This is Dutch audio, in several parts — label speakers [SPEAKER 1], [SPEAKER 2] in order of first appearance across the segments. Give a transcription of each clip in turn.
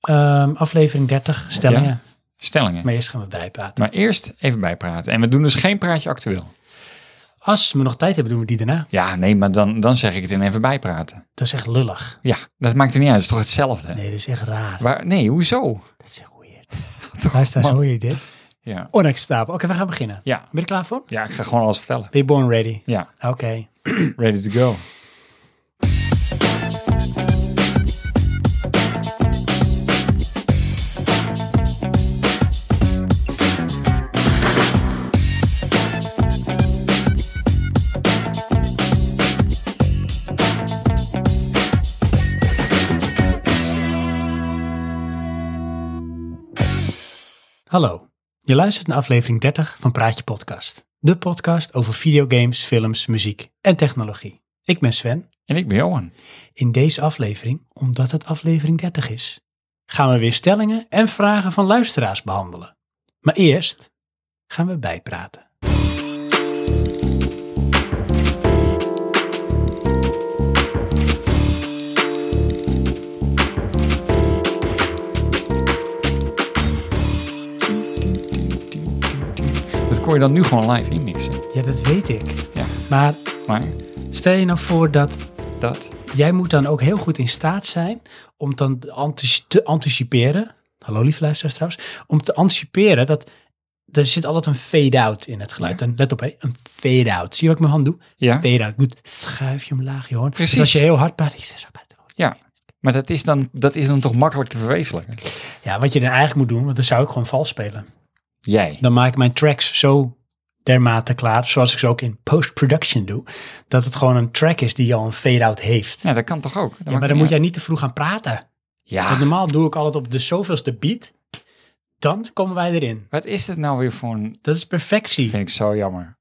[SPEAKER 1] Ehm, aflevering 30, stellingen.
[SPEAKER 2] Ja. Stellingen.
[SPEAKER 1] Maar eerst gaan we bijpraten.
[SPEAKER 2] Maar eerst even bijpraten. En we doen dus geen praatje actueel.
[SPEAKER 1] Als we nog tijd hebben, doen we die daarna.
[SPEAKER 2] Ja, nee, maar dan, dan zeg ik het in even bijpraten.
[SPEAKER 1] Dat is echt lullig.
[SPEAKER 2] Ja, dat maakt er niet uit. Het is toch hetzelfde?
[SPEAKER 1] Nee, dat is echt raar.
[SPEAKER 2] Waar, nee, hoezo?
[SPEAKER 1] Dat is echt weird.
[SPEAKER 2] Toch,
[SPEAKER 1] Luister,
[SPEAKER 2] man.
[SPEAKER 1] hoor je dit?
[SPEAKER 2] Ja.
[SPEAKER 1] Onacceptabel. Oké, we gaan beginnen.
[SPEAKER 2] Ja.
[SPEAKER 1] Ben je er klaar voor?
[SPEAKER 2] ja, ik ga gewoon alles vertellen.
[SPEAKER 1] Ben je born ready?
[SPEAKER 2] Ja,
[SPEAKER 1] Oké.
[SPEAKER 2] ready to go.
[SPEAKER 1] Hallo. Je luistert naar aflevering 30 van Praatje Podcast. De podcast over videogames, films, muziek en technologie. Ik ben Sven.
[SPEAKER 2] En ik ben Johan.
[SPEAKER 1] In deze aflevering, omdat het aflevering 30 is, gaan we weer stellingen en vragen van luisteraars behandelen. Maar eerst gaan we bijpraten.
[SPEAKER 2] Dat kon je dan nu gewoon live indexen.
[SPEAKER 1] Ja, dat weet ik.
[SPEAKER 2] Ja.
[SPEAKER 1] Maar
[SPEAKER 2] Maar
[SPEAKER 1] stel je nou voor dat
[SPEAKER 2] dat...
[SPEAKER 1] jij moet dan ook heel goed in staat zijn om dan te antici- te anticiperen. Hallo lieve luisteraars trouwens. Om te anticiperen dat er zit altijd een fade-out in het geluid. En let op hé, een fade-out. Zie je wat ik met mijn hand doe?
[SPEAKER 2] Ja,
[SPEAKER 1] Fade-out. Goed, schuif je omlaag je hoorn. Dus
[SPEAKER 2] Precies.
[SPEAKER 1] als je heel hard praat, ik zeg zo bij het hoofd.
[SPEAKER 2] ja. Maar dat is, dan, dat is dan toch makkelijk te verwezenlijken?
[SPEAKER 1] Ja, wat je dan eigenlijk moet doen, want dan zou ik gewoon vals spelen.
[SPEAKER 2] Jij.
[SPEAKER 1] Dan maak ik mijn tracks zo dermate klaar, zoals ik ze ook in post-production doe, dat het gewoon een track is die al een fade-out heeft.
[SPEAKER 2] Ja, dat kan toch ook? Dat
[SPEAKER 1] Ja,
[SPEAKER 2] maakt
[SPEAKER 1] maar
[SPEAKER 2] het
[SPEAKER 1] dan moet jij
[SPEAKER 2] uit.
[SPEAKER 1] niet Ah. te vroeg gaan praten.
[SPEAKER 2] Ja.
[SPEAKER 1] Want normaal doe ik altijd op de zoveelste beat. Dan komen wij erin.
[SPEAKER 2] Wat is dit nou weer voor een...
[SPEAKER 1] Dat is perfectie.
[SPEAKER 2] Vind ik zo jammer.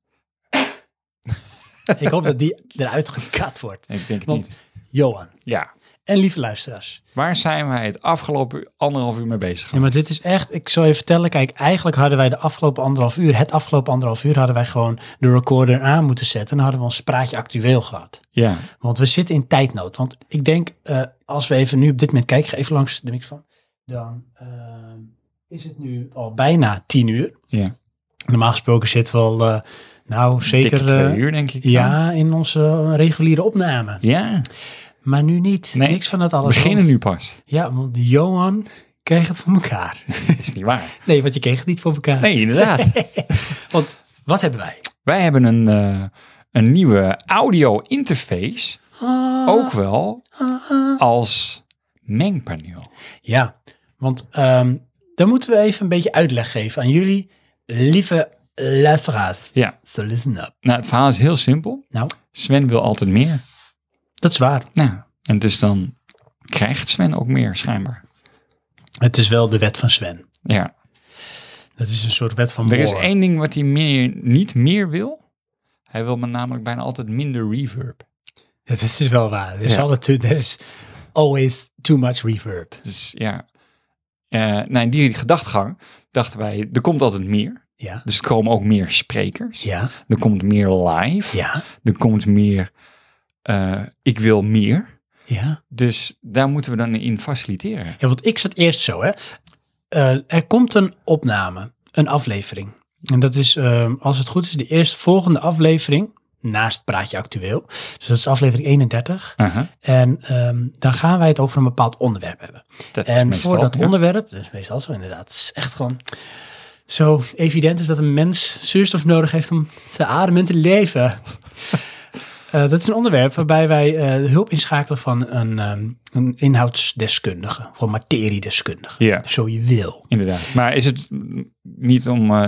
[SPEAKER 1] Ik hoop dat die eruit gekat wordt.
[SPEAKER 2] Ik denk het
[SPEAKER 1] Want-
[SPEAKER 2] niet.
[SPEAKER 1] Johan
[SPEAKER 2] Ja.
[SPEAKER 1] en lieve luisteraars.
[SPEAKER 2] Waar zijn wij het afgelopen anderhalf uur mee bezig?
[SPEAKER 1] Ja, maar dit is echt, ik zal je vertellen, kijk, eigenlijk hadden wij de afgelopen anderhalf uur, het afgelopen anderhalf uur, hadden wij gewoon de recorder aan moeten zetten en dan hadden we ons praatje actueel gehad.
[SPEAKER 2] Ja.
[SPEAKER 1] Want we zitten in tijdnood. Want ik denk, eh, als we even nu op dit moment kijken, ik ga even langs de microfoon, dan ehm, is het nu al bijna tien uur.
[SPEAKER 2] Ja.
[SPEAKER 1] Normaal gesproken zitten we al, eh, nou zeker,
[SPEAKER 2] Dikke twee
[SPEAKER 1] eh,
[SPEAKER 2] uur, denk ik. dan.
[SPEAKER 1] ja, in onze eh, reguliere opname.
[SPEAKER 2] Ja.
[SPEAKER 1] Maar nu niet.
[SPEAKER 2] Nee.
[SPEAKER 1] Niks van dat
[SPEAKER 2] We
[SPEAKER 1] alles.
[SPEAKER 2] beginnen
[SPEAKER 1] want-
[SPEAKER 2] nu pas.
[SPEAKER 1] Ja, want Johan kreeg het voor elkaar.
[SPEAKER 2] Dat is niet waar.
[SPEAKER 1] Nee, want je kreeg het niet voor elkaar.
[SPEAKER 2] Nee, inderdaad.
[SPEAKER 1] Want wat hebben wij?
[SPEAKER 2] wij hebben een, eh, een nieuwe audio interface.
[SPEAKER 1] Ah. Oh.
[SPEAKER 2] Ook wel als mengpaneel.
[SPEAKER 1] Ja, want ehm dan moeten we even een beetje uitleg geven aan jullie, lieve luisteraars.
[SPEAKER 2] Ja.
[SPEAKER 1] So listen up.
[SPEAKER 2] Nou, het verhaal is heel simpel.
[SPEAKER 1] Nou,
[SPEAKER 2] Sven wil altijd meer.
[SPEAKER 1] dat is waar.
[SPEAKER 2] Nou, en dus dan krijgt Sven ook meer, schijnbaar.
[SPEAKER 1] Het is wel de wet van Sven.
[SPEAKER 2] Ja.
[SPEAKER 1] Dat is een soort wet van
[SPEAKER 2] Er is
[SPEAKER 1] Moore.
[SPEAKER 2] één ding wat hij meer, niet meer wil. Hij wil me namelijk bijna altijd minder reverb.
[SPEAKER 1] Dat is wel waar. Er is,
[SPEAKER 2] Ja.
[SPEAKER 1] altijd too, there is always too much reverb.
[SPEAKER 2] Dus ja. Eh, nou, in die gedachtgang dachten wij, er komt altijd meer.
[SPEAKER 1] Ja,
[SPEAKER 2] Dus er komen ook meer sprekers.
[SPEAKER 1] ja,
[SPEAKER 2] Er komt meer live.
[SPEAKER 1] ja,
[SPEAKER 2] Er komt meer, eh, ik wil meer.
[SPEAKER 1] ja.
[SPEAKER 2] Dus daar moeten we dan in faciliteren.
[SPEAKER 1] Ja, want ik zat eerst zo, hè. Eh, er komt een opname, een aflevering. En dat is, ehm, als het goed is, de eerstvolgende aflevering naast Praatje Actueel. Dus dat is aflevering 31.
[SPEAKER 2] Aha,
[SPEAKER 1] En ehm, dan gaan wij het over een bepaald onderwerp hebben.
[SPEAKER 2] Dat is
[SPEAKER 1] en
[SPEAKER 2] meestal,
[SPEAKER 1] voor dat
[SPEAKER 2] ja.
[SPEAKER 1] onderwerp, dus meestal zo inderdaad, het is echt gewoon zo evident is dat een mens zuurstof nodig heeft om te ademen en te leven. Eh, dat is een onderwerp waarbij wij eh, hulp inschakelen van een, ehm, een inhoudsdeskundige, of een materiedeskundige,
[SPEAKER 2] Ja,
[SPEAKER 1] zo je wil.
[SPEAKER 2] inderdaad. Maar is het mm, niet om eh,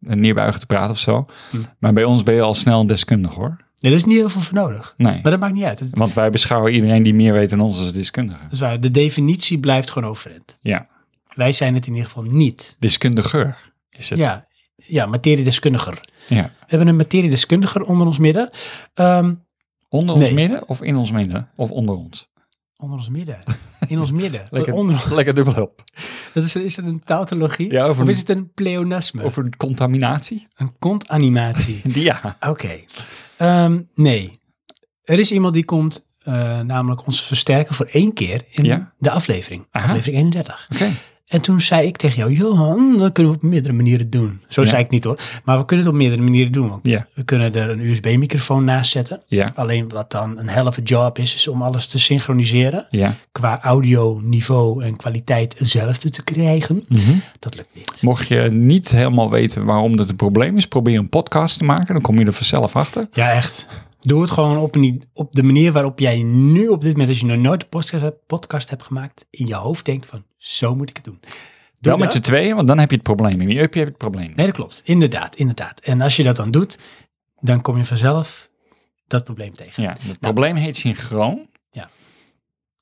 [SPEAKER 2] een neerbuigen te praten of zo?
[SPEAKER 1] Hm.
[SPEAKER 2] Maar bij ons ben je al snel een deskundige hoor.
[SPEAKER 1] Nee, er is niet heel veel voor nodig,
[SPEAKER 2] Nee.
[SPEAKER 1] maar dat maakt niet uit. Het-
[SPEAKER 2] Want wij beschouwen iedereen die meer weet dan ons als deskundige.
[SPEAKER 1] dat is waar, de definitie blijft gewoon overeind.
[SPEAKER 2] Ja,
[SPEAKER 1] Wij zijn het in ieder geval niet.
[SPEAKER 2] deskundigeur is het.
[SPEAKER 1] Ja, ja materiedeskundiger.
[SPEAKER 2] Ja.
[SPEAKER 1] We hebben een materiedeskundiger onder ons midden. Ehm,
[SPEAKER 2] Onder ons
[SPEAKER 1] Nee.
[SPEAKER 2] midden of in ons midden? Of onder ons?
[SPEAKER 1] onder ons midden. In ons midden.
[SPEAKER 2] Lekker,
[SPEAKER 1] Onder,
[SPEAKER 2] lekker dubbel op.
[SPEAKER 1] dat is, is het een tautologie?
[SPEAKER 2] Ja,
[SPEAKER 1] of,
[SPEAKER 2] of een-
[SPEAKER 1] is het een pleonasme? Of
[SPEAKER 2] Over contaminatie?
[SPEAKER 1] een kontanimatie?
[SPEAKER 2] Ja.
[SPEAKER 1] Oké. Ehm, nee. Er is iemand die komt eh, namelijk ons versterken voor één keer in
[SPEAKER 2] Ja.
[SPEAKER 1] de aflevering.
[SPEAKER 2] Aha.
[SPEAKER 1] Aflevering 31.
[SPEAKER 2] Oké.
[SPEAKER 1] En toen zei ik tegen jou, Johan, dat kunnen we op meerdere manieren doen. Zo
[SPEAKER 2] Ja.
[SPEAKER 1] zei ik niet hoor, maar we kunnen het op meerdere manieren doen. Want
[SPEAKER 2] Ja.
[SPEAKER 1] we kunnen er een USB-microfoon naast zetten.
[SPEAKER 2] Ja.
[SPEAKER 1] Alleen wat dan een helft job is, is om alles te synchroniseren.
[SPEAKER 2] Ja.
[SPEAKER 1] Qua audio, niveau en kwaliteit hetzelfde te krijgen.
[SPEAKER 2] Mhm.
[SPEAKER 1] Dat lukt niet.
[SPEAKER 2] Mocht je niet helemaal weten waarom dat een probleem is, probeer een podcast te maken. Dan kom je er vanzelf achter.
[SPEAKER 1] Ja, echt. Doe het gewoon op, een- op de manier waarop jij nu op dit moment, als je nog nooit een podcast hebt, podcast hebt gemaakt, in je hoofd denkt van, zo moet ik het doen. Doe
[SPEAKER 2] Wel met
[SPEAKER 1] dat.
[SPEAKER 2] z'n tweeën, want dan heb je het probleem. In je up heb je het probleem.
[SPEAKER 1] Nee, dat klopt. Inderdaad, inderdaad. En als je dat dan doet, dan kom je vanzelf dat probleem tegen.
[SPEAKER 2] Ja, het probleem heet synchroon.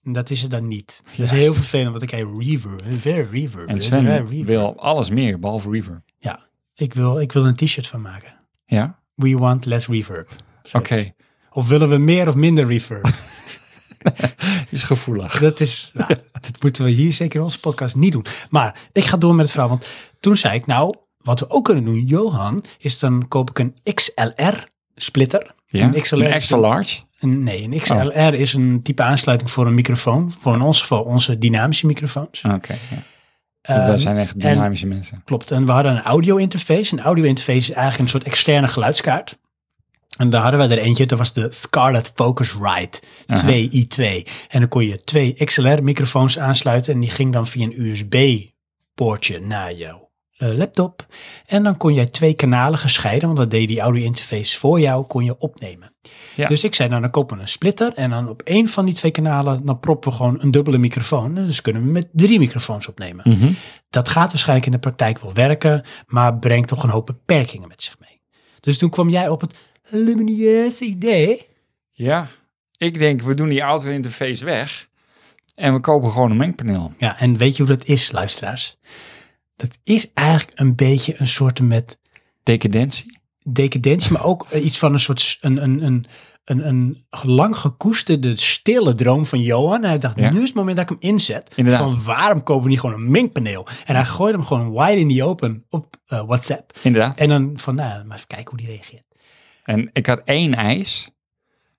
[SPEAKER 1] En dat is er dan niet. Dat is
[SPEAKER 2] Juist.
[SPEAKER 1] heel vervelend, want ik krijg reverb. Ver reverb.
[SPEAKER 2] En
[SPEAKER 1] ver
[SPEAKER 2] Sven
[SPEAKER 1] reverb.
[SPEAKER 2] wil alles meer, behalve Reaver.
[SPEAKER 1] Ik wil, ik wil er een t-shirt van maken.
[SPEAKER 2] Ja?
[SPEAKER 1] We want less reverb. Zoiets.
[SPEAKER 2] Oké.
[SPEAKER 1] Of willen we meer of minder reverb?
[SPEAKER 2] Is gevoelig.
[SPEAKER 1] Dat is, nou, dat moeten we hier zeker in onze podcast niet doen. Maar ik ga door met het verhaal, want toen zei ik, nou, wat we ook kunnen doen, Johan, is dan koop ik een XLR splitter.
[SPEAKER 2] Ja?
[SPEAKER 1] Een XLR.
[SPEAKER 2] Een extra large.
[SPEAKER 1] Een- nee, een XLR
[SPEAKER 2] Oh.
[SPEAKER 1] is een type aansluiting voor een microfoon, voor in ons geval onze dynamische microfoons.
[SPEAKER 2] Oké. ja. Dat
[SPEAKER 1] Ehm,
[SPEAKER 2] zijn echt dynamische mensen.
[SPEAKER 1] Klopt. En we hadden een audio interface. Een audio interface is eigenlijk een soort externe geluidskaart. En daar hadden we er eentje, dat was de Scarlett Focusrite 2i2. En dan kon je twee XLR-microfoons aansluiten. En die ging dan via een USB-poortje naar jouw eh, laptop. En dan kon jij twee kanalen gescheiden, want dat deed die audio interface voor jou, kon je opnemen.
[SPEAKER 2] Ja.
[SPEAKER 1] Dus ik zei, nou dan kopen we een splitter. En dan op één van die twee kanalen, dan proppen we gewoon een dubbele microfoon. En dus kunnen we met drie microfoons opnemen.
[SPEAKER 2] Mhm.
[SPEAKER 1] Dat gaat waarschijnlijk in de praktijk wel werken, maar brengt toch een hoop beperkingen met zich mee. Dus toen kwam jij op het lumineuze idee.
[SPEAKER 2] Ja. Ik denk, we doen die auto-interface weg. En we kopen gewoon een mengpaneel.
[SPEAKER 1] Ja, en weet je hoe dat is, luisteraars? Dat is eigenlijk een beetje een soort met
[SPEAKER 2] Decadentie.
[SPEAKER 1] decadentie, maar ook eh, iets van een soort s- een, een, een, een, een lang gekoesterde stille droom van Johan. En hij dacht,
[SPEAKER 2] Ja.
[SPEAKER 1] nu is het moment dat ik hem inzet.
[SPEAKER 2] Inderdaad.
[SPEAKER 1] Van waarom kopen we niet gewoon een mengpaneel? En hij gooide hem gewoon wide in the open op eh, WhatsApp.
[SPEAKER 2] Inderdaad.
[SPEAKER 1] En dan van, nou, maar even kijken hoe die reageert.
[SPEAKER 2] En ik had één eis.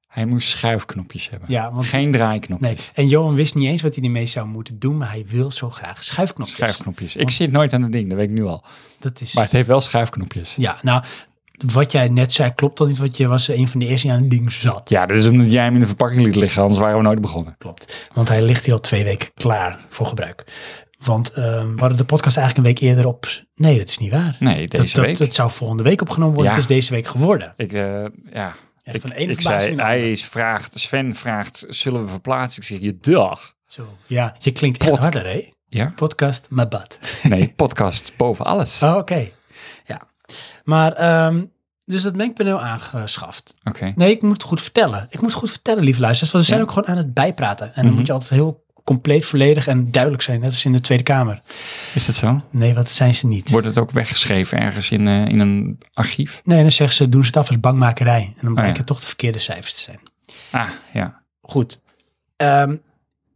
[SPEAKER 2] Hij moest schuifknopjes hebben.
[SPEAKER 1] Ja, want
[SPEAKER 2] Geen
[SPEAKER 1] Nee,
[SPEAKER 2] draaiknopjes.
[SPEAKER 1] en Johan wist niet eens wat hij ermee zou moeten doen, maar hij wil zo graag schuifknopjes.
[SPEAKER 2] Schuifknopjes. Ik zit nooit aan het ding, dat weet ik nu al.
[SPEAKER 1] Dat is,
[SPEAKER 2] Maar het heeft wel schuifknopjes.
[SPEAKER 1] ja, nou, wat jij net zei klopt al niet, want je was een van de eerste die aan het ding zat.
[SPEAKER 2] Ja, dat is omdat jij hem in de verpakking liet liggen, anders waren we nooit begonnen.
[SPEAKER 1] Klopt, want hij ligt hier al twee weken klaar voor gebruik. Want ehm we hadden de podcast eigenlijk een week eerder op... Nee, dat is niet waar.
[SPEAKER 2] Nee,
[SPEAKER 1] Dat,
[SPEAKER 2] deze
[SPEAKER 1] dat,
[SPEAKER 2] week.
[SPEAKER 1] het zou volgende week opgenomen worden,
[SPEAKER 2] Ja.
[SPEAKER 1] het is deze week geworden.
[SPEAKER 2] Ik, eh, ja.
[SPEAKER 1] Ja,
[SPEAKER 2] ik,
[SPEAKER 1] van de ene
[SPEAKER 2] ik
[SPEAKER 1] verbazing
[SPEAKER 2] zei,
[SPEAKER 1] in de andere.
[SPEAKER 2] hij is vraagt, Sven vraagt, zullen we verplaatsen? Ik zeg, je dag.
[SPEAKER 1] Zo, ja, je klinkt echt
[SPEAKER 2] Pod-
[SPEAKER 1] harder, hè?
[SPEAKER 2] Ja?
[SPEAKER 1] Podcast, maar bad.
[SPEAKER 2] Nee, podcast boven alles.
[SPEAKER 1] Oh, oké. Ja, maar... ehm, dus dat mengpaneel aangeschaft.
[SPEAKER 2] Oké.
[SPEAKER 1] Nee, ik moet het goed vertellen. Ik moet het goed vertellen, lieve luisteraars. Want we zijn
[SPEAKER 2] Ja.
[SPEAKER 1] ook gewoon aan het bijpraten. En dan
[SPEAKER 2] Mhm.
[SPEAKER 1] moet je altijd heel compleet, volledig en duidelijk zijn. Net als in de Tweede Kamer.
[SPEAKER 2] Is dat zo?
[SPEAKER 1] Nee, wat zijn ze niet.
[SPEAKER 2] Wordt het ook weggeschreven ergens in, eh, in een archief?
[SPEAKER 1] Nee, dan zeggen ze, doen ze het af als bangmakerij. En dan blijken
[SPEAKER 2] Oh ja.
[SPEAKER 1] het toch de verkeerde cijfers te zijn.
[SPEAKER 2] Ah, ja.
[SPEAKER 1] Goed. Ehm,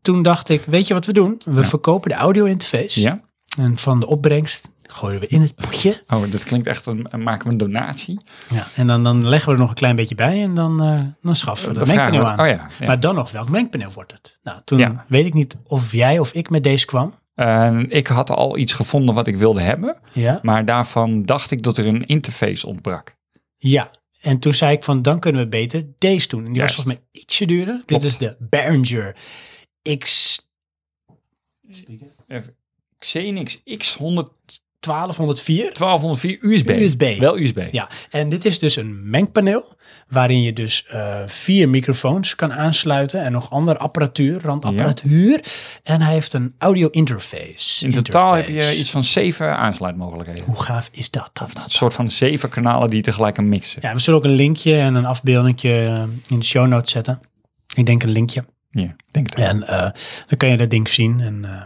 [SPEAKER 1] toen dacht ik, weet je wat we doen? We
[SPEAKER 2] Ja.
[SPEAKER 1] verkopen de audio interface.
[SPEAKER 2] Ja?
[SPEAKER 1] En van de opbrengst gooien we in het potje.
[SPEAKER 2] Oh, dat klinkt echt, een, een- maken we een donatie?
[SPEAKER 1] Ja. En dan, dan leggen we er nog een klein beetje bij. En dan, eh, dan schaffen we
[SPEAKER 2] Dan
[SPEAKER 1] dat
[SPEAKER 2] vragen
[SPEAKER 1] mengpaneel
[SPEAKER 2] we-
[SPEAKER 1] aan.
[SPEAKER 2] Oh ja. ja.
[SPEAKER 1] Maar dan nog, welk mengpaneel wordt het? Nou, toen
[SPEAKER 2] Ja.
[SPEAKER 1] weet ik niet of jij of ik met deze kwam.
[SPEAKER 2] En Eh, ik had al iets gevonden wat ik wilde hebben,
[SPEAKER 1] Ja.
[SPEAKER 2] maar daarvan dacht ik dat er een interface ontbrak.
[SPEAKER 1] Ja, en toen zei ik van dan kunnen we beter deze doen. En die
[SPEAKER 2] Juist.
[SPEAKER 1] was volgens mij ietsje duurder. Dit
[SPEAKER 2] Klopt.
[SPEAKER 1] is de Behringer X
[SPEAKER 2] Eh, Xenix X100
[SPEAKER 1] 1204
[SPEAKER 2] 1204 USB.
[SPEAKER 1] USB.
[SPEAKER 2] Wel USB.
[SPEAKER 1] Ja, en dit is dus een mengpaneel waarin je dus eh, vier microfoons kan aansluiten en nog andere apparatuur, randapparatuur. En hij heeft een audio interface.
[SPEAKER 2] In totaal heb je
[SPEAKER 1] Interface.
[SPEAKER 2] iets van zeven aansluitmogelijkheden.
[SPEAKER 1] Hoe gaaf is dat? dat,
[SPEAKER 2] Een
[SPEAKER 1] dat?
[SPEAKER 2] soort van zeven kanalen die tegelijk een mixen.
[SPEAKER 1] Ja, we zullen ook een linkje en een afbeeldingje eh, in de show notes zetten. Ik denk een linkje.
[SPEAKER 2] Ja, denk het.
[SPEAKER 1] En eh, dan kan je dat ding zien. En, eh,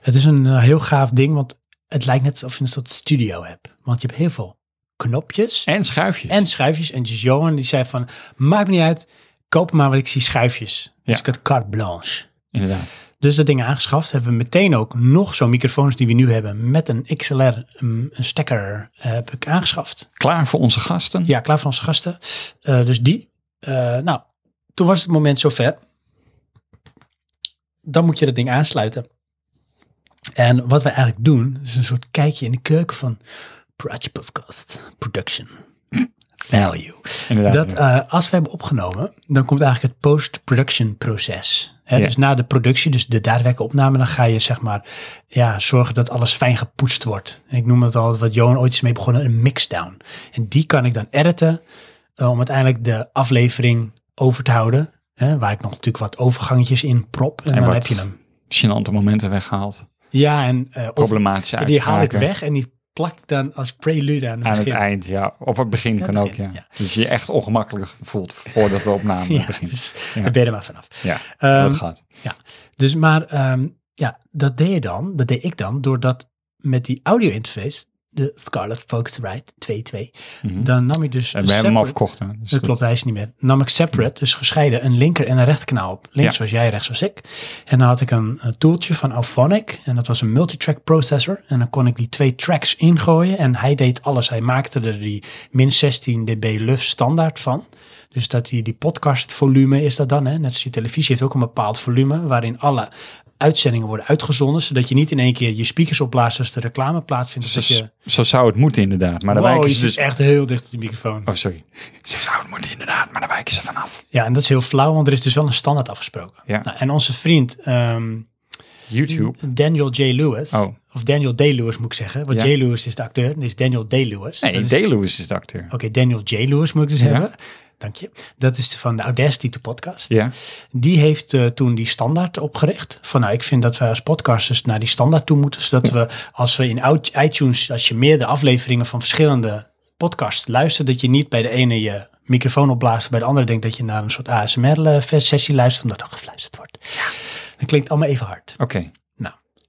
[SPEAKER 1] het is een eh, heel gaaf ding, want het lijkt net alsof je een soort studio hebt. Want je hebt heel veel knopjes
[SPEAKER 2] En schuifjes.
[SPEAKER 1] en schuifjes. En dus Johan die zei van, maakt me niet uit, koop maar wat ik zie schuifjes. Dus
[SPEAKER 2] Ja.
[SPEAKER 1] ik had carte blanche.
[SPEAKER 2] Inderdaad.
[SPEAKER 1] Dus dat ding aangeschaft. Hebben we meteen ook nog zo'n microfoons die we nu hebben met een XLR, een, een stekker, eh, heb ik aangeschaft.
[SPEAKER 2] Klaar voor onze gasten?
[SPEAKER 1] Ja, klaar voor onze gasten. Eh, dus die. Eh, nou, toen was het moment zover. dan moet je dat ding aansluiten. En wat wij eigenlijk doen, is een soort kijkje in de keuken van Praj Podcast Production Value.
[SPEAKER 2] Inderdaad.
[SPEAKER 1] Dat
[SPEAKER 2] ja.
[SPEAKER 1] eh, als we hebben opgenomen, dan komt eigenlijk het post-production proces. Hè,
[SPEAKER 2] Ja.
[SPEAKER 1] Dus na de productie, dus de daadwerkelijke opname, dan ga je zeg maar ja, zorgen dat alles fijn gepoetst wordt. En ik noem het altijd wat Johan ooit is mee begonnen, een mixdown. En die kan ik dan editen eh, om uiteindelijk de aflevering over te houden. Hè, waar ik nog natuurlijk wat overgangetjes in prop. En,
[SPEAKER 2] En
[SPEAKER 1] dan
[SPEAKER 2] wat-
[SPEAKER 1] heb je hem.
[SPEAKER 2] Gênante momenten weggehaald.
[SPEAKER 1] Ja, en eh, of-
[SPEAKER 2] Problematische
[SPEAKER 1] die haal ik
[SPEAKER 2] uitspraken.
[SPEAKER 1] weg en die plak ik dan als prelude aan het
[SPEAKER 2] Aan het
[SPEAKER 1] begin.
[SPEAKER 2] eind, ja. Of het begin
[SPEAKER 1] Ja,
[SPEAKER 2] kan
[SPEAKER 1] het
[SPEAKER 2] ook,
[SPEAKER 1] begin,
[SPEAKER 2] ja.
[SPEAKER 1] ja.
[SPEAKER 2] Dus je je echt ongemakkelijk voelt voordat de opname
[SPEAKER 1] Ja,
[SPEAKER 2] begint.
[SPEAKER 1] dus
[SPEAKER 2] Ja.
[SPEAKER 1] daar ben je er maar vanaf.
[SPEAKER 2] Ja,
[SPEAKER 1] Ehm,
[SPEAKER 2] dat gaat.
[SPEAKER 1] Dus maar ehm, ja, dat deed je dan, dat deed ik dan, doordat met die audio interface, de Scarlett Focusrite 2.2,
[SPEAKER 2] Mhm.
[SPEAKER 1] dan nam ik dus
[SPEAKER 2] En we hebben hem
[SPEAKER 1] separate-
[SPEAKER 2] afgekocht. Hè? Dus
[SPEAKER 1] dat klopt, hij is niet meer. Dan nam ik separate, dus gescheiden, een linker en een rechterkanaal op. Links
[SPEAKER 2] Ja.
[SPEAKER 1] was jij, rechts was ik. En dan had ik een, een tooltje van Alphonic. En dat was een multitrack processor. En dan kon ik die twee tracks ingooien. En hij deed alles. Hij maakte er die min 16 dB luf standaard van. Dus dat die, die podcast volume is dat dan. Hè? Net als je televisie heeft ook een bepaald volume. Waarin alle uitzendingen worden uitgezonden. Zodat je niet in één keer je speakers opblaast als de reclame plaatsvindt. of
[SPEAKER 2] Zo,
[SPEAKER 1] dat je...
[SPEAKER 2] zo zou het moeten inderdaad, maar daar
[SPEAKER 1] Wow, je
[SPEAKER 2] wijken ze
[SPEAKER 1] zit
[SPEAKER 2] dus...
[SPEAKER 1] echt heel dicht op de microfoon.
[SPEAKER 2] Oh, sorry. Zo zou het moeten inderdaad, maar daar wijken ze vanaf.
[SPEAKER 1] Ja, en dat is heel flauw, want er is dus wel een standaard afgesproken.
[SPEAKER 2] Ja.
[SPEAKER 1] Nou, en onze vriend ehm,
[SPEAKER 2] YouTube.
[SPEAKER 1] Daniel J. Lewis,
[SPEAKER 2] Oh.
[SPEAKER 1] of Daniel D. Lewis moet ik zeggen, want
[SPEAKER 2] Ja.
[SPEAKER 1] J. Lewis is de acteur, en dit is Daniel D. Lewis.
[SPEAKER 2] Nee,
[SPEAKER 1] Dat is-
[SPEAKER 2] D. Lewis is de acteur.
[SPEAKER 1] Oké, Daniel J. Lewis moet ik dus
[SPEAKER 2] Ja.
[SPEAKER 1] hebben. Dank je. Dat is van de Audacity to Podcast.
[SPEAKER 2] Ja,
[SPEAKER 1] Die heeft eh, toen die standaard opgericht. Van nou, ik vind dat we als podcasters naar die standaard toe moeten. Zodat we, als we in out- iTunes, als je meerdere afleveringen van verschillende podcasts luistert, dat je niet bij de ene je microfoon opblaast, en bij de andere denkt dat je naar een soort ASMR-sessie eh, luistert, omdat er gefluisterd wordt. Dat klinkt allemaal even hard.
[SPEAKER 2] oké.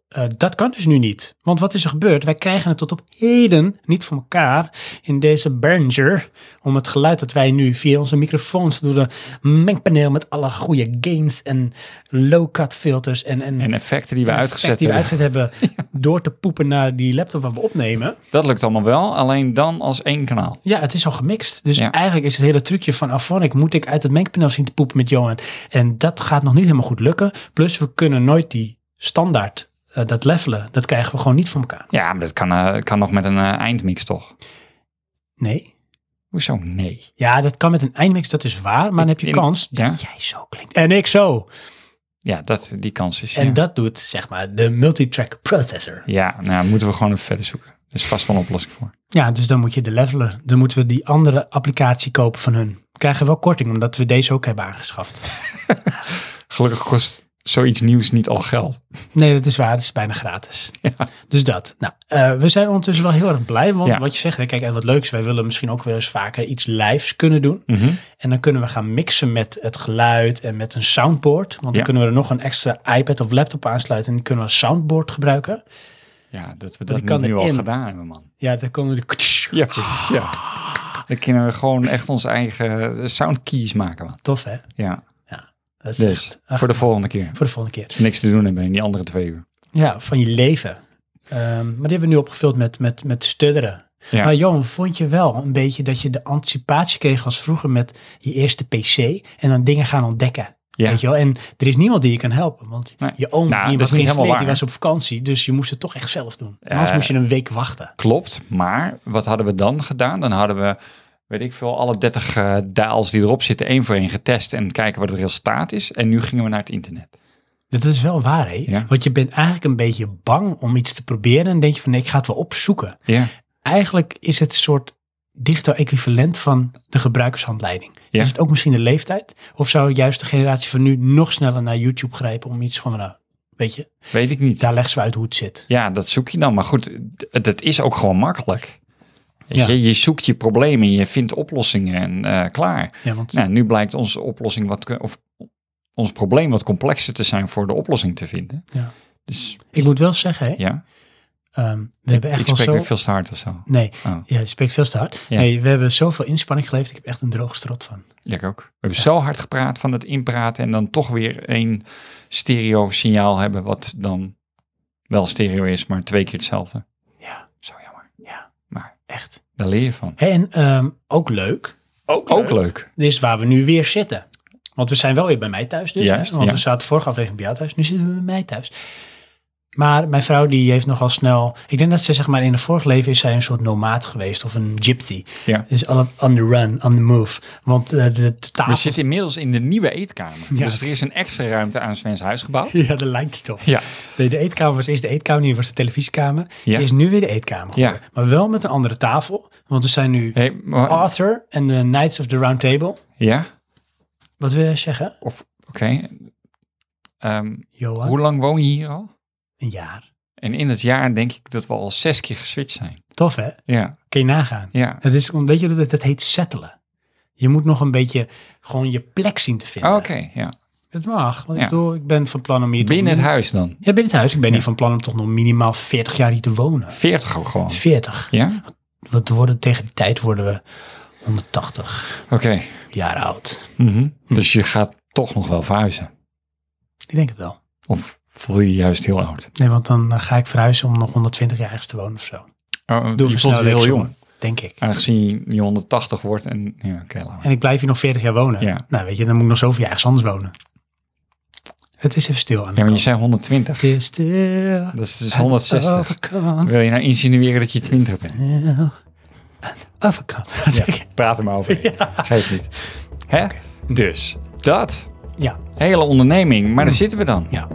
[SPEAKER 1] Eh, dat kan dus nu niet. Want wat is er gebeurd? Wij krijgen het tot op heden niet voor elkaar in deze Behringer om het geluid dat wij nu via onze microfoons door de mengpaneel met alle goede gains en low-cut filters en, en,
[SPEAKER 2] En effecten die we uitgezet
[SPEAKER 1] effecten die we
[SPEAKER 2] hebben,
[SPEAKER 1] uitgezet hebben door te poepen naar die laptop waar we opnemen.
[SPEAKER 2] dat lukt allemaal wel, alleen dan als één kanaal.
[SPEAKER 1] Ja, het is al gemixt. Dus
[SPEAKER 2] Ja.
[SPEAKER 1] eigenlijk is het hele trucje van Afonic moet ik uit het mengpaneel zien te poepen met Johan. En dat gaat nog niet helemaal goed lukken. Plus we kunnen nooit die standaard, eh, dat levelen, dat krijgen we gewoon niet voor elkaar.
[SPEAKER 2] Ja, maar dat kan, eh, kan nog met een eh, eindmix, toch?
[SPEAKER 1] Nee.
[SPEAKER 2] Hoezo nee?
[SPEAKER 1] Ja, dat kan met een eindmix, dat is waar. Maar dan heb je
[SPEAKER 2] In-
[SPEAKER 1] kans dat jij zo klinkt. En ik zo.
[SPEAKER 2] Ja, dat, die kans is
[SPEAKER 1] En
[SPEAKER 2] ja.
[SPEAKER 1] dat doet, zeg maar, de multitrack processor.
[SPEAKER 2] Ja, nou moeten we gewoon even verder zoeken. Er is vast wel een oplossing voor.
[SPEAKER 1] Ja, dus dan moet je de leveler. Dan moeten we die andere applicatie kopen van hun. Krijgen wel korting, omdat we deze ook hebben aangeschaft.
[SPEAKER 2] Gelukkig kost zoiets nieuws niet al geld.
[SPEAKER 1] Nee, dat is waar. Het is bijna gratis. Dus dat. Nou, eh, we zijn ondertussen wel heel erg blij. Want
[SPEAKER 2] Ja.
[SPEAKER 1] wat je zegt, hè, kijk, en wat leuks. Wij willen misschien ook wel eens vaker iets lives kunnen doen.
[SPEAKER 2] Mhm.
[SPEAKER 1] En dan kunnen we gaan mixen met het geluid en met een soundboard. Want dan
[SPEAKER 2] Ja.
[SPEAKER 1] kunnen we er nog een extra iPad of laptop aansluiten. En die kunnen we als soundboard gebruiken.
[SPEAKER 2] Ja, dat we
[SPEAKER 1] Dat
[SPEAKER 2] dat,
[SPEAKER 1] kan
[SPEAKER 2] nu al
[SPEAKER 1] erin.
[SPEAKER 2] gedaan hebben, man.
[SPEAKER 1] Ja, dan komen we de...
[SPEAKER 2] Ja, precies. Ja. Dan kunnen we gewoon echt onze eigen soundkeys maken, man.
[SPEAKER 1] Tof, hè?
[SPEAKER 2] Ja,
[SPEAKER 1] Dat is
[SPEAKER 2] dus
[SPEAKER 1] echt- ach,
[SPEAKER 2] voor de volgende keer.
[SPEAKER 1] voor de volgende keer.
[SPEAKER 2] Als we niks te doen hebben in die andere twee uur.
[SPEAKER 1] Ja, van je leven. Ehm, maar die hebben we nu opgevuld met, met, met stutteren.
[SPEAKER 2] Ja.
[SPEAKER 1] Maar Johan, vond je wel een beetje dat je de anticipatie kreeg als vroeger met je eerste PC en dan dingen gaan ontdekken?
[SPEAKER 2] Ja.
[SPEAKER 1] Weet je wel? En er is niemand die je kan helpen, want
[SPEAKER 2] Nee.
[SPEAKER 1] je oom
[SPEAKER 2] Nou,
[SPEAKER 1] die
[SPEAKER 2] dat
[SPEAKER 1] was
[SPEAKER 2] is niet helemaal
[SPEAKER 1] geïnstalleerd, die
[SPEAKER 2] waar.
[SPEAKER 1] was op vakantie, dus je moest het toch echt zelf doen. En
[SPEAKER 2] Eh.
[SPEAKER 1] Anders moest je een week wachten.
[SPEAKER 2] Klopt, maar wat hadden we dan gedaan? Dan hadden we, weet ik veel, alle 30 eh, daals die erop zitten één voor één getest en kijken wat het resultaat is. En nu gingen we naar het internet.
[SPEAKER 1] Dat is wel waar, hè?
[SPEAKER 2] Ja.
[SPEAKER 1] Want je bent eigenlijk een beetje bang om iets te proberen en denk je van nee, ik ga het wel opzoeken.
[SPEAKER 2] Ja,
[SPEAKER 1] eigenlijk is het een soort digitaal equivalent van de gebruikershandleiding.
[SPEAKER 2] Ja.
[SPEAKER 1] Is het ook misschien de leeftijd? Of zou juist de generatie van nu nog sneller naar YouTube grijpen om iets gewoon van, nou, weet je,
[SPEAKER 2] weet ik niet.
[SPEAKER 1] daar leggen ze uit hoe het zit.
[SPEAKER 2] Ja, dat zoek je dan. Maar goed, d- dat is ook gewoon makkelijk. Weet
[SPEAKER 1] Ja.
[SPEAKER 2] Je, je zoekt je problemen, je vindt oplossingen en eh, klaar.
[SPEAKER 1] Ja, want,
[SPEAKER 2] Nou, nu blijkt onze oplossing wat, of ons probleem wat complexer te zijn voor de oplossing te vinden.
[SPEAKER 1] Ja.
[SPEAKER 2] Dus
[SPEAKER 1] ik moet wel zeggen, hè,
[SPEAKER 2] ja,
[SPEAKER 1] ehm, we hebben echt
[SPEAKER 2] ik
[SPEAKER 1] wel
[SPEAKER 2] spreek
[SPEAKER 1] zo...
[SPEAKER 2] weer veel te hard of zo.
[SPEAKER 1] Nee,
[SPEAKER 2] Oh.
[SPEAKER 1] ja, je spreekt veel te hard.
[SPEAKER 2] Ja.
[SPEAKER 1] Nee, we hebben zoveel inspanning geleverd. Ik heb echt een droog strot van.
[SPEAKER 2] Ja, ik ook. We hebben zo hard gepraat van het inpraten en dan toch weer één stereo signaal hebben wat dan wel stereo is, maar twee keer hetzelfde.
[SPEAKER 1] Ja,
[SPEAKER 2] Zo jammer.
[SPEAKER 1] echt.
[SPEAKER 2] Daar leer je van.
[SPEAKER 1] Hé, En ehm, ook leuk.
[SPEAKER 2] Ook leuk.
[SPEAKER 1] Dit is waar we nu weer zitten. Want Want we zijn wel weer bij mij thuis dus.
[SPEAKER 2] Juist,
[SPEAKER 1] hè? Want
[SPEAKER 2] ja.
[SPEAKER 1] we zaten vorige aflevering bij jou thuis. Nu zitten we bij mij thuis. Maar mijn vrouw die heeft nogal snel... Ik denk dat ze zeg maar in een vorig leven is zij een soort nomaat geweest. Of een gypsy.
[SPEAKER 2] Ja.
[SPEAKER 1] Dus altijd on the run, on the move. Want eh, de, de
[SPEAKER 2] We
[SPEAKER 1] tafel...
[SPEAKER 2] zitten inmiddels in de nieuwe eetkamer.
[SPEAKER 1] Ja.
[SPEAKER 2] Dus er is een extra ruimte aan Sven's huis gebouwd.
[SPEAKER 1] Ja, dat lijkt het op.
[SPEAKER 2] Ja,
[SPEAKER 1] De, de eetkamer was eerst de eetkamer, nu was de televisiekamer.
[SPEAKER 2] Ja.
[SPEAKER 1] Die is nu weer de eetkamer
[SPEAKER 2] Ja.
[SPEAKER 1] geworden. Maar wel met een andere tafel. Want we zijn nu
[SPEAKER 2] hey, maar-
[SPEAKER 1] Arthur en de Knights of the Round Table.
[SPEAKER 2] ja?
[SPEAKER 1] Wat wil je zeggen,
[SPEAKER 2] of oké. Ehm,
[SPEAKER 1] Johan?
[SPEAKER 2] hoe lang woon je hier al?
[SPEAKER 1] Een jaar.
[SPEAKER 2] En in het jaar denk ik dat we al zes keer geswitcht zijn.
[SPEAKER 1] Tof, hè?
[SPEAKER 2] Ja,
[SPEAKER 1] Kun je nagaan.
[SPEAKER 2] ja.
[SPEAKER 1] Het is, weet je, dat, dat heet settelen. Je moet nog een beetje gewoon je plek zien te vinden.
[SPEAKER 2] Oh, Oké, ja.
[SPEAKER 1] Het mag. Want ik
[SPEAKER 2] Ja.
[SPEAKER 1] bedoel, ik ben van plan om hier... toch
[SPEAKER 2] Binnen het
[SPEAKER 1] min-
[SPEAKER 2] huis dan.
[SPEAKER 1] Ja, binnen het huis. Ik ben hier van plan om toch nog minimaal 40 jaar hier te wonen.
[SPEAKER 2] 40 ook gewoon.
[SPEAKER 1] 40.
[SPEAKER 2] Ja?
[SPEAKER 1] Want we worden, tegen die tijd worden we 180
[SPEAKER 2] Oké.
[SPEAKER 1] jaar oud.
[SPEAKER 2] Mhm. Dus je gaat toch nog wel verhuizen.
[SPEAKER 1] Ik denk het wel.
[SPEAKER 2] Of voel je je juist heel oud?
[SPEAKER 1] Nee, want dan eh, ga ik verhuizen om nog 120 jaar te wonen of zo. Doe
[SPEAKER 2] Oh, je
[SPEAKER 1] me
[SPEAKER 2] voelt je
[SPEAKER 1] snel
[SPEAKER 2] heel
[SPEAKER 1] reeks,
[SPEAKER 2] jong.
[SPEAKER 1] jongen. Denk ik.
[SPEAKER 2] Aangezien je 180 wordt en... Ja, oké, laat maar.
[SPEAKER 1] En ik blijf hier nog 40 jaar wonen.
[SPEAKER 2] Ja.
[SPEAKER 1] Nou, weet je, dan moet ik nog zoveel jaar ergens anders wonen. Het is even stil aan de
[SPEAKER 2] Ja, maar je
[SPEAKER 1] kant.
[SPEAKER 2] zei 120.
[SPEAKER 1] Het is stil.
[SPEAKER 2] Dat is dus 160.
[SPEAKER 1] Overkant.
[SPEAKER 2] Wil je nou insinueren dat je 20
[SPEAKER 1] dus-
[SPEAKER 2] bent?
[SPEAKER 1] Stil. Aan de Overkant. Ja.
[SPEAKER 2] Praat er maar over. Geef niet. Hè? Dus, dat.
[SPEAKER 1] ja.
[SPEAKER 2] Hele onderneming. Maar daar
[SPEAKER 1] Mm.
[SPEAKER 2] zitten we dan.
[SPEAKER 1] Ja.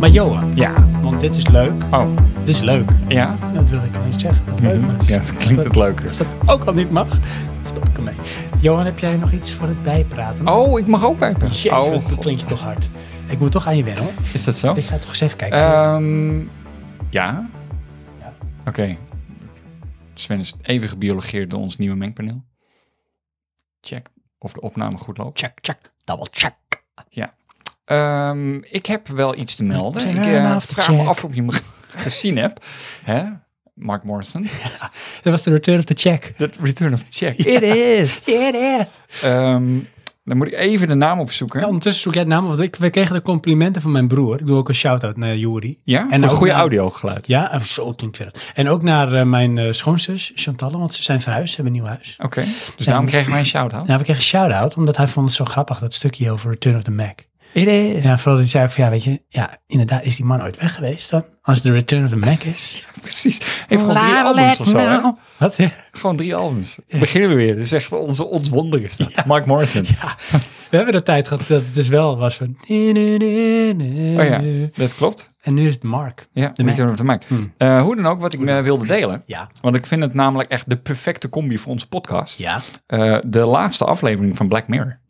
[SPEAKER 1] Maar Johan,
[SPEAKER 2] Ja.
[SPEAKER 1] want dit is leuk.
[SPEAKER 2] Oh,
[SPEAKER 1] Dit is leuk. Mhm,
[SPEAKER 2] ja? Mhm.
[SPEAKER 1] Dat wil ik al niet zeggen. Dat is leuk, maar-
[SPEAKER 2] Ja, dat klinkt het leuker.
[SPEAKER 1] Als dat ook al niet mag, stop ik ermee. Johan, heb jij nog iets voor het bijpraten?
[SPEAKER 2] Oh, ik mag ook pijpen.
[SPEAKER 1] Jeetje,
[SPEAKER 2] Oh,
[SPEAKER 1] dat
[SPEAKER 2] god.
[SPEAKER 1] klinkt je toch hard. Ik moet toch aan je wennen hoor.
[SPEAKER 2] is dat zo?
[SPEAKER 1] Ik ga toch eens even kijken.
[SPEAKER 2] Ehm ja.
[SPEAKER 1] Ja.
[SPEAKER 2] Oké. Sven is even gebiologeerd door ons nieuwe mengpaneel. Check of de opname goed loopt.
[SPEAKER 1] check, check, double check.
[SPEAKER 2] Ehm, ik heb wel iets te melden. Ik eh,
[SPEAKER 1] Turn off the
[SPEAKER 2] vraag me
[SPEAKER 1] check.
[SPEAKER 2] af of je me gezien hebt. Hè? Mark Morrison.
[SPEAKER 1] Dat was de return of the check.
[SPEAKER 2] The Return of the Check.
[SPEAKER 1] It is. It is.
[SPEAKER 2] Ehm, dan moet ik even de naam opzoeken.
[SPEAKER 1] Ja,
[SPEAKER 2] Ja,
[SPEAKER 1] ondertussen zoek jij het naam, want ik, we kregen de complimenten van mijn broer. Ik doe ook een shout-out naar Juri.
[SPEAKER 2] en
[SPEAKER 1] ook
[SPEAKER 2] een goede
[SPEAKER 1] naam.
[SPEAKER 2] audiogeluid.
[SPEAKER 1] Ja, en zo klinkt weer. het. En ook naar eh, mijn eh, schoonzus Chantal, want ze zijn verhuisd, ze hebben een nieuw huis.
[SPEAKER 2] Oké, dus daarom kregen wij een shout-out.
[SPEAKER 1] Nou, we kregen een shout-out, omdat hij vond het zo grappig, dat stukje over Return of the Mac.
[SPEAKER 2] It is.
[SPEAKER 1] Ja, vooral die zei ook van, ja, weet je, ja, inderdaad, is die man ooit weg geweest dan? Als de Return of the Mac is.
[SPEAKER 2] Precies. Heeft gewoon drie albums of zo. hè?
[SPEAKER 1] Wat? We
[SPEAKER 2] Gewoon drie albums. Beginnen we weer. Dat is echt onze, ons wonder is dat. Mark Morrison.
[SPEAKER 1] hebben de tijd gehad dat het dus wel was van...
[SPEAKER 2] Oh ja, dat klopt.
[SPEAKER 1] En nu is het Mark.
[SPEAKER 2] Ja,
[SPEAKER 1] De
[SPEAKER 2] de Return of the Mac.
[SPEAKER 1] Hmm.
[SPEAKER 2] Eh, hoe dan ook, wat ik eh, wilde delen.
[SPEAKER 1] Ja.
[SPEAKER 2] Want ik vind het namelijk echt de perfecte combi voor onze podcast.
[SPEAKER 1] Ja.
[SPEAKER 2] Eh, de laatste aflevering van Black Mirror.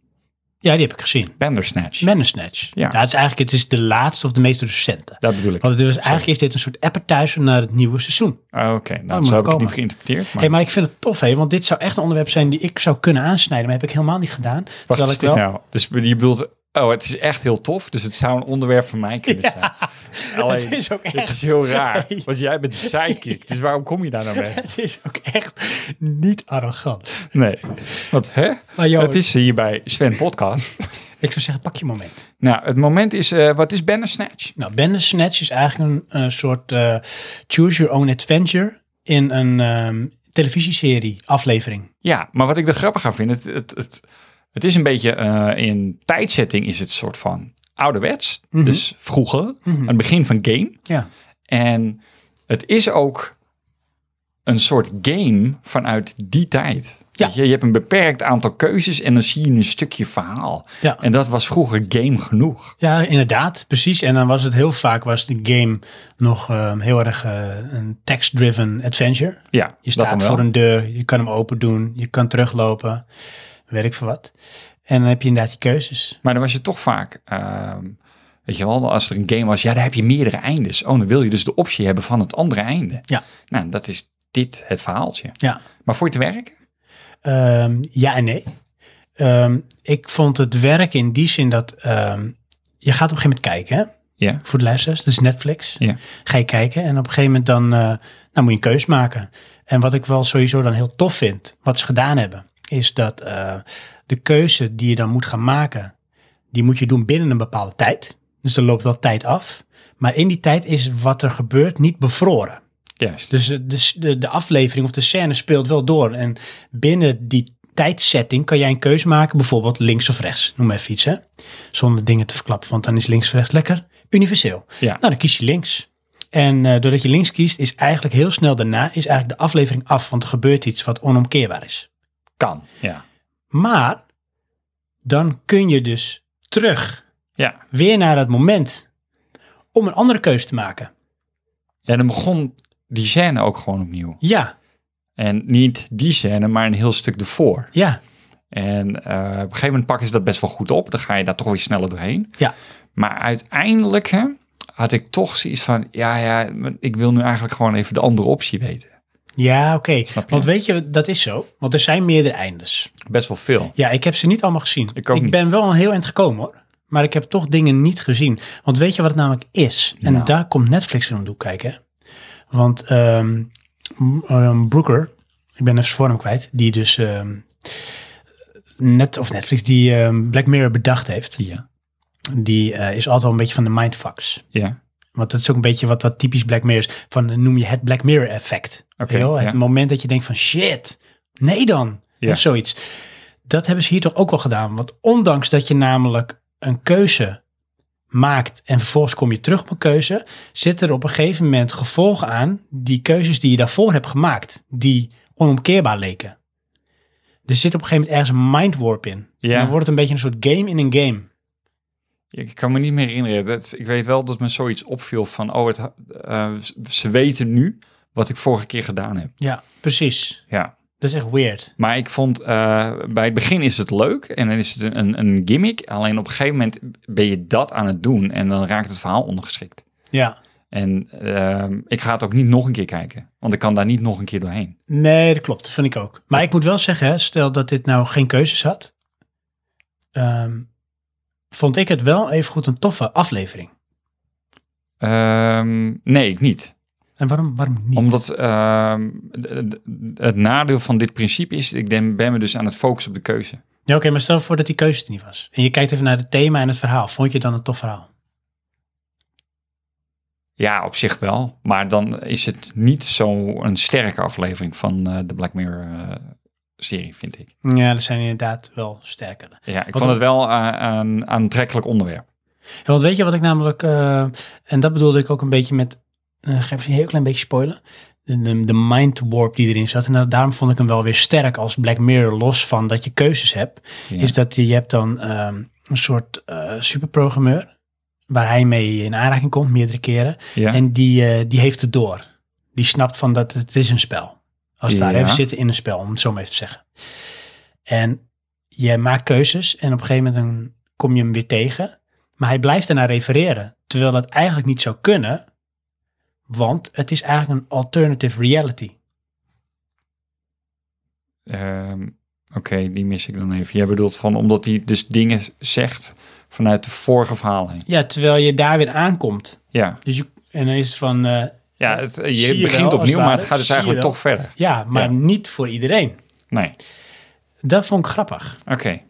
[SPEAKER 1] Ja, die heb ik gezien.
[SPEAKER 2] Bandersnatch.
[SPEAKER 1] Bandersnatch.
[SPEAKER 2] Ja.
[SPEAKER 1] Ja. het is eigenlijk het is de laatste of de meest recente.
[SPEAKER 2] dat bedoel ik.
[SPEAKER 1] Want het was, eigenlijk is dit een soort appetizer naar het nieuwe seizoen.
[SPEAKER 2] Oké,
[SPEAKER 1] oh, moet
[SPEAKER 2] nou, zo heb ik
[SPEAKER 1] komen.
[SPEAKER 2] het niet geïnterpreteerd. Maar
[SPEAKER 1] hey, maar ik vind het tof, hè, want dit zou echt een onderwerp zijn die ik zou kunnen aansnijden. Maar heb ik helemaal niet gedaan.
[SPEAKER 2] wat
[SPEAKER 1] terwijl
[SPEAKER 2] is
[SPEAKER 1] ik
[SPEAKER 2] dit
[SPEAKER 1] wel...
[SPEAKER 2] nou? Dus je bedoelt, oh, het is echt heel tof. Dus het zou een onderwerp van mij kunnen zijn. Alleen,
[SPEAKER 1] Het is ook
[SPEAKER 2] dit
[SPEAKER 1] echt-
[SPEAKER 2] is heel raar.
[SPEAKER 1] Nee.
[SPEAKER 2] Want jij bent de sidekick. Dus waarom kom je daar nou mee?
[SPEAKER 1] Het is ook echt niet arrogant.
[SPEAKER 2] Nee. Wat, hè?
[SPEAKER 1] Maar joh,
[SPEAKER 2] Het is hier bij Sven Podcast.
[SPEAKER 1] ik zou zeggen, pak je moment.
[SPEAKER 2] nou, het moment is, eh, wat is Bandersnatch?
[SPEAKER 1] Nou, Bandersnatch is eigenlijk een eh, soort eh, choose your own adventure in een ehm, televisieserie aflevering.
[SPEAKER 2] Ja, maar wat ik er grappig aan vind, het, het, het, het is een beetje eh, in tijdzetting is het soort van ouderwets.
[SPEAKER 1] Mhm.
[SPEAKER 2] Dus vroeger, aan het begin van game.
[SPEAKER 1] Ja.
[SPEAKER 2] En het is ook een soort game vanuit die tijd.
[SPEAKER 1] Ja.
[SPEAKER 2] Weet je, je hebt een beperkt aantal keuzes en dan zie je een stukje verhaal.
[SPEAKER 1] Ja.
[SPEAKER 2] En dat was vroeger game genoeg.
[SPEAKER 1] ja, inderdaad, precies. En dan was het heel vaak, was de game nog ehm, heel erg eh, een text-driven adventure.
[SPEAKER 2] Ja,
[SPEAKER 1] Je
[SPEAKER 2] dat dan
[SPEAKER 1] staat
[SPEAKER 2] wel.
[SPEAKER 1] voor een deur, je kan hem open doen, je kan teruglopen, weet ik veel wat. En dan heb je inderdaad die keuzes.
[SPEAKER 2] Maar dan was je toch vaak, ehm, weet je wel, als er een game was, ja, dan heb je meerdere eindes. Oh, dan wil je dus de optie hebben van het andere einde.
[SPEAKER 1] Ja.
[SPEAKER 2] Nou, dat is dit het verhaaltje.
[SPEAKER 1] Ja.
[SPEAKER 2] Maar voor je te werken?
[SPEAKER 1] Ehm, ja en nee. Ehm, ik vond het werk in die zin dat ehm, je gaat op een gegeven moment kijken. Hè?
[SPEAKER 2] Ja.
[SPEAKER 1] voor de luisteraars. Dat is Netflix.
[SPEAKER 2] Ja.
[SPEAKER 1] Ga je kijken en op een gegeven moment dan, eh, nou, moet je een keus maken. En wat ik wel sowieso dan heel tof vind, wat ze gedaan hebben, is dat eh, de keuze die je dan moet gaan maken, die moet je doen binnen een bepaalde tijd. Dus er loopt wel tijd af. Maar in die tijd is wat er gebeurt niet bevroren.
[SPEAKER 2] Juist.
[SPEAKER 1] Dus eh, de, s- de, de aflevering of de scène speelt wel door. En binnen die tijdsetting kan jij een keuze maken, bijvoorbeeld links of rechts. Noem maar even iets, hè? Zonder dingen te verklappen, want dan is links of rechts lekker universeel.
[SPEAKER 2] Ja.
[SPEAKER 1] Nou, dan kies je links. En eh, doordat je links kiest, is eigenlijk heel snel daarna is eigenlijk de aflevering af, want er gebeurt iets wat onomkeerbaar is.
[SPEAKER 2] Kan. Ja.
[SPEAKER 1] Maar dan kun je dus terug,
[SPEAKER 2] Ja.
[SPEAKER 1] weer naar dat moment, om een andere keuze te maken.
[SPEAKER 2] ja, dan begon die scène ook gewoon opnieuw.
[SPEAKER 1] Ja,
[SPEAKER 2] En niet die scène, maar een heel stuk ervoor.
[SPEAKER 1] ja,
[SPEAKER 2] En eh, op een gegeven moment pakken ze dat best wel goed op. Dan ga je daar toch weer sneller doorheen.
[SPEAKER 1] Ja.
[SPEAKER 2] Maar uiteindelijk hè, had ik toch zoiets van... Ja, ja, ik wil nu eigenlijk gewoon even de andere optie weten.
[SPEAKER 1] ja, oké.
[SPEAKER 2] Snap je?
[SPEAKER 1] Want weet je, dat is zo. Want er zijn meerdere eindes.
[SPEAKER 2] Best wel veel.
[SPEAKER 1] Ja, ik heb ze niet allemaal gezien.
[SPEAKER 2] Ik ook niet.
[SPEAKER 1] ben wel een heel eind gekomen hoor. Maar ik heb toch dingen niet gezien. Want weet je wat het namelijk is? En
[SPEAKER 2] Nou.
[SPEAKER 1] daar komt Netflix in om de hoek kijken. hè. Want ehm, m- ehm, Brooker, ik ben even zijn vorm kwijt, die dus ehm, net of Netflix die ehm, Black Mirror bedacht heeft,
[SPEAKER 2] Ja.
[SPEAKER 1] die eh, is altijd wel een beetje van de mindfucks.
[SPEAKER 2] Ja.
[SPEAKER 1] Want dat is ook een beetje wat, wat typisch Black Mirror is. Van eh, noem je het Black Mirror effect.
[SPEAKER 2] Oké,
[SPEAKER 1] Weet je wel?
[SPEAKER 2] ja.
[SPEAKER 1] Het moment dat je denkt van shit, nee dan.
[SPEAKER 2] Ja.
[SPEAKER 1] Of zoiets. Dat hebben ze hier toch ook wel gedaan. Want ondanks dat je namelijk een keuze maakt en vervolgens kom je terug op een keuze, zit er op een gegeven moment gevolgen aan die keuzes die je daarvoor hebt gemaakt, die onomkeerbaar leken. Er zit op een gegeven moment ergens een mind warp in.
[SPEAKER 2] Ja.
[SPEAKER 1] En dan wordt het een beetje een soort game in een game.
[SPEAKER 2] Ik kan me niet meer herinneren. Dat, ik weet wel dat me zoiets opviel van... Oh, het, eh, ze weten nu wat ik vorige keer gedaan heb.
[SPEAKER 1] Ja, precies.
[SPEAKER 2] Ja.
[SPEAKER 1] Dat is echt weird.
[SPEAKER 2] Maar ik vond, eh, bij het begin is het leuk en dan is het een, een gimmick. Alleen op een gegeven moment ben je dat aan het doen en dan raakt het verhaal ongeschikt.
[SPEAKER 1] Ja.
[SPEAKER 2] En ehm, ik ga het ook niet nog een keer kijken, want ik kan daar niet nog een keer doorheen.
[SPEAKER 1] Nee, dat klopt. Dat vind ik ook. Maar ik moet wel zeggen, hè, stel dat dit nou geen keuzes had, ehm, vond ik het wel even goed een toffe aflevering.
[SPEAKER 2] Ehm, nee, ik niet.
[SPEAKER 1] En waarom, waarom niet?
[SPEAKER 2] Omdat ehm, d- d- het nadeel van dit principe is, ik ben, ben me dus aan het focussen op de keuze.
[SPEAKER 1] Ja, oké, maar stel voor dat die keuze er niet was. En je kijkt even naar het thema en het verhaal. Vond je het dan een tof verhaal?
[SPEAKER 2] Ja, op zich wel. Maar dan is het niet zo'n sterke aflevering van eh, de Black Mirror eh, serie, vind ik.
[SPEAKER 1] Ja, dat zijn inderdaad wel sterkere.
[SPEAKER 2] Ja, ik
[SPEAKER 1] Wat
[SPEAKER 2] vond
[SPEAKER 1] een-
[SPEAKER 2] het wel eh, een aantrekkelijk onderwerp.
[SPEAKER 1] Ja, want weet je wat ik namelijk, eh, en dat bedoelde ik ook een beetje met, eh ga ik misschien een heel klein beetje spoilen, de, de, de mind warp die erin zat. En dat- daarom vond ik hem wel weer sterk als Black Mirror, los van dat je keuzes hebt.
[SPEAKER 2] Ja.
[SPEAKER 1] is dat je hebt dan ehm, een soort eh, superprogrammeur waar hij mee in aanraking komt meerdere keren.
[SPEAKER 2] ja.
[SPEAKER 1] En die, eh, die heeft het door. Die snapt van dat het is een spel. Als het ware.
[SPEAKER 2] Ja.
[SPEAKER 1] hè. We zitten in een spel, om het zo maar even te zeggen. En je maakt keuzes en op een gegeven moment dan kom je hem weer tegen. Maar hij blijft ernaar refereren. Terwijl dat eigenlijk niet zou kunnen. Want het is eigenlijk een alternative reality.
[SPEAKER 2] Ehm, Oké, die mis ik dan even. Jij bedoelt van omdat hij dus dingen zegt vanuit de vorige verhalen.
[SPEAKER 1] Ja, terwijl je daar weer aankomt.
[SPEAKER 2] Ja,
[SPEAKER 1] Dus je, en dan is het van, eh,
[SPEAKER 2] ja het, eh,
[SPEAKER 1] Zie
[SPEAKER 2] je
[SPEAKER 1] je wel,
[SPEAKER 2] begint
[SPEAKER 1] als het
[SPEAKER 2] opnieuw, maar
[SPEAKER 1] ware.
[SPEAKER 2] het gaat dus
[SPEAKER 1] Zie je
[SPEAKER 2] eigenlijk
[SPEAKER 1] wel.
[SPEAKER 2] toch verder.
[SPEAKER 1] ja, maar
[SPEAKER 2] Ja.
[SPEAKER 1] niet voor iedereen.
[SPEAKER 2] Nee,
[SPEAKER 1] Dat vond ik grappig.
[SPEAKER 2] oké.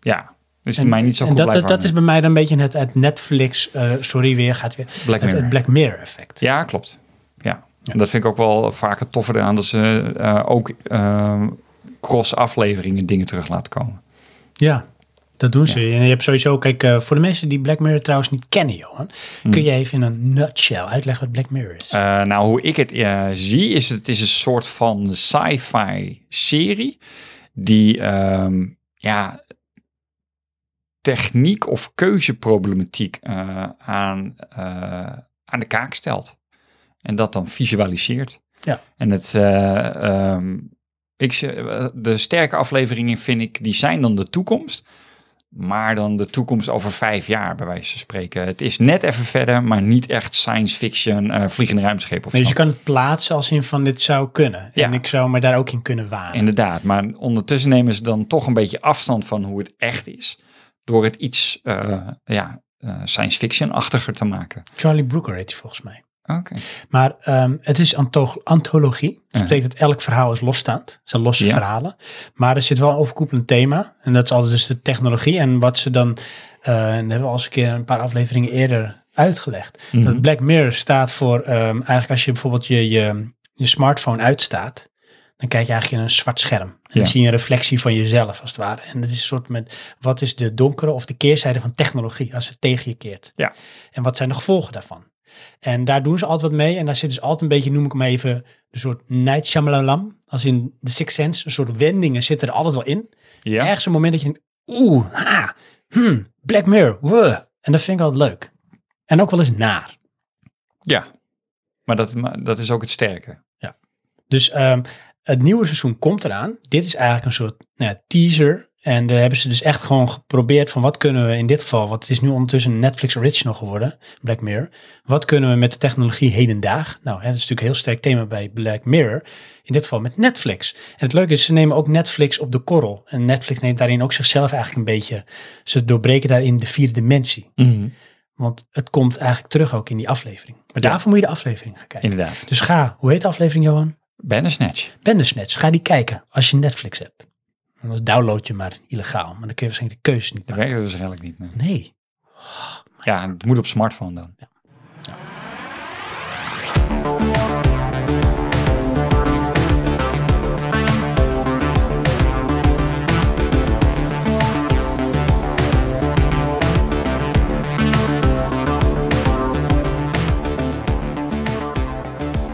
[SPEAKER 2] Ja, dus mij niet zo
[SPEAKER 1] en
[SPEAKER 2] goed
[SPEAKER 1] dat, dat,
[SPEAKER 2] blijven
[SPEAKER 1] dat is bij mij dan een beetje het, het Netflix, eh, sorry weer, gaat weer,
[SPEAKER 2] hangen. Black
[SPEAKER 1] het,
[SPEAKER 2] Mirror.
[SPEAKER 1] het Black Mirror effect.
[SPEAKER 2] Ja, klopt. Ja. En dat vind ik ook wel vaker toffer aan dat ze eh, ook eh, cross-afleveringen dingen terug laten komen.
[SPEAKER 1] Ja, dat doen ze. En je hebt sowieso, kijk, eh, voor de mensen die Black Mirror trouwens niet kennen, Johan, kun je even in een nutshell uitleggen wat Black Mirror is?
[SPEAKER 2] Hmm. Eh, nou, hoe ik het eh, zie, is het is een soort van sci-fi serie die ehm, ja, techniek of keuzeproblematiek eh, aan, eh, aan de kaak stelt. En dat dan visualiseert.
[SPEAKER 1] Ja.
[SPEAKER 2] En het, eh, ehm, ik, ze- eh, de sterke afleveringen vind ik, die zijn dan de toekomst. Maar dan de toekomst over vijf jaar, bij wijze van spreken. Het is net even verder, maar niet echt science fiction, eh vliegende ruimteschip of
[SPEAKER 1] Nee, dus
[SPEAKER 2] zo.
[SPEAKER 1] je kan het plaatsen als in van dit zou kunnen.
[SPEAKER 2] Ja.
[SPEAKER 1] En ik zou me daar ook in kunnen wanen.
[SPEAKER 2] Inderdaad, maar ondertussen nemen ze dan toch een beetje afstand van hoe het echt is. Door het iets eh, ja, eh, science fiction-achtiger te maken.
[SPEAKER 1] Charlie Brooker heet hij volgens mij.
[SPEAKER 2] Oké.
[SPEAKER 1] Maar ehm, het is anto- antologie. Dat betekent dat elk verhaal is losstaand. Het zijn losse
[SPEAKER 2] Ja.
[SPEAKER 1] verhalen. Maar er zit wel een overkoepelend thema. En dat is altijd dus de technologie. En wat ze dan, eh, en dat hebben we al eens een keer een paar afleveringen eerder uitgelegd.
[SPEAKER 2] Mhm.
[SPEAKER 1] Dat Black Mirror staat voor, ehm, eigenlijk als je bijvoorbeeld je, je, je smartphone uitstaat. Dan kijk je eigenlijk in een zwart scherm. En dan
[SPEAKER 2] Ja.
[SPEAKER 1] zie je een reflectie van jezelf, als het ware. En dat is een soort met, wat is de donkere of de keerzijde van technologie als het tegen je keert?
[SPEAKER 2] Ja.
[SPEAKER 1] En wat zijn de gevolgen daarvan? En daar doen ze altijd wat mee. En daar zit dus altijd een beetje, noem ik hem even, een soort Night Shyamalan. Als in The Sixth Sense, een soort wendingen zitten er altijd wel in.
[SPEAKER 2] Ja.
[SPEAKER 1] Ergens een moment dat je denkt, oeh, ha, hmm, Black Mirror, wuh. En dat vind ik altijd leuk. En ook wel eens naar.
[SPEAKER 2] ja. Maar dat, maar dat is ook het sterke.
[SPEAKER 1] Dus ehm, het nieuwe seizoen komt eraan. Dit is eigenlijk een soort nou ja, teaser. En daar hebben ze dus echt gewoon geprobeerd van wat kunnen we in dit geval, want het is nu ondertussen een Netflix original geworden, Black Mirror. Wat kunnen we met de technologie hedendaag? Nou, hè, dat is natuurlijk een heel sterk thema bij Black Mirror. In dit geval met Netflix. En het leuke is, ze nemen ook Netflix op de korrel. En Netflix neemt daarin ook zichzelf eigenlijk een beetje, ze doorbreken daarin de vierde dimensie. Want het komt eigenlijk terug ook in die aflevering. Maar
[SPEAKER 2] Ja.
[SPEAKER 1] daarvoor moet je de aflevering gaan kijken.
[SPEAKER 2] Inderdaad.
[SPEAKER 1] Dus ga, hoe heet de aflevering, Johan?
[SPEAKER 2] Bandersnatch.
[SPEAKER 1] Bandersnatch, ga die kijken als je Netflix hebt. Anders download je maar illegaal, maar dan kun je waarschijnlijk de keuze niet
[SPEAKER 2] Dat
[SPEAKER 1] maken.
[SPEAKER 2] werkt het waarschijnlijk niet. nee.
[SPEAKER 1] Nee.
[SPEAKER 2] Ja, het moet op smartphone dan.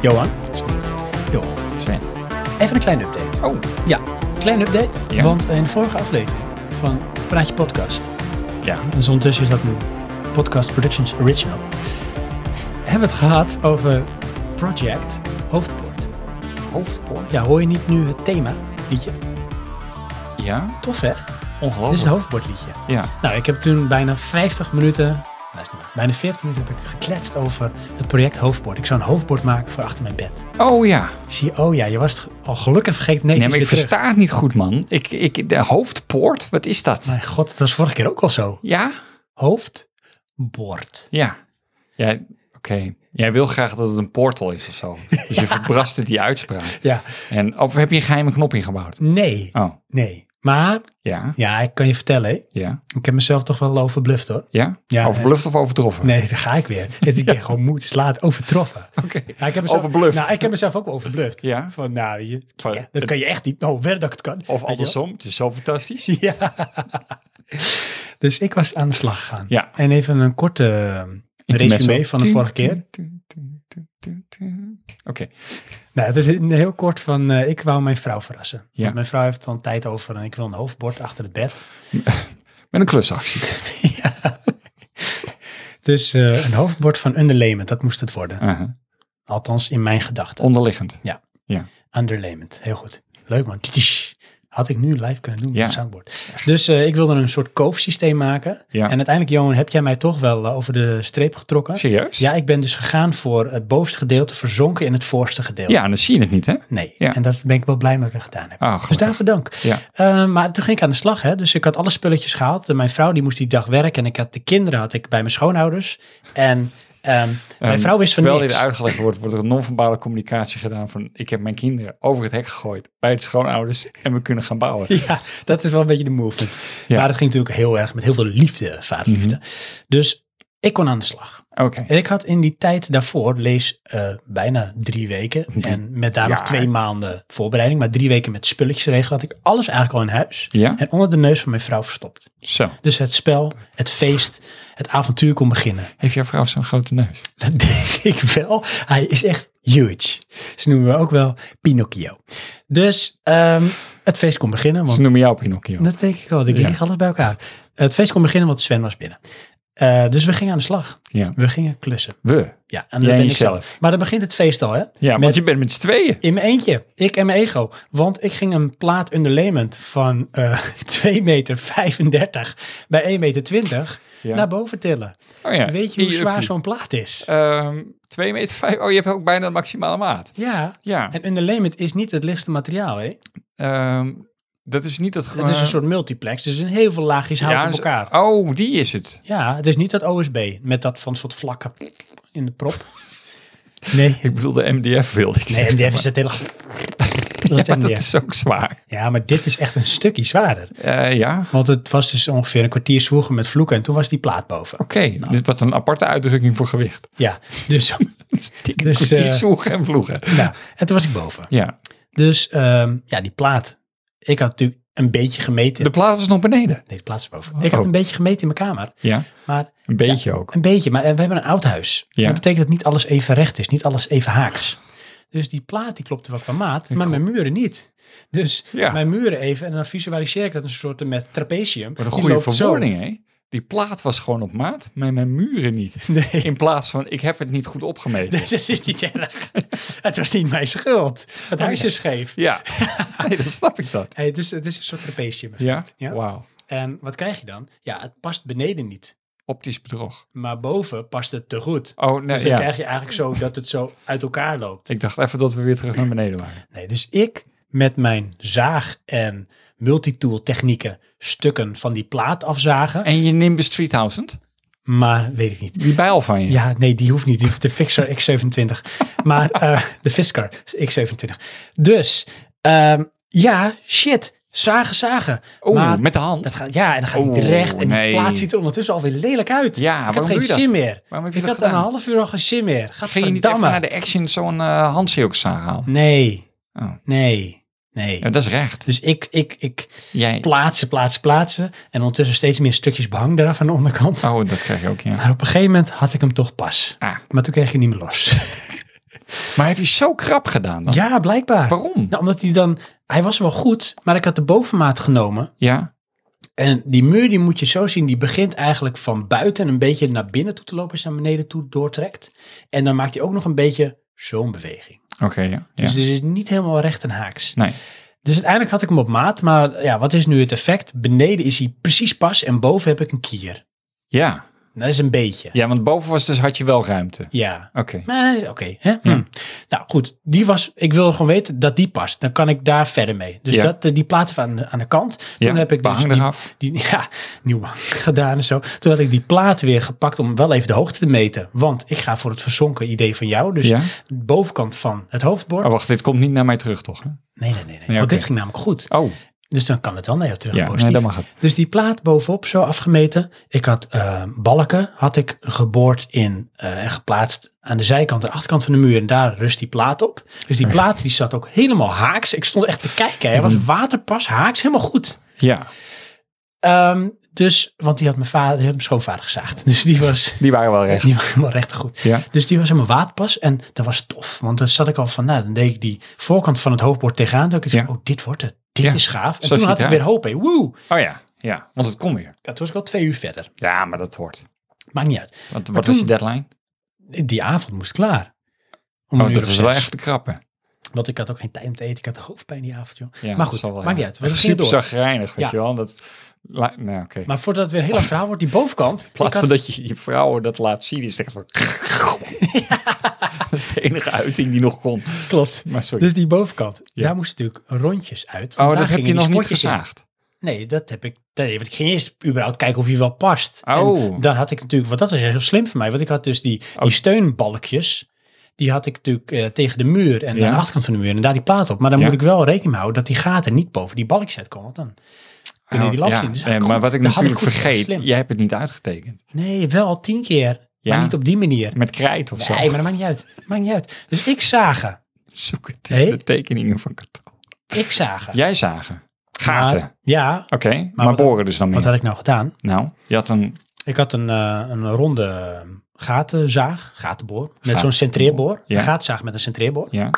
[SPEAKER 1] Johan? Johan.
[SPEAKER 2] Sven.
[SPEAKER 1] Even een kleine update.
[SPEAKER 2] Oh,
[SPEAKER 1] Ja, kleine update,
[SPEAKER 2] Ja.
[SPEAKER 1] want in de vorige aflevering van Praatje Podcast,
[SPEAKER 2] ja.
[SPEAKER 1] en ondertussen is dat een Podcast Productions Original, hebben we het gehad over Project Hoofdpoort.
[SPEAKER 2] Hoofdpoort.
[SPEAKER 1] Ja, hoor je niet nu het thema liedje?
[SPEAKER 2] Ja,
[SPEAKER 1] Tof hè? Dit is
[SPEAKER 2] ongelooflijk.
[SPEAKER 1] het hoofdbordliedje.
[SPEAKER 2] Ja,
[SPEAKER 1] Nou, ik heb toen bijna 50 minuten, nou, is niet waar, bijna 40 minuten heb ik gekletst over het project hoofdbord. Ik zou een hoofdbord maken voor achter mijn bed.
[SPEAKER 2] oh ja.
[SPEAKER 1] Ik zie, oh ja, je was het ge- al gelukkig vergeten. Nee,
[SPEAKER 2] Nee,
[SPEAKER 1] het
[SPEAKER 2] maar
[SPEAKER 1] is
[SPEAKER 2] ik
[SPEAKER 1] weer terug.
[SPEAKER 2] versta het niet goed, man. Ik, ik, de hoofdpoort, wat is dat?
[SPEAKER 1] Mijn god, het was vorige keer ook al zo.
[SPEAKER 2] Ja?
[SPEAKER 1] Hoofdbord.
[SPEAKER 2] Ja. Ja, oké. Jij wil graag dat het een portal is of zo. Dus je verbraste die uitspraak.
[SPEAKER 1] Ja,
[SPEAKER 2] En, of heb je een geheime knop ingebouwd?
[SPEAKER 1] nee,
[SPEAKER 2] Oh,
[SPEAKER 1] nee. Maar,
[SPEAKER 2] ja,
[SPEAKER 1] ja, ik kan je vertellen, hè.
[SPEAKER 2] ja,
[SPEAKER 1] ik heb mezelf toch wel overbluft hoor.
[SPEAKER 2] ja.
[SPEAKER 1] Ja, eh,
[SPEAKER 2] Overbluft of overtroffen?
[SPEAKER 1] Nee, daar ga ik weer. Dit ik ben gewoon moed, slaat overtroffen.
[SPEAKER 2] Oké.
[SPEAKER 1] Ja, ik heb mezelf,
[SPEAKER 2] Overbluft.
[SPEAKER 1] Nou, ik heb mezelf ook wel overbluft.
[SPEAKER 2] Ja.
[SPEAKER 1] Van, nou, weet je,
[SPEAKER 2] Van,
[SPEAKER 1] ja, dat kan je echt niet. Oh, werk dat ik het kan. Weet je
[SPEAKER 2] Of
[SPEAKER 1] wel?
[SPEAKER 2] andersom, het is zo fantastisch.
[SPEAKER 1] Ja. Dus ik was aan de slag gegaan.
[SPEAKER 2] Ja.
[SPEAKER 1] En even een korte eh,
[SPEAKER 2] Intermezzo.
[SPEAKER 1] resume van de vorige keer.
[SPEAKER 2] Oké,
[SPEAKER 1] Nou, het is een heel kort van, eh, ik wou mijn vrouw verrassen.
[SPEAKER 2] Ja.
[SPEAKER 1] Want mijn vrouw heeft dan tijd over en ik wil een hoofdbord achter het bed.
[SPEAKER 2] met een klusactie.
[SPEAKER 1] Dus eh, een hoofdbord van underlayment, dat moest het worden.
[SPEAKER 2] Uh-huh.
[SPEAKER 1] Althans, in mijn gedachten.
[SPEAKER 2] Onderliggend.
[SPEAKER 1] Underlayment, heel goed. Leuk man. Titish. Had ik nu live kunnen doen
[SPEAKER 2] Ja.
[SPEAKER 1] op het soundboard. Dus eh, ik wilde een soort koofsysteem maken.
[SPEAKER 2] Ja.
[SPEAKER 1] En uiteindelijk, Johan, heb jij mij toch wel eh, over de streep getrokken.
[SPEAKER 2] Serieus?
[SPEAKER 1] Ja, ik ben dus gegaan voor het bovenste gedeelte verzonken in het voorste gedeelte.
[SPEAKER 2] Ja, en dan zie je het niet, hè?
[SPEAKER 1] Nee,
[SPEAKER 2] Ja.
[SPEAKER 1] en dat ben ik wel blij mee dat ik dat gedaan heb.
[SPEAKER 2] Ah,
[SPEAKER 1] dus
[SPEAKER 2] gelukkig.
[SPEAKER 1] daarvoor dank.
[SPEAKER 2] Ja.
[SPEAKER 1] Eh, maar toen ging ik aan de slag, hè. dus ik had alle spulletjes gehaald. En mijn vrouw die moest die dag werken en ik had de kinderen had ik bij mijn schoonouders. En ehm, mijn
[SPEAKER 2] Ehm,
[SPEAKER 1] vrouw wist van
[SPEAKER 2] Terwijl
[SPEAKER 1] niks.
[SPEAKER 2] dit uitgelegd wordt, wordt er een non-verbale communicatie gedaan van... ik heb mijn kinderen over het hek gegooid bij het schoonouders en we kunnen gaan bouwen.
[SPEAKER 1] Ja, dat is wel een beetje de movement.
[SPEAKER 2] Ja. Mhm.
[SPEAKER 1] Maar dat ging natuurlijk heel erg met heel veel liefde, vaderliefde. Dus ik kon aan de slag.
[SPEAKER 2] Oké.
[SPEAKER 1] En ik had in die tijd daarvoor, lees eh, bijna drie weken. En met daar nog
[SPEAKER 2] Mhm. Ja.
[SPEAKER 1] twee maanden voorbereiding. Maar drie weken met spulletjes regelen had ik alles eigenlijk al in huis.
[SPEAKER 2] Ja,
[SPEAKER 1] En onder de neus van mijn vrouw verstopt.
[SPEAKER 2] zo.
[SPEAKER 1] Dus het spel, het feest, het avontuur kon beginnen.
[SPEAKER 2] Heeft jouw vrouw zo'n grote neus?
[SPEAKER 1] Dat denk ik wel. Hij is echt huge. Ze noemen we ook wel Pinocchio. Dus ehm, het feest kon beginnen. Want
[SPEAKER 2] Ze noemen jou Pinocchio.
[SPEAKER 1] dat denk ik wel. Ik
[SPEAKER 2] Ja.
[SPEAKER 1] lig alles bij elkaar. Het feest kon beginnen, want Sven was binnen. Eh, dus we gingen aan de slag.
[SPEAKER 2] Ja.
[SPEAKER 1] We gingen klussen.
[SPEAKER 2] We.
[SPEAKER 1] Ja, en
[SPEAKER 2] Jij
[SPEAKER 1] dat ben
[SPEAKER 2] en
[SPEAKER 1] ik
[SPEAKER 2] jezelf.
[SPEAKER 1] zelf. Maar dan begint het feest al, hè?
[SPEAKER 2] Ja,
[SPEAKER 1] Met-
[SPEAKER 2] want je bent met z'n tweeën.
[SPEAKER 1] In mijn eentje. Ik en mijn ego. Want ik ging een plaat underlayment van eh 2,35 meter bij 1,20 meter
[SPEAKER 2] Ja.
[SPEAKER 1] naar boven tillen.
[SPEAKER 2] Oh ja.
[SPEAKER 1] Weet je hoe
[SPEAKER 2] Hier,
[SPEAKER 1] zwaar
[SPEAKER 2] uppie.
[SPEAKER 1] zo'n plaat is?
[SPEAKER 2] Ehm, Twee meter vijf. Oh, je hebt ook bijna de maximale maat.
[SPEAKER 1] Ja.
[SPEAKER 2] Ja.
[SPEAKER 1] En underlayment is niet het lichtste materiaal, hè?
[SPEAKER 2] Ehm, Dat is niet dat
[SPEAKER 1] Het is een soort multiplex, dus er zijn heel veel laagjes hout
[SPEAKER 2] Ja,
[SPEAKER 1] op
[SPEAKER 2] is-
[SPEAKER 1] elkaar.
[SPEAKER 2] Oh, die is het.
[SPEAKER 1] Ja, het is niet dat OSB met dat van soort vlakken in de prop. Nee,
[SPEAKER 2] Ik bedoel de MDF wilde ik
[SPEAKER 1] nee
[SPEAKER 2] zeggen,
[SPEAKER 1] MDF
[SPEAKER 2] maar-
[SPEAKER 1] is het hele... Dat is
[SPEAKER 2] Ja, maar
[SPEAKER 1] MDF.
[SPEAKER 2] dat is ook zwaar.
[SPEAKER 1] Ja, maar dit is echt een stukje zwaarder.
[SPEAKER 2] Eh, ja, oké.
[SPEAKER 1] Want het was dus ongeveer een kwartier zwoegen met vloeken en toen was die plaat boven.
[SPEAKER 2] Dit wat een aparte uitdrukking voor gewicht.
[SPEAKER 1] Ja, dus,
[SPEAKER 2] Dikke
[SPEAKER 1] Dus,
[SPEAKER 2] kwartier
[SPEAKER 1] eh,
[SPEAKER 2] zoegen en vloegen.
[SPEAKER 1] nou, en toen was ik boven.
[SPEAKER 2] Ja,
[SPEAKER 1] Dus ehm, ja, die plaat. Ik had natuurlijk een beetje gemeten.
[SPEAKER 2] de plaat was nog beneden.
[SPEAKER 1] Nee, de plaat is boven. Ik had
[SPEAKER 2] Oh.
[SPEAKER 1] een beetje gemeten in mijn kamer.
[SPEAKER 2] Ja,
[SPEAKER 1] Maar
[SPEAKER 2] een beetje ook.
[SPEAKER 1] een beetje. Maar eh, we hebben een oud huis.
[SPEAKER 2] Ja.
[SPEAKER 1] Dat betekent dat niet alles even recht is. Niet alles even haaks. Dus die plaat die klopte wel qua maat. Maar
[SPEAKER 2] klopt.
[SPEAKER 1] mijn muren niet. Dus
[SPEAKER 2] Ja.
[SPEAKER 1] mijn muren even. En dan visualiseer ik dat een soort eh, met trapezium.
[SPEAKER 2] Wat een
[SPEAKER 1] Die
[SPEAKER 2] goede
[SPEAKER 1] loopt zo.
[SPEAKER 2] verwoording, hè? Die plaat was gewoon op maat, maar mijn muren niet.
[SPEAKER 1] Nee.
[SPEAKER 2] In plaats van, ik heb het niet goed opgemeten.
[SPEAKER 1] Nee, dat is niet erg. Het was niet mijn schuld. Het huis is scheef.
[SPEAKER 2] Ja, nee, dan snap ik dat.
[SPEAKER 1] Hey, het, is, het is een soort trapezium.
[SPEAKER 2] Ja?
[SPEAKER 1] Ja.
[SPEAKER 2] Wauw.
[SPEAKER 1] En wat krijg je dan? Ja, het past beneden niet.
[SPEAKER 2] Optisch bedrog.
[SPEAKER 1] Maar boven past het te goed.
[SPEAKER 2] Oh, nee,
[SPEAKER 1] Dus dan
[SPEAKER 2] ja.
[SPEAKER 1] krijg je eigenlijk zo dat het zo uit elkaar loopt.
[SPEAKER 2] Ik dacht even dat we weer terug naar beneden waren.
[SPEAKER 1] Nee, dus ik met mijn zaag- en multitool technieken stukken van die plaat afzagen.
[SPEAKER 2] En je Nimbus 3000?
[SPEAKER 1] Maar weet ik niet.
[SPEAKER 2] Die bijl van je?
[SPEAKER 1] Ja, nee, die hoeft niet. Die hoeft de Fixer X27. Maar eh, de Fisker X27. Dus, ehm, ja, shit. Zagen, zagen.
[SPEAKER 2] Oeh,
[SPEAKER 1] maar
[SPEAKER 2] met de hand.
[SPEAKER 1] dat gaat, ja, en dat gaat niet
[SPEAKER 2] Oeh,
[SPEAKER 1] recht. En
[SPEAKER 2] nee.
[SPEAKER 1] die plaat ziet er ondertussen alweer lelijk uit.
[SPEAKER 2] Ja,
[SPEAKER 1] ik had
[SPEAKER 2] waarom
[SPEAKER 1] geen
[SPEAKER 2] doe je dat?
[SPEAKER 1] zin meer.
[SPEAKER 2] Waarom heb je
[SPEAKER 1] Ik
[SPEAKER 2] dat
[SPEAKER 1] had na een
[SPEAKER 2] gedaan?
[SPEAKER 1] half uur al geen zin meer. Gaat
[SPEAKER 2] Ging je niet even naar de action zo'n eh handzeelk halen?
[SPEAKER 1] Nee,
[SPEAKER 2] Oh.
[SPEAKER 1] nee, nee.
[SPEAKER 2] Ja, dat is recht.
[SPEAKER 1] Dus ik, ik, ik
[SPEAKER 2] Jij...
[SPEAKER 1] plaatsen, plaatsen, plaatsen. En ondertussen steeds meer stukjes behang eraf aan de onderkant.
[SPEAKER 2] Oh, dat krijg je ook, ja.
[SPEAKER 1] Maar op een gegeven moment had ik hem toch pas.
[SPEAKER 2] Ah.
[SPEAKER 1] Maar toen kreeg ik hem niet meer
[SPEAKER 2] Oh.
[SPEAKER 1] los.
[SPEAKER 2] Maar heb je zo krap gedaan dan?
[SPEAKER 1] Ja, blijkbaar.
[SPEAKER 2] Waarom?
[SPEAKER 1] Nou, omdat hij dan... Hij was wel goed, maar ik had de bovenmaat genomen.
[SPEAKER 2] Ja?
[SPEAKER 1] En die muur, die moet je zo zien, die begint eigenlijk van buiten een beetje naar binnen toe te lopen. Als je naar beneden toe doortrekt. En dan maakt hij ook nog een beetje zo'n beweging.
[SPEAKER 2] Oké, ja. ja.
[SPEAKER 1] Dus het is niet helemaal recht en haaks.
[SPEAKER 2] Nee.
[SPEAKER 1] Dus uiteindelijk had ik hem op maat. Maar ja, wat is nu het effect? Beneden is hij precies pas en boven heb ik een kier.
[SPEAKER 2] Ja.
[SPEAKER 1] Dat is een beetje.
[SPEAKER 2] ja, want boven was dus had je wel ruimte.
[SPEAKER 1] Ja.
[SPEAKER 2] Oké.
[SPEAKER 1] Maar oké. hè?
[SPEAKER 2] Hmm.
[SPEAKER 1] Hm. Nou goed, die was, ik wil gewoon weten dat die past. Dan kan ik daar verder mee. Dus
[SPEAKER 2] Ja.
[SPEAKER 1] dat, eh, die platen van aan de- aan de kant. Toen
[SPEAKER 2] Ja,
[SPEAKER 1] heb ik dus
[SPEAKER 2] behang
[SPEAKER 1] die,
[SPEAKER 2] eraf.
[SPEAKER 1] die, ja, nieuw behang gedaan en zo. Toen had ik die platen weer gepakt om wel even de hoogte te meten. Want ik ga voor het verzonken idee van jou. Dus
[SPEAKER 2] Ja.
[SPEAKER 1] de bovenkant van het hoofdbord.
[SPEAKER 2] Oh, wacht, dit komt niet naar mij terug, toch? hè?
[SPEAKER 1] Nee, nee, nee. nee.
[SPEAKER 2] Ja,
[SPEAKER 1] Want
[SPEAKER 2] oké.
[SPEAKER 1] dit ging namelijk goed.
[SPEAKER 2] Oh,
[SPEAKER 1] Dus dan kan het wel naar jou terug.
[SPEAKER 2] ja,
[SPEAKER 1] positief.
[SPEAKER 2] nee, dat mag het.
[SPEAKER 1] Dus die plaat bovenop zo afgemeten. Ik had eh, balken, had ik geboord in eh, en geplaatst aan de zijkant en achterkant van de muur. En daar rust die plaat op. Dus die plaat die zat ook helemaal haaks. Ik stond echt te kijken. Hij
[SPEAKER 2] Mhm.
[SPEAKER 1] was waterpas, haaks, helemaal goed.
[SPEAKER 2] Ja,
[SPEAKER 1] Ehm, dus, want die had mijn vader, die had mijn schoonvader gezaagd. Dus die was,
[SPEAKER 2] die waren wel recht.
[SPEAKER 1] die was helemaal recht goed.
[SPEAKER 2] Ja.
[SPEAKER 1] Dus die was helemaal waterpas en dat was tof. Want dan zat ik al van, nou, dan deed ik die voorkant van het hoofdbord tegenaan. Toen dacht ik
[SPEAKER 2] Ja.
[SPEAKER 1] van, oh, dit wordt het. Dit
[SPEAKER 2] Ja,
[SPEAKER 1] is gaaf. En
[SPEAKER 2] zo
[SPEAKER 1] toen
[SPEAKER 2] ziet
[SPEAKER 1] had ik
[SPEAKER 2] het
[SPEAKER 1] weer hoop. Hey, woe.
[SPEAKER 2] Oh ja, ja, want het kon weer.
[SPEAKER 1] Ja, toen was ik al twee uur verder.
[SPEAKER 2] Ja, maar dat hoort.
[SPEAKER 1] Maakt niet uit.
[SPEAKER 2] Wat,
[SPEAKER 1] Maar
[SPEAKER 2] wat
[SPEAKER 1] toen-
[SPEAKER 2] was je deadline?
[SPEAKER 1] die avond moest klaar. Om een
[SPEAKER 2] Oh,
[SPEAKER 1] uur
[SPEAKER 2] dat
[SPEAKER 1] of
[SPEAKER 2] was wel
[SPEAKER 1] zes.
[SPEAKER 2] echt te krappen.
[SPEAKER 1] Want ik had ook geen tijd om te eten. Ik had hoofdpijn die avond, joh.
[SPEAKER 2] Ja,
[SPEAKER 1] maar
[SPEAKER 2] dat
[SPEAKER 1] goed,
[SPEAKER 2] zal wel,
[SPEAKER 1] maakt
[SPEAKER 2] ja.
[SPEAKER 1] niet uit. We
[SPEAKER 2] Echt
[SPEAKER 1] gingen
[SPEAKER 2] super
[SPEAKER 1] door.
[SPEAKER 2] zagrijnig, weet
[SPEAKER 1] Ja.
[SPEAKER 2] je wel. Dat, la- nou, oké.
[SPEAKER 1] Maar voordat het weer een heel lang verhaal wordt, die bovenkant.
[SPEAKER 2] In plaats
[SPEAKER 1] ik
[SPEAKER 2] van
[SPEAKER 1] had-
[SPEAKER 2] dat je je vrouwen dat laat zien, die zegt van... dat is de enige uiting die nog kon.
[SPEAKER 1] klopt.
[SPEAKER 2] Maar sorry.
[SPEAKER 1] Dus die bovenkant,
[SPEAKER 2] Ja.
[SPEAKER 1] daar moesten natuurlijk rondjes uit. want
[SPEAKER 2] oh,
[SPEAKER 1] daar
[SPEAKER 2] dat heb
[SPEAKER 1] gingen
[SPEAKER 2] je
[SPEAKER 1] die
[SPEAKER 2] nog niet
[SPEAKER 1] spotjes in.
[SPEAKER 2] gezaagd.
[SPEAKER 1] Nee, dat heb ik. Nee, want ik ging eerst überhaupt kijken of hij wel past.
[SPEAKER 2] Oh.
[SPEAKER 1] En dan had ik natuurlijk, want dat was heel slim voor mij. Want ik had dus die,
[SPEAKER 2] Oh.
[SPEAKER 1] die steunbalkjes. Die had ik natuurlijk eh, tegen de muur en
[SPEAKER 2] Ja.
[SPEAKER 1] aan de achterkant van de muur en daar die plaat op. Maar dan
[SPEAKER 2] Ja.
[SPEAKER 1] moet ik wel rekening mee houden dat die gaten niet boven die balkjes uitkomen. Want dan kunnen die
[SPEAKER 2] Oh,
[SPEAKER 1] lamp
[SPEAKER 2] ja.
[SPEAKER 1] zien. Dus
[SPEAKER 2] Eh,
[SPEAKER 1] goed,
[SPEAKER 2] maar wat ik
[SPEAKER 1] dat had
[SPEAKER 2] natuurlijk
[SPEAKER 1] goed, dat was
[SPEAKER 2] vergeet,
[SPEAKER 1] slim.
[SPEAKER 2] jij hebt het niet uitgetekend.
[SPEAKER 1] Nee, wel tien keer.
[SPEAKER 2] Ja.
[SPEAKER 1] Maar niet op die manier.
[SPEAKER 2] Met krijt of zo.
[SPEAKER 1] Nee, maar dat maakt niet uit. Maakt niet uit. Dus ik zagen.
[SPEAKER 2] Zoek het tussen
[SPEAKER 1] Nee?
[SPEAKER 2] de tekeningen van karton.
[SPEAKER 1] Ik zagen.
[SPEAKER 2] Jij zagen. Gaten.
[SPEAKER 1] Maar- ja.
[SPEAKER 2] Oké, maar,
[SPEAKER 1] wat-
[SPEAKER 2] boren dus dan
[SPEAKER 1] Wat
[SPEAKER 2] meer.
[SPEAKER 1] had ik nou gedaan?
[SPEAKER 2] Nou, je had een...
[SPEAKER 1] Ik had een, eh, een ronde eh, gatenzaag, gatenboor, met
[SPEAKER 2] Gatenboor.
[SPEAKER 1] zo'n centreerboor.
[SPEAKER 2] Ja.
[SPEAKER 1] Een gatenzaag met een centreerboor.
[SPEAKER 2] Ja,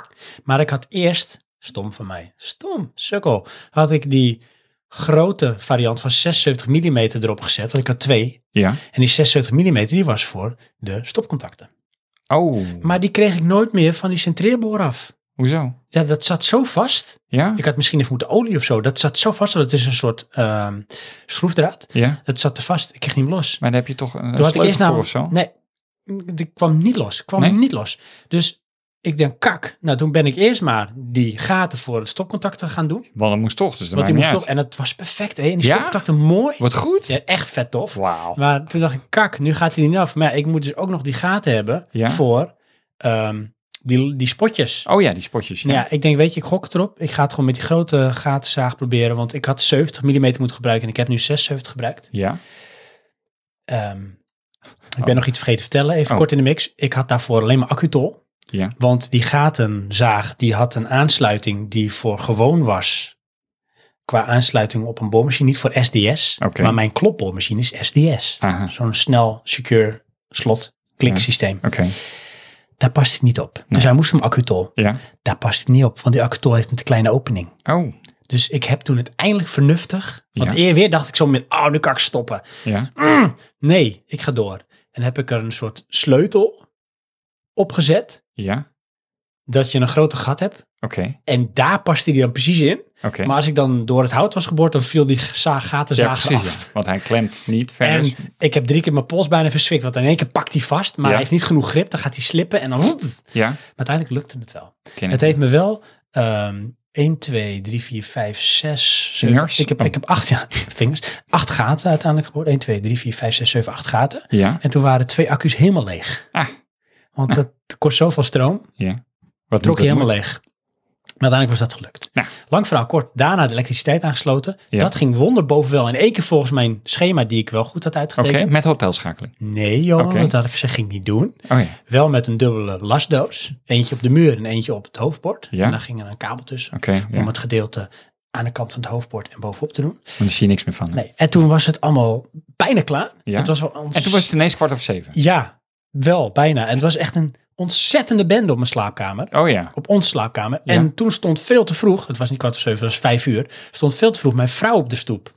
[SPEAKER 1] Maar ik had eerst, stom van mij, stom, sukkel, had ik die grote variant van 76 mm erop gezet, want ik had twee.
[SPEAKER 2] ja.
[SPEAKER 1] En die 76 mm die was voor de stopcontacten.
[SPEAKER 2] Oh,
[SPEAKER 1] Maar die kreeg ik nooit meer van die centreerboor af.
[SPEAKER 2] hoezo?
[SPEAKER 1] Ja, dat zat zo vast.
[SPEAKER 2] Ja?
[SPEAKER 1] Ik had misschien even moeten olie of zo. Dat zat zo vast. Dat is een soort ehm, schroefdraad.
[SPEAKER 2] Ja,
[SPEAKER 1] Dat zat te vast. Ik kreeg niet meer los.
[SPEAKER 2] maar daar heb je toch een
[SPEAKER 1] Toen
[SPEAKER 2] een
[SPEAKER 1] had ik
[SPEAKER 2] sleutel
[SPEAKER 1] eerst
[SPEAKER 2] voor
[SPEAKER 1] namelijk-
[SPEAKER 2] of zo?
[SPEAKER 1] Nee, ik kwam niet los. Ik kwam
[SPEAKER 2] Oh. Nee?
[SPEAKER 1] niet los. Dus Ik denk, kak. Nou, toen ben ik eerst maar die gaten voor het stopcontacten gaan doen.
[SPEAKER 2] Want dat moest toch, dus dat
[SPEAKER 1] Want
[SPEAKER 2] maakt
[SPEAKER 1] die
[SPEAKER 2] niet
[SPEAKER 1] moest
[SPEAKER 2] uit.
[SPEAKER 1] toch. En het was perfect, hè? En die
[SPEAKER 2] Ja?
[SPEAKER 1] stopcontacten mooi.
[SPEAKER 2] Wat goed.
[SPEAKER 1] Ja, echt vet tof.
[SPEAKER 2] Wauw.
[SPEAKER 1] Maar toen dacht ik, kak, nu gaat hij niet af. Maar ja, ik moet dus ook nog die gaten hebben
[SPEAKER 2] Ja.
[SPEAKER 1] voor ehm, die, die spotjes.
[SPEAKER 2] Oh ja, die spotjes. Ja.
[SPEAKER 1] Nou ja, ik denk, weet je, ik gok het erop. Ik ga het gewoon met die grote gatenzaag proberen. Want ik had 70 mm moeten gebruiken en ik heb nu 76 gebruikt.
[SPEAKER 2] Ja.
[SPEAKER 1] Ehm, ik
[SPEAKER 2] Oh.
[SPEAKER 1] ben nog iets vergeten te vertellen, even
[SPEAKER 2] Oh.
[SPEAKER 1] kort in de mix. Ik had daarvoor alleen maar accutol.
[SPEAKER 2] Ja.
[SPEAKER 1] Want die gatenzaag, die had een aansluiting die voor gewoon was. Qua aansluiting op een boormachine, niet voor SDS.
[SPEAKER 2] Oké.
[SPEAKER 1] Maar mijn klopboormachine is SDS.
[SPEAKER 2] Aha. Oké.
[SPEAKER 1] Zo'n snel, secure slot kliksysteem. Daar past het niet op. Dus
[SPEAKER 2] Nee.
[SPEAKER 1] hij moest hem accutol.
[SPEAKER 2] Ja.
[SPEAKER 1] Daar past het niet op, want die accutol heeft een te kleine opening.
[SPEAKER 2] Oh.
[SPEAKER 1] Dus ik heb toen uiteindelijk vernuftig. Want
[SPEAKER 2] Ja.
[SPEAKER 1] eer weer dacht ik zo met, oh, nu kan ik stoppen.
[SPEAKER 2] Ja.
[SPEAKER 1] Nee, ik ga door. En heb ik er een soort sleutel opgezet.
[SPEAKER 2] Ja.
[SPEAKER 1] Dat je een grote gat hebt.
[SPEAKER 2] Oké.
[SPEAKER 1] En daar paste die dan precies in.
[SPEAKER 2] Oké.
[SPEAKER 1] Maar als ik dan door het hout was geboord, dan viel die zaag, gaten
[SPEAKER 2] Ja,
[SPEAKER 1] zagen
[SPEAKER 2] precies.
[SPEAKER 1] af.
[SPEAKER 2] ja. Want hij klemt niet verder.
[SPEAKER 1] En ik heb drie keer mijn pols bijna verswikt. Want in één keer pakt hij vast. Maar
[SPEAKER 2] Ja.
[SPEAKER 1] hij heeft niet genoeg grip. Dan gaat hij slippen. En dan... Maar
[SPEAKER 2] Ja.
[SPEAKER 1] uiteindelijk lukte het wel.
[SPEAKER 2] ken
[SPEAKER 1] Het
[SPEAKER 2] ik.
[SPEAKER 1] heeft me wel... ehm 1, 2, 3, 4, 5, 6,
[SPEAKER 2] Vingers?
[SPEAKER 1] Ik heb,
[SPEAKER 2] Oh.
[SPEAKER 1] ik heb acht, ja, vingers. Acht gaten uiteindelijk geboord. 1, 2, 3, 4, 5, 6, 7, 8 gaten.
[SPEAKER 2] Ja.
[SPEAKER 1] En toen waren twee accu's helemaal leeg.
[SPEAKER 2] Ah.
[SPEAKER 1] Want dat kost zoveel stroom, trok
[SPEAKER 2] Wat
[SPEAKER 1] je
[SPEAKER 2] moet-
[SPEAKER 1] helemaal
[SPEAKER 2] moet-
[SPEAKER 1] leeg. Maar uiteindelijk was dat gelukt.
[SPEAKER 2] Nou.
[SPEAKER 1] Lang verhaal kort, daarna de elektriciteit aangesloten.
[SPEAKER 2] Ja.
[SPEAKER 1] Dat ging wonderboven wel. In één keer volgens mijn schema die ik wel goed had
[SPEAKER 2] Oké,
[SPEAKER 1] uitgetekend.
[SPEAKER 2] met hotelschakeling.
[SPEAKER 1] Nee Johan,
[SPEAKER 2] Oké.
[SPEAKER 1] dat had ik gezegd, ging ik niet doen.
[SPEAKER 2] Oh ja.
[SPEAKER 1] Wel met een dubbele lasdoos. Eentje op de muur en eentje op het hoofdbord.
[SPEAKER 2] Ja.
[SPEAKER 1] En daar ging er een kabel tussen
[SPEAKER 2] Oké. ja.
[SPEAKER 1] om het gedeelte aan de kant van het hoofdbord en bovenop te doen.
[SPEAKER 2] Want daar zie je niks meer van. hè?
[SPEAKER 1] Nee. En toen was het allemaal bijna klaar.
[SPEAKER 2] Ja.
[SPEAKER 1] Het was wel ons...
[SPEAKER 2] En toen was het ineens kwart over zeven.
[SPEAKER 1] Ja, wel, bijna. En het was echt een ontzettende bende op mijn slaapkamer.
[SPEAKER 2] Oh ja.
[SPEAKER 1] Op onze slaapkamer.
[SPEAKER 2] Ja.
[SPEAKER 1] En toen stond veel te vroeg, het was niet kwart of zeven, het was vijf uur. Stond veel te vroeg mijn vrouw op de stoep.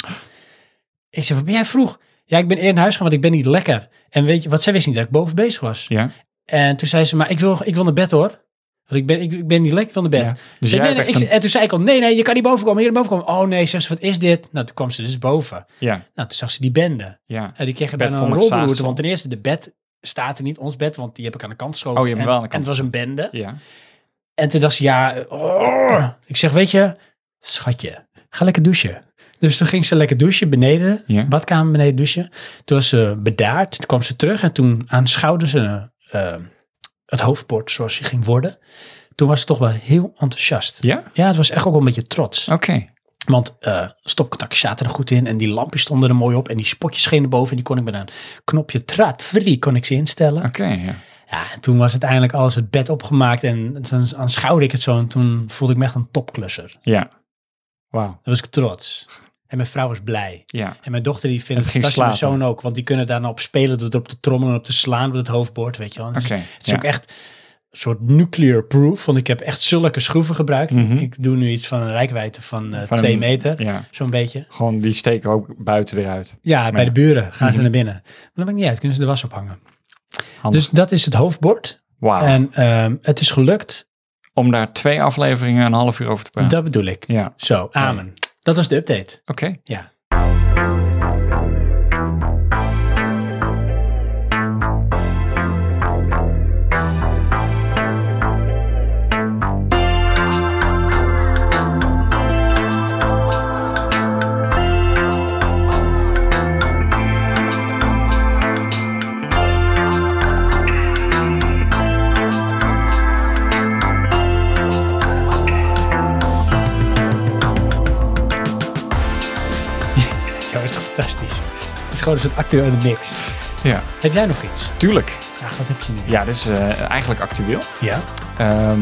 [SPEAKER 1] Ik zei, wat ben jij vroeg? Ja, ik ben eerder naar huis gaan, want ik ben niet lekker. En weet je, wat zij wist niet, dat ik boven bezig was.
[SPEAKER 2] Ja.
[SPEAKER 1] En toen zei ze, maar ik wil, ik wil naar bed hoor. Want ik ben, ik, ik ben niet lekker van de bed.
[SPEAKER 2] Ja.
[SPEAKER 1] Ik
[SPEAKER 2] Dus
[SPEAKER 1] zei,
[SPEAKER 2] jij
[SPEAKER 1] nee,
[SPEAKER 2] hebt
[SPEAKER 1] nee, ik
[SPEAKER 2] echt
[SPEAKER 1] zei-
[SPEAKER 2] een...
[SPEAKER 1] En toen zei ik al, nee, nee, je kan niet boven komen, hier naar boven komen. Oh nee, zei ze, wat is dit? Nou, toen kwam ze dus boven.
[SPEAKER 2] Ja.
[SPEAKER 1] Nou, toen zag ze die bende.
[SPEAKER 2] Ja.
[SPEAKER 1] Ja, Eh, die kregen
[SPEAKER 2] Bed
[SPEAKER 1] bijna
[SPEAKER 2] vol
[SPEAKER 1] een
[SPEAKER 2] met
[SPEAKER 1] rolberoerte.
[SPEAKER 2] zaagsel.
[SPEAKER 1] Want ten eerste, de bed staat er niet, ons bed, want die heb ik aan de kant geschoven.
[SPEAKER 2] Oh, je hebt hem
[SPEAKER 1] en,
[SPEAKER 2] wel aan de kant
[SPEAKER 1] En het was een bende.
[SPEAKER 2] Ja.
[SPEAKER 1] En toen dacht ze, ja, eh, oh. ik zeg, weet je, schatje, ga lekker douchen. Dus toen ging ze lekker douchen beneden,
[SPEAKER 2] Ja.
[SPEAKER 1] badkamer beneden douchen. Toen was ze bedaard, toen kwam ze terug en toen aanschouwde ze eh, het hoofdbord zoals ze ging worden. Toen was ze toch wel heel enthousiast.
[SPEAKER 2] Ja? Oké.
[SPEAKER 1] Ja, het was echt ook wel een beetje trots. Want eh stopcontacten zaten er goed in en die lampjes stonden er mooi op en die spotjes schenen boven en die kon ik met een knopje traat free kon ik ze instellen.
[SPEAKER 2] Oké. ja.
[SPEAKER 1] Ja, en toen was uiteindelijk alles het bed opgemaakt en toen aanschouwde ik het zo en toen voelde ik me echt een topklusser.
[SPEAKER 2] Ja. Wauw.
[SPEAKER 1] Dan was ik trots. En mijn vrouw was blij.
[SPEAKER 2] Ja.
[SPEAKER 1] En mijn dochter die vindt
[SPEAKER 2] Het
[SPEAKER 1] het,
[SPEAKER 2] ging
[SPEAKER 1] fantastisch, mijn
[SPEAKER 2] slapen.
[SPEAKER 1] zoon ook, want die kunnen daar nou op spelen door erop te trommelen, op te slaan op het hoofdbord, weet je wel.
[SPEAKER 2] Oké.
[SPEAKER 1] Het is- Het is
[SPEAKER 2] ja.
[SPEAKER 1] ook echt een soort nuclear proof, want ik heb echt zulke schroeven gebruikt.
[SPEAKER 2] Mhm.
[SPEAKER 1] Ik doe nu iets van een rijkwijde van, eh,
[SPEAKER 2] Van
[SPEAKER 1] twee
[SPEAKER 2] een-
[SPEAKER 1] meter,
[SPEAKER 2] Ja.
[SPEAKER 1] zo'n beetje.
[SPEAKER 2] Gewoon die steken ook buiten eruit.
[SPEAKER 1] Ja, bij
[SPEAKER 2] ja.
[SPEAKER 1] de buren gaan ze
[SPEAKER 2] Mhm.
[SPEAKER 1] naar binnen. Maar dat maakt niet uit, kunnen ze de was ophangen.
[SPEAKER 2] Handig. Ah.
[SPEAKER 1] Dus dat is het hoofdbord.
[SPEAKER 2] Wauw.
[SPEAKER 1] En ehm, het is gelukt,
[SPEAKER 2] Om daar twee afleveringen een half uur over te praten.
[SPEAKER 1] dat bedoel ik.
[SPEAKER 2] Ja. Oké.
[SPEAKER 1] Zo, amen. Dat was de update. Ja. Ja, dat is toch fantastisch. Het is gewoon een soort actuele mix.
[SPEAKER 2] Ja.
[SPEAKER 1] Heb jij nog iets?
[SPEAKER 2] Tuurlijk.
[SPEAKER 1] Ja, wat heb je nu?
[SPEAKER 2] Ja, dit is eh, eigenlijk actueel.
[SPEAKER 1] Ja.
[SPEAKER 2] Ehm,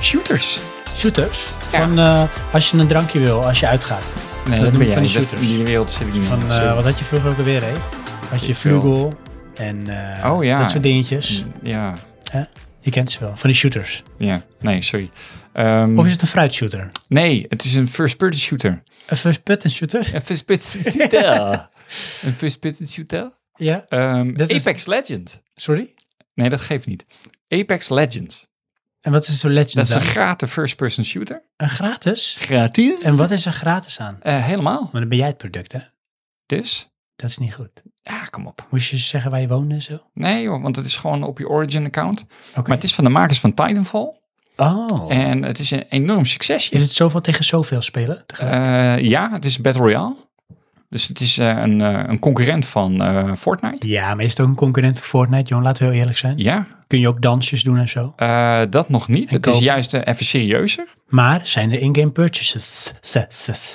[SPEAKER 2] shooters.
[SPEAKER 1] Shooters. Van eh, als je een drankje wil, als je uitgaat. Dat
[SPEAKER 2] Nee, dat
[SPEAKER 1] noem
[SPEAKER 2] ben
[SPEAKER 1] ik
[SPEAKER 2] jij.
[SPEAKER 1] van die
[SPEAKER 2] Dat-
[SPEAKER 1] shooters.
[SPEAKER 2] in die wereld zit ik niet
[SPEAKER 1] Van,
[SPEAKER 2] in.
[SPEAKER 1] eh,
[SPEAKER 2] Sorry.
[SPEAKER 1] wat had je vroeger ook alweer, hè? Had je
[SPEAKER 2] Ik wil-
[SPEAKER 1] Vlugel en eh,
[SPEAKER 2] Oh, ja.
[SPEAKER 1] dat soort dingetjes.
[SPEAKER 2] Ja.
[SPEAKER 1] Je kent ze wel, van die shooters.
[SPEAKER 2] Ja. Nee, sorry. Ehm,
[SPEAKER 1] Of is het een fruitshooter?
[SPEAKER 2] Nee, het is een first-person shooter.
[SPEAKER 1] Een first-person shooter?
[SPEAKER 2] Een first-person shooter. een first-person shooter.
[SPEAKER 1] Ja.
[SPEAKER 2] Ehm,
[SPEAKER 1] Dat is-
[SPEAKER 2] Apex Legend.
[SPEAKER 1] Sorry?
[SPEAKER 2] Nee, dat geeft niet. Apex Legends.
[SPEAKER 1] En wat is zo'n legend
[SPEAKER 2] Dat is een
[SPEAKER 1] dan?
[SPEAKER 2] gratis first-person shooter.
[SPEAKER 1] Een gratis?
[SPEAKER 2] Gratis?
[SPEAKER 1] En wat is er gratis aan?
[SPEAKER 2] helemaal.
[SPEAKER 1] Maar dan ben jij het product, hè?
[SPEAKER 2] Dus?
[SPEAKER 1] Dat is niet goed.
[SPEAKER 2] Ja, kom op.
[SPEAKER 1] Moest je zeggen waar je woonde en zo? Oké.
[SPEAKER 2] Nee joh, want het is gewoon op je Origin account. Maar het is van de makers van Titanfall.
[SPEAKER 1] Oh.
[SPEAKER 2] En het is een enorm succesje.
[SPEAKER 1] Je doet zoveel tegen zoveel spelen. tegelijk.
[SPEAKER 2] Eh, ja, het is Battle Royale. Dus het is eh, een, eh, een concurrent van eh, Fortnite.
[SPEAKER 1] ja, maar is het ook een concurrent voor Fortnite, John? Laten we heel eerlijk zijn.
[SPEAKER 2] Ja,
[SPEAKER 1] Kun je ook dansjes doen en zo.
[SPEAKER 2] eh, dat nog niet.
[SPEAKER 1] En
[SPEAKER 2] het is
[SPEAKER 1] kopen.
[SPEAKER 2] juist eh, even serieuzer.
[SPEAKER 1] Maar zijn er in-game purchases?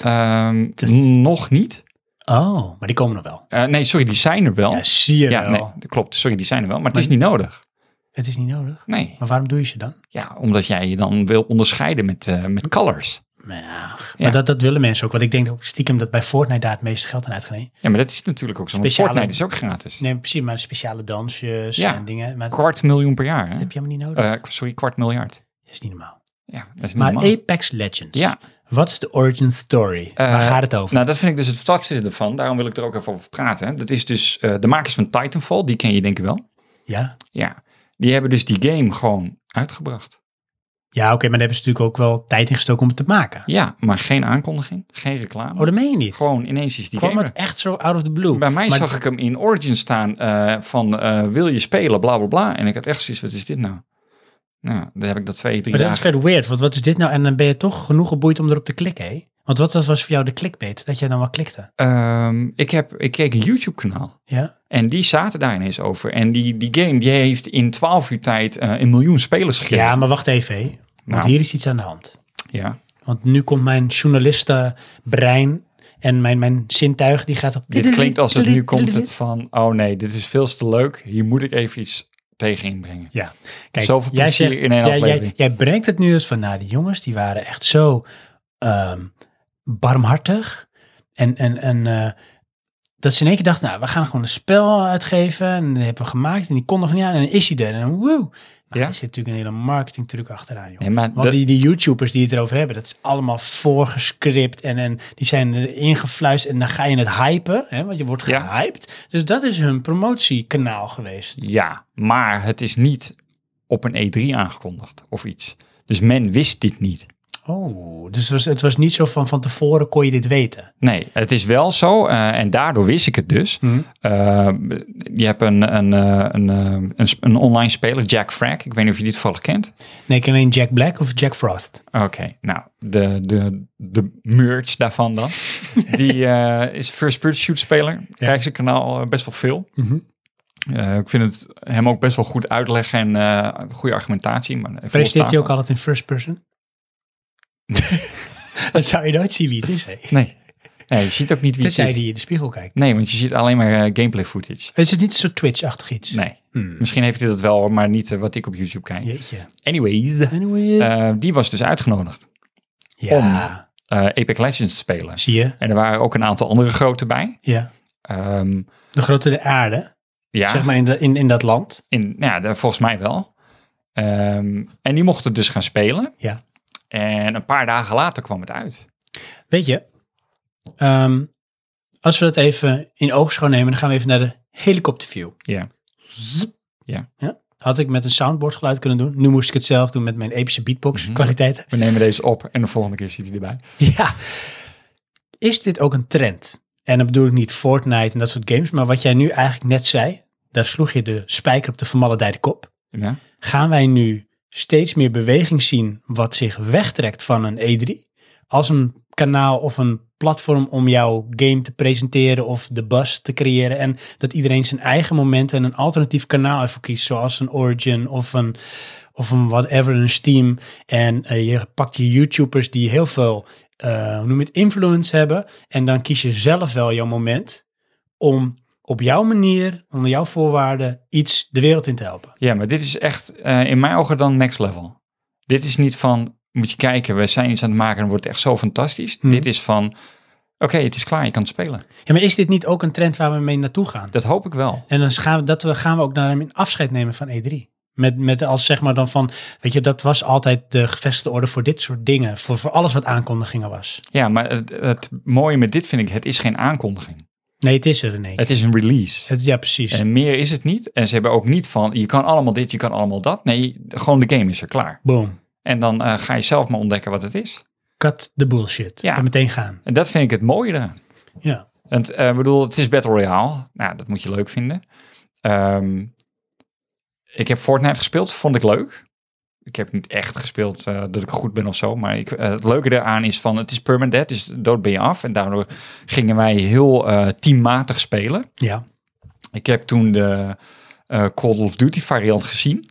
[SPEAKER 2] Ehm,
[SPEAKER 1] is-
[SPEAKER 2] Nog niet.
[SPEAKER 1] Oh, maar die komen nog wel.
[SPEAKER 2] Eh, nee, sorry, die zijn er wel.
[SPEAKER 1] Ja, zie je
[SPEAKER 2] ja,
[SPEAKER 1] wel.
[SPEAKER 2] nee, dat klopt. Sorry, die zijn er wel. Maar het
[SPEAKER 1] Maar-
[SPEAKER 2] is niet nodig.
[SPEAKER 1] Het is niet nodig.
[SPEAKER 2] Nee,
[SPEAKER 1] Maar waarom doe je ze dan?
[SPEAKER 2] ja, omdat jij je dan wil onderscheiden met, eh, met colors.
[SPEAKER 1] Nou,
[SPEAKER 2] Ja.
[SPEAKER 1] Maar dat, dat willen mensen ook. Want ik denk ook stiekem dat bij Fortnite daar het meeste geld aan uitgeleend.
[SPEAKER 2] Ja, maar dat is natuurlijk ook zo. Want
[SPEAKER 1] Speciale-
[SPEAKER 2] Fortnite is ook gratis.
[SPEAKER 1] Nee, precies. Maar speciale dansjes
[SPEAKER 2] Ja.
[SPEAKER 1] en dingen. Maar dat
[SPEAKER 2] Kwart miljoen per jaar. Hè?
[SPEAKER 1] heb je helemaal niet nodig.
[SPEAKER 2] Eh, sorry, kwart miljard.
[SPEAKER 1] Dat is niet normaal.
[SPEAKER 2] Ja, dat is niet
[SPEAKER 1] Maar
[SPEAKER 2] normaal.
[SPEAKER 1] Apex Legends.
[SPEAKER 2] Ja.
[SPEAKER 1] Wat is de origin story? Waar gaat het over?
[SPEAKER 2] Nou, dat vind ik dus het fantastische ervan. Daarom wil ik er ook even over praten. Dat is dus eh, de makers van Titanfall. Die ken je denk ik wel.
[SPEAKER 1] ja,
[SPEAKER 2] Ja. Die hebben dus die game gewoon uitgebracht.
[SPEAKER 1] ja oké. maar daar hebben ze natuurlijk ook wel tijd in gestoken om het te maken.
[SPEAKER 2] Ja, maar geen aankondiging. Geen reclame.
[SPEAKER 1] Oh, dat meen je niet.
[SPEAKER 2] Gewoon ineens is die
[SPEAKER 1] Kwam
[SPEAKER 2] game
[SPEAKER 1] het
[SPEAKER 2] er.
[SPEAKER 1] echt zo out of the blue?
[SPEAKER 2] Bij mij
[SPEAKER 1] Maar-
[SPEAKER 2] zag ik hem in Origin staan eh, van eh, wil je spelen, bla bla bla. En ik had echt zoiets, wat is dit nou? Nou, dan heb ik dat twee, drie
[SPEAKER 1] Maar dat is
[SPEAKER 2] dagen.
[SPEAKER 1] verder weird, want wat is dit nou? En dan ben je toch genoeg geboeid om erop te klikken, hè? Want wat was, was voor jou de clickbait, dat jij dan wel klikte?
[SPEAKER 2] Ehm, ik, heb, ik keek een YouTube kanaal.
[SPEAKER 1] Ja?
[SPEAKER 2] En die zaten daar ineens over. En die, die game die heeft in 12 uur tijd eh, een miljoen spelers gekregen.
[SPEAKER 1] Ja, maar wacht even, hè. Want
[SPEAKER 2] Nou.
[SPEAKER 1] hier is iets aan de hand.
[SPEAKER 2] ja.
[SPEAKER 1] Want nu komt mijn journalistenbrein en mijn, mijn zintuig, die gaat op...
[SPEAKER 2] Dit klinkt als het nu komt het van, oh nee, dit is veel te leuk. Hier moet ik even iets tegen inbrengen.
[SPEAKER 1] Ja, kijk,
[SPEAKER 2] Zoveel
[SPEAKER 1] jij
[SPEAKER 2] plezier
[SPEAKER 1] zegt-
[SPEAKER 2] in één
[SPEAKER 1] jij- jij,
[SPEAKER 2] aflevering.
[SPEAKER 1] Jij, brengt het nu eens van, nou, die jongens die waren echt zo ehm, barmhartig. En, en, en eh, dat ze in één keer dachten, nou, we gaan gewoon een spel uitgeven. En die hebben we gemaakt en die kon nog niet aan. En dan is hij er. En woe. Maar
[SPEAKER 2] Ja.
[SPEAKER 1] er zit natuurlijk een hele marketingtruc achteraan, joh.
[SPEAKER 2] Nee, maar
[SPEAKER 1] Want
[SPEAKER 2] dat-
[SPEAKER 1] die, die YouTubers die het erover hebben, dat is allemaal voorgescript en, en die zijn erin gefluisterd en dan ga je het hypen, hè, want je wordt
[SPEAKER 2] Ja.
[SPEAKER 1] gehyped. Dus dat is hun promotiekanaal geweest.
[SPEAKER 2] Ja, maar het is niet op een E3 aangekondigd of iets. Dus men wist dit niet.
[SPEAKER 1] Oh, dus het was, het was niet zo van van tevoren kon je dit weten.
[SPEAKER 2] Nee, het is wel zo eh, en daardoor wist ik het dus. Eh, je hebt een, een, eh, een, eh, een, sp- een online speler, Jack Frack. Ik weet niet of je die toevallig kent.
[SPEAKER 1] Nee, ik ken alleen Jack Black of Jack Frost.
[SPEAKER 2] Oké, nou, de, de, de merch daarvan dan. die eh, is first person shoot speler. Kijk zijn kanaal eh, best wel veel.
[SPEAKER 1] Mhm.
[SPEAKER 2] Eh, ik vind het hem ook best wel goed uitleg en eh, goede argumentatie. Maar even
[SPEAKER 1] Presenteert hij
[SPEAKER 2] losstaan
[SPEAKER 1] ook altijd in first person? dat zou je nooit zien wie het is, hè?
[SPEAKER 2] van- Nee. nee, je ziet ook niet wie het
[SPEAKER 1] Tenzij
[SPEAKER 2] is.
[SPEAKER 1] die in de spiegel kijkt.
[SPEAKER 2] Nee, want je ziet alleen maar eh, gameplay footage.
[SPEAKER 1] Is het niet zo Twitch-achtig iets?
[SPEAKER 2] Nee,
[SPEAKER 1] Hmm.
[SPEAKER 2] misschien heeft hij dat wel, maar niet eh, wat ik op YouTube kijk.
[SPEAKER 1] Jeetje.
[SPEAKER 2] Anyways,
[SPEAKER 1] Anyways.
[SPEAKER 2] eh, die was dus uitgenodigd
[SPEAKER 1] ja,
[SPEAKER 2] eh Epic Legends te spelen.
[SPEAKER 1] zie je?
[SPEAKER 2] En er waren ook een aantal andere grote bij.
[SPEAKER 1] Ja.
[SPEAKER 2] Ehm,
[SPEAKER 1] De grote der aarde,
[SPEAKER 2] ja,
[SPEAKER 1] zeg maar, in, de, in, in dat land.
[SPEAKER 2] in, nou ja, daar- volgens mij wel. Ehm, en die mochten dus gaan spelen.
[SPEAKER 1] Ja.
[SPEAKER 2] En een paar dagen later kwam het uit.
[SPEAKER 1] Weet je, ehm, als we dat even in oogschouw nemen, dan gaan we even naar de helikopterview.
[SPEAKER 2] Ja.
[SPEAKER 1] Zip.
[SPEAKER 2] Ja.
[SPEAKER 1] Had ik met een soundboard geluid kunnen doen. Nu moest ik het zelf doen met mijn epische beatbox
[SPEAKER 2] Mhm.
[SPEAKER 1] kwaliteiten.
[SPEAKER 2] We nemen deze op en de volgende keer zit hij erbij.
[SPEAKER 1] Ja. Is dit ook een trend? En dan bedoel ik niet Fortnite en dat soort games, maar wat jij nu eigenlijk net zei, daar sloeg je de spijker op de vermaledijde kop.
[SPEAKER 2] Ja.
[SPEAKER 1] Gaan wij nu steeds meer beweging zien wat zich wegtrekt van een E3? Als een kanaal of een platform om jouw game te presenteren of de buzz te creëren. En dat iedereen zijn eigen moment en een alternatief kanaal ervoor kiest. Zoals een Origin of een, of een whatever, een Steam. En eh, je pakt je YouTubers die heel veel, eh, hoe noem je het, influence hebben. En dan kies je zelf wel jouw moment om op jouw manier, onder jouw voorwaarden, iets de wereld in te helpen.
[SPEAKER 2] Ja, maar dit is echt eh, in mijn ogen dan next level. Dit is niet van, moet je kijken, we zijn iets aan het maken en het wordt echt zo fantastisch.
[SPEAKER 1] Mhm.
[SPEAKER 2] Dit is van, oké, het is klaar, je kan het spelen.
[SPEAKER 1] Ja, maar is dit niet ook een trend waar we mee naartoe gaan?
[SPEAKER 2] Dat hoop ik wel.
[SPEAKER 1] En dan gaan we, dat we, gaan we ook naar een afscheid nemen van E3. Met, met als zeg maar dan van, weet je, dat was altijd de gevestigde orde voor dit soort dingen. Voor, voor alles wat aankondigingen was.
[SPEAKER 2] Ja, maar het, het mooie met dit vind ik, het is geen aankondiging.
[SPEAKER 1] Nee, het is er in één keer.
[SPEAKER 2] Het is een release.
[SPEAKER 1] Het- Ja, precies.
[SPEAKER 2] En meer is het niet. En ze hebben ook niet van, je kan allemaal dit, je kan allemaal dat. Nee, gewoon de game is er klaar.
[SPEAKER 1] Boom.
[SPEAKER 2] En dan eh, ga je zelf maar ontdekken wat het is.
[SPEAKER 1] Cut the bullshit.
[SPEAKER 2] Ja.
[SPEAKER 1] En meteen gaan.
[SPEAKER 2] En dat vind ik het mooie eraan.
[SPEAKER 1] Ja.
[SPEAKER 2] Want, eh, ik bedoel, het is Battle Royale. Nou, dat moet je leuk vinden. Ehm, ik heb Fortnite gespeeld, vond ik leuk. Ik heb niet echt gespeeld eh, dat ik goed ben of zo. Maar ik, eh, het leuke eraan is van, het is permanent, death, dus dood ben je af. En daardoor gingen wij heel eh, teammatig spelen.
[SPEAKER 1] Ja.
[SPEAKER 2] Ik heb toen de eh, Call of Duty variant gezien.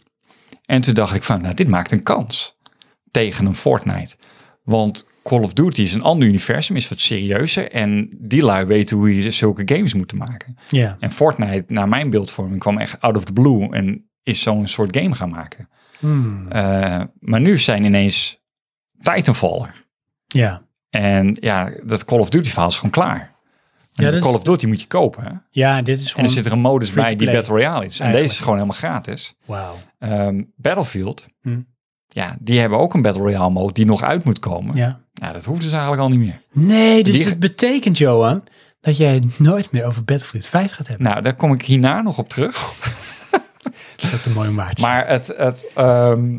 [SPEAKER 2] En toen dacht ik van, nou, dit maakt een kans tegen een Fortnite. Want Call of Duty is een ander universum, is wat serieuzer. En die lui weten hoe je zulke games moet maken.
[SPEAKER 1] Ja.
[SPEAKER 2] En Fortnite, naar mijn beeldvorming, kwam echt out of the blue. En is zo'n soort game gaan maken.
[SPEAKER 1] Hmm.
[SPEAKER 2] Eh, maar nu zijn ineens Titanfall er.
[SPEAKER 1] Ja.
[SPEAKER 2] En ja, dat Call of Duty verhaal is gewoon klaar.
[SPEAKER 1] Ja,
[SPEAKER 2] En
[SPEAKER 1] dat is-
[SPEAKER 2] Call of Duty moet je kopen. hè?
[SPEAKER 1] Ja, dit is
[SPEAKER 2] En er
[SPEAKER 1] gewoon...
[SPEAKER 2] zit er een modus
[SPEAKER 1] free to
[SPEAKER 2] bij die
[SPEAKER 1] play.
[SPEAKER 2] Battle Royale is. En deze
[SPEAKER 1] Eigenlijk.
[SPEAKER 2] is gewoon helemaal gratis.
[SPEAKER 1] Wauw.
[SPEAKER 2] Ehm, Battlefield,
[SPEAKER 1] Hm.
[SPEAKER 2] ja, die hebben ook een Battle Royale mode die nog uit moet komen. Ja.
[SPEAKER 1] Ja.
[SPEAKER 2] dat hoefden ze eigenlijk al niet meer.
[SPEAKER 1] Nee, dus
[SPEAKER 2] Die-
[SPEAKER 1] het betekent, Johan, dat jij het nooit meer over Battlefield 5 gaat hebben.
[SPEAKER 2] Nou, daar kom ik hierna nog op terug.
[SPEAKER 1] Dat is ook een mooie maatje.
[SPEAKER 2] Maar het, het, ehm,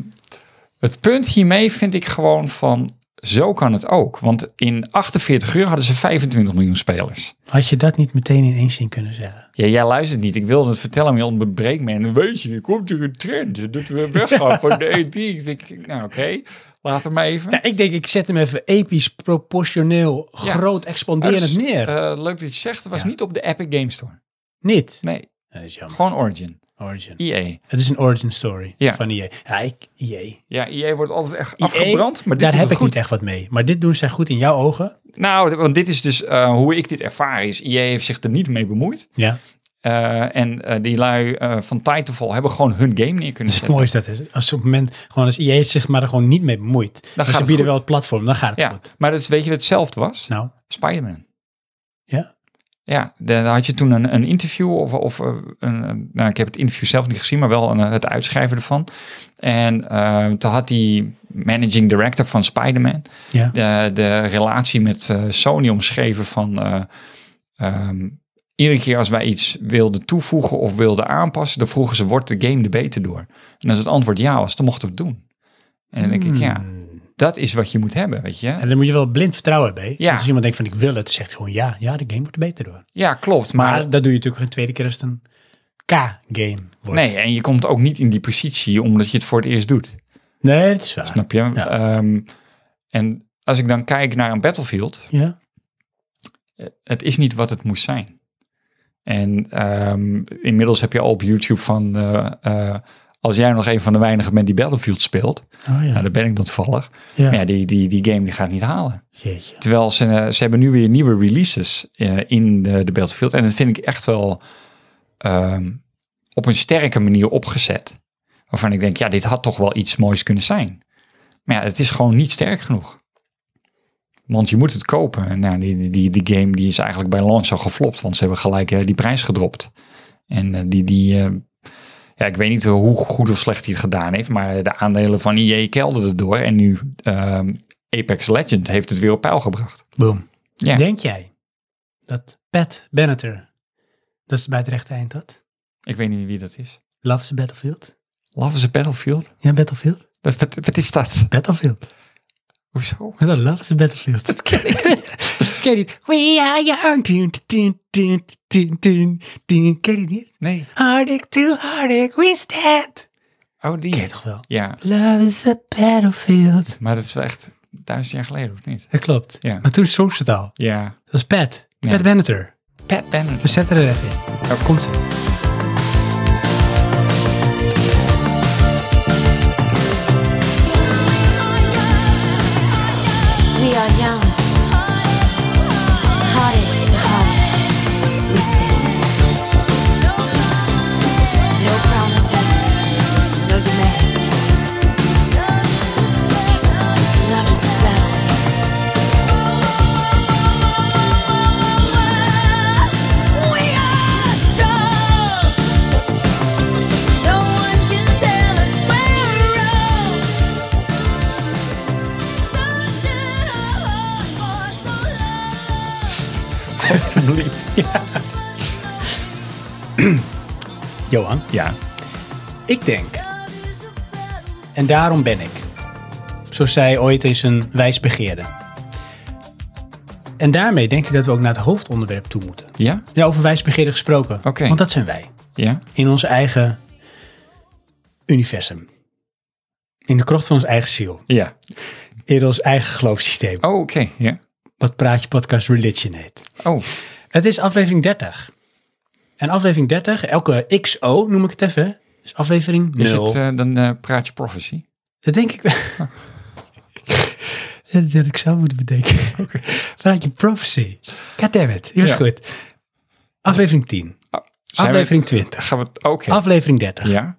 [SPEAKER 2] het punt hiermee vind ik gewoon van, zo kan het ook. Want in 48 uur hadden ze 25 miljoen spelers.
[SPEAKER 1] Had je dat niet meteen in één zin kunnen zeggen?
[SPEAKER 2] Ja, jij luistert niet. Ik wilde het vertellen, maar je onderbreekt me. En weet je, er komt hier een trend dat we weggaan van de E3. Ik denk, nou oké, laat hem even.
[SPEAKER 1] Ja, ik denk, ik zet hem even episch, proportioneel,
[SPEAKER 2] Ja.
[SPEAKER 1] groot, expanderend
[SPEAKER 2] Dus,
[SPEAKER 1] neer.
[SPEAKER 2] eh, leuk dat je het zegt, het was
[SPEAKER 1] Ja.
[SPEAKER 2] niet op de Epic Game Store.
[SPEAKER 1] niet.
[SPEAKER 2] Nee,
[SPEAKER 1] Dat is jammer.
[SPEAKER 2] Gewoon Origin. E
[SPEAKER 1] Origin.
[SPEAKER 2] EA.
[SPEAKER 1] Het is een origin story
[SPEAKER 2] Ja.
[SPEAKER 1] van EA. Ja, ik, EA.
[SPEAKER 2] Ja, EA wordt altijd echt
[SPEAKER 1] EA,
[SPEAKER 2] afgebrand. Maar dit
[SPEAKER 1] E Daar heb
[SPEAKER 2] doet het
[SPEAKER 1] ik
[SPEAKER 2] goed.
[SPEAKER 1] niet echt wat mee. Maar dit doen zij goed in jouw ogen.
[SPEAKER 2] Nou, want dit is dus eh, hoe ik dit ervaar is. EA heeft zich er niet mee bemoeid.
[SPEAKER 1] Ja,
[SPEAKER 2] Eh, en eh, die lui eh, van Titanfall hebben gewoon hun game neer kunnen zetten.
[SPEAKER 1] Dus mooi is dat. hè. Als op het moment gewoon als EA zich maar er gewoon niet mee bemoeit. Dan
[SPEAKER 2] gaat
[SPEAKER 1] ze
[SPEAKER 2] het
[SPEAKER 1] bieden
[SPEAKER 2] goed.
[SPEAKER 1] wel het platform, dan gaat het
[SPEAKER 2] Ja,
[SPEAKER 1] goed.
[SPEAKER 2] maar dat is, weet je wat hetzelfde was?
[SPEAKER 1] Nou,
[SPEAKER 2] Spider-Man.
[SPEAKER 1] Ja?
[SPEAKER 2] Ja, de- daar had je toen een, een interview of, of eh, een, een- nou, ik heb het interview zelf niet gezien, maar wel een, eh, het uitschrijven ervan. En eh, toen had die managing director van Spider-Man
[SPEAKER 1] ja.
[SPEAKER 2] de, de relatie met eh, Sony omschreven van eh, ehm, iedere keer als wij iets wilden toevoegen of wilden aanpassen, dan vroegen ze, wordt de game er beter door? En als het antwoord ja was, dan mochten we het doen. En dan denk ik, ja,
[SPEAKER 1] Hmm.
[SPEAKER 2] dat is wat je moet hebben, weet je.
[SPEAKER 1] En dan moet je wel blind vertrouwen hebben. hè.
[SPEAKER 2] Ja.
[SPEAKER 1] Dus als iemand denkt van ik wil het, dan zegt hij gewoon ja. Ja, de game wordt er beter door.
[SPEAKER 2] Ja, klopt,
[SPEAKER 1] Maar
[SPEAKER 2] maar...
[SPEAKER 1] dat doe je natuurlijk een tweede keer als het een K-game wordt.
[SPEAKER 2] Nee, en je komt ook niet in die positie omdat je het voor het eerst doet.
[SPEAKER 1] Nee, dat is waar.
[SPEAKER 2] Snap je? Ehm, en als ik dan kijk naar een Battlefield,
[SPEAKER 1] Ja,
[SPEAKER 2] het is niet wat het moest zijn. En ehm, inmiddels heb je al op YouTube van. eh, eh, als jij nog een van de weinigen bent die Battlefield speelt,
[SPEAKER 1] oh ja.
[SPEAKER 2] nou, daar ben ik dan toevallig.
[SPEAKER 1] ja.
[SPEAKER 2] Maar ja, die, die, die game die gaat niet halen.
[SPEAKER 1] Jeetje.
[SPEAKER 2] Terwijl ze, eh, ze hebben nu weer nieuwe releases eh, in de, de Battlefield. En dat vind ik echt wel ehm, op een sterke manier opgezet. Waarvan ik denk, ja, dit had toch wel iets moois kunnen zijn. Maar ja, het is gewoon niet sterk genoeg. Want je moet het kopen. En nou, die, die- die, die game die is eigenlijk bij launch al geflopt. Want ze hebben gelijk eh, die prijs gedropt. En eh, die... die eh, ja, ik weet niet hoe goed of slecht hij het gedaan heeft. Maar de aandelen van EA kelderden door. En nu ehm, Apex Legend heeft het weer op peil gebracht.
[SPEAKER 1] Boom.
[SPEAKER 2] Ja.
[SPEAKER 1] Denk jij dat Pat Benatar, dat is bij het rechte eind dat,
[SPEAKER 2] Ik weet niet wie dat is.
[SPEAKER 1] Love is a Battlefield?
[SPEAKER 2] Love is a Battlefield?
[SPEAKER 1] Ja, Battlefield.
[SPEAKER 2] Dat, wat, wat is dat?
[SPEAKER 1] Battlefield.
[SPEAKER 2] Hoezo?
[SPEAKER 1] Wat dan? Love is a Battlefield. Dat ken ik niet. ken je niet? We are young. Dun, dun, dun, dun, dun, dun. Ken je die niet?
[SPEAKER 2] Nee.
[SPEAKER 1] Hardik to hardik, we stand.
[SPEAKER 2] Oh, die.
[SPEAKER 1] Ken je toch wel?
[SPEAKER 2] Ja,
[SPEAKER 1] Love is a Battlefield.
[SPEAKER 2] maar dat is wel echt duizend jaar geleden, of niet?
[SPEAKER 1] Dat klopt.
[SPEAKER 2] Ja.
[SPEAKER 1] Maar toen zong ze het al.
[SPEAKER 2] Ja.
[SPEAKER 1] Dat was Pat.
[SPEAKER 2] Ja.
[SPEAKER 1] Pat Benatar.
[SPEAKER 2] Pat Banner.
[SPEAKER 1] We zetten oh, er even in.
[SPEAKER 2] Daar komt ze.
[SPEAKER 3] We are young. Hearted to heart. We stand. No promises. No demands. Love is a battle. We are strong. No one can tell us where we're wrong. Searching our hearts for some love.
[SPEAKER 1] Johan,
[SPEAKER 2] Ja.
[SPEAKER 1] ik denk, en daarom ben ik, zoals zij ooit eens een wijs begeerde. En daarmee denk ik dat we ook naar het hoofdonderwerp toe moeten.
[SPEAKER 2] Ja?
[SPEAKER 1] Ja, over wijsbegeerden gesproken.
[SPEAKER 2] Oké.
[SPEAKER 1] Want dat zijn wij.
[SPEAKER 2] Ja?
[SPEAKER 1] In ons eigen universum. In de krocht van ons eigen ziel.
[SPEAKER 2] Ja.
[SPEAKER 1] In ons eigen geloofssysteem.
[SPEAKER 2] Oh, oké. Ja.
[SPEAKER 1] Wat praat je podcast religion heet.
[SPEAKER 2] Oh,
[SPEAKER 1] Het is aflevering 30. En aflevering 30, elke XO noem ik het even. Dus aflevering
[SPEAKER 2] is
[SPEAKER 1] 0.
[SPEAKER 2] het eh, dan eh, praat je prophecy?
[SPEAKER 1] Dat denk ik wel. Dat had ik zo moeten bedenken. Vanuit je prophecy. Goddammit, je was
[SPEAKER 2] Ja.
[SPEAKER 1] goed. Aflevering 10. Ah,
[SPEAKER 2] Zijn we-
[SPEAKER 1] aflevering 20.
[SPEAKER 2] Gaan we het... Oké.
[SPEAKER 1] Aflevering 30.
[SPEAKER 2] Ja?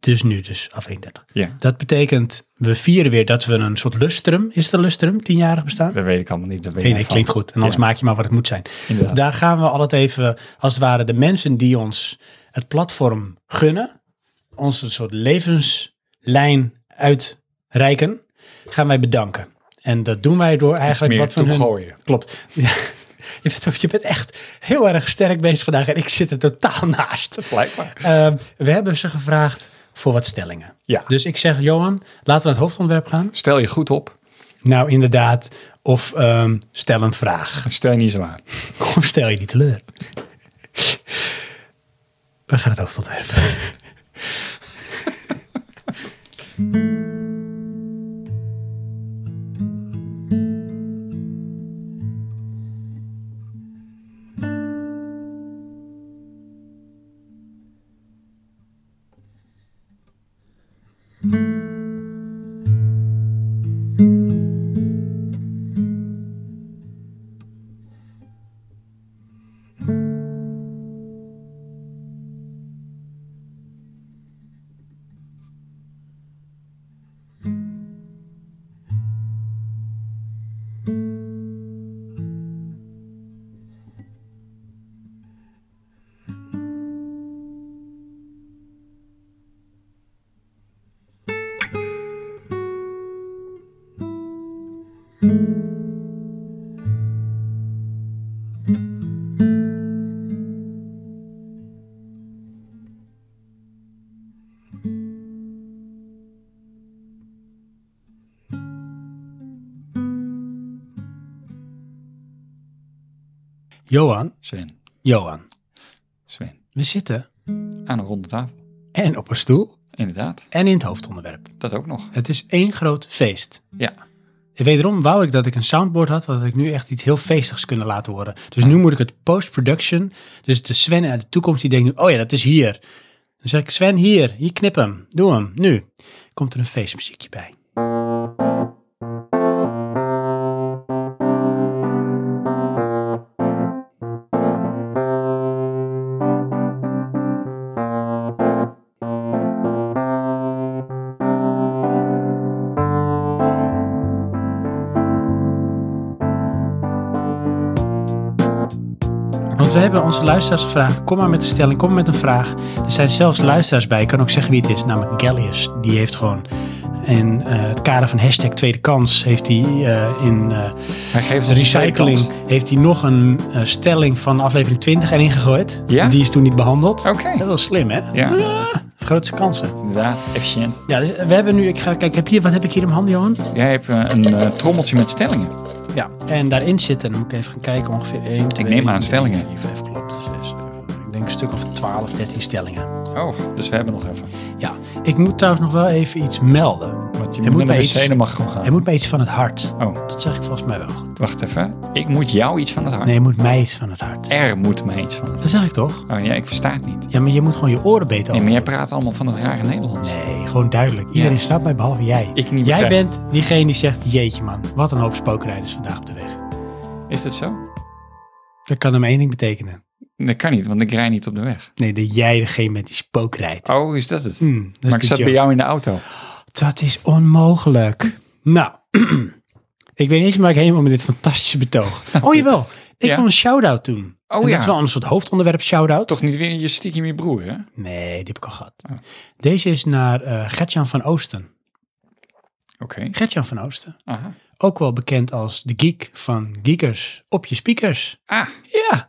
[SPEAKER 1] Dus nu dus, aflevering 30.
[SPEAKER 2] Ja.
[SPEAKER 1] Dat betekent, we vieren weer dat we een soort lustrum, is het een lustrum, tienjarig bestaan?
[SPEAKER 2] Dat weet ik allemaal niet. Dat weet
[SPEAKER 1] Nee,
[SPEAKER 2] jij
[SPEAKER 1] nee,
[SPEAKER 2] van.
[SPEAKER 1] klinkt goed. En anders
[SPEAKER 2] Ja.
[SPEAKER 1] maak je maar wat het moet zijn.
[SPEAKER 2] Inderdaad.
[SPEAKER 1] Daar gaan we altijd even, als het ware, de mensen die ons het platform gunnen, ons een soort levenslijn uitreiken, gaan wij bedanken. En dat doen wij door eigenlijk
[SPEAKER 2] meer
[SPEAKER 1] wat van hun...
[SPEAKER 2] toegooien.
[SPEAKER 1] Klopt. Ja. Je bent, ook- je bent echt heel erg sterk bezig vandaag en ik zit er totaal naast.
[SPEAKER 2] Blijkbaar.
[SPEAKER 1] Ehm, we hebben ze gevraagd voor wat stellingen.
[SPEAKER 2] Ja.
[SPEAKER 1] Dus ik zeg, Johan, laten we naar het hoofdontwerp gaan.
[SPEAKER 2] Stel je goed op.
[SPEAKER 1] Nou, inderdaad. Of ehm, stel een vraag.
[SPEAKER 2] Stel je niet zo aan.
[SPEAKER 1] Of stel je niet teleur. We gaan het hoofdontwerp. Johan,
[SPEAKER 2] Sven.
[SPEAKER 1] Johan.
[SPEAKER 2] Sven.
[SPEAKER 1] We zitten
[SPEAKER 2] Aan een ronde tafel.
[SPEAKER 1] en op een stoel
[SPEAKER 2] Inderdaad.
[SPEAKER 1] en in het hoofdonderwerp.
[SPEAKER 2] Dat ook nog.
[SPEAKER 1] Het is één groot feest.
[SPEAKER 2] Ja.
[SPEAKER 1] En wederom wou ik dat ik een soundboard had, want ik nu echt iets heel feestigs kunnen laten horen. Dus nu moet ik het post-production, dus de Sven uit de toekomst, die denkt nu, oh ja, dat is hier. Dan zeg ik, Sven, hier, hier knip hem, doe hem, nu. Komt er een feestmuziekje bij. Want we hebben onze luisteraars gevraagd, kom maar met een stelling, kom maar met een vraag. Er zijn zelfs luisteraars bij, ik kan ook zeggen wie het is, namelijk Gallius. Die heeft gewoon in eh, het kader van hashtag Tweede Kans, heeft hij eh, in... eh,
[SPEAKER 2] Hij geeft
[SPEAKER 1] De
[SPEAKER 2] ons een tweede
[SPEAKER 1] recycling
[SPEAKER 2] kans.
[SPEAKER 1] heeft hij nog een eh, stelling van aflevering 20 erin gegooid.
[SPEAKER 2] Ja?
[SPEAKER 1] Die is toen niet behandeld.
[SPEAKER 2] Oké.
[SPEAKER 1] Dat is wel slim, hè? Ah,
[SPEAKER 2] Ja,
[SPEAKER 1] Grootste kansen.
[SPEAKER 2] inderdaad. Efficiënt.
[SPEAKER 1] Ja, dus we hebben nu... Ik ga kijken, heb hier, wat heb ik hier in mijn handen, Johan?
[SPEAKER 2] Jij hebt eh, een eh, trommeltje met stellingen.
[SPEAKER 1] Ja. En daarin zitten, dan moet ik even gaan kijken, ongeveer 1, 2,
[SPEAKER 2] neem aan stellingen.
[SPEAKER 1] 4, 5, klopt. 6, ik denk een stuk of 12, 13 stellingen.
[SPEAKER 2] Oh, dus we hebben nog even.
[SPEAKER 1] Ja. Ik moet trouwens nog wel even iets melden.
[SPEAKER 2] Want je
[SPEAKER 1] Hij
[SPEAKER 2] moet
[SPEAKER 1] moet
[SPEAKER 2] naar de
[SPEAKER 1] bij
[SPEAKER 2] wc,
[SPEAKER 1] iets-
[SPEAKER 2] dan mag je gewoon gaan.
[SPEAKER 1] Hij moet mij iets van het hart.
[SPEAKER 2] Oh,
[SPEAKER 1] Dat zeg ik volgens mij wel goed.
[SPEAKER 2] wacht even. Ik moet jou iets van het hart.
[SPEAKER 1] Nee, hij moet mij iets van het hart.
[SPEAKER 2] Er moet mij iets van het hart.
[SPEAKER 1] Dat zeg ik toch?
[SPEAKER 2] Oh ja, ik versta het niet.
[SPEAKER 1] Ja, maar je moet gewoon je oren beter
[SPEAKER 2] Nee, maar jij praat allemaal van het rare Nederlands.
[SPEAKER 1] Nee, gewoon duidelijk. Iedereen
[SPEAKER 2] Ja.
[SPEAKER 1] snapt mij behalve jij.
[SPEAKER 2] Ik niet
[SPEAKER 1] jij
[SPEAKER 2] begrijp.
[SPEAKER 1] bent diegene die zegt: Jeetje, man, wat een hoop spookrijders vandaag op de weg.
[SPEAKER 2] Is dat zo?
[SPEAKER 1] Dat kan hem één ding betekenen.
[SPEAKER 2] Dat kan niet, want ik rij niet op de weg.
[SPEAKER 1] Nee, dat jij degene bent die spook rijdt.
[SPEAKER 2] Oh, is dat het?
[SPEAKER 1] Mm, dat is
[SPEAKER 2] maar ik
[SPEAKER 1] de
[SPEAKER 2] zat bij
[SPEAKER 1] joke.
[SPEAKER 2] jou in de auto.
[SPEAKER 1] Dat is onmogelijk. Nou, ik weet niet eens meer waar ik heen moet met dit fantastische betoog. Oh jawel, ik
[SPEAKER 2] Ja.
[SPEAKER 1] wil een shout-out doen.
[SPEAKER 2] Oh
[SPEAKER 1] En
[SPEAKER 2] ja.
[SPEAKER 1] Dat is wel een soort hoofdonderwerp shout-out.
[SPEAKER 2] Toch niet weer je stiekem je broer, hè?
[SPEAKER 1] Nee, die heb ik al gehad.
[SPEAKER 2] Oh.
[SPEAKER 1] Deze is naar eh Gertjan van Oosten.
[SPEAKER 2] Oké.
[SPEAKER 1] Gertjan van Oosten.
[SPEAKER 2] Aha.
[SPEAKER 1] Ook wel bekend als de geek van geekers op je speakers.
[SPEAKER 2] Ah,
[SPEAKER 1] Ja, die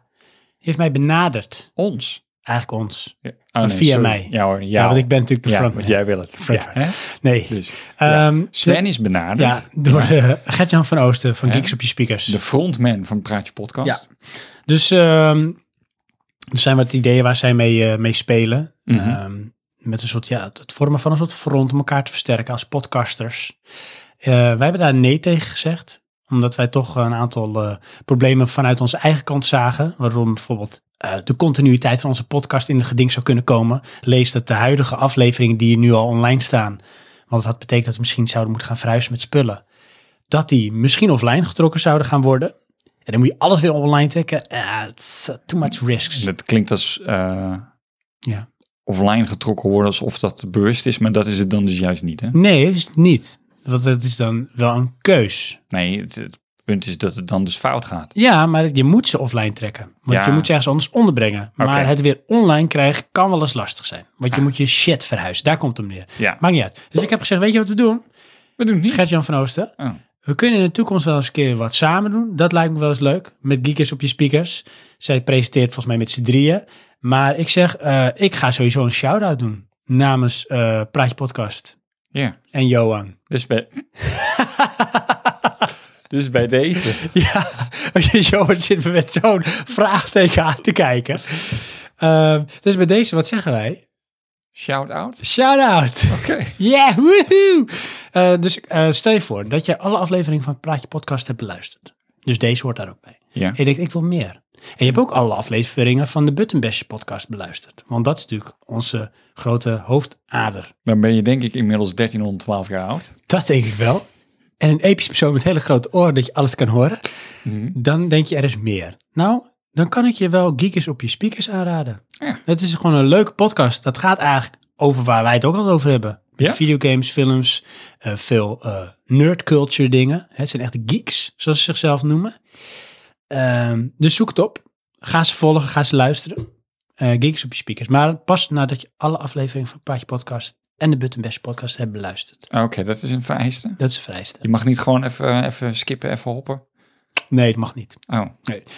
[SPEAKER 1] heeft mij benaderd.
[SPEAKER 2] ons.
[SPEAKER 1] Eigenlijk ons.
[SPEAKER 2] Ja. Ah,
[SPEAKER 1] Via
[SPEAKER 2] sorry.
[SPEAKER 1] mij.
[SPEAKER 2] Ja hoor, jou.
[SPEAKER 1] Ja, want ik ben natuurlijk de
[SPEAKER 2] Ja,
[SPEAKER 1] front.
[SPEAKER 2] want jij wil het.
[SPEAKER 1] Front-
[SPEAKER 2] Ja, hè?
[SPEAKER 1] Nee.
[SPEAKER 2] Dus, ja.
[SPEAKER 1] Ehm,
[SPEAKER 2] Sven is benaderd.
[SPEAKER 1] ja, door eh, Gert-Jan van Oosten van
[SPEAKER 2] Ja.
[SPEAKER 1] Geeks op je Speakers.
[SPEAKER 2] De frontman van Praatje Podcast.
[SPEAKER 1] Ja. Dus ehm, er zijn wat ideeën waar zij mee, eh, mee spelen.
[SPEAKER 2] Mhm.
[SPEAKER 1] Ehm, met een soort, ja, het- het vormen van een soort front om elkaar te versterken als podcasters. Eh, wij hebben daar nee tegen gezegd. Omdat wij toch een aantal eh, problemen vanuit onze eigen kant zagen. Waarom bijvoorbeeld eh, de continuïteit van onze podcast in het geding zou kunnen komen. Lees dat de huidige afleveringen die nu al online staan. Want dat had betekend dat we misschien zouden moeten gaan verhuizen met spullen. Dat die misschien offline getrokken zouden gaan worden. En dan moet je alles weer online trekken. Ah, it's, uh, too much risks.
[SPEAKER 2] Dat klinkt als eh,
[SPEAKER 1] Ja.
[SPEAKER 2] offline getrokken worden, alsof dat bewust is, maar dat is het dan dus juist niet. Hè?
[SPEAKER 1] Nee, dat is het niet. Want het is dan wel een keus.
[SPEAKER 2] Nee, het, het punt is dat het dan dus fout gaat.
[SPEAKER 1] Ja, maar je moet ze offline trekken. Want
[SPEAKER 2] Ja.
[SPEAKER 1] je moet ze ergens anders onderbrengen. Maar
[SPEAKER 2] Oké.
[SPEAKER 1] het weer online krijgen kan wel eens lastig zijn. Want je
[SPEAKER 2] Ah.
[SPEAKER 1] moet je shit verhuizen. Daar komt hem neer.
[SPEAKER 2] Ja,
[SPEAKER 1] Maakt niet uit. Dus ik heb gezegd, weet je wat we doen?
[SPEAKER 2] we doen het niet.
[SPEAKER 1] Gert-Jan van Oosten.
[SPEAKER 2] Oh.
[SPEAKER 1] We kunnen in de toekomst wel eens een keer wat samen doen. Dat lijkt me wel eens leuk. Met Geekers op je speakers. Zij presenteert volgens mij met z'n drieën. Maar ik zeg, eh, ik ga sowieso een shout-out doen. Namens eh Praatje Podcast
[SPEAKER 2] Ja,
[SPEAKER 1] en Johan.
[SPEAKER 2] dus bij... dus bij deze.
[SPEAKER 1] Ja, Johan zit me met zo'n vraagteken aan te kijken. Ehm, dus bij deze, wat zeggen wij?
[SPEAKER 2] Shout-out.
[SPEAKER 1] Shout-out!
[SPEAKER 2] Oké.
[SPEAKER 1] Yeah, woehoe! Eh, dus eh, stel je voor dat je alle afleveringen van Praatje Podcast hebt beluisterd. Dus deze hoort daar ook bij.
[SPEAKER 2] Ja.
[SPEAKER 1] En je denkt, ik wil meer. En je hebt ook alle afleveringen van de Buttonbash podcast beluisterd. Want dat is natuurlijk onze grote hoofdader.
[SPEAKER 2] Dan ben je denk ik inmiddels 1312 jaar oud.
[SPEAKER 1] Dat denk ik wel. En een episch persoon met hele grote oren dat je alles kan horen.
[SPEAKER 2] Mhm.
[SPEAKER 1] Dan denk je, er is meer. Nou, dan kan ik je wel Geekers op je speakers aanraden.
[SPEAKER 2] Ja.
[SPEAKER 1] Het is gewoon een leuke podcast. Dat gaat eigenlijk over waar wij het ook al over hebben. Met
[SPEAKER 2] Ja?
[SPEAKER 1] Videogames, films, eh, veel eh nerdculture dingen. Het zijn echt geeks, zoals ze zichzelf noemen. Ehm, dus zoek het op. Ga ze volgen, ga ze luisteren. Eh geeks op je speakers. Maar pas nadat je alle afleveringen van Praatje Podcast en de Buttonbash podcast hebt beluisterd.
[SPEAKER 2] Ah, Oké, dat is een vereiste.
[SPEAKER 1] Dat is het vrijste.
[SPEAKER 2] Je mag niet gewoon even, even skippen, even hoppen.
[SPEAKER 1] Nee, het mag niet.
[SPEAKER 2] Oh,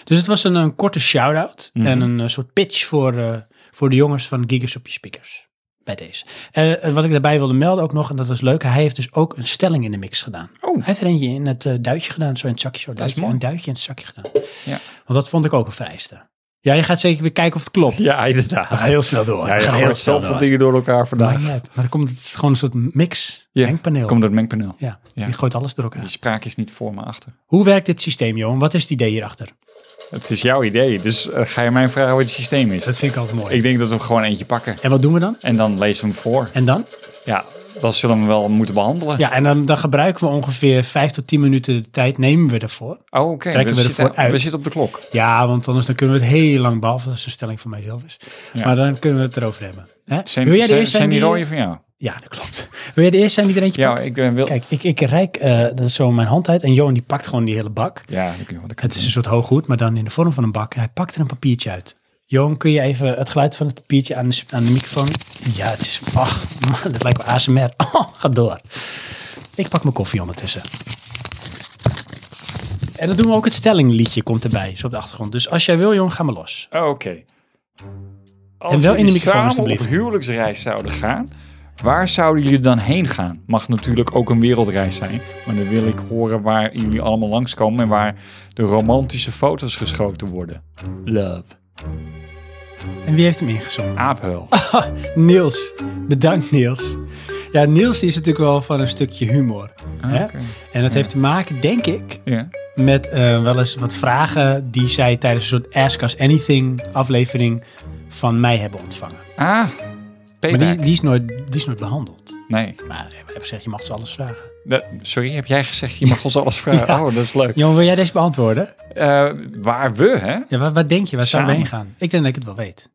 [SPEAKER 1] Dus het was een, een korte shout-out
[SPEAKER 2] Mhm.
[SPEAKER 1] en een eh, soort pitch voor, eh, voor de jongens van Gigas op je speakers. Bij deze. En eh, wat ik daarbij wilde melden ook nog, en dat was leuk, hij heeft dus ook een stelling in de mix gedaan.
[SPEAKER 2] Oh.
[SPEAKER 1] Hij heeft er eentje in het eh, duitje gedaan, zo in het zakje, zo duitje,
[SPEAKER 2] mooi.
[SPEAKER 1] een duitje in het zakje gedaan.
[SPEAKER 2] Ja.
[SPEAKER 1] Want dat vond ik ook een vereiste. Ja, je gaat zeker weer kijken of het klopt.
[SPEAKER 2] Ah, Ja, inderdaad.
[SPEAKER 1] We gaan heel snel door.
[SPEAKER 2] Ja,
[SPEAKER 1] We
[SPEAKER 2] je
[SPEAKER 1] gaan heel
[SPEAKER 2] hoort
[SPEAKER 1] snel
[SPEAKER 2] zoveel
[SPEAKER 1] door.
[SPEAKER 2] dingen door elkaar
[SPEAKER 1] Maakt
[SPEAKER 2] vandaag.
[SPEAKER 1] niet uit. Maar dan komt het gewoon een soort mix,
[SPEAKER 2] Ja,
[SPEAKER 1] mengpaneel.
[SPEAKER 2] Komt door het mengpaneel.
[SPEAKER 1] ja,
[SPEAKER 2] Ja.
[SPEAKER 1] die gooit alles door
[SPEAKER 2] Die
[SPEAKER 1] elkaar.
[SPEAKER 2] spraak is niet voor, maar achter.
[SPEAKER 1] Hoe werkt dit systeem, Johan? Wat is het idee hierachter?
[SPEAKER 2] Het is jouw idee, dus eh, ga je mij vragen wat het systeem is.
[SPEAKER 1] Dat vind ik altijd mooi.
[SPEAKER 2] Ik denk dat we gewoon eentje pakken
[SPEAKER 1] En wat doen we dan?
[SPEAKER 2] en dan lezen we hem voor.
[SPEAKER 1] En dan?
[SPEAKER 2] Ja, dat zullen we wel moeten behandelen.
[SPEAKER 1] Ja, en dan, dan gebruiken we ongeveer 5 tot 10 minuten de tijd, nemen we ervoor.
[SPEAKER 2] Oh, oké.
[SPEAKER 1] Trekken we
[SPEAKER 2] zitten,
[SPEAKER 1] ervoor uit.
[SPEAKER 2] we zitten op de klok.
[SPEAKER 1] Ja, want anders dan kunnen we het heel lang, behalve als het een stelling van mijzelf is.
[SPEAKER 2] Ja.
[SPEAKER 1] Maar dan kunnen we het erover hebben. Hè?
[SPEAKER 2] Zijn,
[SPEAKER 1] Wil jij de
[SPEAKER 2] zijn,
[SPEAKER 1] eerste zijn
[SPEAKER 2] zijn die
[SPEAKER 1] die-
[SPEAKER 2] rooien van jou?
[SPEAKER 1] Ja, dat klopt. Wil jij de eerste zijn die er eentje
[SPEAKER 2] Ja,
[SPEAKER 1] pakt?
[SPEAKER 2] ik eh, wil...
[SPEAKER 1] Kijk, ik, ik reik eh, dat is zo mijn hand uit en Johan die pakt gewoon die hele bak.
[SPEAKER 2] Ja, dat kun je wel. dat kan
[SPEAKER 1] Het is een soort hooghoed, maar dan in de vorm van een bak. En hij pakt er een papiertje uit. Johan, kun je even het geluid van het papiertje aan de, aan de microfoon... Ja, het is... Ach, man, dat lijkt wel ASMR. Oh, ga door. Ik pak mijn koffie ondertussen. En dan doen we ook het stellingliedje, komt erbij, zo op de achtergrond. Dus als jij wil, Johan, ga maar los.
[SPEAKER 2] Ah, Oké. Als
[SPEAKER 1] En wel in de
[SPEAKER 2] jullie
[SPEAKER 1] microfoon,
[SPEAKER 2] samen
[SPEAKER 1] alstublieft.
[SPEAKER 2] op huwelijksreis zouden gaan, waar zouden jullie dan heen gaan? Mag natuurlijk ook een wereldreis zijn, maar dan wil ik horen waar jullie allemaal langskomen en waar de romantische foto's geschoten worden. Love.
[SPEAKER 1] En wie heeft hem ingezongen?
[SPEAKER 2] Aaphuil.
[SPEAKER 1] Ah. Niels. Bedankt, Niels. Ja, Niels die is natuurlijk wel van een stukje humor. hè?
[SPEAKER 2] Oké.
[SPEAKER 1] En dat heeft te maken, denk ik,
[SPEAKER 2] Ja.
[SPEAKER 1] met eh, wel eens wat vragen die zij tijdens een soort Ask Us Anything aflevering van mij hebben ontvangen.
[SPEAKER 2] Ah,
[SPEAKER 1] Maar die,
[SPEAKER 2] payback.
[SPEAKER 1] die, is nooit, die is nooit behandeld.
[SPEAKER 2] Nee.
[SPEAKER 1] Maar eh, we hebben gezegd, je mag ze alles vragen.
[SPEAKER 2] Dat- sorry, heb jij gezegd, je mag ons alles vragen?
[SPEAKER 1] Ja.
[SPEAKER 2] Oh, dat is leuk.
[SPEAKER 1] Jongen, wil jij deze beantwoorden?
[SPEAKER 2] Eh, waar we, hè?
[SPEAKER 1] Ja, waar, waar denk je? Waar zouden we heen
[SPEAKER 2] Samen.
[SPEAKER 1] gaan? Ik denk dat ik het wel weet.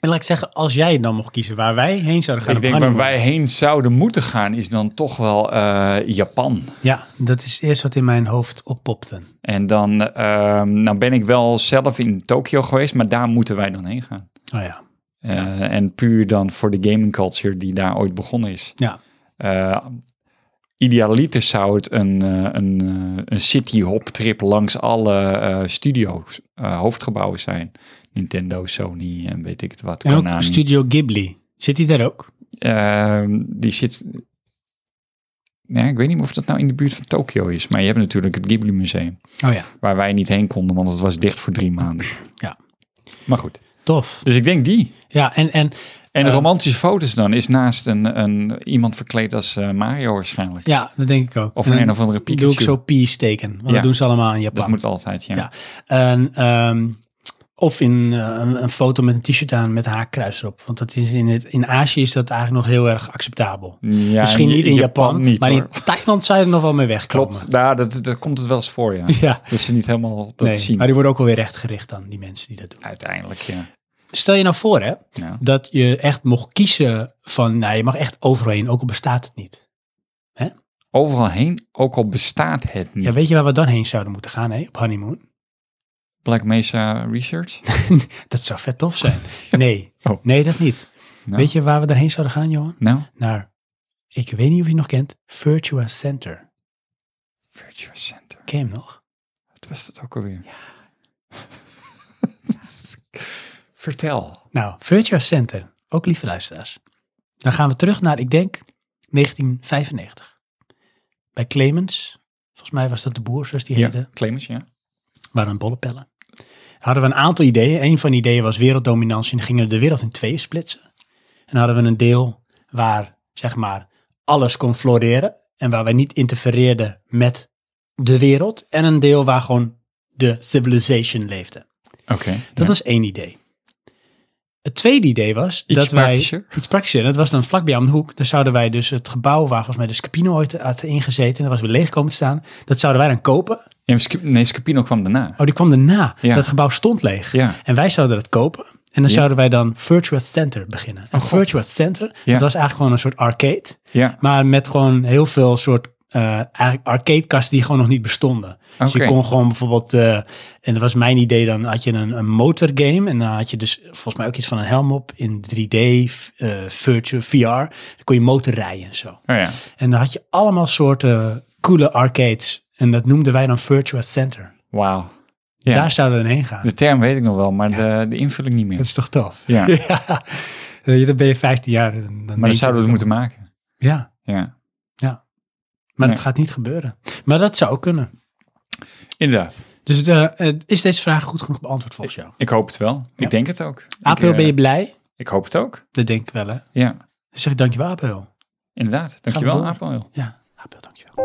[SPEAKER 1] En laat ik zeggen, als jij dan mocht kiezen waar wij heen zouden gaan.
[SPEAKER 2] Ik
[SPEAKER 1] op
[SPEAKER 2] denk waar
[SPEAKER 1] honeymoon.
[SPEAKER 2] wij heen zouden moeten gaan is dan toch wel eh, Japan.
[SPEAKER 1] Ja, dat is eerst wat in mijn hoofd oppopte.
[SPEAKER 2] En dan ehm, nou ben ik wel zelf in Tokio geweest, maar daar moeten wij dan heen gaan.
[SPEAKER 1] Oh ja.
[SPEAKER 2] Eh, En puur dan voor de gaming culture die daar ooit begonnen is.
[SPEAKER 1] Ja.
[SPEAKER 2] Eh, idealiter zou het een, eh, een, eh, een city hop trip langs alle eh, studio's, eh, hoofdgebouwen zijn. Nintendo, Sony en weet ik het wat.
[SPEAKER 1] En ook
[SPEAKER 2] Konami.
[SPEAKER 1] Studio Ghibli. Zit die daar ook?
[SPEAKER 2] Ehm, die zit... Ja, ik weet niet of dat nou in de buurt van Tokio is. Maar je hebt natuurlijk het Ghibli Museum.
[SPEAKER 1] Oh ja,
[SPEAKER 2] Waar wij niet heen konden, want het was dicht voor drie maanden.
[SPEAKER 1] Ja.
[SPEAKER 2] Maar goed.
[SPEAKER 1] tof.
[SPEAKER 2] Dus ik denk die.
[SPEAKER 1] Ja, en, en,
[SPEAKER 2] En de
[SPEAKER 1] Eh.
[SPEAKER 2] romantische foto's dan is naast een, een, iemand verkleed als eh, Mario waarschijnlijk.
[SPEAKER 1] ja dat denk ik ook.
[SPEAKER 2] Of
[SPEAKER 1] En
[SPEAKER 2] een
[SPEAKER 1] dan
[SPEAKER 2] een of andere Pikachu.
[SPEAKER 1] Hmm. Doe ik zo peace teken. Want
[SPEAKER 2] Ja.
[SPEAKER 1] dat doen ze allemaal in Japan.
[SPEAKER 2] Dat moet altijd, ja.
[SPEAKER 1] Ja. En, ehm, of in eh, een, een foto met een t-shirt aan met haar kruis erop. Want dat is in, het, in Azië is dat eigenlijk nog heel erg acceptabel.
[SPEAKER 2] Ja,
[SPEAKER 1] Misschien niet in Japan,
[SPEAKER 2] niet,
[SPEAKER 1] maar
[SPEAKER 2] hoor.
[SPEAKER 1] in Thailand zou je er nog wel mee wegkomen.
[SPEAKER 2] Klopt, nou, dat, dat komt het wel eens voor, ja.
[SPEAKER 1] Ja,
[SPEAKER 2] Dat ze niet helemaal dat
[SPEAKER 1] nee,
[SPEAKER 2] zien.
[SPEAKER 1] maar die worden ook alweer rechtgericht dan, die mensen die dat doen.
[SPEAKER 2] Uiteindelijk, ja.
[SPEAKER 1] Stel je nou voor hè,
[SPEAKER 2] Ja.
[SPEAKER 1] dat je echt mocht kiezen van, nou je mag echt overal heen, ook al bestaat het niet.
[SPEAKER 2] Overal heen, ook al bestaat het niet.
[SPEAKER 1] Ja, weet je waar we dan heen zouden moeten gaan hè, op honeymoon?
[SPEAKER 2] Black Mesa Research?
[SPEAKER 1] Dat zou vet tof zijn. Nee,
[SPEAKER 2] Oh.
[SPEAKER 1] nee dat niet.
[SPEAKER 2] Nou.
[SPEAKER 1] Weet je waar we daarheen zouden gaan Johan?
[SPEAKER 2] Nou,
[SPEAKER 1] Naar, ik weet niet of je het nog kent, Virtua Center.
[SPEAKER 2] Virtua Center.
[SPEAKER 1] Ken je hem nog?
[SPEAKER 2] Wat was dat ook alweer? Vertel.
[SPEAKER 1] Nou, Virtua Center, ook lieve luisteraars. Dan gaan we terug naar, ik denk, 1995. Bij Clemens, volgens mij was dat de boer, zoals die heette,
[SPEAKER 2] Ja, Clemens, ja.
[SPEAKER 1] waren een bollepellen. Hadden we een aantal ideeën. Een van de ideeën was werelddominantie en dan gingen we de wereld in tweeën splitsen. En hadden we een deel waar, zeg maar, alles kon floreren en waar wij niet interfereerden met de wereld. En een deel waar gewoon de civilization leefde.
[SPEAKER 2] Oké.
[SPEAKER 1] Dat
[SPEAKER 2] ja.
[SPEAKER 1] was één idee. Het tweede idee was
[SPEAKER 2] Iets
[SPEAKER 1] dat wij
[SPEAKER 2] praktischer.
[SPEAKER 1] iets praktischer. En dat was dan vlakbij aan de hoek. Dan zouden wij dus het gebouw waar volgens mij de Scapino ooit had ingezeten en dat was weer leeg komen te staan. Dat zouden wij dan kopen.
[SPEAKER 2] Ja, maar Sc- nee, Scapino kwam daarna.
[SPEAKER 1] Oh, die kwam daarna.
[SPEAKER 2] Ja.
[SPEAKER 1] Dat gebouw stond leeg.
[SPEAKER 2] Ja.
[SPEAKER 1] En wij zouden dat kopen. En dan
[SPEAKER 2] Ja. Oh,
[SPEAKER 1] zouden wij dan Virtua Center beginnen. En
[SPEAKER 2] God.
[SPEAKER 1] Virtua Center,
[SPEAKER 2] Ja.
[SPEAKER 1] dat was eigenlijk gewoon een soort arcade.
[SPEAKER 2] Ja.
[SPEAKER 1] Maar met gewoon heel veel soort eh, eigenlijk arcadekasten die gewoon nog niet bestonden. Dus je
[SPEAKER 2] Oké.
[SPEAKER 1] kon gewoon bijvoorbeeld, eh, en dat was mijn idee, dan had je een, een motorgame. En dan had je dus volgens mij ook iets van een helm op in 3D, eh virtual VR. Dan kon je motorrijden en zo.
[SPEAKER 2] Oh ja.
[SPEAKER 1] En dan had je allemaal soorten coole arcades. En dat noemden wij dan Virtua Center.
[SPEAKER 2] Wauw. Ja.
[SPEAKER 1] Daar zouden we dan heen gaan.
[SPEAKER 2] De term weet ik nog wel, maar de, de invulling niet
[SPEAKER 1] Dat
[SPEAKER 2] meer.
[SPEAKER 1] is toch tof?
[SPEAKER 2] Ja.
[SPEAKER 1] Ja. Eh, Dan ben je 15 jaar. Dan dan
[SPEAKER 2] Maar
[SPEAKER 1] weet
[SPEAKER 2] dan
[SPEAKER 1] je
[SPEAKER 2] zouden we het moeten maken.
[SPEAKER 1] Ja, maar
[SPEAKER 2] Ja.
[SPEAKER 1] dat
[SPEAKER 2] Nee.
[SPEAKER 1] gaat niet gebeuren. Maar dat zou ook kunnen.
[SPEAKER 2] Inderdaad.
[SPEAKER 1] Dus eh, eh, is deze vraag goed genoeg beantwoord volgens jou?
[SPEAKER 2] Ik hoop het wel.
[SPEAKER 1] Ja.
[SPEAKER 2] Ik denk het ook.
[SPEAKER 1] Apel,
[SPEAKER 2] ik, eh,
[SPEAKER 1] ben je blij?
[SPEAKER 2] ik hoop het ook.
[SPEAKER 1] Dat denk ik wel, hè? Dan
[SPEAKER 2] Ja.
[SPEAKER 1] zeg ik dankjewel, Apel.
[SPEAKER 2] Inderdaad.
[SPEAKER 1] Gaan
[SPEAKER 2] Dankjewel,
[SPEAKER 1] we door.
[SPEAKER 2] Apel.
[SPEAKER 1] Ja, Apel, dankjewel.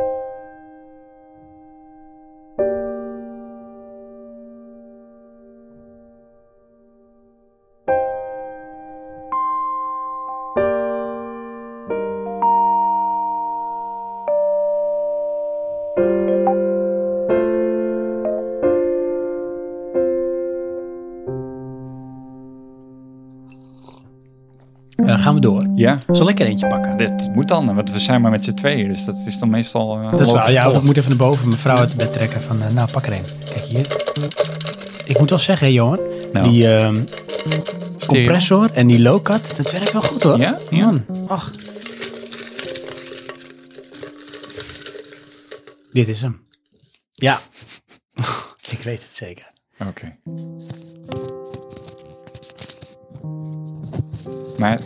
[SPEAKER 1] Eh, gaan we door.
[SPEAKER 2] Ja.
[SPEAKER 1] Zal ik er eentje pakken?
[SPEAKER 2] Dit moet dan, want we zijn maar met z'n tweeën, dus dat is dan meestal... eh,
[SPEAKER 1] Dat is waar.
[SPEAKER 2] logisch
[SPEAKER 1] Ja, of ik
[SPEAKER 2] volg.
[SPEAKER 1] moet even naar boven mijn vrouw uit het bed trekken. Van, eh, nou, pak er een. Kijk hier. Ik moet wel zeggen, hè, Johan.
[SPEAKER 2] Nou.
[SPEAKER 1] Die ehm, compressor en die low-cut, dat werkt wel goed, hoor.
[SPEAKER 2] Ja? Ja.
[SPEAKER 1] Man, ach. Dit is hem. Ja. ik weet het zeker.
[SPEAKER 2] Oké. Maar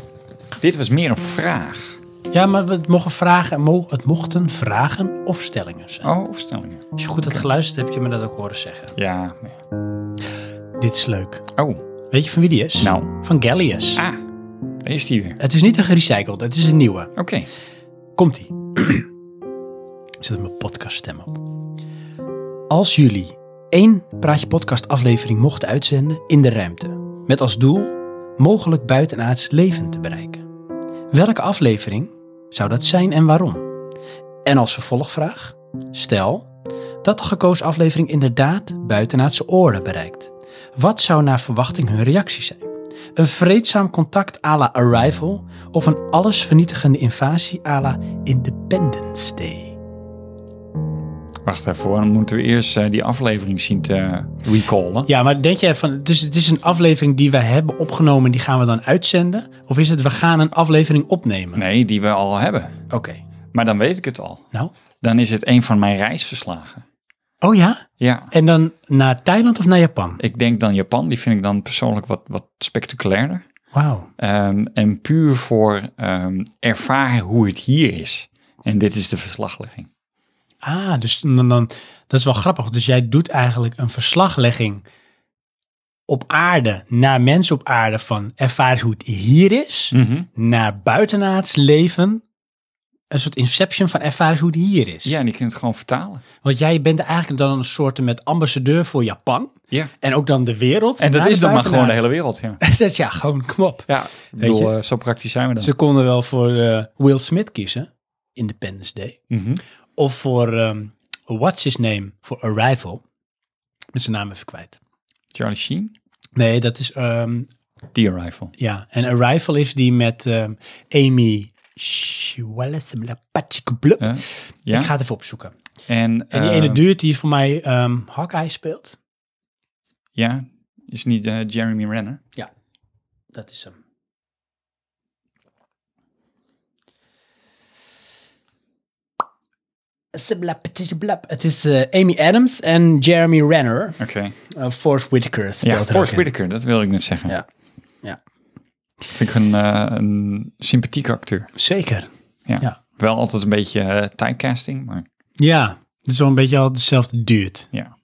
[SPEAKER 2] dit was meer een vraag.
[SPEAKER 1] Ja, maar het mochten vragen, mo- het mochten vragen of stellingen zijn.
[SPEAKER 2] Oh, of stellingen.
[SPEAKER 1] Als je goed had geluisterd, heb je me dat ook horen zeggen.
[SPEAKER 2] Ja.
[SPEAKER 1] Dit is leuk.
[SPEAKER 2] Oh,
[SPEAKER 1] Weet je van wie die is?
[SPEAKER 2] nou.
[SPEAKER 1] Van Gallius.
[SPEAKER 2] Ah, daar is die weer.
[SPEAKER 1] Het is niet een gerecycled, het is een nieuwe.
[SPEAKER 2] Oké.
[SPEAKER 1] Komt-ie. Ik zet mijn podcaststem op. Als jullie één Praatje Podcast aflevering mochten uitzenden in de ruimte, met als doel mogelijk buitenaards leven te bereiken. Welke aflevering zou dat zijn en waarom? En als vervolgvraag, stel dat de gekozen aflevering inderdaad buitenaardse oren bereikt. Wat zou naar verwachting hun reactie zijn? Een vreedzaam contact à la Arrival of een allesvernietigende invasie à la Independence Day?
[SPEAKER 2] Wacht even hoor, dan moeten we eerst eh, die aflevering zien te recallen.
[SPEAKER 1] Ja, maar denk jij van, dus het is een aflevering die we hebben opgenomen en die gaan we dan uitzenden? Of is het, we gaan een aflevering opnemen?
[SPEAKER 2] Nee, die we al hebben.
[SPEAKER 1] Oké,
[SPEAKER 2] Maar dan weet ik het al.
[SPEAKER 1] nou,
[SPEAKER 2] Dan is het een van mijn reisverslagen.
[SPEAKER 1] Oh ja?
[SPEAKER 2] Ja,
[SPEAKER 1] En dan naar Thailand of naar Japan?
[SPEAKER 2] ik denk dan Japan. Die vind ik dan persoonlijk wat, wat spectaculairder.
[SPEAKER 1] Wauw.
[SPEAKER 2] Ehm, en puur voor ehm, ervaren hoe het hier is. En dit is de verslaglegging.
[SPEAKER 1] Ah, dus dan, dan, dat is wel grappig. Dus jij doet eigenlijk een verslaglegging op aarde, naar mensen op aarde, van ervaar hoe het hier is,
[SPEAKER 2] Mhm.
[SPEAKER 1] naar buitenaards leven. Een soort inception van ervaar hoe het hier is.
[SPEAKER 2] Ja, en die kunt het gewoon vertalen.
[SPEAKER 1] Want jij bent eigenlijk dan een soort met ambassadeur voor Japan.
[SPEAKER 2] Ja.
[SPEAKER 1] En ook dan de wereld.
[SPEAKER 2] En dat
[SPEAKER 1] naar
[SPEAKER 2] is dan maar gewoon de
[SPEAKER 1] buitenaards.
[SPEAKER 2] hele wereld. Ja,
[SPEAKER 1] dat, ja, gewoon, kom op.
[SPEAKER 2] ja ik
[SPEAKER 1] Weet
[SPEAKER 2] bedoel,
[SPEAKER 1] je?
[SPEAKER 2] eh, zo praktisch zijn we dan.
[SPEAKER 1] Ze konden wel voor eh, Will Smith kiezen, Independence Day.
[SPEAKER 2] Mhm.
[SPEAKER 1] Of voor ehm, What's His Name, voor Arrival. Met zijn naam even kwijt.
[SPEAKER 2] Charlie Sheen,
[SPEAKER 1] Nee, dat is, ehm,
[SPEAKER 2] The Arrival.
[SPEAKER 1] ja. En Arrival is die met ehm, Amy Schwallaceblapatschikeblub.
[SPEAKER 2] Eh,
[SPEAKER 1] Ik
[SPEAKER 2] ja,
[SPEAKER 1] ga het even opzoeken.
[SPEAKER 2] en,
[SPEAKER 1] En die
[SPEAKER 2] eh,
[SPEAKER 1] ene duurt die voor mij ehm Hawkeye speelt.
[SPEAKER 2] Ja, is niet eh, Jeremy Renner.
[SPEAKER 1] Dat is hem. Blap. Het is eh, Amy Adams en Jeremy Renner.
[SPEAKER 2] Oké.
[SPEAKER 1] Eh Forrest Whitaker speelt
[SPEAKER 2] Ja,
[SPEAKER 1] er
[SPEAKER 2] Forrest
[SPEAKER 1] ook in.
[SPEAKER 2] Whitaker, dat wilde ik net zeggen.
[SPEAKER 1] Ja. Ja.
[SPEAKER 2] Vind ik een, eh, een sympathieke acteur.
[SPEAKER 1] Zeker.
[SPEAKER 2] Ja.
[SPEAKER 1] Ja.
[SPEAKER 2] Wel altijd een beetje eh, typecasting, maar
[SPEAKER 1] Ja, het is wel een beetje al dezelfde duurt.
[SPEAKER 2] ja.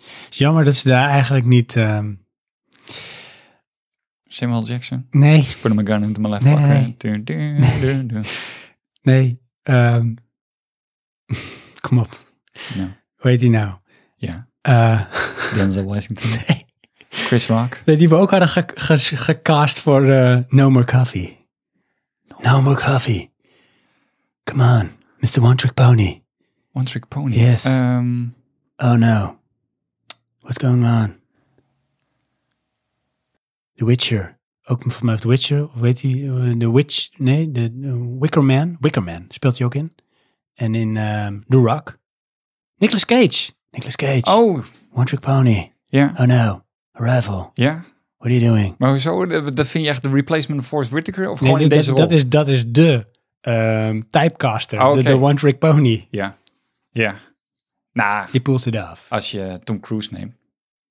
[SPEAKER 1] Het is jammer dat ze daar eigenlijk niet... ehm,
[SPEAKER 2] Samuel Jackson.
[SPEAKER 1] nee,
[SPEAKER 2] Put my gun into my left
[SPEAKER 1] Nee, nee,
[SPEAKER 2] pocket.
[SPEAKER 1] nee.
[SPEAKER 2] Dun, dun, dun, dun.
[SPEAKER 1] nee. ehm, kom op.
[SPEAKER 2] Ja.
[SPEAKER 1] Hoe heet die nou?
[SPEAKER 2] Ja,
[SPEAKER 1] Eh,
[SPEAKER 2] Denzel Washington. Chris Rock.
[SPEAKER 1] Nee, die we ook hadden ge- ge- gecast voor eh, No More Coffee. No More Coffee. Come on, Mr. One Trick Pony.
[SPEAKER 2] One Trick Pony.
[SPEAKER 1] Yes.
[SPEAKER 2] Ehm,
[SPEAKER 1] Oh no. What's going on? The Witcher. Ook voor mij heeft The Witcher, of weet hij, eh, The Witch, nee, de de Wicker Man. Wicker Man speelt hij ook in. En in ehm, The Rock. Nicolas Cage. Nicolas Cage.
[SPEAKER 2] oh,
[SPEAKER 1] One Trick Pony.
[SPEAKER 2] ja.
[SPEAKER 1] Oh no. Arrival.
[SPEAKER 2] Ja.
[SPEAKER 1] What are you doing?
[SPEAKER 2] Maar hoezo? Dat dat vind je echt de replacement van Forrest Whitaker? Of
[SPEAKER 1] Nee,
[SPEAKER 2] gewoon in
[SPEAKER 1] dat-
[SPEAKER 2] deze
[SPEAKER 1] dat,
[SPEAKER 2] rol?
[SPEAKER 1] Dat is, dat is de ehm, typecaster,
[SPEAKER 2] Oh,
[SPEAKER 1] de,
[SPEAKER 2] oké.
[SPEAKER 1] de one-trick pony.
[SPEAKER 2] Ja. Ja. Nou,
[SPEAKER 1] Die pulls it off.
[SPEAKER 2] als je Tom Cruise neemt.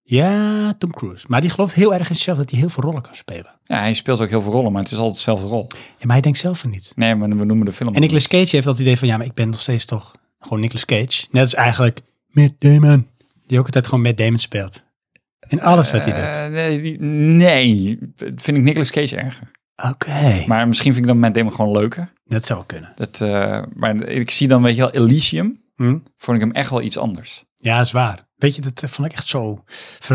[SPEAKER 1] Ja, Tom Cruise. Maar die gelooft heel erg in zichzelf dat hij heel veel rollen kan spelen.
[SPEAKER 2] Ja, hij speelt ook heel veel rollen, maar het is altijd dezelfde rol.
[SPEAKER 1] Ja, maar hij denkt zelf van niet.
[SPEAKER 2] Nee, maar we noemen de film.
[SPEAKER 1] En Nicolas Cage heeft dat idee van, ja, maar ik ben nog steeds toch gewoon Nicolas Cage. Net als eigenlijk Matt Damon. Die ook altijd gewoon Matt Damon speelt. In alles wat hij doet.
[SPEAKER 2] Eh, nee, die- nee, vind ik Nicolas Cage erger.
[SPEAKER 1] Oké,
[SPEAKER 2] Maar misschien vind ik dan met Damon gewoon leuker.
[SPEAKER 1] dat zou wel kunnen.
[SPEAKER 2] Dat, eh, maar ik zie dan, weet je wel, Elysium.
[SPEAKER 1] Hm?
[SPEAKER 2] Vond ik hem echt wel iets anders.
[SPEAKER 1] Ja, dat is waar. Weet je, dat vond ik echt zo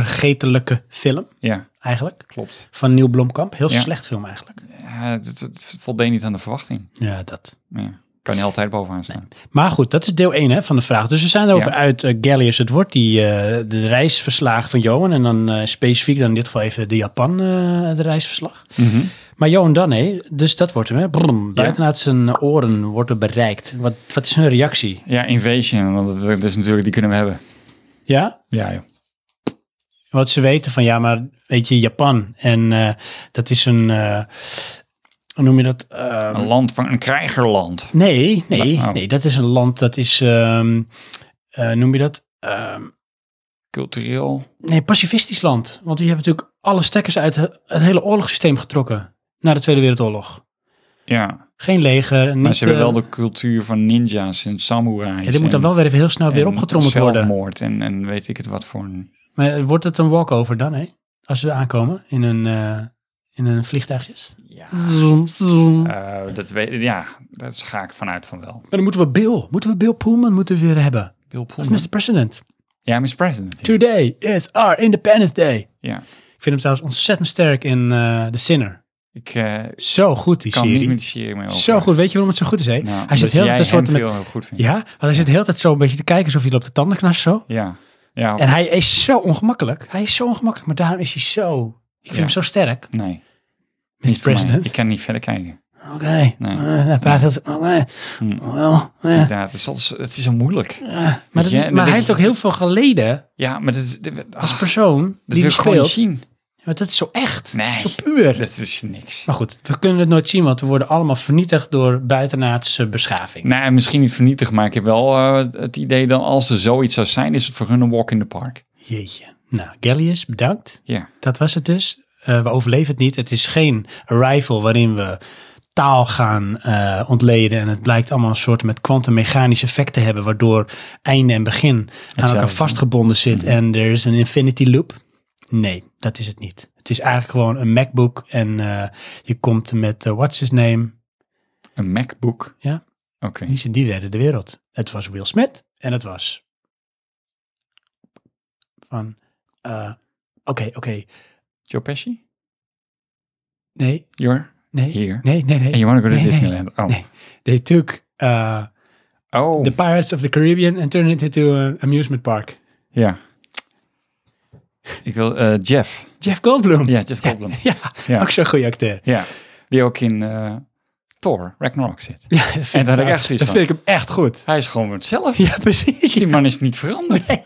[SPEAKER 1] vergetelijke film
[SPEAKER 2] Ja,
[SPEAKER 1] eigenlijk.
[SPEAKER 2] klopt.
[SPEAKER 1] Van Neil Blomkamp. Heel
[SPEAKER 2] Ja.
[SPEAKER 1] slecht film eigenlijk.
[SPEAKER 2] Ja, het, het voldeed niet aan de verwachting.
[SPEAKER 1] Ja, dat.
[SPEAKER 2] Ja, kan niet altijd bovenaan staan.
[SPEAKER 1] Maar goed, dat is deel 1 hè, van de vraag. Dus we zijn erover
[SPEAKER 2] Ja.
[SPEAKER 1] uit eh, Gallius. Het wordt die, eh, de reisverslag van Johan. En dan eh, specifiek dan in dit geval even de Japan, eh, de reisverslag.
[SPEAKER 2] Mhm.
[SPEAKER 1] Maar Johan dan, hè, dus dat wordt hem. Hè. Brum, buitenuit zijn oren wordt er bereikt. Wat, wat is hun reactie?
[SPEAKER 2] Ja, Invasion, want dat, dat is natuurlijk, die kunnen we hebben.
[SPEAKER 1] Ja?
[SPEAKER 2] Ja, joh.
[SPEAKER 1] Wat ze weten van, ja, maar weet je, Japan. En eh, dat is een, eh, hoe noem je dat? Ehm,
[SPEAKER 2] Een land van een krijgerland.
[SPEAKER 1] Nee, nee,
[SPEAKER 2] Nou, oh.
[SPEAKER 1] nee. Dat is een land, dat is, ehm, eh, noem je dat? Ehm,
[SPEAKER 2] Cultureel.
[SPEAKER 1] Nee, pacifistisch land. Want die hebben natuurlijk alle stekkers uit he- het hele oorlogssysteem getrokken. Na de Tweede Wereldoorlog.
[SPEAKER 2] Ja,
[SPEAKER 1] Geen leger. Niet,
[SPEAKER 2] maar ze hebben
[SPEAKER 1] eh,
[SPEAKER 2] wel de cultuur van ninja's en samurais.
[SPEAKER 1] ja, dit moet dan
[SPEAKER 2] en-
[SPEAKER 1] wel weer even heel snel weer
[SPEAKER 2] en
[SPEAKER 1] opgetrommeld worden.
[SPEAKER 2] zelfmoord en, en weet ik het wat voor een...
[SPEAKER 1] Maar eh, wordt het een walkover dan, hè? Als we aankomen in een, eh, in een vliegtuigjes.
[SPEAKER 2] Ja,
[SPEAKER 1] Zoom, zoom.
[SPEAKER 2] Eh, dat weet, ja, daar ga ik vanuit van wel.
[SPEAKER 1] Maar dan moeten we Bill. Moeten we Bill Pullman moeten we weer hebben.
[SPEAKER 2] Bill
[SPEAKER 1] Als
[SPEAKER 2] Pullman.
[SPEAKER 1] Mr. President.
[SPEAKER 2] Ja, Miss President. ja.
[SPEAKER 1] Today is our Independence Day.
[SPEAKER 2] Ja.
[SPEAKER 1] Ik vind hem trouwens ontzettend sterk in eh The Sinner.
[SPEAKER 2] Ik eh,
[SPEAKER 1] Zo goed, die
[SPEAKER 2] kan niet
[SPEAKER 1] serie.
[SPEAKER 2] met die serie mee over.
[SPEAKER 1] Zo goed. Weet je waarom het zo goed is, hè?
[SPEAKER 2] Nou,
[SPEAKER 1] Hij zit
[SPEAKER 2] omdat
[SPEAKER 1] heel
[SPEAKER 2] jij
[SPEAKER 1] een soort
[SPEAKER 2] hem
[SPEAKER 1] met
[SPEAKER 2] veel heel goed vindt.
[SPEAKER 1] Ja, want hij zit de hele tijd zo een beetje te kijken alsof hij loopt de tanden knarsen zo.
[SPEAKER 2] Ja. Ja, of-
[SPEAKER 1] En hij is zo ongemakkelijk. Hij is zo ongemakkelijk, maar daarom is hij zo... Ik vind
[SPEAKER 2] Ja.
[SPEAKER 1] hem zo sterk,
[SPEAKER 2] nee.
[SPEAKER 1] Mr.
[SPEAKER 2] niet voor mij.
[SPEAKER 1] President.
[SPEAKER 2] Ik kan niet verder kijken.
[SPEAKER 1] Oké. Okay.
[SPEAKER 2] Nee.
[SPEAKER 1] Eh, hij praat altijd... oké,
[SPEAKER 2] Hm.
[SPEAKER 1] wel, eh,
[SPEAKER 2] Inderdaad, het is, al- het is zo moeilijk.
[SPEAKER 1] eh. Maar, dat
[SPEAKER 2] Ja,
[SPEAKER 1] is, maar
[SPEAKER 2] en dan
[SPEAKER 1] hij
[SPEAKER 2] denk
[SPEAKER 1] heeft
[SPEAKER 2] je-
[SPEAKER 1] ook heel veel geleden
[SPEAKER 2] Ja, maar dat, is- dit- ah,
[SPEAKER 1] als persoon
[SPEAKER 2] dat
[SPEAKER 1] die
[SPEAKER 2] wil
[SPEAKER 1] hij
[SPEAKER 2] ik gewoon niet
[SPEAKER 1] speelt.
[SPEAKER 2] zien.
[SPEAKER 1] Want dat is zo echt.
[SPEAKER 2] Nee.
[SPEAKER 1] Zo puur.
[SPEAKER 2] Dat is niks.
[SPEAKER 1] Maar goed, we kunnen het nooit zien, want we worden allemaal vernietigd door buitenaardse beschaving.
[SPEAKER 2] Nou, misschien niet vernietig, maar ik heb wel eh, het idee dan als er zoiets zou zijn, is het voor hun een walk in the park.
[SPEAKER 1] Jeetje. Nou, Gallius, bedankt.
[SPEAKER 2] Ja.
[SPEAKER 1] Dat was het dus. Eh, we overleven het niet. Het is geen arrival waarin we taal gaan eh, ontleden. En het blijkt allemaal een soort met kwantummechanisch effect te hebben. Waardoor einde en begin aan elkaar
[SPEAKER 2] zijn.
[SPEAKER 1] vastgebonden zit. En er is een infinity loop. Nee, dat is het niet. Het is eigenlijk gewoon een MacBook. En eh, je komt met, eh, what's his name?
[SPEAKER 2] Een MacBook.
[SPEAKER 1] Ja.
[SPEAKER 2] Oké.
[SPEAKER 1] Die, ze- die redden de wereld. Het was Will Smith en het was. Van. eh, Oké, oké.
[SPEAKER 2] Joe Pesci?
[SPEAKER 1] Nee,
[SPEAKER 2] You're
[SPEAKER 1] nee.
[SPEAKER 2] here.
[SPEAKER 1] Nee, nee, nee.
[SPEAKER 2] And you want to go to
[SPEAKER 1] Nee, nee.
[SPEAKER 2] Disneyland? Oh.
[SPEAKER 1] Nee. They took uh,
[SPEAKER 2] Oh.
[SPEAKER 1] the Pirates of the Caribbean and turned it into an amusement park.
[SPEAKER 2] Ja. Ik wil eh, Jeff.
[SPEAKER 1] Jeff Goldblum.
[SPEAKER 2] Ja, Jeff Goldblum.
[SPEAKER 1] Ja,
[SPEAKER 2] Ja.
[SPEAKER 1] ook zo'n goede acteur.
[SPEAKER 2] ja. Die ook in eh, Thor, Ragnarok zit.
[SPEAKER 1] Ja, dat vind,
[SPEAKER 2] En daar
[SPEAKER 1] ik
[SPEAKER 2] had ik echt
[SPEAKER 1] echt
[SPEAKER 2] zoiets
[SPEAKER 1] dat
[SPEAKER 2] van.
[SPEAKER 1] vind ik hem echt goed.
[SPEAKER 2] Hij is gewoon hetzelfde.
[SPEAKER 1] Ja, precies.
[SPEAKER 2] Die man is niet veranderd.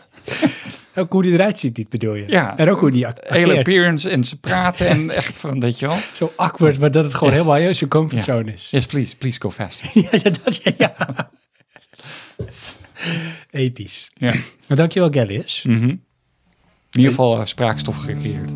[SPEAKER 1] Ook hoe hij eruit ziet, dit bedoel je.
[SPEAKER 2] Ja.
[SPEAKER 1] En ook hoe die act-
[SPEAKER 2] Hele
[SPEAKER 1] acteert.
[SPEAKER 2] appearance en ze praten en echt van, weet je wel.
[SPEAKER 1] Zo awkward, maar dat het gewoon helemaal uit zijn comfortzone is.
[SPEAKER 2] Yes, please. Please go faster.
[SPEAKER 1] Ja, ja, dat, ja, ja. Episch.
[SPEAKER 2] Ja.
[SPEAKER 1] Maar dankjewel, Gallius.
[SPEAKER 2] Mhm. In ieder geval eh, spraakstof gecreëerd.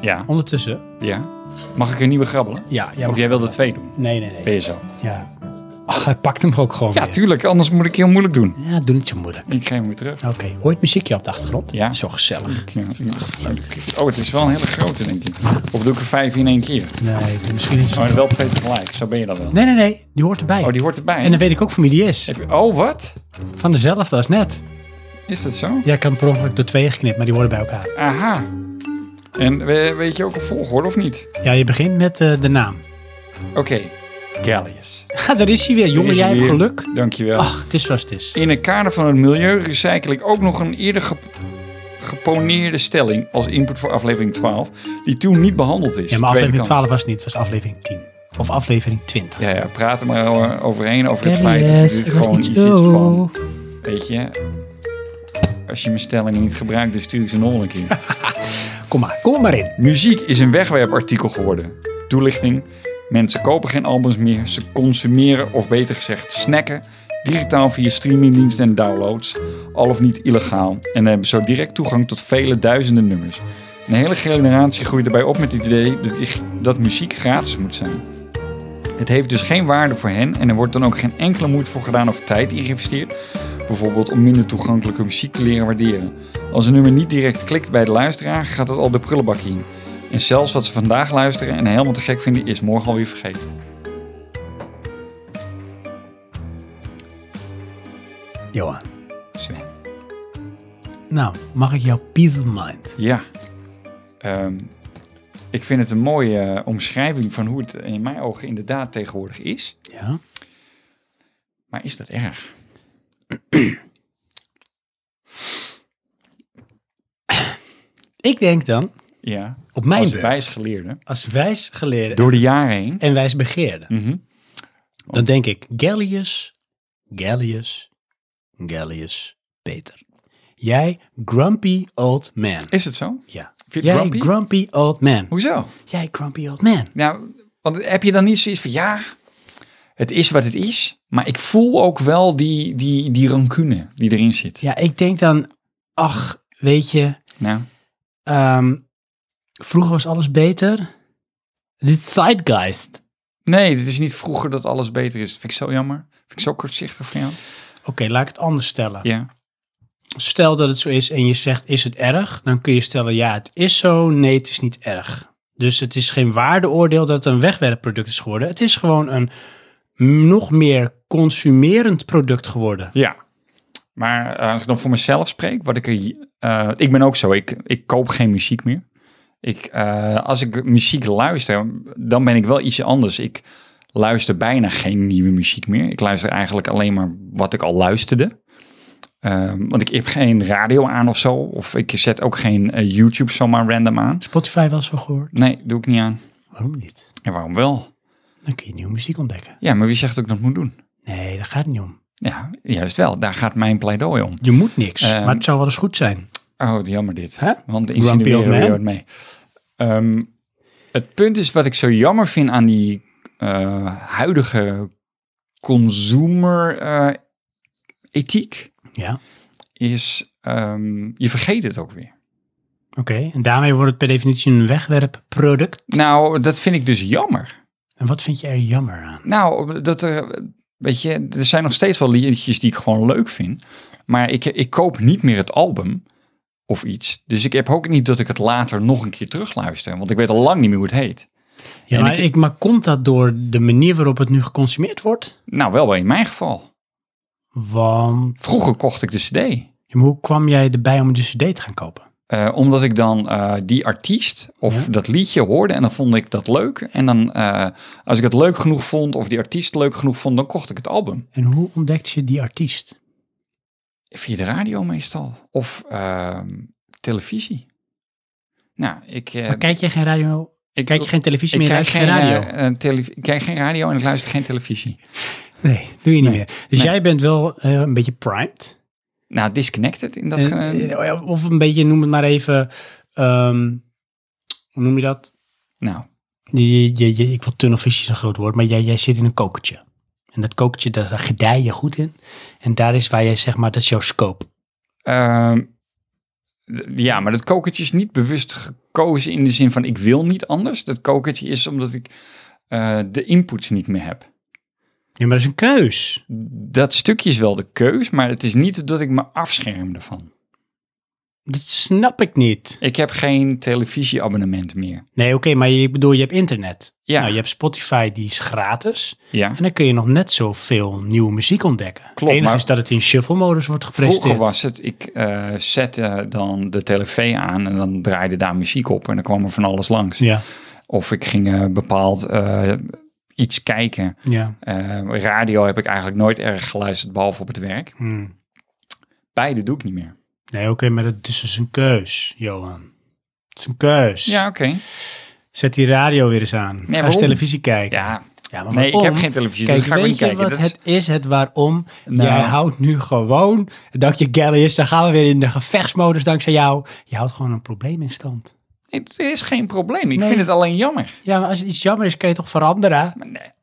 [SPEAKER 2] Ja.
[SPEAKER 1] Ondertussen.
[SPEAKER 2] Ja. Mag ik een nieuwe grabbelen?
[SPEAKER 1] Ja, ja
[SPEAKER 2] Of jij wilde twee doen?
[SPEAKER 1] Nee, nee,
[SPEAKER 2] Ben
[SPEAKER 1] nee.
[SPEAKER 2] je zo?
[SPEAKER 1] Ja. Ach, hij pakt hem ook gewoon
[SPEAKER 2] Ja,
[SPEAKER 1] weer.
[SPEAKER 2] tuurlijk. Anders moet ik heel moeilijk doen.
[SPEAKER 1] Ja, doe niet zo moeilijk.
[SPEAKER 2] Ik geef hem weer terug.
[SPEAKER 1] Oké, hoor je het muziekje op de achtergrond?
[SPEAKER 2] Ja.
[SPEAKER 1] Zo gezellig.
[SPEAKER 2] Ja. Oh, het is wel een hele grote, denk ik. Of doe ik er vijf in één keer?
[SPEAKER 1] Nee, misschien is
[SPEAKER 2] Maar wel twee tegelijk. Zo ben je dan wel.
[SPEAKER 1] Nee, nee, nee. Die hoort erbij.
[SPEAKER 2] Oh, die hoort erbij.
[SPEAKER 1] En dan weet ik ook van wie die is.
[SPEAKER 2] Heb je... Oh, wat?
[SPEAKER 1] Van dezelfde als net.
[SPEAKER 2] Is dat zo?
[SPEAKER 1] Ja, ik heb hem per ongeluk door tweeën geknipt, maar die horen bij elkaar.
[SPEAKER 2] Aha. En we- weet je ook een volgorde of niet?
[SPEAKER 1] Ja, je begint met eh, de naam.
[SPEAKER 2] Oké. Gallius.
[SPEAKER 1] Ha, daar is hij weer. Jongen,
[SPEAKER 2] Is
[SPEAKER 1] jij
[SPEAKER 2] er
[SPEAKER 1] hebt
[SPEAKER 2] weer.
[SPEAKER 1] geluk. Ah.
[SPEAKER 2] Dankjewel.
[SPEAKER 1] Ach, het is zoals het is.
[SPEAKER 2] In het kader van het milieu recycle ik ook nog een eerder gep- geponeerde stelling als input voor aflevering 12, die toen niet behandeld is.
[SPEAKER 1] Ja, maar
[SPEAKER 2] Tweede
[SPEAKER 1] aflevering
[SPEAKER 2] kans.
[SPEAKER 1] 12 was het niet. Het was aflevering 10. Of aflevering 20.
[SPEAKER 2] Ja, ja, praat er maar over- overheen over het feit dat
[SPEAKER 1] Yes,
[SPEAKER 2] dit
[SPEAKER 1] het was
[SPEAKER 2] gewoon
[SPEAKER 1] niet
[SPEAKER 2] iets is
[SPEAKER 1] zo.
[SPEAKER 2] van, weet je, als je mijn stellingen niet gebruikt, dan stuur ik ze nog wel een keer.
[SPEAKER 1] Kom maar, kom maar in.
[SPEAKER 2] Muziek is een wegwerpartikel geworden. Toelichting. Mensen kopen geen albums meer. Ze consumeren, of beter gezegd, snacken. Digitaal via streamingdiensten en downloads. Al of niet illegaal. En hebben zo direct toegang tot vele duizenden nummers. Een hele generatie groeit erbij op met het idee dat, dat muziek gratis moet zijn. Het heeft dus geen waarde voor hen en er wordt dan ook geen enkele moeite voor gedaan of tijd in geïnvesteerd. Bijvoorbeeld om minder toegankelijke muziek te leren waarderen. Als een nummer niet direct klikt bij de luisteraar, gaat het al de prullenbak in. En zelfs wat ze vandaag luisteren en helemaal te gek vinden, is morgen alweer vergeten.
[SPEAKER 1] Johan.
[SPEAKER 2] Sven.
[SPEAKER 1] Nou, mag ik jouw peace of mind?
[SPEAKER 2] Ja. Ehm, ik vind het een mooie eh, omschrijving van hoe het in mijn ogen inderdaad tegenwoordig is.
[SPEAKER 1] Ja.
[SPEAKER 2] Maar is dat erg?
[SPEAKER 1] Ik denk dan,
[SPEAKER 2] Ja.
[SPEAKER 1] op mijn
[SPEAKER 2] Als
[SPEAKER 1] beurt,
[SPEAKER 2] wijsgeleerde.
[SPEAKER 1] als wijs geleerde
[SPEAKER 2] Door de jaren heen.
[SPEAKER 1] en wijs begeerde,
[SPEAKER 2] Mhm.
[SPEAKER 1] dan denk ik Gallius, Gallius, Gallius, Peter. Jij grumpy old man.
[SPEAKER 2] Is het zo?
[SPEAKER 1] Ja.
[SPEAKER 2] Vind je
[SPEAKER 1] Jij
[SPEAKER 2] grumpy?
[SPEAKER 1] grumpy? old man.
[SPEAKER 2] Hoezo?
[SPEAKER 1] Jij grumpy old man.
[SPEAKER 2] Nou, want heb je dan niet zoiets van ja, het is wat het is, maar ik voel ook wel die, die, die rancune die erin zit.
[SPEAKER 1] Ja, ik denk dan, ach, weet je,
[SPEAKER 2] Nou,
[SPEAKER 1] ehm, vroeger was alles beter. Dit zeitgeist.
[SPEAKER 2] nee, het is niet vroeger dat alles beter is. Dat vind ik zo jammer. Vind ik zo kortzichtig van jou.
[SPEAKER 1] Oké, laat ik het anders stellen.
[SPEAKER 2] Ja.
[SPEAKER 1] Stel dat het zo is en je zegt, is het erg? Dan kun je stellen, ja, het is zo. Nee, het is niet erg. Dus het is geen waardeoordeel dat het een wegwerpproduct is geworden. Het is gewoon een nog meer consumerend product geworden.
[SPEAKER 2] Ja. Maar eh, als ik dan voor mezelf spreek, wat ik er. eh, ik ben ook zo, ik, ik koop geen muziek meer. Ik, eh, als ik muziek luister, dan ben ik wel ietsje anders. Ik luister bijna geen nieuwe muziek meer. Ik luister eigenlijk alleen maar wat ik al luisterde. Ehm, want ik heb geen radio aan of zo. Of ik zet ook geen eh, YouTube zomaar random aan.
[SPEAKER 1] Spotify wel eens van gehoord.
[SPEAKER 2] Nee, doe ik niet aan.
[SPEAKER 1] Waarom niet?
[SPEAKER 2] En waarom wel?
[SPEAKER 1] Dan kun je nieuwe muziek ontdekken.
[SPEAKER 2] Ja, maar wie zegt dat ik dat moet doen?
[SPEAKER 1] Nee, daar gaat het niet om.
[SPEAKER 2] Ja, juist wel. Daar gaat mijn pleidooi om.
[SPEAKER 1] Je moet niks,
[SPEAKER 2] Ehm,
[SPEAKER 1] maar het zou wel eens goed zijn.
[SPEAKER 2] Oh, jammer dit.
[SPEAKER 1] Hè?
[SPEAKER 2] Want de
[SPEAKER 1] Grumpy old
[SPEAKER 2] insinueren
[SPEAKER 1] man.
[SPEAKER 2] weer wat mee. Ehm, het punt is wat ik zo jammer vind aan die eh, huidige consumer eh, ethiek
[SPEAKER 1] Ja,
[SPEAKER 2] is ehm, je vergeet het ook weer.
[SPEAKER 1] oké. En daarmee wordt het per definitie een wegwerpproduct.
[SPEAKER 2] Nou, dat vind ik dus jammer.
[SPEAKER 1] En wat vind je er jammer aan?
[SPEAKER 2] Nou, dat er, weet je, er zijn nog steeds wel liedjes die ik gewoon leuk vind, maar ik, ik koop niet meer het album of iets. Dus ik heb ook niet dat ik het later nog een keer terugluister, want ik weet al lang niet meer hoe het heet.
[SPEAKER 1] Ja,
[SPEAKER 2] En
[SPEAKER 1] maar,
[SPEAKER 2] ik-
[SPEAKER 1] ik, maar komt dat door de manier waarop het nu geconsumeerd wordt?
[SPEAKER 2] Nou, wel in mijn geval.
[SPEAKER 1] Want
[SPEAKER 2] Vroeger kocht ik de CD.
[SPEAKER 1] ja, maar hoe kwam jij erbij om de cd te gaan kopen?
[SPEAKER 2] Eh, omdat ik dan eh, die artiest of
[SPEAKER 1] Ja.
[SPEAKER 2] dat liedje hoorde en dan vond ik dat leuk. En dan, eh, als ik het leuk genoeg vond of die artiest leuk genoeg vond, dan kocht ik het album.
[SPEAKER 1] En hoe ontdekte je die artiest?
[SPEAKER 2] Via de radio meestal. Of ehm, televisie. Nou, ik, eh,
[SPEAKER 1] Maar kijk jij geen radio?
[SPEAKER 2] ik,
[SPEAKER 1] Kijk je geen televisie
[SPEAKER 2] ik
[SPEAKER 1] meer?
[SPEAKER 2] kijk
[SPEAKER 1] Luister je
[SPEAKER 2] geen
[SPEAKER 1] geen radio?
[SPEAKER 2] eh, eh, televi- ik kijk geen radio en ik luister geen televisie.
[SPEAKER 1] nee, doe je niet
[SPEAKER 2] nee,
[SPEAKER 1] meer. Dus
[SPEAKER 2] nee.
[SPEAKER 1] jij bent wel eh, een beetje primed.
[SPEAKER 2] Nou, disconnected in dat...
[SPEAKER 1] En-
[SPEAKER 2] ge-
[SPEAKER 1] eh, of een beetje, noem het maar even, ehm, hoe noem je dat?
[SPEAKER 2] nou,
[SPEAKER 1] Je, je, je- ik wil tunnelvisie is een groot woord, maar jij, jij zit in een kokertje. En dat kokertje, daar, daar gedij je goed in. En daar is waar jij zeg maar, dat is jouw scope.
[SPEAKER 2] Ehm, d- ja, maar dat kokertje is niet bewust gekozen in de zin van ik wil niet anders. Dat kokertje is omdat ik eh, de inputs niet meer heb.
[SPEAKER 1] Ja, maar dat is een keus.
[SPEAKER 2] Dat stukje is wel de keus, maar het is niet dat ik me afscherm ervan.
[SPEAKER 1] Dat snap ik niet.
[SPEAKER 2] Ik heb geen televisieabonnement meer.
[SPEAKER 1] Nee, oké, maar je, ik bedoel, je hebt internet.
[SPEAKER 2] Ja,
[SPEAKER 1] Nou, je hebt Spotify, die is gratis.
[SPEAKER 2] ja.
[SPEAKER 1] En dan kun je nog net zoveel nieuwe muziek ontdekken. het
[SPEAKER 2] Klopt,
[SPEAKER 1] enige
[SPEAKER 2] maar-
[SPEAKER 1] is dat het in shuffle-modus wordt gepresenteerd.
[SPEAKER 2] Vroeger was het, ik eh, zette dan de tv aan en dan draaide daar muziek op en dan kwam er van alles langs.
[SPEAKER 1] Ja,
[SPEAKER 2] Of ik ging eh, bepaald eh, iets kijken.
[SPEAKER 1] ja.
[SPEAKER 2] Eh, radio heb ik eigenlijk nooit erg geluisterd, behalve op het werk.
[SPEAKER 1] Hmm.
[SPEAKER 2] Beide doe ik niet meer.
[SPEAKER 1] Nee, oké, maar dat is dus een keus, Johan. Het is een keus.
[SPEAKER 2] Ja, oké.
[SPEAKER 1] Zet die radio weer eens aan. Ga eens
[SPEAKER 2] waarom?
[SPEAKER 1] televisie kijken.
[SPEAKER 2] Ja,
[SPEAKER 1] Ja, maar
[SPEAKER 2] nee, ik
[SPEAKER 1] waarom?
[SPEAKER 2] heb geen televisie,
[SPEAKER 1] Kijk,
[SPEAKER 2] dus dat ga ik
[SPEAKER 1] weet
[SPEAKER 2] ook niet
[SPEAKER 1] je
[SPEAKER 2] kijken.
[SPEAKER 1] wat
[SPEAKER 2] Dat is-
[SPEAKER 1] het is, het waarom?
[SPEAKER 2] Nou.
[SPEAKER 1] Jij houdt nu gewoon, dankje Gallius, dan gaan we weer in de gevechtsmodus dankzij jou. Je houdt gewoon een probleem in stand.
[SPEAKER 2] Het is geen probleem. Ik
[SPEAKER 1] Nee.
[SPEAKER 2] vind het alleen jammer.
[SPEAKER 1] Ja, maar als het iets jammer is, kan je toch veranderen?
[SPEAKER 2] Maar nee.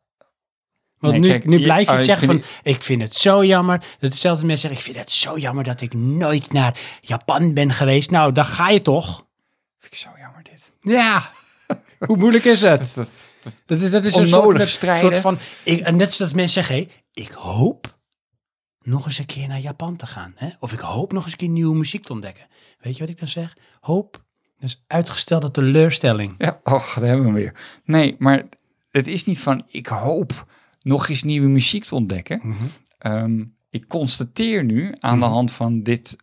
[SPEAKER 1] Want
[SPEAKER 2] Nee,
[SPEAKER 1] nu,
[SPEAKER 2] kijk,
[SPEAKER 1] nu
[SPEAKER 2] je-
[SPEAKER 1] blijf je
[SPEAKER 2] oh,
[SPEAKER 1] het
[SPEAKER 2] ik
[SPEAKER 1] zeggen van,
[SPEAKER 2] vind
[SPEAKER 1] ik vind het zo jammer. Dat hetzelfde mensen zeggen, ik vind het zo jammer dat ik nooit naar Japan ben geweest. Nou, dan ga je toch?
[SPEAKER 2] Vind ik zo jammer dit.
[SPEAKER 1] Ja. Hoe moeilijk is het?
[SPEAKER 2] Dat, dat, dat-
[SPEAKER 1] Dat is, dat is
[SPEAKER 2] Onnodig
[SPEAKER 1] een soort, met-
[SPEAKER 2] strijden.
[SPEAKER 1] soort van, ik, en net zoals mensen zeggen, hé, ik hoop nog eens een keer naar Japan te gaan. Hè? Of ik hoop nog eens een keer nieuwe muziek te ontdekken. Weet je wat ik dan zeg? Hoop, dat is uitgestelde teleurstelling.
[SPEAKER 2] ja, och, daar hebben we hem weer. Nee, maar het is niet van ik hoop nog eens nieuwe muziek te ontdekken. Ehm, ik constateer nu aan
[SPEAKER 1] Mhm.
[SPEAKER 2] de hand van dit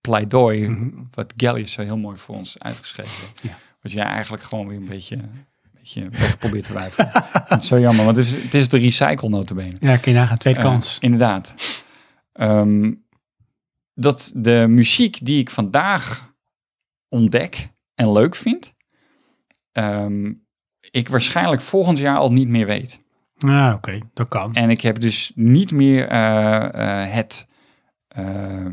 [SPEAKER 2] pleidooi, wat Gallius zo heel mooi voor ons uitgeschreven heeft,
[SPEAKER 1] Ja.
[SPEAKER 2] wat jij eigenlijk gewoon weer een beetje, een beetje weg probeert te wuiven. Dat is zo jammer, want het is, het is de recycle notabene.
[SPEAKER 1] Ja, kun je nagaan, tweede kans.
[SPEAKER 2] Eh, inderdaad. Ehm, dat de muziek die ik vandaag ontdek en leuk vind, ehm, ik waarschijnlijk volgend jaar al niet meer weet.
[SPEAKER 1] Ja, Ah, oké, dat kan.
[SPEAKER 2] En ik heb dus niet meer eh, eh, het eh,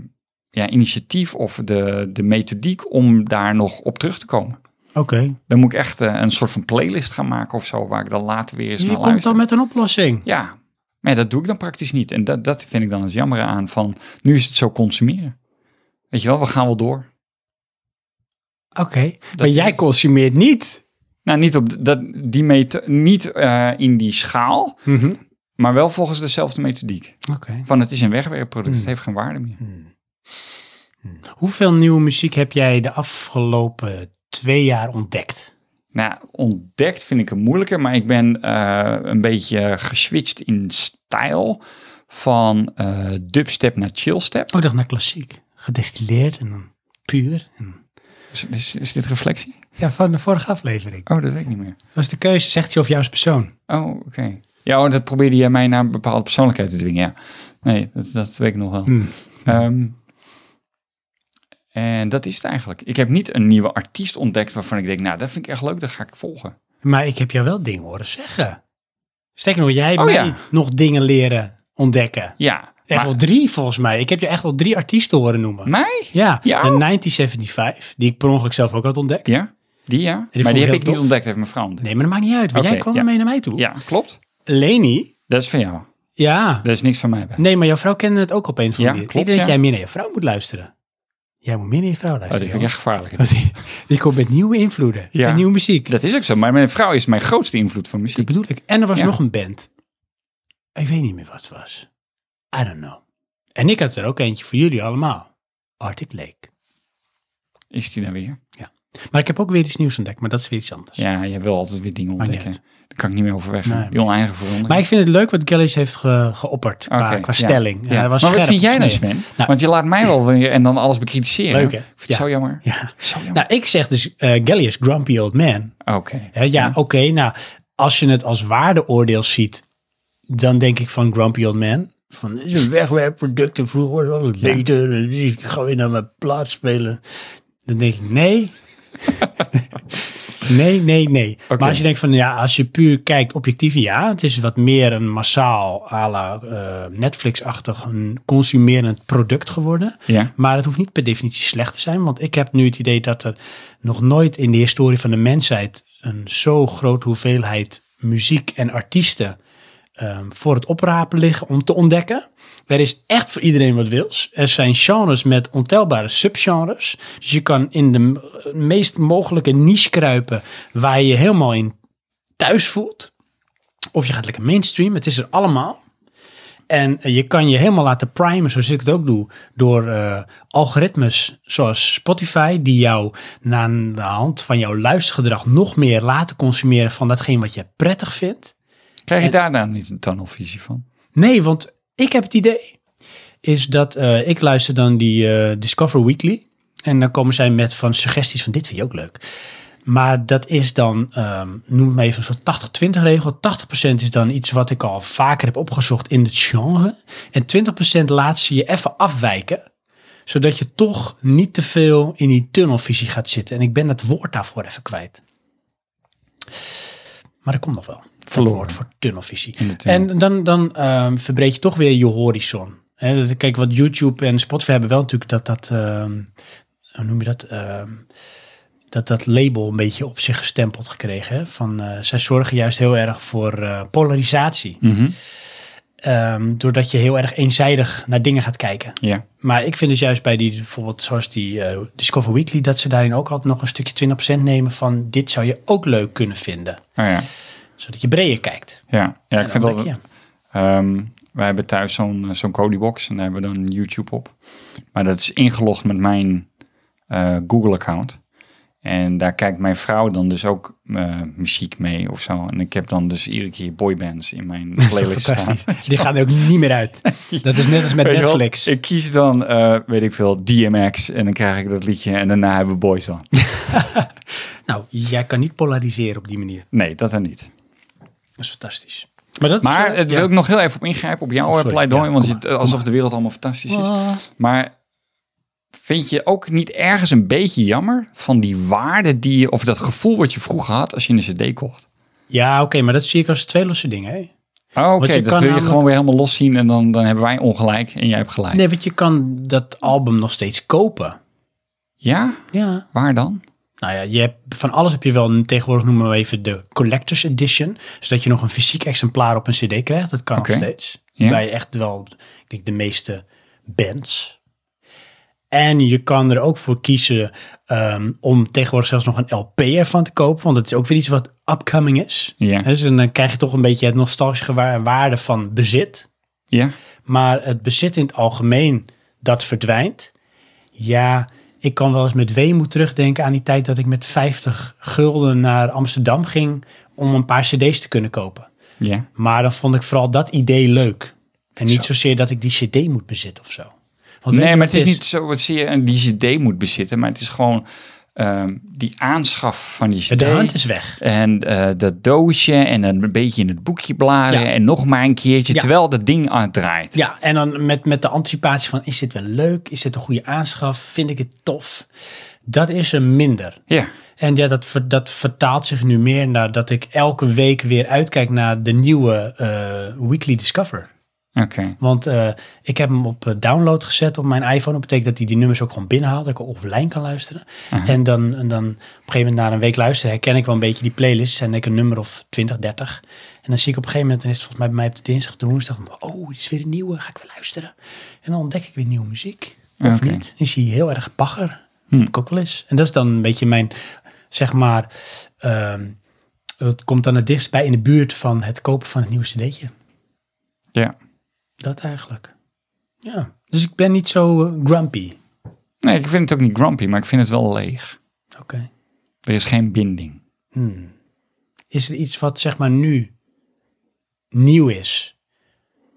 [SPEAKER 2] ja, initiatief of de, de methodiek om daar nog op terug te komen.
[SPEAKER 1] Oké,
[SPEAKER 2] Dan moet ik echt eh, een soort van playlist gaan maken of zo, waar ik dan later weer eens
[SPEAKER 1] je
[SPEAKER 2] naar
[SPEAKER 1] komt
[SPEAKER 2] luister.
[SPEAKER 1] dan met een oplossing.
[SPEAKER 2] Ja, maar ja, dat doe ik dan praktisch niet. En dat, dat vind ik dan het jammer aan van, nu is het zo consumeren. Weet je wel, we gaan wel door.
[SPEAKER 1] Oké, maar
[SPEAKER 2] is
[SPEAKER 1] jij
[SPEAKER 2] het.
[SPEAKER 1] consumeert niet.
[SPEAKER 2] Nou, niet, op d- dat, die meto- niet eh, in die schaal, maar wel volgens dezelfde methodiek.
[SPEAKER 1] Oké.
[SPEAKER 2] Van het is een wegwerpproduct, het
[SPEAKER 1] Hmm.
[SPEAKER 2] heeft geen waarde meer. Hmm.
[SPEAKER 1] Hoeveel nieuwe muziek heb jij de afgelopen twee jaar ontdekt?
[SPEAKER 2] Nou, ontdekt vind ik het moeilijker, maar ik ben eh, een beetje geswitcht in stijl van eh, dubstep naar chillstep.
[SPEAKER 1] Oh, ik dacht naar klassiek. Gedestilleerd en dan puur. En...
[SPEAKER 2] Is, is, is dit reflectie?
[SPEAKER 1] Ja, van de vorige aflevering.
[SPEAKER 2] Oh, dat weet ik niet meer.
[SPEAKER 1] Dat is de keuze, zegt hij of juist persoon.
[SPEAKER 2] Oh, oké. Ja, oh, dat probeerde jij mij naar een bepaalde persoonlijkheid te dwingen, ja. Nee, dat, dat weet ik nog wel.
[SPEAKER 1] Hmm.
[SPEAKER 2] Ehm, en dat is het eigenlijk. Ik heb niet een nieuwe artiest ontdekt waarvan ik denk, nou, dat vind ik echt leuk, dat ga ik volgen.
[SPEAKER 1] Maar ik heb jou wel dingen horen zeggen. Sterker nog, jij hebt
[SPEAKER 2] Oh,
[SPEAKER 1] mij
[SPEAKER 2] ja.
[SPEAKER 1] nog dingen leren ontdekken.
[SPEAKER 2] Ja.
[SPEAKER 1] Echt
[SPEAKER 2] maar-
[SPEAKER 1] wel drie volgens mij. Ik heb je echt wel drie artiesten horen noemen.
[SPEAKER 2] Mij?
[SPEAKER 1] ja,
[SPEAKER 2] Jou?
[SPEAKER 1] de 1975, die ik per ongeluk zelf ook had ontdekt.
[SPEAKER 2] Ja, die ja.
[SPEAKER 1] vond ik
[SPEAKER 2] maar die heb
[SPEAKER 1] heel
[SPEAKER 2] ik niet
[SPEAKER 1] tof.
[SPEAKER 2] ontdekt, heeft mijn vrouw ontdekt.
[SPEAKER 1] Nee, maar dat maakt niet uit, want
[SPEAKER 2] Oké,
[SPEAKER 1] jij kwam
[SPEAKER 2] ja.
[SPEAKER 1] ermee naar mij toe.
[SPEAKER 2] Ja, klopt.
[SPEAKER 1] Leni,
[SPEAKER 2] Dat is van jou.
[SPEAKER 1] ja.
[SPEAKER 2] Dat is niks van mij. bij.
[SPEAKER 1] Nee, maar jouw vrouw kende het ook op een van
[SPEAKER 2] Ja,
[SPEAKER 1] die. Ik
[SPEAKER 2] klopt,
[SPEAKER 1] denk dat
[SPEAKER 2] ja.
[SPEAKER 1] jij meer naar je vrouw moet luisteren. Jij moet meer naar je vrouw
[SPEAKER 2] Oh, dat
[SPEAKER 1] luisteren.
[SPEAKER 2] vind
[SPEAKER 1] joh.
[SPEAKER 2] ik echt gevaarlijk.
[SPEAKER 1] Want die, die komt met nieuwe invloeden
[SPEAKER 2] Ja.
[SPEAKER 1] en nieuwe muziek.
[SPEAKER 2] Dat is ook zo. Maar mijn vrouw is mijn grootste invloed voor
[SPEAKER 1] Dat
[SPEAKER 2] muziek.
[SPEAKER 1] bedoel ik. En er was
[SPEAKER 2] Ja.
[SPEAKER 1] nog een band. Ik weet niet meer wat het was. I don't know. En ik had er ook eentje voor jullie allemaal. Arctic Lake.
[SPEAKER 2] Is die nou weer?
[SPEAKER 1] Maar ik heb ook weer iets nieuws ontdekt, maar dat is weer iets anders.
[SPEAKER 2] Ja, je wil altijd weer dingen
[SPEAKER 1] Maakt niet
[SPEAKER 2] ontdekken. Daar kan ik niet meer overweg.
[SPEAKER 1] Nee,
[SPEAKER 2] die oneindige verandering.
[SPEAKER 1] Maar ik vind het leuk wat Gellers heeft ge- geopperd qua,
[SPEAKER 2] Oké,
[SPEAKER 1] qua
[SPEAKER 2] ja.
[SPEAKER 1] stelling. Ja,
[SPEAKER 2] Ja.
[SPEAKER 1] dat was
[SPEAKER 2] maar wat
[SPEAKER 1] scherp,
[SPEAKER 2] vind jij nou,
[SPEAKER 1] smerig.
[SPEAKER 2] Sven?
[SPEAKER 1] Nou-
[SPEAKER 2] Want je laat mij wel weer en dan alles bekritiseren.
[SPEAKER 1] Leuk, hè?
[SPEAKER 2] Ik vind het
[SPEAKER 1] Ja.
[SPEAKER 2] zo jammer.
[SPEAKER 1] Ja.
[SPEAKER 2] Zo jammer.
[SPEAKER 1] Nou, ik zeg dus eh Gellius, grumpy old man.
[SPEAKER 2] Oké.
[SPEAKER 1] Hè, ja, oké, nou, als je het als waardeoordeel ziet, dan denk ik van Grumpy Old Man. Van, het is een wegwerpproduct en vroeger was het altijd
[SPEAKER 2] Ja.
[SPEAKER 1] beter. en Ik ga weer naar mijn plaats spelen. Dan denk ik, nee. nee, nee, nee.
[SPEAKER 2] Oké.
[SPEAKER 1] Maar als je denkt van, ja, als je puur kijkt objectief, ja. Het is wat meer een massaal à la eh, Netflix-achtig een consumerend product geworden.
[SPEAKER 2] Ja.
[SPEAKER 1] Maar het hoeft niet per definitie slecht te zijn. Want ik heb nu het idee dat er nog nooit in de historie van de mensheid een zo grote hoeveelheid muziek en artiesten ehm, voor het oprapen liggen om te ontdekken. Er is echt voor iedereen wat wils. Er zijn genres met ontelbare subgenres. Dus je kan in de m- meest mogelijke niche kruipen waar je je helemaal in thuis voelt. Of je gaat lekker mainstream. Het is er allemaal. En eh, je kan je helemaal laten primen, zoals ik het ook doe, door eh, algoritmes zoals Spotify, die jou na de hand van jouw luistergedrag nog meer laten consumeren van datgene wat je prettig vindt.
[SPEAKER 2] Krijg je daar dan niet een tunnelvisie van?
[SPEAKER 1] Nee, want ik heb het idee, is dat eh, ik luister dan die eh, Discover Weekly. En dan komen zij met van suggesties van dit vind je ook leuk. Maar dat is dan, ehm, noem het maar even een soort 80-20 regel. 80% is dan iets wat ik al vaker heb opgezocht in het genre. En 20% laat ze je even afwijken. Zodat je toch niet te veel in die tunnelvisie gaat zitten. En ik ben dat woord daarvoor even kwijt. Maar dat komt nog wel. Dat
[SPEAKER 2] Verloren.
[SPEAKER 1] woord voor tunnelvisie.
[SPEAKER 2] In de tunnel.
[SPEAKER 1] En dan, dan ehm, verbreed je toch weer je horizon. Hè, dus kijk, wat YouTube en Spotify hebben wel natuurlijk dat dat, ehm, hoe noem je dat, ehm, dat, dat label een beetje op zich gestempeld gekregen. Hè? Van, eh, zij zorgen juist heel erg voor eh, polarisatie.
[SPEAKER 2] Mhm.
[SPEAKER 1] Ehm, doordat je heel erg eenzijdig naar dingen gaat kijken.
[SPEAKER 2] Ja.
[SPEAKER 1] Maar ik vind dus juist bij die, bijvoorbeeld zoals die eh, Discover Weekly, dat ze daarin ook altijd nog een stukje 20% nemen van dit zou je ook leuk kunnen vinden.
[SPEAKER 2] Oh ja.
[SPEAKER 1] Zodat je breder kijkt.
[SPEAKER 2] Ja. Ja, ik
[SPEAKER 1] En
[SPEAKER 2] vind
[SPEAKER 1] dan
[SPEAKER 2] dat...
[SPEAKER 1] denk je,
[SPEAKER 2] Ehm, wij hebben thuis zo'n eh, zo'n Codebox en daar hebben we dan YouTube op. Maar dat is ingelogd met mijn eh, Google-account. En daar kijkt mijn vrouw dan dus ook eh, muziek mee of zo. En ik heb dan dus iedere keer boybands in mijn
[SPEAKER 1] ja, dat is toch
[SPEAKER 2] playlist staan.
[SPEAKER 1] fantastisch. Die gaan er ook niet meer uit. Dat is net als met
[SPEAKER 2] Weet je wel,
[SPEAKER 1] Netflix.
[SPEAKER 2] ik kies dan, eh, weet ik veel, DMX en dan krijg ik dat liedje en daarna hebben we Boys dan.
[SPEAKER 1] Nou, jij kan niet polariseren op die manier.
[SPEAKER 2] Nee, dat dan niet.
[SPEAKER 1] Dat is fantastisch. Maar dat
[SPEAKER 2] Maar eh,
[SPEAKER 1] is, eh,
[SPEAKER 2] daar wil ik nog heel even op ingrijpen, op jouw eh,
[SPEAKER 1] Oh, sorry.
[SPEAKER 2] pleidooi,
[SPEAKER 1] Ja,
[SPEAKER 2] want
[SPEAKER 1] kom Ah.
[SPEAKER 2] je, alsof de wereld allemaal fantastisch is. Maar vind je ook niet ergens een beetje jammer van die waarde die je, of dat gevoel wat je vroeger had als je een CD kocht?
[SPEAKER 1] Ja, oké, maar dat zie ik als twee losse dingen. Hè?
[SPEAKER 2] Oh, Oké,
[SPEAKER 1] je kan
[SPEAKER 2] dat wil je
[SPEAKER 1] namelijk-
[SPEAKER 2] gewoon weer helemaal los zien en dan, dan hebben wij ongelijk en jij hebt gelijk.
[SPEAKER 1] Nee, want je kan dat album nog steeds kopen.
[SPEAKER 2] Ja,
[SPEAKER 1] Ja.
[SPEAKER 2] waar dan?
[SPEAKER 1] Nou ja, je hebt, van alles heb je wel een- tegenwoordig, noemen we even de Collector's Edition. Zodat je nog een fysiek exemplaar op een CD krijgt. Dat kan
[SPEAKER 2] Oké.
[SPEAKER 1] nog steeds.
[SPEAKER 2] Ja.
[SPEAKER 1] Bij echt wel, ik denk, de meeste bands. En je kan er ook voor kiezen ehm, om tegenwoordig zelfs nog een LP ervan te kopen. Want dat is ook weer iets wat upcoming is.
[SPEAKER 2] Ja.
[SPEAKER 1] Hè, Dus dan krijg je toch een beetje het nostalgische wa- waarde van bezit.
[SPEAKER 2] Ja,
[SPEAKER 1] Maar het bezit in het algemeen, dat verdwijnt. Ja, ik kan wel eens met weemoed terugdenken aan die tijd dat ik met 50 gulden naar Amsterdam ging om een paar cd's te kunnen kopen.
[SPEAKER 2] ja.
[SPEAKER 1] Maar dan vond ik vooral dat idee leuk. En niet
[SPEAKER 2] Zo.
[SPEAKER 1] zozeer dat ik die cd moet bezitten of zo. Want weet je
[SPEAKER 2] Nee,
[SPEAKER 1] wat
[SPEAKER 2] maar het is niet zo wat je een die CD moet bezitten, maar het is gewoon ehm, die aanschaf van die cd.
[SPEAKER 1] De hand is weg.
[SPEAKER 2] En eh, dat doosje en een beetje in het boekje bladeren
[SPEAKER 1] Ja.
[SPEAKER 2] en nog maar een keertje
[SPEAKER 1] Ja.
[SPEAKER 2] terwijl dat ding uitdraait.
[SPEAKER 1] Ja, en dan met, met de anticipatie van is dit wel leuk? Is dit een goede aanschaf? Vind ik het tof? Dat is er minder.
[SPEAKER 2] Ja.
[SPEAKER 1] En ja, dat, ver- dat vertaalt zich nu meer naar dat ik elke week weer uitkijk naar de nieuwe eh, Weekly Discover.
[SPEAKER 2] Oké.
[SPEAKER 1] Want eh, ik heb hem op eh, download gezet op mijn iPhone. Dat betekent dat hij die nummers ook gewoon binnenhaalt. Dat ik offline kan luisteren. En dan, en dan op een gegeven moment na een week luisteren herken ik wel een beetje die playlist. En ik een nummer of 20, 30. En dan zie ik op een gegeven moment, dan is het volgens mij bij mij op de dinsdag, de woensdag. Oh, dit is weer een nieuwe. Ga ik weer luisteren. En dan ontdek ik weer nieuwe muziek. Of
[SPEAKER 2] Oké.
[SPEAKER 1] niet. Dan zie je heel erg bagger.
[SPEAKER 2] Hm.
[SPEAKER 1] Heb ik ook wel eens. En dat is dan een beetje mijn, zeg maar... ehm, dat komt dan het dichtst bij in de buurt van het kopen van het nieuwe cd'tje.
[SPEAKER 2] Ja.
[SPEAKER 1] Dat eigenlijk. Ja. Dus ik ben niet zo eh, grumpy.
[SPEAKER 2] Nee, ik vind het ook niet grumpy, maar ik vind het wel leeg.
[SPEAKER 1] Oké.
[SPEAKER 2] Er is geen binding.
[SPEAKER 1] Hmm. Is er iets wat zeg maar nu nieuw is,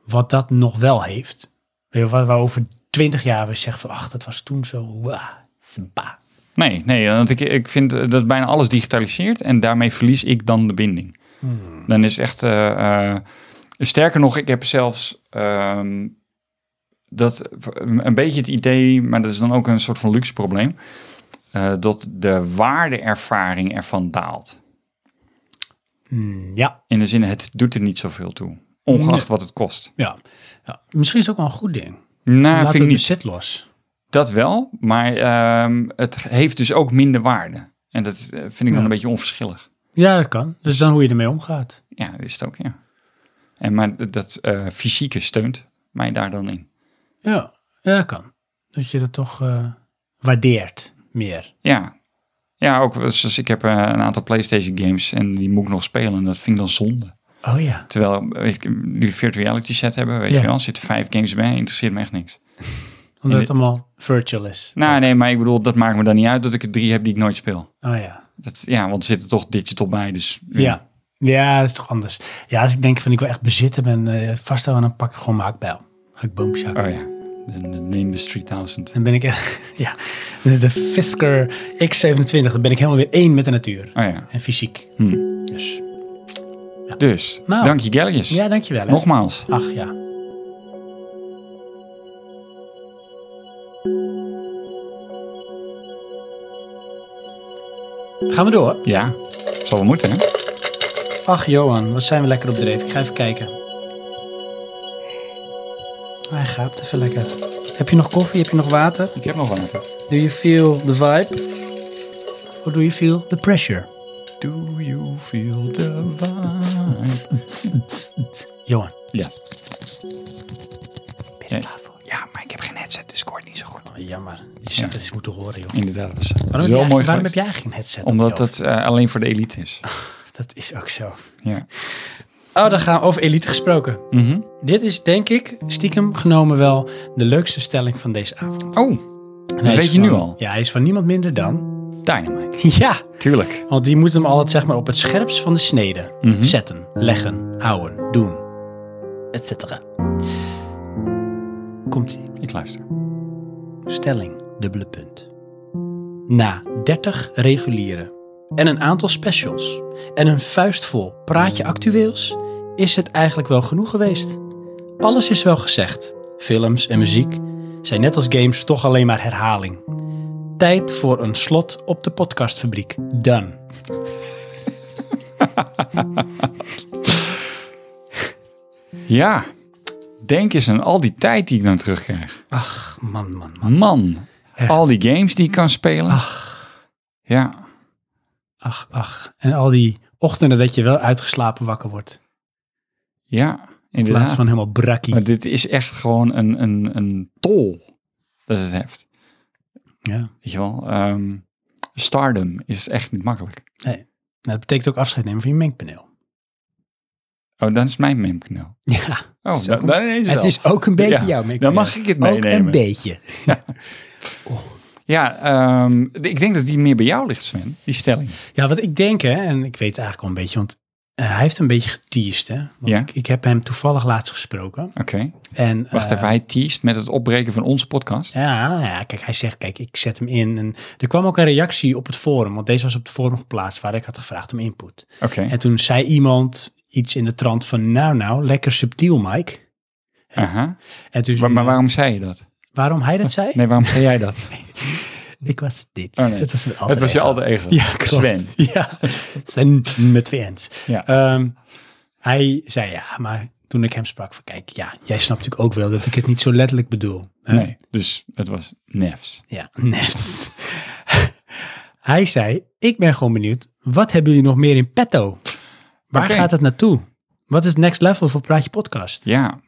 [SPEAKER 1] wat dat nog wel heeft? Weet je, Waar, waar over twintig jaar we zeggen van, ach, dat was toen zo. wa, ba.
[SPEAKER 2] Nee, nee, want ik, ik vind eh, dat bijna alles digitaliseert en daarmee verlies ik dan de binding.
[SPEAKER 1] Hmm.
[SPEAKER 2] Dan is het echt. eh, eh, sterker nog, ik heb zelfs ehm, dat een beetje het idee, maar dat is dan ook een soort van luxe probleem, eh, dat de waardeervaring ervan daalt.
[SPEAKER 1] Hmm, ja,
[SPEAKER 2] In de zin, het doet er niet zoveel toe, ongeacht
[SPEAKER 1] Nee.
[SPEAKER 2] wat het kost.
[SPEAKER 1] ja, ja. Misschien is het ook wel een goed ding.
[SPEAKER 2] Nou,
[SPEAKER 1] Laat
[SPEAKER 2] vind
[SPEAKER 1] het
[SPEAKER 2] ik niet.
[SPEAKER 1] bezit los.
[SPEAKER 2] Dat wel, maar ehm, het heeft dus ook minder waarde. En dat eh, vind ik dan
[SPEAKER 1] Ja.
[SPEAKER 2] een beetje onverschillig.
[SPEAKER 1] Ja, dat kan. Dus dan hoe je ermee omgaat.
[SPEAKER 2] Ja, dat is het ook, ja. En maar dat eh, fysieke steunt mij daar dan in.
[SPEAKER 1] Ja, ja dat kan. Dat je dat toch eh, waardeert meer.
[SPEAKER 2] Ja. Ja, ook dus ik heb eh, een aantal PlayStation games en die moet ik nog spelen. En dat vind ik dan zonde.
[SPEAKER 1] Oh ja.
[SPEAKER 2] Terwijl eh, ik die virtual reality set hebben, weet
[SPEAKER 1] Ja.
[SPEAKER 2] je wel, zitten vijf games bij, interesseert me echt niks.
[SPEAKER 1] Omdat het allemaal virtual is.
[SPEAKER 2] Nou, nee, maar ik bedoel, dat maakt me dan niet uit dat ik er drie heb die ik nooit speel.
[SPEAKER 1] Oh ja.
[SPEAKER 2] Dat, ja, want er zitten toch digital bij, dus
[SPEAKER 1] Ja. ja, dat is toch anders. Ja, als ik denk van ik wil echt bezitten ben eh vasthouden, dan pak ik gewoon mijn hakbijl. Ga ik boompjes hakken.
[SPEAKER 2] Oh ja, de, de Nimbus 3000.
[SPEAKER 1] Dan ben ik echt, ja, de de Fisker X27, dan ben ik helemaal weer één met de natuur.
[SPEAKER 2] Oh ja.
[SPEAKER 1] En fysiek.
[SPEAKER 2] Hm.
[SPEAKER 1] Dus,
[SPEAKER 2] Dus,
[SPEAKER 1] Nou.
[SPEAKER 2] dank je Gellius.
[SPEAKER 1] ja, dankjewel. Hè.
[SPEAKER 2] Nogmaals.
[SPEAKER 1] Ach ja. Gaan we door?
[SPEAKER 2] Ja, zal wel moeten, hè?
[SPEAKER 1] Ach Johan, wat zijn we lekker op dreef. Ik ga even kijken. Hij gaat even lekker. Heb je nog koffie? Heb je nog water?
[SPEAKER 2] Ik heb nog water.
[SPEAKER 1] Do you feel the vibe? Or do you feel the pressure?
[SPEAKER 2] Do you feel the vibe?
[SPEAKER 1] Johan.
[SPEAKER 2] Ja.
[SPEAKER 1] Ben je
[SPEAKER 2] Ja.
[SPEAKER 1] er klaar voor?
[SPEAKER 2] Ja, maar ik heb geen headset, dus ik hoor het niet zo goed.
[SPEAKER 1] Oh, Jammer. Je zou het eens moeten horen, joh.
[SPEAKER 2] Inderdaad, dat is
[SPEAKER 1] Waarom,
[SPEAKER 2] zo
[SPEAKER 1] heb, jij,
[SPEAKER 2] mooi
[SPEAKER 1] waarom heb
[SPEAKER 2] geweest.
[SPEAKER 1] jij geen headset? op,
[SPEAKER 2] Omdat
[SPEAKER 1] Johan?
[SPEAKER 2] dat eh, alleen voor de elite is.
[SPEAKER 1] Dat is ook zo.
[SPEAKER 2] ja.
[SPEAKER 1] Oh, dan gaan we over elite gesproken.
[SPEAKER 2] Mhm.
[SPEAKER 1] Dit is, denk ik, stiekem genomen wel de leukste stelling van deze avond.
[SPEAKER 2] Oh,
[SPEAKER 1] En hij
[SPEAKER 2] weet
[SPEAKER 1] is
[SPEAKER 2] je nu
[SPEAKER 1] van-
[SPEAKER 2] al.
[SPEAKER 1] Ja, hij is van niemand minder dan...
[SPEAKER 2] Dynamite.
[SPEAKER 1] ja,
[SPEAKER 2] Tuurlijk.
[SPEAKER 1] Want die moet hem altijd zeg maar, op het scherpst van de snede
[SPEAKER 2] Mhm.
[SPEAKER 1] zetten, leggen, houden, doen, etc. Komt ie.
[SPEAKER 2] Ik luister.
[SPEAKER 1] Stelling, dubbele punt. Na 30 reguliere en een aantal specials en een vuistvol praatje actueels is het eigenlijk wel genoeg geweest. Alles is wel gezegd. Films en muziek zijn net als games toch alleen maar herhaling. Tijd voor een slot op de podcastfabriek. Done.
[SPEAKER 2] Ja, denk eens aan al die tijd die ik dan terugkrijg.
[SPEAKER 1] Ach, man, man, man.
[SPEAKER 2] Man,
[SPEAKER 1] Echt.
[SPEAKER 2] al die games die ik kan spelen.
[SPEAKER 1] Ach,
[SPEAKER 2] Ja,
[SPEAKER 1] ach, ach. En al die ochtenden dat je wel uitgeslapen wakker wordt.
[SPEAKER 2] ja,
[SPEAKER 1] In plaats
[SPEAKER 2] inderdaad.
[SPEAKER 1] van helemaal brakkie.
[SPEAKER 2] Maar dit is echt gewoon een, een, een tol dat het heeft.
[SPEAKER 1] Ja.
[SPEAKER 2] Weet je wel? Ehm, stardom is echt niet makkelijk.
[SPEAKER 1] Nee. Nou, dat betekent ook afscheid nemen van je mengpaneel.
[SPEAKER 2] Oh, dan is mijn memkanaal.
[SPEAKER 1] Ja.
[SPEAKER 2] Oh,
[SPEAKER 1] Zo.
[SPEAKER 2] dan, dan ineens wel.
[SPEAKER 1] Het is ook een beetje
[SPEAKER 2] Ja,
[SPEAKER 1] jouw mengpaneel.
[SPEAKER 2] dan mag ik het
[SPEAKER 1] Ook een
[SPEAKER 2] meenemen.
[SPEAKER 1] beetje.
[SPEAKER 2] Ja, ehm, ik denk dat die meer bij jou ligt, Sven. Die stelling.
[SPEAKER 1] Ja, wat ik denk, hè, en ik weet eigenlijk al een beetje, want eh, hij heeft een beetje geteased, hè? Want
[SPEAKER 2] Ja.
[SPEAKER 1] ik, ik heb hem toevallig laatst gesproken.
[SPEAKER 2] Oké.
[SPEAKER 1] En,
[SPEAKER 2] Wacht
[SPEAKER 1] eh,
[SPEAKER 2] even, hij teest met het opbreken van onze podcast.
[SPEAKER 1] Ja, ja, kijk, hij zegt, kijk, ik zet hem in. En er kwam ook een reactie op het forum, want deze was op het forum geplaatst waar ik had gevraagd om input.
[SPEAKER 2] Oké.
[SPEAKER 1] En toen zei iemand iets in de trant van, nou nou, lekker subtiel, Mike.
[SPEAKER 2] Aha.
[SPEAKER 1] En toen,
[SPEAKER 2] Wa- maar waarom zei je dat?
[SPEAKER 1] waarom hij dat zei?
[SPEAKER 2] Nee, waarom zei jij dat?
[SPEAKER 1] Ik was dit.
[SPEAKER 2] Oh, nee.
[SPEAKER 1] Het was, een alter
[SPEAKER 2] het was je
[SPEAKER 1] ego.
[SPEAKER 2] alter ego.
[SPEAKER 1] Ja, klopt.
[SPEAKER 2] Sven.
[SPEAKER 1] Ja, Sven met twee N's.
[SPEAKER 2] Ja.
[SPEAKER 1] Ehm, hij zei ja, maar toen ik hem sprak van kijk, ja, jij snapt natuurlijk ook wel dat ik het niet zo letterlijk bedoel. hè?
[SPEAKER 2] Nee, dus het was nefs.
[SPEAKER 1] Ja, net. hij zei, ik ben gewoon benieuwd, wat hebben jullie nog meer in petto? Waar
[SPEAKER 2] Oké.
[SPEAKER 1] gaat het naartoe? Wat is het next level voor Praatje Podcast?
[SPEAKER 2] Ja.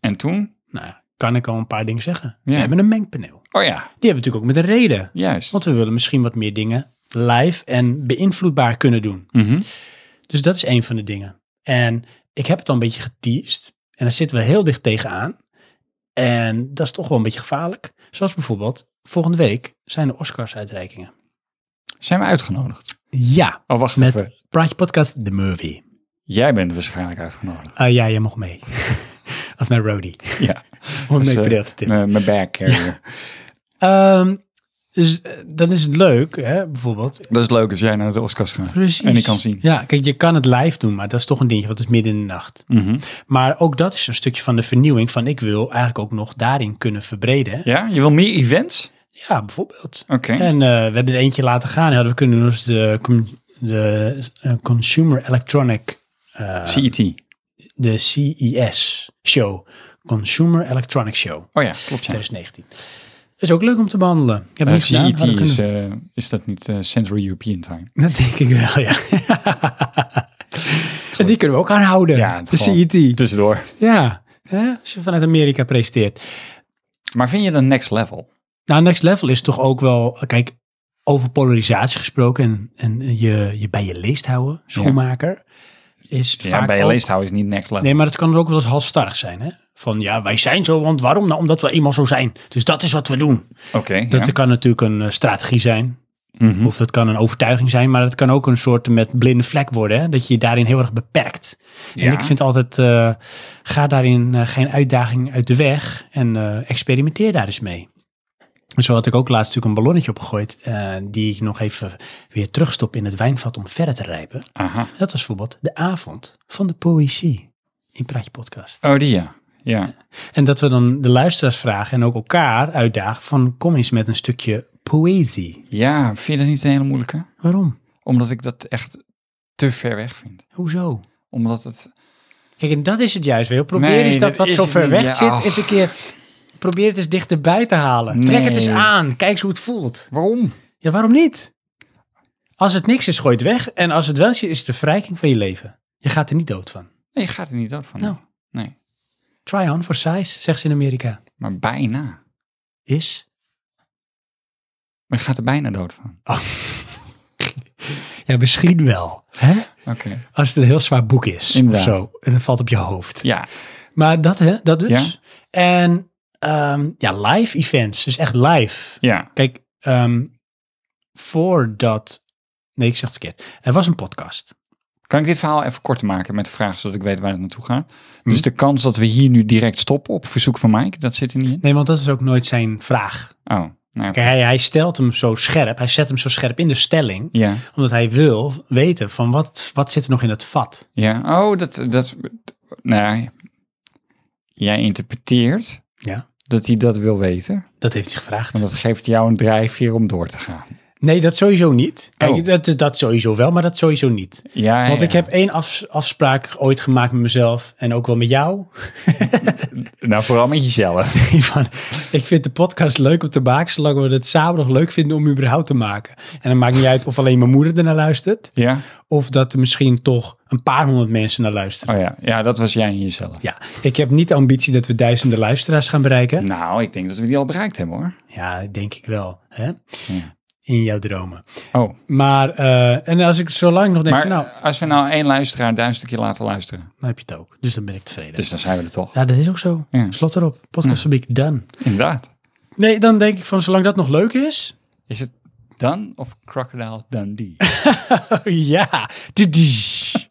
[SPEAKER 2] En toen?
[SPEAKER 1] Nou, kan ik al een paar dingen zeggen.
[SPEAKER 2] Ja.
[SPEAKER 1] We hebben een mengpaneel.
[SPEAKER 2] Oh ja,
[SPEAKER 1] Die hebben we natuurlijk ook met een reden.
[SPEAKER 2] juist.
[SPEAKER 1] Want we willen misschien wat meer dingen live en beïnvloedbaar kunnen doen.
[SPEAKER 2] Mhm.
[SPEAKER 1] Dus dat is een van de dingen. En ik heb het al een beetje geteased. En daar zitten we heel dicht tegenaan. En dat is toch wel een beetje gevaarlijk. Zoals bijvoorbeeld, volgende week zijn de Oscars-uitreikingen.
[SPEAKER 2] Zijn we uitgenodigd?
[SPEAKER 1] Ja,
[SPEAKER 2] Oh, wacht
[SPEAKER 1] met
[SPEAKER 2] even.
[SPEAKER 1] Praatje Podcast The Movie.
[SPEAKER 2] Jij bent waarschijnlijk uitgenodigd.
[SPEAKER 1] Ah ja, jij mag mee. Als mijn roadie.
[SPEAKER 2] Ja.
[SPEAKER 1] Om
[SPEAKER 2] Dus,
[SPEAKER 1] mee
[SPEAKER 2] eh,
[SPEAKER 1] te deel te tippen.
[SPEAKER 2] Mijn mijn backcarrier.
[SPEAKER 1] Ehm, dus eh, dan is het leuk, hè, bijvoorbeeld.
[SPEAKER 2] Dat is leuk als jij naar de Oscars gaat.
[SPEAKER 1] Precies.
[SPEAKER 2] En ik kan zien.
[SPEAKER 1] Ja, kijk, je kan het live doen, maar dat is toch een dingetje, want het is midden in de nacht.
[SPEAKER 2] Mhm.
[SPEAKER 1] Maar ook dat is een stukje van de vernieuwing van ik wil eigenlijk ook nog daarin kunnen verbreden. hè.
[SPEAKER 2] Ja, je wil meer events?
[SPEAKER 1] Ja, bijvoorbeeld.
[SPEAKER 2] Oké.
[SPEAKER 1] En eh, we hebben er eentje laten gaan. Ja, we kunnen dus de, com- de eh, Consumer Electronic, eh,
[SPEAKER 2] CET.
[SPEAKER 1] de CES show. Consumer Electronic Show
[SPEAKER 2] Oh ja, klopt ja.
[SPEAKER 1] 2019. Is ook leuk om te behandelen. Ik heb
[SPEAKER 2] Eh,
[SPEAKER 1] het niet gedaan.
[SPEAKER 2] CET
[SPEAKER 1] Hadden we
[SPEAKER 2] is,
[SPEAKER 1] kunnen-
[SPEAKER 2] eh, is dat niet eh, Central European Time?
[SPEAKER 1] Dat denk ik wel, ja. en die kunnen we ook aanhouden.
[SPEAKER 2] Ja, het
[SPEAKER 1] de E
[SPEAKER 2] gewoon-
[SPEAKER 1] CET.
[SPEAKER 2] Tussendoor.
[SPEAKER 1] Ja, hè, als je vanuit Amerika presenteert.
[SPEAKER 2] Maar vind je dan next level?
[SPEAKER 1] Nou, next level is toch ook wel, kijk, over polarisatie gesproken en, en je, je bij je leest houden, schoenmaker, is
[SPEAKER 2] Ja,
[SPEAKER 1] vaak
[SPEAKER 2] bij je
[SPEAKER 1] ook-
[SPEAKER 2] leesthouden is niet next level.
[SPEAKER 1] Nee, maar het kan er ook wel eens halstarrig zijn, hè? Van ja, wij zijn zo, want waarom? Nou, omdat we eenmaal zo zijn. Dus dat is wat we doen.
[SPEAKER 2] Oké,
[SPEAKER 1] Dat
[SPEAKER 2] ja.
[SPEAKER 1] kan natuurlijk een eh, strategie zijn,
[SPEAKER 2] Mhm.
[SPEAKER 1] of dat kan een overtuiging zijn, maar het kan ook een soort met blinde vlek worden, hè? Dat je je daarin heel erg beperkt.
[SPEAKER 2] Ja.
[SPEAKER 1] En ik vind altijd, eh, ga daarin eh, geen uitdaging uit de weg en eh, experimenteer daar eens mee. En zo had ik ook laatst natuurlijk een ballonnetje opgegooid, eh, die ik nog even weer terugstop in het wijnvat om verder te rijpen.
[SPEAKER 2] Aha.
[SPEAKER 1] Dat was bijvoorbeeld de avond van de poëzie in Praatje Podcast.
[SPEAKER 2] Oh, die ja. Ja,
[SPEAKER 1] En dat we dan de luisteraars vragen en ook elkaar uitdagen van kom eens met een stukje poëzie.
[SPEAKER 2] ja vind je dat niet een hele moeilijke?
[SPEAKER 1] Waarom?
[SPEAKER 2] Omdat ik dat echt te ver weg vind.
[SPEAKER 1] Hoezo?
[SPEAKER 2] Omdat het...
[SPEAKER 1] Kijk, en dat is het juist weer. Probeer
[SPEAKER 2] Nee,
[SPEAKER 1] eens
[SPEAKER 2] dat
[SPEAKER 1] dat wat
[SPEAKER 2] is
[SPEAKER 1] zo
[SPEAKER 2] het
[SPEAKER 1] ver
[SPEAKER 2] niet.
[SPEAKER 1] weg
[SPEAKER 2] Ja,
[SPEAKER 1] zit,
[SPEAKER 2] och.
[SPEAKER 1] eens een keer... Probeer het eens dichterbij te halen. Trek het eens
[SPEAKER 2] Nee.
[SPEAKER 1] aan. Kijk eens hoe het voelt.
[SPEAKER 2] Waarom?
[SPEAKER 1] Ja, waarom niet? Als het niks is, gooi het weg. En als het wel is, is het de verrijking van je leven. Je gaat er niet dood van.
[SPEAKER 2] Nee, je gaat er niet dood van.
[SPEAKER 1] Nou.
[SPEAKER 2] Nee,
[SPEAKER 1] Try on for size, zegt ze in Amerika.
[SPEAKER 2] maar bijna.
[SPEAKER 1] Is?
[SPEAKER 2] Maar je gaat er bijna dood van.
[SPEAKER 1] Ja, misschien wel. Hè?
[SPEAKER 2] Oké.
[SPEAKER 1] Als het een heel zwaar boek is. Of
[SPEAKER 2] Inderdaad.
[SPEAKER 1] zo. En het valt op je hoofd.
[SPEAKER 2] Ja,
[SPEAKER 1] Maar dat, hè, dat dus. En ehm, ja, live events. Dus echt live.
[SPEAKER 2] ja.
[SPEAKER 1] Kijk, ehm, voordat. Nee, ik zeg het verkeerd. Er was een podcast.
[SPEAKER 2] Kan ik dit verhaal even kort maken met de vraag, zodat ik weet waar het naartoe gaat?
[SPEAKER 1] Mhm.
[SPEAKER 2] Dus de kans dat we hier nu direct stoppen op verzoek van Mike, dat zit er niet in?
[SPEAKER 1] Nee, want dat is ook nooit zijn vraag.
[SPEAKER 2] Oh, nou ja.
[SPEAKER 1] Kijk, hij, hij stelt hem zo scherp. Hij zet hem zo scherp in de stelling.
[SPEAKER 2] Ja,
[SPEAKER 1] Omdat hij wil weten van wat, wat zit er nog in het vat.
[SPEAKER 2] ja. Oh, dat, dat, nou ja. Jij interpreteert
[SPEAKER 1] Ja.
[SPEAKER 2] dat hij dat wil weten.
[SPEAKER 1] Dat heeft hij gevraagd.
[SPEAKER 2] En dat geeft jou een drijfveer om door te gaan.
[SPEAKER 1] Nee, dat sowieso niet. Kijk,
[SPEAKER 2] Oh.
[SPEAKER 1] dat, dat sowieso wel, maar dat sowieso niet.
[SPEAKER 2] Ja,
[SPEAKER 1] Want
[SPEAKER 2] ja.
[SPEAKER 1] ik heb één afs- afspraak ooit gemaakt met mezelf en ook wel met jou.
[SPEAKER 2] Nou, vooral met jezelf.
[SPEAKER 1] Van, ik vind de podcast leuk om te maken, zolang we het samen nog leuk vinden om überhaupt te maken. En dan maakt niet uit of alleen mijn moeder ernaar luistert,
[SPEAKER 2] Ja?
[SPEAKER 1] of dat er misschien toch een paar honderd mensen naar luisteren.
[SPEAKER 2] Oh ja. Ja, dat was jij en jezelf.
[SPEAKER 1] Ja, ik heb niet de ambitie dat we duizenden luisteraars gaan bereiken.
[SPEAKER 2] Nou, ik denk dat we die al bereikt hebben hoor.
[SPEAKER 1] Ja, denk ik wel. Hè?
[SPEAKER 2] Ja.
[SPEAKER 1] In jouw dromen.
[SPEAKER 2] Oh,
[SPEAKER 1] Maar, eh, en als ik zo lang nog denk,
[SPEAKER 2] maar
[SPEAKER 1] van, nou,
[SPEAKER 2] als we nou één luisteraar duizend keer laten luisteren,
[SPEAKER 1] dan heb je het ook. Dus dan ben ik tevreden.
[SPEAKER 2] dus dan zijn we er toch.
[SPEAKER 1] ja, dat is ook zo.
[SPEAKER 2] Ja.
[SPEAKER 1] Slot erop. Podcastfabriek, done.
[SPEAKER 2] Inderdaad.
[SPEAKER 1] Nee, dan denk ik van, zolang dat nog leuk is,
[SPEAKER 2] Is het Dunn of Crocodile Dundee?
[SPEAKER 1] ja, Tudu.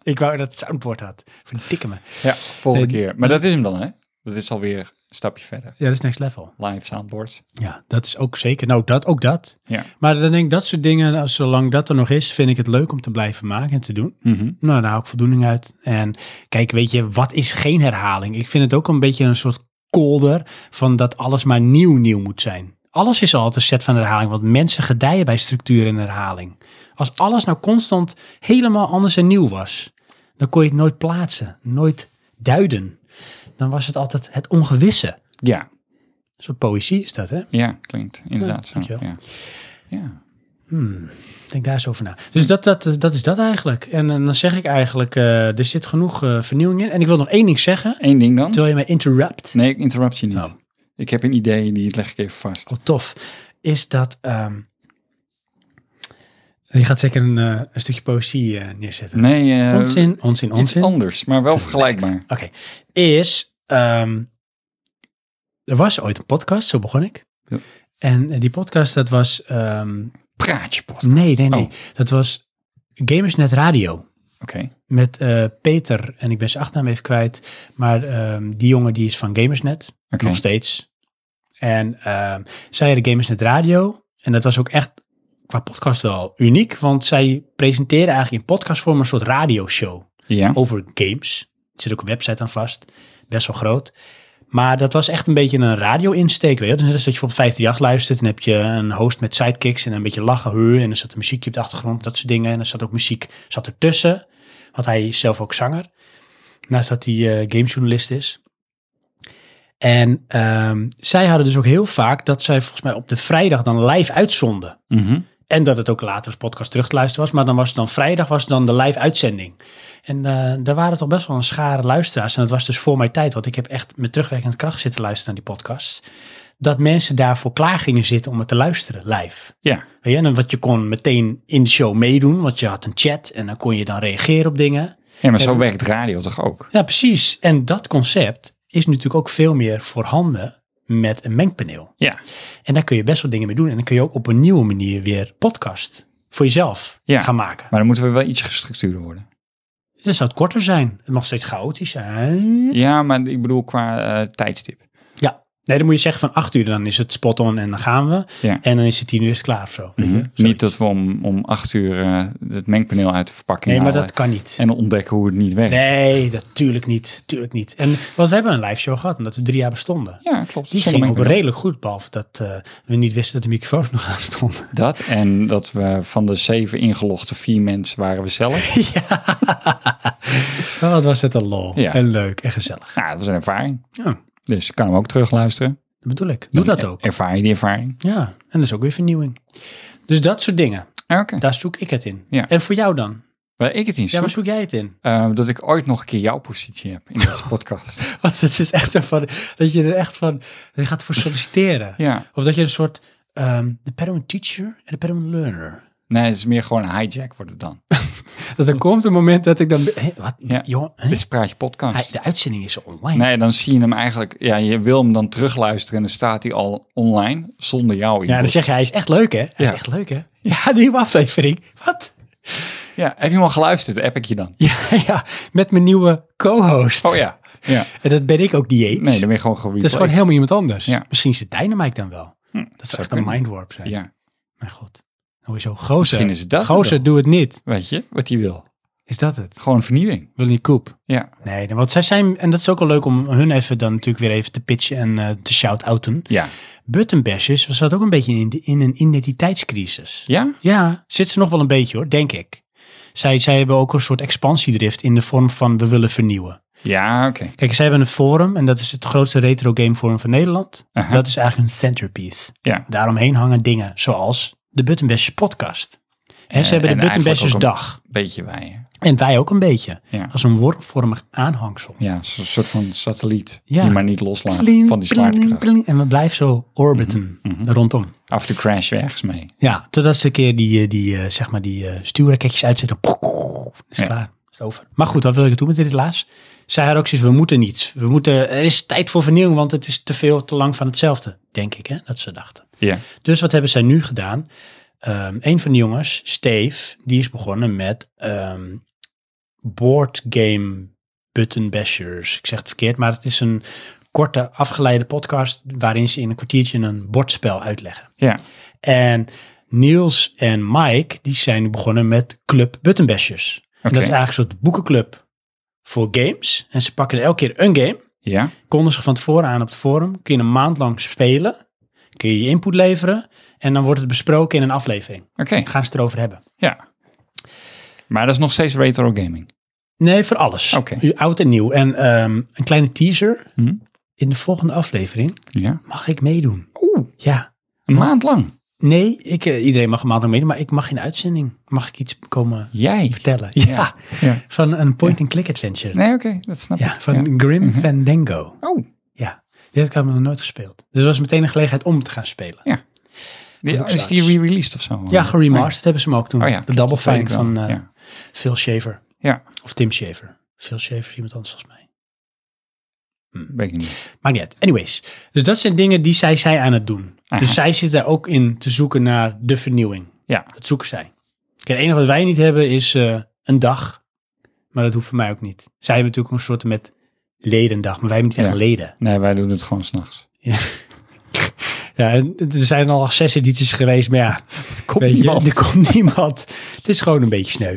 [SPEAKER 1] ik wou dat het soundboard had. Verdikke me.
[SPEAKER 2] ja, volgende
[SPEAKER 1] Nee,
[SPEAKER 2] keer. Maar dat is hem dan, hè? Dat is alweer een stapje verder.
[SPEAKER 1] Ja, dat is next level.
[SPEAKER 2] Live soundboards.
[SPEAKER 1] Ja, dat is ook zeker. Nou, dat, ook dat.
[SPEAKER 2] Ja.
[SPEAKER 1] Maar dan denk ik, dat soort dingen, nou, zolang dat er nog is, vind ik het leuk om te blijven maken en te doen.
[SPEAKER 2] Mhm.
[SPEAKER 1] Nou, daar haal ik voldoening uit. En kijk, weet je, wat is geen herhaling? Ik vind het ook een beetje een soort kolder van dat alles maar nieuw nieuw moet zijn. Alles is altijd een set van herhaling, want mensen gedijen bij structuur en herhaling. Als alles nou constant helemaal anders en nieuw was, dan kon je het nooit plaatsen, nooit duiden. Dan was het altijd het ongewisse.
[SPEAKER 2] Ja,
[SPEAKER 1] Zo'n poëzie is dat, hè?
[SPEAKER 2] ja, klinkt inderdaad zo.
[SPEAKER 1] dankjewel.
[SPEAKER 2] Ja. ja.
[SPEAKER 1] Hmm, denk daar eens over na. Dus dat, dat, dat is dat eigenlijk. En, eh, dan zeg ik eigenlijk, eh, er zit genoeg eh, vernieuwing in. En ik wil nog één ding zeggen.
[SPEAKER 2] Eén ding dan.
[SPEAKER 1] Terwijl je mij interrupt.
[SPEAKER 2] Nee, ik interrupt je niet.
[SPEAKER 1] Oh.
[SPEAKER 2] Ik heb een idee, die leg ik even vast.
[SPEAKER 1] Oh, tof. Is dat... ehm, je gaat zeker een, eh, een stukje poëzie eh, neerzetten.
[SPEAKER 2] Nee, eh,
[SPEAKER 1] onzin, onzin,
[SPEAKER 2] iets
[SPEAKER 1] onzin.
[SPEAKER 2] anders, maar wel vergelijkbaar.
[SPEAKER 1] Oké. Is... ehm, er was ooit een podcast, zo begon ik.
[SPEAKER 2] Ja.
[SPEAKER 1] En eh, die podcast, dat was... ehm,
[SPEAKER 2] Praatje pot.
[SPEAKER 1] nee, nee, nee.
[SPEAKER 2] Oh.
[SPEAKER 1] Dat was Gamersnet Radio.
[SPEAKER 2] Oké.
[SPEAKER 1] Met eh, Peter, en ik ben zijn achternaam even kwijt. Maar ehm, die jongen die is van Gamersnet.
[SPEAKER 2] Oké.
[SPEAKER 1] Nog steeds. En ehm, zij hadden Gamersnet Radio. En dat was ook echt qua podcast wel uniek. Want zij presenteerden eigenlijk in podcastvorm een soort radioshow
[SPEAKER 2] Ja.
[SPEAKER 1] over games. Er zit ook een website aan vast. Best wel groot. Maar dat was echt een beetje een radio-insteek. Weet je? wel. Dus net als dat je op 538 luistert. Dan heb je een host met sidekicks en een beetje lachen. Huh, en er zat een muziekje op de achtergrond. Dat soort dingen. En er zat ook muziek zat ertussen. Want hij is zelf ook zanger. Naast dat hij eh, gamejournalist is. En ehm, zij hadden dus ook heel vaak dat zij volgens mij op de vrijdag dan live uitzonden.
[SPEAKER 2] Mhm.
[SPEAKER 1] En dat het ook later als podcast terug te luisteren was. Maar dan was het dan vrijdag was het dan de live uitzending. En eh, daar waren toch best wel een schare luisteraars. En dat was dus voor mijn tijd. Want ik heb echt met terugwerkende kracht zitten luisteren naar die podcast. Dat mensen daarvoor klaar gingen zitten om het te luisteren live.
[SPEAKER 2] Ja.
[SPEAKER 1] Weet je, en wat je kon meteen in de show meedoen. Want je had een chat en dan kon je dan reageren op dingen.
[SPEAKER 2] ja, maar zo
[SPEAKER 1] Even-
[SPEAKER 2] werkt radio toch ook?
[SPEAKER 1] Ja, precies. En dat concept is natuurlijk ook veel meer voorhanden met een mengpaneel.
[SPEAKER 2] Ja.
[SPEAKER 1] En daar kun je best wel dingen mee doen. En dan kun je ook op een nieuwe manier weer podcast voor jezelf
[SPEAKER 2] Ja.
[SPEAKER 1] gaan maken.
[SPEAKER 2] Maar dan moeten we wel iets gestructureerder worden.
[SPEAKER 1] Dus dan zou het korter zijn. Het mag steeds chaotisch zijn.
[SPEAKER 2] Ja, maar ik bedoel qua eh, tijdstip.
[SPEAKER 1] Ja. Nee, dan moet je zeggen van acht uur, dan is het spot on en dan gaan we.
[SPEAKER 2] Ja. Mhm.
[SPEAKER 1] En dan is het tien uur is het klaar of zo. weet je? Zoiets.
[SPEAKER 2] Niet dat we om, om acht uur eh, het mengpaneel uit de verpakking
[SPEAKER 1] Nee, maar
[SPEAKER 2] halen
[SPEAKER 1] dat kan niet.
[SPEAKER 2] en ontdekken hoe het niet werkt.
[SPEAKER 1] Nee, natuurlijk niet. Tuurlijk niet. En want we hebben een live show gehad, omdat we drie jaar bestonden.
[SPEAKER 2] Ja, klopt.
[SPEAKER 1] Die
[SPEAKER 2] Zonder
[SPEAKER 1] ging ook
[SPEAKER 2] mengpaneel.
[SPEAKER 1] redelijk goed, behalve dat eh, we niet wisten dat de microfoons nog aan stonden.
[SPEAKER 2] Dat en dat we van de zeven ingelogde vier mensen waren we zelf.
[SPEAKER 1] Oh, wat was dat een lol.
[SPEAKER 2] Ja.
[SPEAKER 1] En leuk en gezellig.
[SPEAKER 2] ja, Nou, dat was een ervaring.
[SPEAKER 1] Ja, dat
[SPEAKER 2] Dus ik kan hem ook terugluisteren.
[SPEAKER 1] bedoel ik. Doe
[SPEAKER 2] Dan
[SPEAKER 1] dat ook.
[SPEAKER 2] Ervaar je die ervaring.
[SPEAKER 1] Ja, en dat is ook weer vernieuwing. Dus dat soort dingen,
[SPEAKER 2] Ah, Oké.
[SPEAKER 1] daar zoek ik het in.
[SPEAKER 2] Ja.
[SPEAKER 1] En voor jou dan?
[SPEAKER 2] Waar ik het in
[SPEAKER 1] Ja,
[SPEAKER 2] zoek,
[SPEAKER 1] waar zoek jij het in?
[SPEAKER 2] eh, dat ik ooit nog een keer jouw positie heb in deze podcast.
[SPEAKER 1] Want het is echt zo van, dat je er echt van, je gaat voor solliciteren.
[SPEAKER 2] ja.
[SPEAKER 1] Of dat je een soort, ehm, de paramount teacher en de paramount learner.
[SPEAKER 2] Nee, het is meer gewoon een hijack wordt het dan.
[SPEAKER 1] Dat er komt een moment dat ik dan, hé, wat,
[SPEAKER 2] Ja.
[SPEAKER 1] joh, hè?
[SPEAKER 2] Dit is Praatje
[SPEAKER 1] Hij-
[SPEAKER 2] Podcast.
[SPEAKER 1] de uitzending is online.
[SPEAKER 2] Nee, dan zie je hem eigenlijk... Ja, je wil hem dan terugluisteren en dan staat hij al online zonder jou in.
[SPEAKER 1] Ja, dan zeg je, hij is echt leuk hè? Hij is
[SPEAKER 2] Ja.
[SPEAKER 1] echt leuk hè? Ja, die nieuwe aflevering. Wat? dus-
[SPEAKER 2] ja, heb je hem al geluisterd? App ik je dan?
[SPEAKER 1] Ja, ja, met mijn nieuwe co-host.
[SPEAKER 2] Oh ja. ja.
[SPEAKER 1] En dat ben ik ook niet eens.
[SPEAKER 2] Nee, dan ben je gewoon gereplaced.
[SPEAKER 1] dat is gewoon helemaal iemand anders.
[SPEAKER 2] Ja. Hm,
[SPEAKER 1] Misschien is het Dynamite dan wel. Dat zou
[SPEAKER 2] zou
[SPEAKER 1] echt een
[SPEAKER 2] kunnen.
[SPEAKER 1] mindwarp zijn.
[SPEAKER 2] Ja,
[SPEAKER 1] Mijn god. Nou, Hoezo? Gozer.
[SPEAKER 2] Misschien is het dat het
[SPEAKER 1] Gozer,
[SPEAKER 2] wel.
[SPEAKER 1] doe het niet.
[SPEAKER 2] weet je wat hij wil?
[SPEAKER 1] Is dat het?
[SPEAKER 2] Gewoon vernieuwing.
[SPEAKER 1] Wil niet koep.
[SPEAKER 2] Ja,
[SPEAKER 1] Nee, want zij zijn, en dat is ook wel leuk om hun even dan natuurlijk weer even te pitchen en eh, te shout-outen.
[SPEAKER 2] ja.
[SPEAKER 1] Button Bashers zat ook een beetje in, de- in een identiteitscrisis.
[SPEAKER 2] Ja?
[SPEAKER 1] Ja, zit ze nog wel een beetje hoor, denk ik. Zij, zij hebben ook een soort expansiedrift in de vorm van we willen vernieuwen.
[SPEAKER 2] Ja, oké.
[SPEAKER 1] Kijk, zij hebben een forum en dat is het grootste retro game forum van Nederland.
[SPEAKER 2] Aha.
[SPEAKER 1] Dat is eigenlijk een centerpiece.
[SPEAKER 2] Ja.
[SPEAKER 1] Daaromheen hangen dingen zoals de Button Bashers podcast. Hè,
[SPEAKER 2] Eh,
[SPEAKER 1] ze hebben
[SPEAKER 2] en
[SPEAKER 1] de Button
[SPEAKER 2] eigenlijk
[SPEAKER 1] Bashers
[SPEAKER 2] ook een-
[SPEAKER 1] dag.
[SPEAKER 2] Beetje wij. hè?
[SPEAKER 1] En wij ook een beetje.
[SPEAKER 2] Ja.
[SPEAKER 1] Als een wormvormig aanhangsel.
[SPEAKER 2] Ja, zo'n soort van satelliet
[SPEAKER 1] Ja.
[SPEAKER 2] die maar niet loslaat
[SPEAKER 1] Pling,
[SPEAKER 2] van die
[SPEAKER 1] pling,
[SPEAKER 2] zwaartekracht. Mhm,
[SPEAKER 1] pling. En we blijven zo orbiten rondom.
[SPEAKER 2] Af en toe crash we ergens mee.
[SPEAKER 1] Ja, totdat ze een keer die, eh, die, eh, zeg maar die eh, stuurraketjes uitzetten. Is
[SPEAKER 2] Ja.
[SPEAKER 1] klaar. Is het over. Maar goed, wat wil ik doen met dit helaas? Zij had ook zoiets, we moeten niets. We moeten, er is tijd voor vernieuwing, want het is te veel, te lang van hetzelfde. Denk ik, hè, dat ze dachten.
[SPEAKER 2] Ja.
[SPEAKER 1] Dus wat hebben zij nu gedaan? Eh, Ehm, een van de jongens, Steve, die is begonnen met ehm board game button bashers. Ik zeg het verkeerd, maar het is een korte afgeleide podcast waarin ze in een kwartiertje een bordspel uitleggen.
[SPEAKER 2] Ja.
[SPEAKER 1] En Niels en Mike, die zijn begonnen met Club Button Bashers. En
[SPEAKER 2] Oké.
[SPEAKER 1] dat is eigenlijk een soort boekenclub voor games. En ze pakken elke keer een game
[SPEAKER 2] Ja.
[SPEAKER 1] konden ze van tevoren aan op het forum. Kun je een maand lang spelen. Kun je je input leveren. En dan wordt het besproken in een aflevering.
[SPEAKER 2] Oké.
[SPEAKER 1] Dan gaan ze het erover hebben.
[SPEAKER 2] Ja. Maar dat is nog steeds retro gaming.
[SPEAKER 1] Nee, voor alles.
[SPEAKER 2] Oké.
[SPEAKER 1] U- Oud en nieuw. En ehm, een kleine teaser.
[SPEAKER 2] Hm?
[SPEAKER 1] In de volgende aflevering
[SPEAKER 2] Ja.
[SPEAKER 1] mag ik meedoen.
[SPEAKER 2] Oeh.
[SPEAKER 1] Ja.
[SPEAKER 2] Een maand lang.
[SPEAKER 1] Nee, ik, eh, iedereen mag een maand lang meedoen. Maar ik mag in de uitzending. Mag ik iets komen
[SPEAKER 2] Jij.
[SPEAKER 1] vertellen. Ja.
[SPEAKER 2] Ja.
[SPEAKER 1] Van een point-and-click adventure.
[SPEAKER 2] Nee, Mhm. oké. dat snap ik.
[SPEAKER 1] Ja, van Grim Fandango.
[SPEAKER 2] Oh.
[SPEAKER 1] Ja. Dit had ik nog nooit gespeeld. Dus het was meteen een gelegenheid om te gaan spelen.
[SPEAKER 2] Die,
[SPEAKER 1] Van
[SPEAKER 2] is die
[SPEAKER 1] Xarx.
[SPEAKER 2] re-released of zo?
[SPEAKER 1] Ja, geremasterd hebben ze hem ook toen.
[SPEAKER 2] Oh ja,
[SPEAKER 1] de
[SPEAKER 2] klopt,
[SPEAKER 1] Double
[SPEAKER 2] dat weet
[SPEAKER 1] Fine
[SPEAKER 2] ik wel.
[SPEAKER 1] van eh,
[SPEAKER 2] Ja.
[SPEAKER 1] Phil Shaver.
[SPEAKER 2] Ja.
[SPEAKER 1] Of Tim Shaver. Phil Shaver is iemand anders volgens mij. eh,
[SPEAKER 2] Weet ik niet.
[SPEAKER 1] Maakt niet uit. Anyways. Dus dat zijn dingen die zij, zij aan het doen.
[SPEAKER 2] Aha.
[SPEAKER 1] Dus zij zit daar ook in te zoeken naar de vernieuwing.
[SPEAKER 2] Ja.
[SPEAKER 1] Dat zoeken zij. Kijk, het enige wat wij niet hebben is eh, een dag. Maar dat hoeft voor mij ook niet. Zij hebben natuurlijk een soort met ledendag. Maar wij hebben niet echt
[SPEAKER 2] Ja.
[SPEAKER 1] leden.
[SPEAKER 2] Nee, wij doen het gewoon s'nachts.
[SPEAKER 1] Ja, en er zijn al zes edities geweest. Maar ja,
[SPEAKER 2] Komt
[SPEAKER 1] weet je, er komt niemand. Het is gewoon een beetje sneu.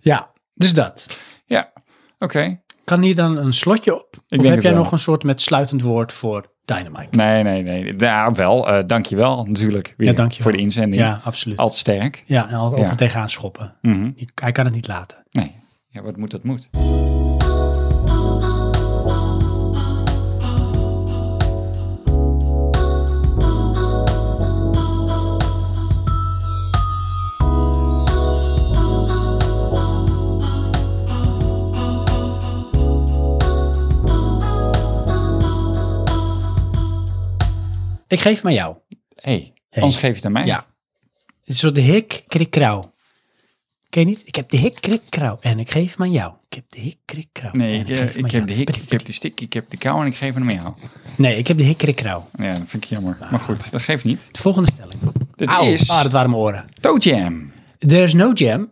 [SPEAKER 1] Ja, dus dat.
[SPEAKER 2] Ja. Oké.
[SPEAKER 1] Kan hier dan een slotje op?
[SPEAKER 2] denk
[SPEAKER 1] of heb
[SPEAKER 2] het
[SPEAKER 1] jij
[SPEAKER 2] wel.
[SPEAKER 1] nog een soort met sluitend woord voor Dynamite?
[SPEAKER 2] Nee, nee, nee. Ja, wel. eh dankjewel natuurlijk. Weer
[SPEAKER 1] Ja, dankjewel.
[SPEAKER 2] Voor de inzending.
[SPEAKER 1] Ja, absoluut.
[SPEAKER 2] Altijd sterk.
[SPEAKER 1] ja, en altijd
[SPEAKER 2] Ja.
[SPEAKER 1] over tegenaan schoppen.
[SPEAKER 2] Mhm.
[SPEAKER 1] Je- Hij kan het niet laten.
[SPEAKER 2] Nee. Ja, wat moet dat moet.
[SPEAKER 1] Ik geef hem aan jou.
[SPEAKER 2] hey, anders geef je het aan mij.
[SPEAKER 1] Ja. Het is zo de hik, krik, krauw. Ken je niet? Ik heb de hik, krik, krauw. En ik geef hem aan jou. Ik heb de hik, krik, krauw.
[SPEAKER 2] Nee,
[SPEAKER 1] en
[SPEAKER 2] ik,
[SPEAKER 1] geef
[SPEAKER 2] eh,
[SPEAKER 1] hem aan
[SPEAKER 2] ik heb
[SPEAKER 1] jou.
[SPEAKER 2] de hik,
[SPEAKER 1] Prik,
[SPEAKER 2] ik heb de stik, ik heb de kou en ik geef hem aan jou.
[SPEAKER 1] prik. Nee, ik heb de hik, krik, krauw.
[SPEAKER 2] Ja, dat vind ik jammer. Maar goed, dat geeft niet.
[SPEAKER 1] De volgende stelling.
[SPEAKER 2] Dit
[SPEAKER 1] Auw.
[SPEAKER 2] is
[SPEAKER 1] Ah, dat waren mijn oren.
[SPEAKER 2] Toe Jam.
[SPEAKER 1] There is no jam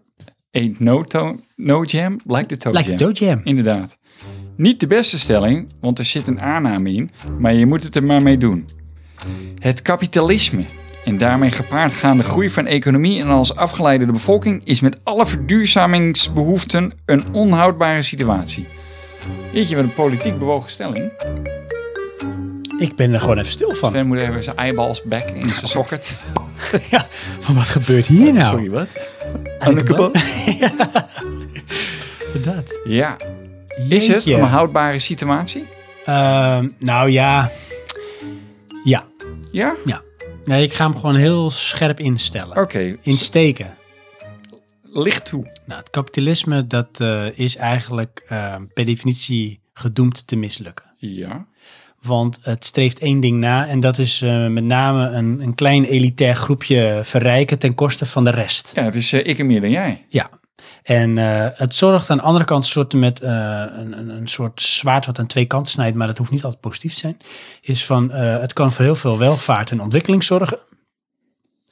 [SPEAKER 2] Ain't no, to- no jam like the Toe
[SPEAKER 1] like the
[SPEAKER 2] Jam.
[SPEAKER 1] dough jam.
[SPEAKER 2] Inderdaad. Niet de beste stelling, want er zit een aanname in, maar je moet het er maar mee doen. Het kapitalisme en daarmee gepaardgaande groei van economie en als afgeleide de bevolking is met alle verduurzamingsbehoeften een onhoudbare situatie. Weet je wat een politiek bewogen stelling?
[SPEAKER 1] Ik ben er gewoon even stil van.
[SPEAKER 2] Sven moet even zijn eyeballs back in zijn socket.
[SPEAKER 1] Ja, van wat gebeurt hier nou?
[SPEAKER 2] Oh, Sorry, wat?
[SPEAKER 1] Anneke Dat.
[SPEAKER 2] Ja. Is het
[SPEAKER 1] Jeetje.
[SPEAKER 2] een houdbare situatie?
[SPEAKER 1] Ehm, nou ja. Ja.
[SPEAKER 2] Ja?
[SPEAKER 1] Nee, ik ga hem gewoon heel scherp instellen.
[SPEAKER 2] Oké.
[SPEAKER 1] Insteken.
[SPEAKER 2] Licht toe.
[SPEAKER 1] Nou, het kapitalisme dat eh, is eigenlijk eh, per definitie gedoemd te mislukken.
[SPEAKER 2] Ja.
[SPEAKER 1] Want het streeft één ding na en dat is eh, met name een, een klein elitair groepje verrijken ten koste van de rest.
[SPEAKER 2] Ja, het is eh, ik en meer dan jij.
[SPEAKER 1] Ja. En eh, het zorgt aan de andere kant soort met, eh, een, een, een soort zwaard wat aan twee kanten snijdt, maar dat hoeft niet altijd positief te zijn. Is van eh, het kan voor heel veel welvaart en ontwikkeling zorgen.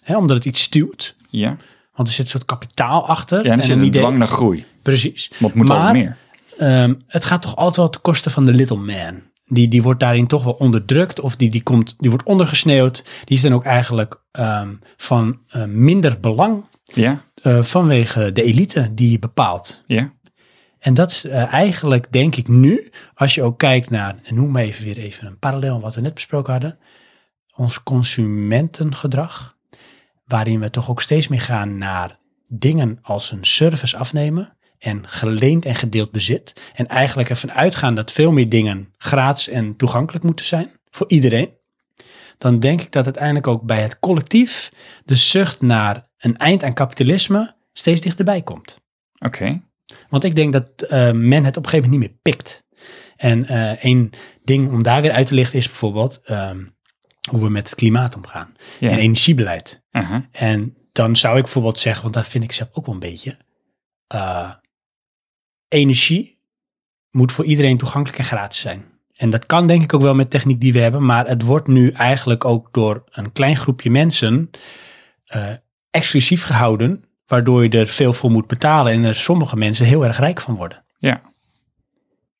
[SPEAKER 1] Hè, omdat het iets stuwt.
[SPEAKER 2] Ja.
[SPEAKER 1] Want er zit een soort kapitaal achter.
[SPEAKER 2] Ja, en er zit
[SPEAKER 1] een
[SPEAKER 2] een
[SPEAKER 1] idee.
[SPEAKER 2] dwang naar groei.
[SPEAKER 1] Precies.
[SPEAKER 2] Want moet
[SPEAKER 1] maar
[SPEAKER 2] ook meer.
[SPEAKER 1] ehm, het gaat toch altijd wel ten koste van de little man. Die, die wordt daarin toch wel onderdrukt of die, die, komt, die wordt ondergesneeuwd. Die is dan ook eigenlijk ehm, van eh, minder belang
[SPEAKER 2] Ja,
[SPEAKER 1] eh, vanwege de elite die bepaalt.
[SPEAKER 2] ja.
[SPEAKER 1] En dat is eh, eigenlijk, denk ik nu, als je ook kijkt naar, en noem maar even weer even een parallel aan wat we net besproken hadden, ons consumentengedrag, waarin we toch ook steeds meer gaan naar dingen als een service afnemen en geleend en gedeeld bezit. En eigenlijk ervan uitgaan dat veel meer dingen gratis en toegankelijk moeten zijn voor iedereen. Dan denk ik dat uiteindelijk ook bij het collectief de zucht naar een eind aan kapitalisme steeds dichterbij komt.
[SPEAKER 2] Oké.
[SPEAKER 1] Want ik denk dat eh, men het op een gegeven moment niet meer pikt. En eh, één ding om daar weer uit te lichten is bijvoorbeeld ehm, hoe we met het klimaat omgaan.
[SPEAKER 2] Ja.
[SPEAKER 1] En energiebeleid.
[SPEAKER 2] Aha.
[SPEAKER 1] En dan zou ik bijvoorbeeld zeggen, want daar vind ik zelf ook wel een beetje. eh, energie moet voor iedereen toegankelijk en gratis zijn. En dat kan denk ik ook wel met techniek die we hebben. Maar het wordt nu eigenlijk ook door een klein groepje mensen eh, exclusief gehouden, waardoor je er veel voor moet betalen en er sommige mensen heel erg rijk van worden.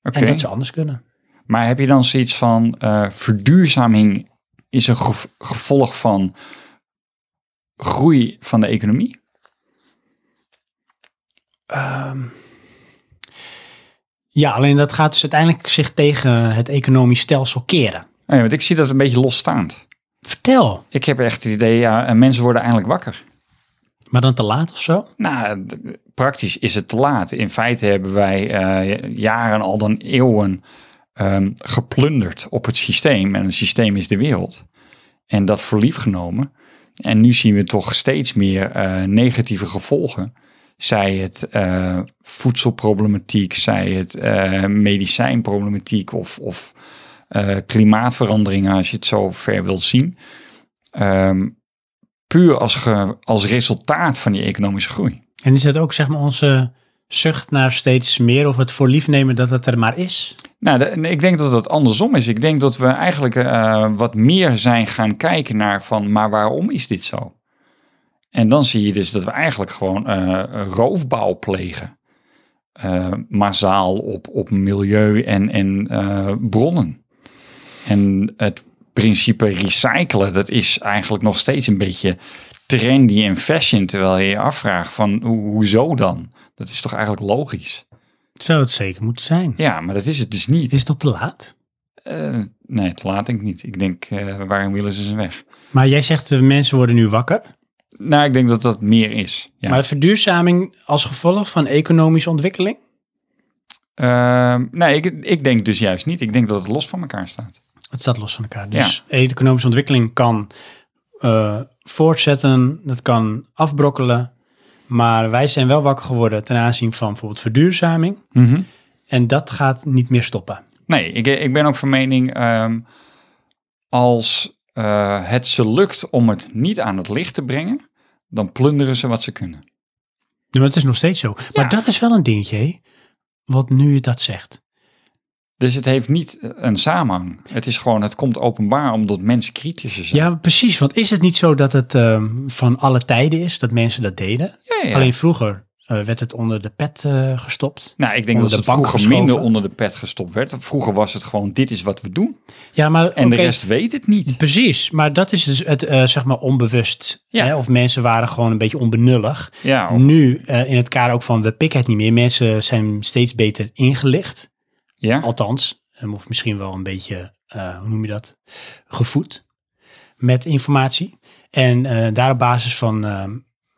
[SPEAKER 2] Oké.
[SPEAKER 1] En dat ze anders kunnen.
[SPEAKER 2] Maar heb je dan zoiets van eh, verduurzaming is een gev- gevolg van groei van de economie?
[SPEAKER 1] Ehm, ja, alleen dat gaat dus uiteindelijk zich tegen het economisch stelsel keren.
[SPEAKER 2] Nee, Nou want ik zie dat een beetje losstaand.
[SPEAKER 1] Vertel,
[SPEAKER 2] Ik heb echt het idee, ja, en mensen worden eindelijk wakker.
[SPEAKER 1] maar dan te laat of zo?
[SPEAKER 2] Nou, d- praktisch is het te laat. In feite hebben wij eh, jaren, al dan eeuwen, ehm, geplunderd op het systeem. En het systeem is de wereld. En dat voor lief genomen. En nu zien we toch steeds meer eh, negatieve gevolgen. Zij het eh, voedselproblematiek, zij het eh, medicijnproblematiek of, of eh, klimaatveranderingen, als je het zo ver wilt zien. Ehm, puur als, ge- als resultaat van die economische groei.
[SPEAKER 1] En is dat ook zeg maar onze zucht naar steeds meer of het voor lief nemen dat het er maar is?
[SPEAKER 2] Nou, de- nee, ik denk dat dat andersom is. Ik denk dat we eigenlijk eh, wat meer zijn gaan kijken naar van, maar waarom is dit zo? En dan zie je dus dat we eigenlijk gewoon eh, roofbouw plegen. Eh, massaal op, op milieu en, en eh, bronnen. En het principe recyclen, dat is eigenlijk nog steeds een beetje trendy en fashion. Terwijl je je afvraagt van, ho- hoezo dan? Dat is toch eigenlijk logisch?
[SPEAKER 1] Zou het zeker moeten zijn.
[SPEAKER 2] Ja, maar dat is het dus niet.
[SPEAKER 1] Het is toch te laat?
[SPEAKER 2] Eh, nee, te laat denk ik niet. Ik denk, eh waarom willen ze ze weg?
[SPEAKER 1] Maar jij zegt de mensen worden nu wakker.
[SPEAKER 2] Nou, ik denk dat dat meer is. Ja.
[SPEAKER 1] Maar verduurzaming als gevolg van economische ontwikkeling?
[SPEAKER 2] Ehm, nee, ik, ik denk dus juist niet. Ik denk dat het los van elkaar staat.
[SPEAKER 1] Het staat los van elkaar. Dus economische ontwikkeling kan eh, voortzetten, dat kan afbrokkelen. Maar wij zijn wel wakker geworden ten aanzien van bijvoorbeeld verduurzaming. En dat gaat niet meer stoppen.
[SPEAKER 2] Nee, ik, ik ben ook van mening, ehm, als eh, het ze lukt om het niet aan het licht te brengen, dan plunderen ze wat ze kunnen.
[SPEAKER 1] Ja, maar het is nog steeds zo. Maar dat is wel een dingetje, hè, wat nu je dat zegt.
[SPEAKER 2] Dus het heeft niet een samenhang. Het is gewoon, het komt openbaar omdat mensen kritischer zijn.
[SPEAKER 1] Ja, precies. Want is het niet zo dat het ehm, van alle tijden is dat mensen dat deden?
[SPEAKER 2] Ja, ja.
[SPEAKER 1] Alleen vroeger eh, werd het onder de pet eh, gestopt.
[SPEAKER 2] nou, ik denk
[SPEAKER 1] onder
[SPEAKER 2] dat
[SPEAKER 1] de
[SPEAKER 2] het
[SPEAKER 1] bank
[SPEAKER 2] vroeger minder
[SPEAKER 1] geschoven.
[SPEAKER 2] onder de pet gestopt werd. Vroeger was het gewoon, dit is wat we doen.
[SPEAKER 1] Ja, maar
[SPEAKER 2] En de
[SPEAKER 1] oké,
[SPEAKER 2] rest weet het niet.
[SPEAKER 1] Precies, maar dat is dus het eh, zeg maar onbewust.
[SPEAKER 2] Ja.
[SPEAKER 1] Hè? Of mensen waren gewoon een beetje onbenullig.
[SPEAKER 2] Ja, of-
[SPEAKER 1] Nu, eh, in het kader ook van we pikken het niet meer, mensen zijn steeds beter ingelicht.
[SPEAKER 2] ja.
[SPEAKER 1] Althans, eh, of misschien wel een beetje, eh, hoe noem je dat? Gevoed met informatie. En eh, daar op basis van eh,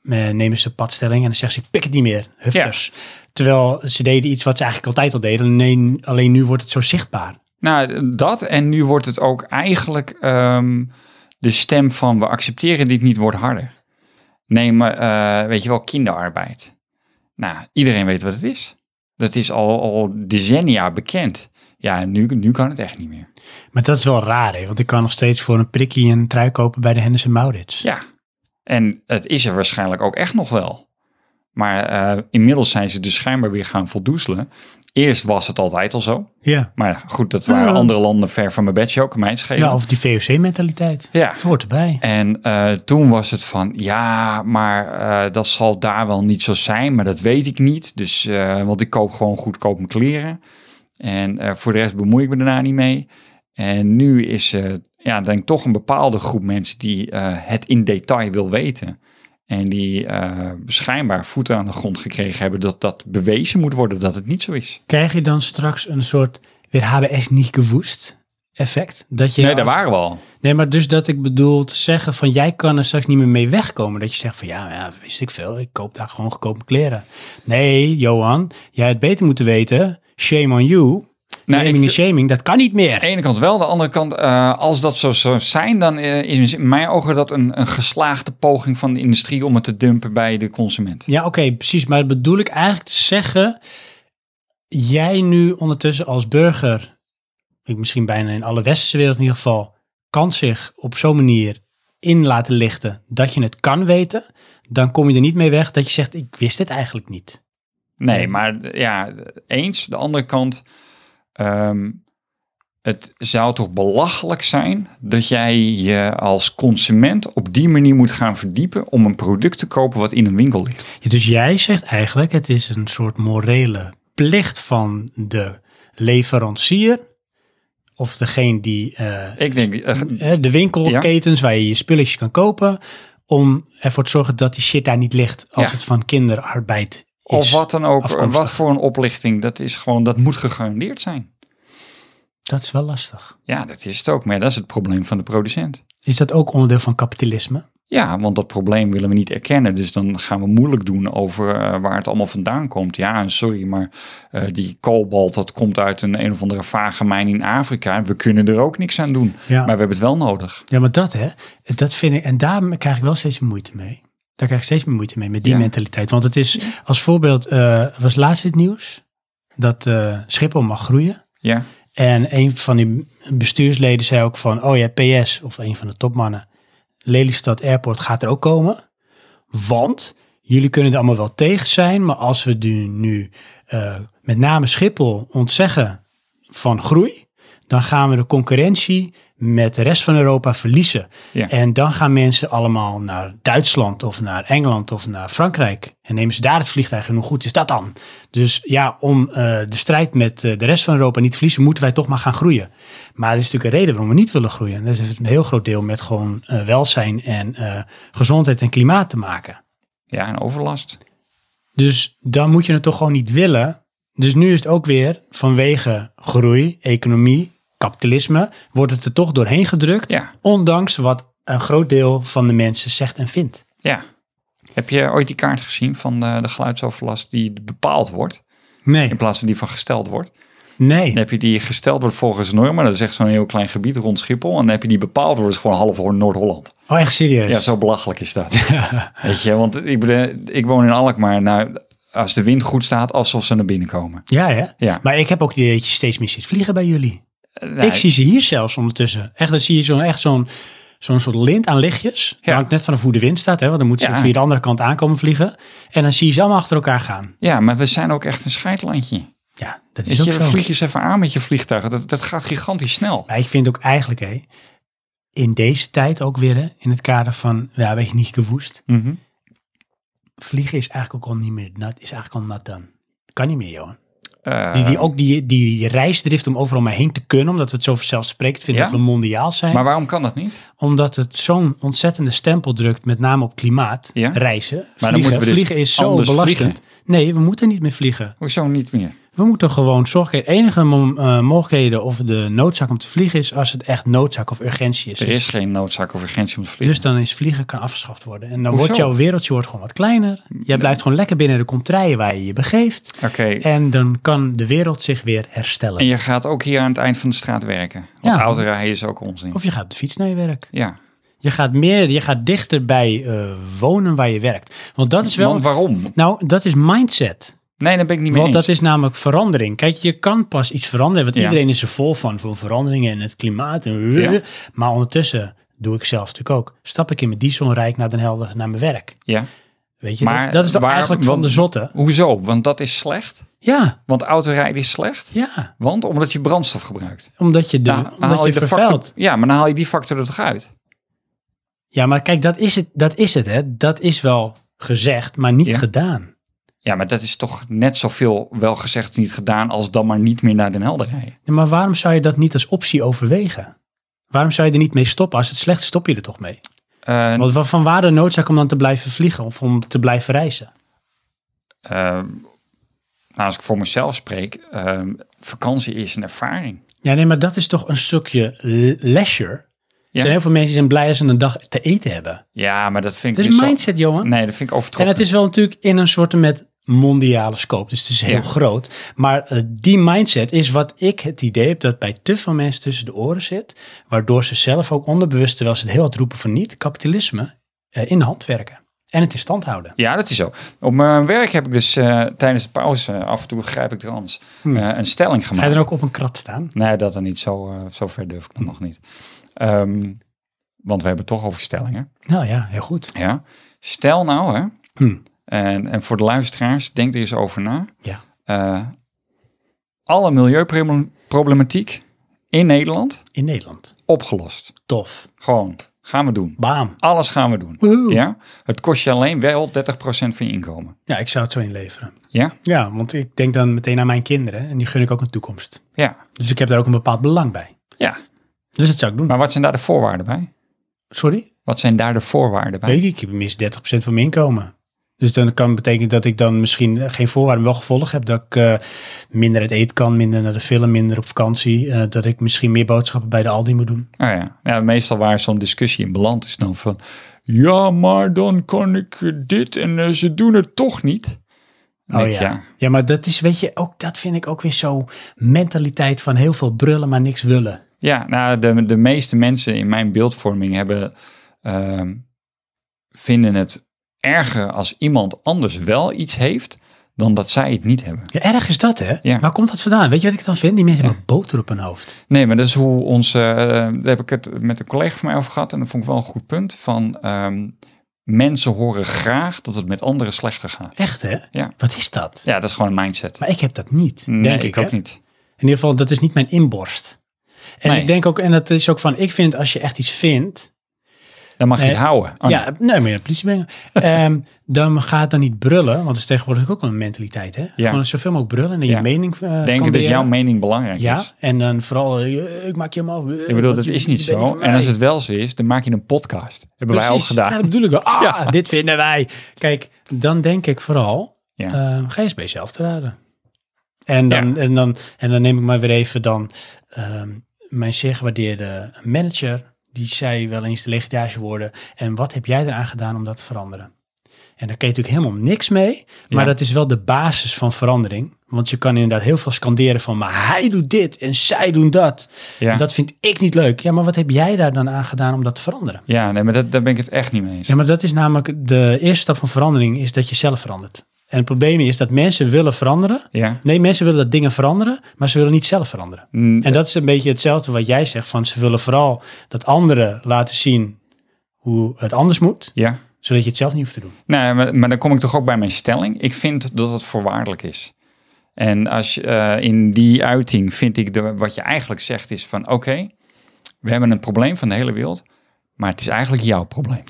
[SPEAKER 1] eh, nemen ze padstelling en dan zeggen ze: ik pik het niet meer, hufters. Terwijl ze deden iets wat ze eigenlijk altijd al deden, alleen, alleen nu wordt het zo zichtbaar.
[SPEAKER 2] Nou, dat en nu wordt het ook eigenlijk ehm, de stem van we accepteren dit niet wordt harder. Neem, eh weet je wel, kinderarbeid. Nou, iedereen weet wat het is. Dat is al, al decennia bekend. Ja, nu, nu kan het echt niet meer.
[SPEAKER 1] Maar dat is wel raar, hè? want ik kan nog steeds voor een prikkie een trui kopen bij de Henderson Maurits.
[SPEAKER 2] Ja, en het is er waarschijnlijk ook echt nog wel. Maar eh, inmiddels zijn ze dus schijnbaar weer gaan voldoezelen. Eerst was het altijd al zo.
[SPEAKER 1] Ja.
[SPEAKER 2] Maar goed, dat waren
[SPEAKER 1] Ja.
[SPEAKER 2] andere landen ver van mijn bedshow, kan mij het schelen.
[SPEAKER 1] Ja, of die VOC-mentaliteit.
[SPEAKER 2] ja.
[SPEAKER 1] Het hoort erbij.
[SPEAKER 2] En eh, toen was het van, ja, maar eh, dat zal daar wel niet zo zijn, maar dat weet ik niet. Dus, eh, want ik koop gewoon goedkoop mijn kleren. En eh, voor de rest bemoei ik me daarna niet mee. En nu is er, ja, denk ik toch een bepaalde groep mensen die eh, het in detail wil weten. En die eh schijnbaar voeten aan de grond gekregen hebben dat dat bewezen moet worden dat het niet zo is.
[SPEAKER 1] Krijg je dan straks een soort weer HBS niet gewoest effect? Dat je
[SPEAKER 2] nee, daar
[SPEAKER 1] als-
[SPEAKER 2] waren we al.
[SPEAKER 1] Nee, maar dus dat ik bedoel te zeggen van jij kan er straks niet meer mee wegkomen. Dat je zegt van ja, ja wist ik veel, ik koop daar gewoon goedkope kleren. Nee, Johan, jij had beter moeten weten. Shame on you.
[SPEAKER 2] Nou,
[SPEAKER 1] Naming
[SPEAKER 2] ik-
[SPEAKER 1] en shaming, dat kan niet meer.
[SPEAKER 2] Aan de ene kant wel, aan de andere kant, eh, als dat zo zou zijn, dan eh, is in mijn ogen dat een, een geslaagde poging van de industrie om het te dumpen bij de consument.
[SPEAKER 1] Ja, oké, precies. Maar dat bedoel ik eigenlijk te zeggen, jij nu ondertussen als burger, ik misschien bijna in alle westerse wereld in ieder geval, kan zich op zo'n manier in laten lichten dat je het kan weten, dan kom je er niet mee weg dat je zegt, ik wist dit eigenlijk niet.
[SPEAKER 2] Nee, maar ja, eens. De andere kant, ehm, het zou toch belachelijk zijn dat jij je als consument op die manier moet gaan verdiepen om een product te kopen wat in een winkel ligt.
[SPEAKER 1] Ja, Dus jij zegt eigenlijk, het is een soort morele plicht van de leverancier of degene die eh,
[SPEAKER 2] Ik denk, eh,
[SPEAKER 1] eh, de winkelketens waar je je spulletjes kan kopen, om ervoor te zorgen dat die shit daar niet ligt als
[SPEAKER 2] Ja.
[SPEAKER 1] het van kinderarbeid is.
[SPEAKER 2] of wat dan ook,
[SPEAKER 1] afkomstig.
[SPEAKER 2] wat voor een oplichting, dat is gewoon, dat moet gegarandeerd zijn.
[SPEAKER 1] Dat is wel lastig.
[SPEAKER 2] Ja, dat is het ook, maar dat is het probleem van de producent.
[SPEAKER 1] Is dat ook onderdeel van kapitalisme?
[SPEAKER 2] Ja, want dat probleem willen we niet erkennen. Dus dan gaan we moeilijk doen over eh, waar het allemaal vandaan komt. Ja, en sorry, maar eh, die kobalt, dat komt uit een een of andere vage mijn in Afrika. We kunnen er ook niks aan doen.
[SPEAKER 1] Ja.
[SPEAKER 2] Maar we hebben het wel nodig.
[SPEAKER 1] Ja, maar dat hè, dat vind ik, en daar krijg ik wel steeds moeite mee. Daar krijg ik steeds meer moeite mee, met die
[SPEAKER 2] Ja.
[SPEAKER 1] mentaliteit. Want het is, als voorbeeld, eh, was laatst het nieuws dat eh, Schiphol mag groeien.
[SPEAKER 2] Ja,
[SPEAKER 1] En een van die bestuursleden zei ook van, oh ja, PS, of een van de topmannen, Lelystad Airport gaat er ook komen. Want jullie kunnen er allemaal wel tegen zijn, maar als we nu, nu eh, met name Schiphol ontzeggen van groei, dan gaan we de concurrentie met de rest van Europa verliezen.
[SPEAKER 2] Ja.
[SPEAKER 1] En dan gaan mensen allemaal naar Duitsland of naar Engeland of naar Frankrijk. En nemen ze daar het vliegtuig en hoe goed is dat dan? Dus ja, om eh, de strijd met eh, de rest van Europa niet te verliezen, moeten wij toch maar gaan groeien. Maar er is natuurlijk een reden waarom we niet willen groeien. En dat heeft een heel groot deel met gewoon eh, welzijn en eh, gezondheid en klimaat te maken.
[SPEAKER 2] ja en overlast.
[SPEAKER 1] Dus dan moet je het toch gewoon niet willen. Dus nu is het ook weer vanwege groei, economie, kapitalisme, wordt het er toch doorheen gedrukt.
[SPEAKER 2] Ja,
[SPEAKER 1] Ondanks wat een groot deel van de mensen zegt en vindt.
[SPEAKER 2] ja. Heb je ooit die kaart gezien van eh, de geluidsoverlast die bepaald wordt?
[SPEAKER 1] Nee,
[SPEAKER 2] In plaats van die van gesteld wordt.
[SPEAKER 1] nee.
[SPEAKER 2] Dan heb je die gesteld wordt volgens normen. Dat is echt zo'n heel klein gebied rond Schiphol. En dan heb je die bepaald wordt, is gewoon half Noord-Holland.
[SPEAKER 1] Oh, echt serieus?
[SPEAKER 2] Ja, zo belachelijk is dat. Weet je, want ik, bedoel, ik woon in Alkmaar. Nou, als de wind goed staat, alsof ze naar binnen komen.
[SPEAKER 1] Ja, hè?
[SPEAKER 2] Ja.
[SPEAKER 1] Maar ik heb ook het idee dat je steeds meer ziet vliegen bij jullie.
[SPEAKER 2] Eh, nou,
[SPEAKER 1] ik zie ze hier zelfs ondertussen. Echt, dan zie je zo'n echt zo'n zo'n soort lint aan lichtjes. Dat
[SPEAKER 2] Ja.
[SPEAKER 1] hangt net vanaf hoe de wind staat, hè? Want dan moeten ze
[SPEAKER 2] Ja.
[SPEAKER 1] via de andere kant aankomen vliegen. En dan zie je ze allemaal achter elkaar gaan.
[SPEAKER 2] Ja, maar we zijn ook echt een scheidlandje.
[SPEAKER 1] Ja, dat is
[SPEAKER 2] Weet je,
[SPEAKER 1] ook zo.
[SPEAKER 2] vlieg eens even aan met je vliegtuigen. Dat, dat gaat gigantisch snel.
[SPEAKER 1] Maar ik vind ook eigenlijk, hè, in deze tijd ook weer, hè, in het kader van, ja, weet je, niet gewoest. Vliegen is eigenlijk ook al niet meer, not, is eigenlijk al nat dan. Kan niet meer, joh.
[SPEAKER 2] Eh,
[SPEAKER 1] Die, die, ook die, die reisdrift om overal maar heen te kunnen, omdat we het zo vanzelfsprekend vinden
[SPEAKER 2] Ja?
[SPEAKER 1] dat we mondiaal zijn.
[SPEAKER 2] maar waarom kan dat niet?
[SPEAKER 1] omdat het zo'n ontzettende stempel drukt, met name op klimaat,
[SPEAKER 2] Ja?
[SPEAKER 1] reizen.
[SPEAKER 2] dan
[SPEAKER 1] vliegen.
[SPEAKER 2] moeten we dus
[SPEAKER 1] vliegen is zo
[SPEAKER 2] anders
[SPEAKER 1] belastend. Nee, we moeten niet meer vliegen.
[SPEAKER 2] Hoezo niet meer?
[SPEAKER 1] We moeten gewoon zorgen. Het enige mom- eh, mogelijkheden of de noodzaak om te vliegen is als het echt noodzaak of urgentie is.
[SPEAKER 2] Er is geen noodzaak of urgentie om te vliegen.
[SPEAKER 1] Dus dan is vliegen kan afgeschaft worden. En dan
[SPEAKER 2] Hoezo?
[SPEAKER 1] wordt jouw wereldje wordt gewoon wat kleiner. Jij blijft gewoon lekker binnen de contraien waar je je begeeft.
[SPEAKER 2] Oké,
[SPEAKER 1] Dus- En dan kan de wereld zich weer herstellen.
[SPEAKER 2] en je gaat ook hier aan het eind van de straat werken. Want
[SPEAKER 1] Ja.
[SPEAKER 2] autorijden is ook onzin.
[SPEAKER 1] Of je gaat op de fiets naar je werk.
[SPEAKER 2] Ja,
[SPEAKER 1] Je gaat, meer, je gaat dichter bij eh, wonen waar je werkt. Want dat is wel.
[SPEAKER 2] Want waarom?
[SPEAKER 1] Nou, dat is mindset.
[SPEAKER 2] Nee, daar ben ik niet mee
[SPEAKER 1] Want
[SPEAKER 2] eens.
[SPEAKER 1] dat is namelijk verandering. Kijk, je kan pas iets veranderen. Want
[SPEAKER 2] Ja.
[SPEAKER 1] iedereen is er vol van. Voor veranderingen en het klimaat. En
[SPEAKER 2] Ja.
[SPEAKER 1] Maar ondertussen doe ik zelf natuurlijk ook. Stap ik in mijn dieselrijk naar Den Helder naar mijn werk.
[SPEAKER 2] Ja.
[SPEAKER 1] Weet je,
[SPEAKER 2] Maar
[SPEAKER 1] dat, dat is dan
[SPEAKER 2] waar-
[SPEAKER 1] eigenlijk van
[SPEAKER 2] want-
[SPEAKER 1] de zotte.
[SPEAKER 2] Hoezo? Want dat is slecht.
[SPEAKER 1] Ja,
[SPEAKER 2] Want autorijden is slecht.
[SPEAKER 1] ja.
[SPEAKER 2] Want omdat je brandstof gebruikt.
[SPEAKER 1] Omdat je, de,
[SPEAKER 2] Dan
[SPEAKER 1] omdat
[SPEAKER 2] haal
[SPEAKER 1] je
[SPEAKER 2] de
[SPEAKER 1] vervuilt.
[SPEAKER 2] factor, ja, maar dan haal je die factor er toch uit.
[SPEAKER 1] Ja, maar kijk, dat is het. Dat is het, hè. Dat is wel gezegd, maar niet
[SPEAKER 2] Ja.
[SPEAKER 1] gedaan.
[SPEAKER 2] Ja, maar dat is toch net zoveel wel gezegd niet gedaan als dan maar niet meer naar Den Helder rijden.
[SPEAKER 1] Ja, maar waarom zou je dat niet als optie overwegen? Waarom zou je er niet mee stoppen? Als het slecht is, stop je er toch mee?
[SPEAKER 2] Eh,
[SPEAKER 1] Want wa- van waar de noodzaak om dan te blijven vliegen of om te blijven reizen?
[SPEAKER 2] eh, nou, als ik voor mezelf spreek, eh, vakantie is een ervaring.
[SPEAKER 1] Ja, nee, maar dat is toch een stukje l- leisure. Er
[SPEAKER 2] Ja.
[SPEAKER 1] zijn heel veel mensen die zijn blij als ze een dag te eten hebben.
[SPEAKER 2] Ja, maar dat vind ik
[SPEAKER 1] Dat is
[SPEAKER 2] dus zo-
[SPEAKER 1] mindset, jongen.
[SPEAKER 2] Nee, dat vind ik
[SPEAKER 1] en
[SPEAKER 2] overtrokken.
[SPEAKER 1] het is wel natuurlijk in een soort met mondiale scope. Dus het is heel
[SPEAKER 2] Ja.
[SPEAKER 1] groot. Maar eh, die mindset is wat ik het idee heb dat bij te veel mensen tussen de oren zit. Waardoor ze zelf ook onderbewust, terwijl ze het heel hard roepen van niet, kapitalisme eh, in de hand werken. En het in stand houden.
[SPEAKER 2] Ja, dat is zo. Op mijn werk heb ik dus eh, tijdens de pauze, af en toe grijp ik er anders, eh, een stelling gemaakt.
[SPEAKER 1] Hmm. Ga je dan ook op een krat staan?
[SPEAKER 2] Nee, dat dan niet. Zo, eh, zo ver durf ik dan nog niet. Ehm, want we hebben het toch over stellingen.
[SPEAKER 1] Nou ja, heel goed.
[SPEAKER 2] Ja. Stel nou, hè,
[SPEAKER 1] Hm.
[SPEAKER 2] en, en voor de luisteraars, denk er eens over na.
[SPEAKER 1] Ja.
[SPEAKER 2] Eh, alle milieuproblematiek in Nederland
[SPEAKER 1] in Nederland.
[SPEAKER 2] opgelost.
[SPEAKER 1] Tof.
[SPEAKER 2] Gewoon, gaan we doen.
[SPEAKER 1] Bam.
[SPEAKER 2] Alles gaan we doen.
[SPEAKER 1] Woehoe.
[SPEAKER 2] Ja? Het kost je alleen wel 30% van je inkomen.
[SPEAKER 1] Ja, ik zou het zo inleveren.
[SPEAKER 2] Ja?
[SPEAKER 1] Ja, want ik denk dan meteen aan mijn kinderen en die gun ik ook een toekomst.
[SPEAKER 2] Ja.
[SPEAKER 1] Dus ik heb daar ook een bepaald belang bij.
[SPEAKER 2] ja.
[SPEAKER 1] Dus dat zou ik doen.
[SPEAKER 2] Maar wat zijn daar de voorwaarden bij?
[SPEAKER 1] Sorry?
[SPEAKER 2] Wat zijn daar de voorwaarden bij?
[SPEAKER 1] Weet ik, ik heb minstens 30% van mijn inkomen. Dus dan kan het betekenen dat ik dan misschien geen voorwaarden wel gevolg heb. Dat ik eh, minder uit eten kan, minder naar de film, minder op vakantie. eh, dat ik misschien meer boodschappen bij de Aldi moet doen.
[SPEAKER 2] Oh ja. ja, meestal waar zo'n discussie in beland is dan van... Ja, maar dan kan ik eh, dit en eh, ze doen het toch niet. Dan denk ik,
[SPEAKER 1] Oh ja. Ja, maar dat is, weet je, ook dat vind ik ook weer zo mentaliteit van heel veel brullen, maar niks willen.
[SPEAKER 2] Ja, nou, de, de meeste mensen in mijn beeldvorming hebben, ehm, vinden het erger als iemand anders wel iets heeft dan dat zij het niet hebben.
[SPEAKER 1] Ja, erg is dat, hè?
[SPEAKER 2] Ja.
[SPEAKER 1] Waar komt dat vandaan? Weet je wat ik dan vind? Die mensen hebben boter op hun hoofd.
[SPEAKER 2] Nee, maar dat is hoe ons, eh, daar heb ik het met een collega van mij over gehad en dat vond ik wel een goed punt, van ehm, mensen horen graag dat het met anderen slechter gaat.
[SPEAKER 1] Echt, hè?
[SPEAKER 2] Ja.
[SPEAKER 1] Wat is dat?
[SPEAKER 2] Ja, dat is gewoon een mindset.
[SPEAKER 1] Maar ik heb dat niet,
[SPEAKER 2] Nee,
[SPEAKER 1] denk ik.
[SPEAKER 2] ook
[SPEAKER 1] hè?
[SPEAKER 2] niet.
[SPEAKER 1] In ieder geval, dat is niet mijn inborst. En
[SPEAKER 2] Nee.
[SPEAKER 1] ik denk ook, en dat is ook van, ik vind als je echt iets vindt,
[SPEAKER 2] Dan mag je
[SPEAKER 1] Nee.
[SPEAKER 2] het houden. Oh,
[SPEAKER 1] ja, nee, meer de politie brengen, Ehm, dan ga het dan niet brullen, want dat is tegenwoordig ook een mentaliteit, hè? Gewoon zoveel mogelijk brullen en
[SPEAKER 2] Ja.
[SPEAKER 1] je mening eh
[SPEAKER 2] Denken dat
[SPEAKER 1] scanderen.
[SPEAKER 2] jouw mening belangrijk
[SPEAKER 1] Ja,
[SPEAKER 2] is.
[SPEAKER 1] en dan vooral, eh, ik maak je helemaal... eh,
[SPEAKER 2] Ik bedoel,
[SPEAKER 1] want
[SPEAKER 2] dat
[SPEAKER 1] je-
[SPEAKER 2] is
[SPEAKER 1] je
[SPEAKER 2] niet
[SPEAKER 1] bent
[SPEAKER 2] zo.
[SPEAKER 1] van
[SPEAKER 2] En als
[SPEAKER 1] mij.
[SPEAKER 2] het wel zo is, dan maak je een podcast. Hebben wij ook
[SPEAKER 1] Precies.
[SPEAKER 2] gedaan.
[SPEAKER 1] Ja, dat bedoel ik wel. Ah,
[SPEAKER 2] Ja.
[SPEAKER 1] dit vinden wij. Kijk, dan denk ik vooral,
[SPEAKER 2] Ja.
[SPEAKER 1] ehm, ga eens bij jezelf te raden. En dan, en, dan, en dan neem ik maar weer even dan ehm, mijn zeer gewaardeerde manager, die zei wel eens de legendage woorden, en wat heb jij eraan gedaan om dat te veranderen? En daar kun je natuurlijk helemaal niks mee, maar
[SPEAKER 2] Ja.
[SPEAKER 1] dat is wel de basis van verandering. Want je kan inderdaad heel veel scanderen van, maar hij doet dit en zij doen dat.
[SPEAKER 2] Ja.
[SPEAKER 1] En dat vind ik niet leuk. Ja, maar wat heb jij daar dan aan gedaan om dat te veranderen?
[SPEAKER 2] Ja, nee, maar dat, daar ben ik het echt niet mee eens.
[SPEAKER 1] Ja, maar dat is namelijk de eerste stap van verandering, is dat je zelf verandert. En het probleem is dat mensen willen veranderen.
[SPEAKER 2] Ja.
[SPEAKER 1] Nee, mensen willen dat dingen veranderen, maar ze willen niet zelf veranderen.
[SPEAKER 2] Mm,
[SPEAKER 1] En dat is een beetje hetzelfde wat jij zegt, van ze willen vooral dat anderen laten zien hoe het anders moet,
[SPEAKER 2] ja.
[SPEAKER 1] zodat je het zelf niet hoeft te doen.
[SPEAKER 2] Nee, maar, maar dan kom ik toch ook bij mijn stelling. Ik vind dat het voorwaardelijk is. En als, je, eh, in die uiting vind ik de, wat je eigenlijk zegt is van... oké, we hebben een probleem van de hele wereld... maar het is eigenlijk jouw probleem.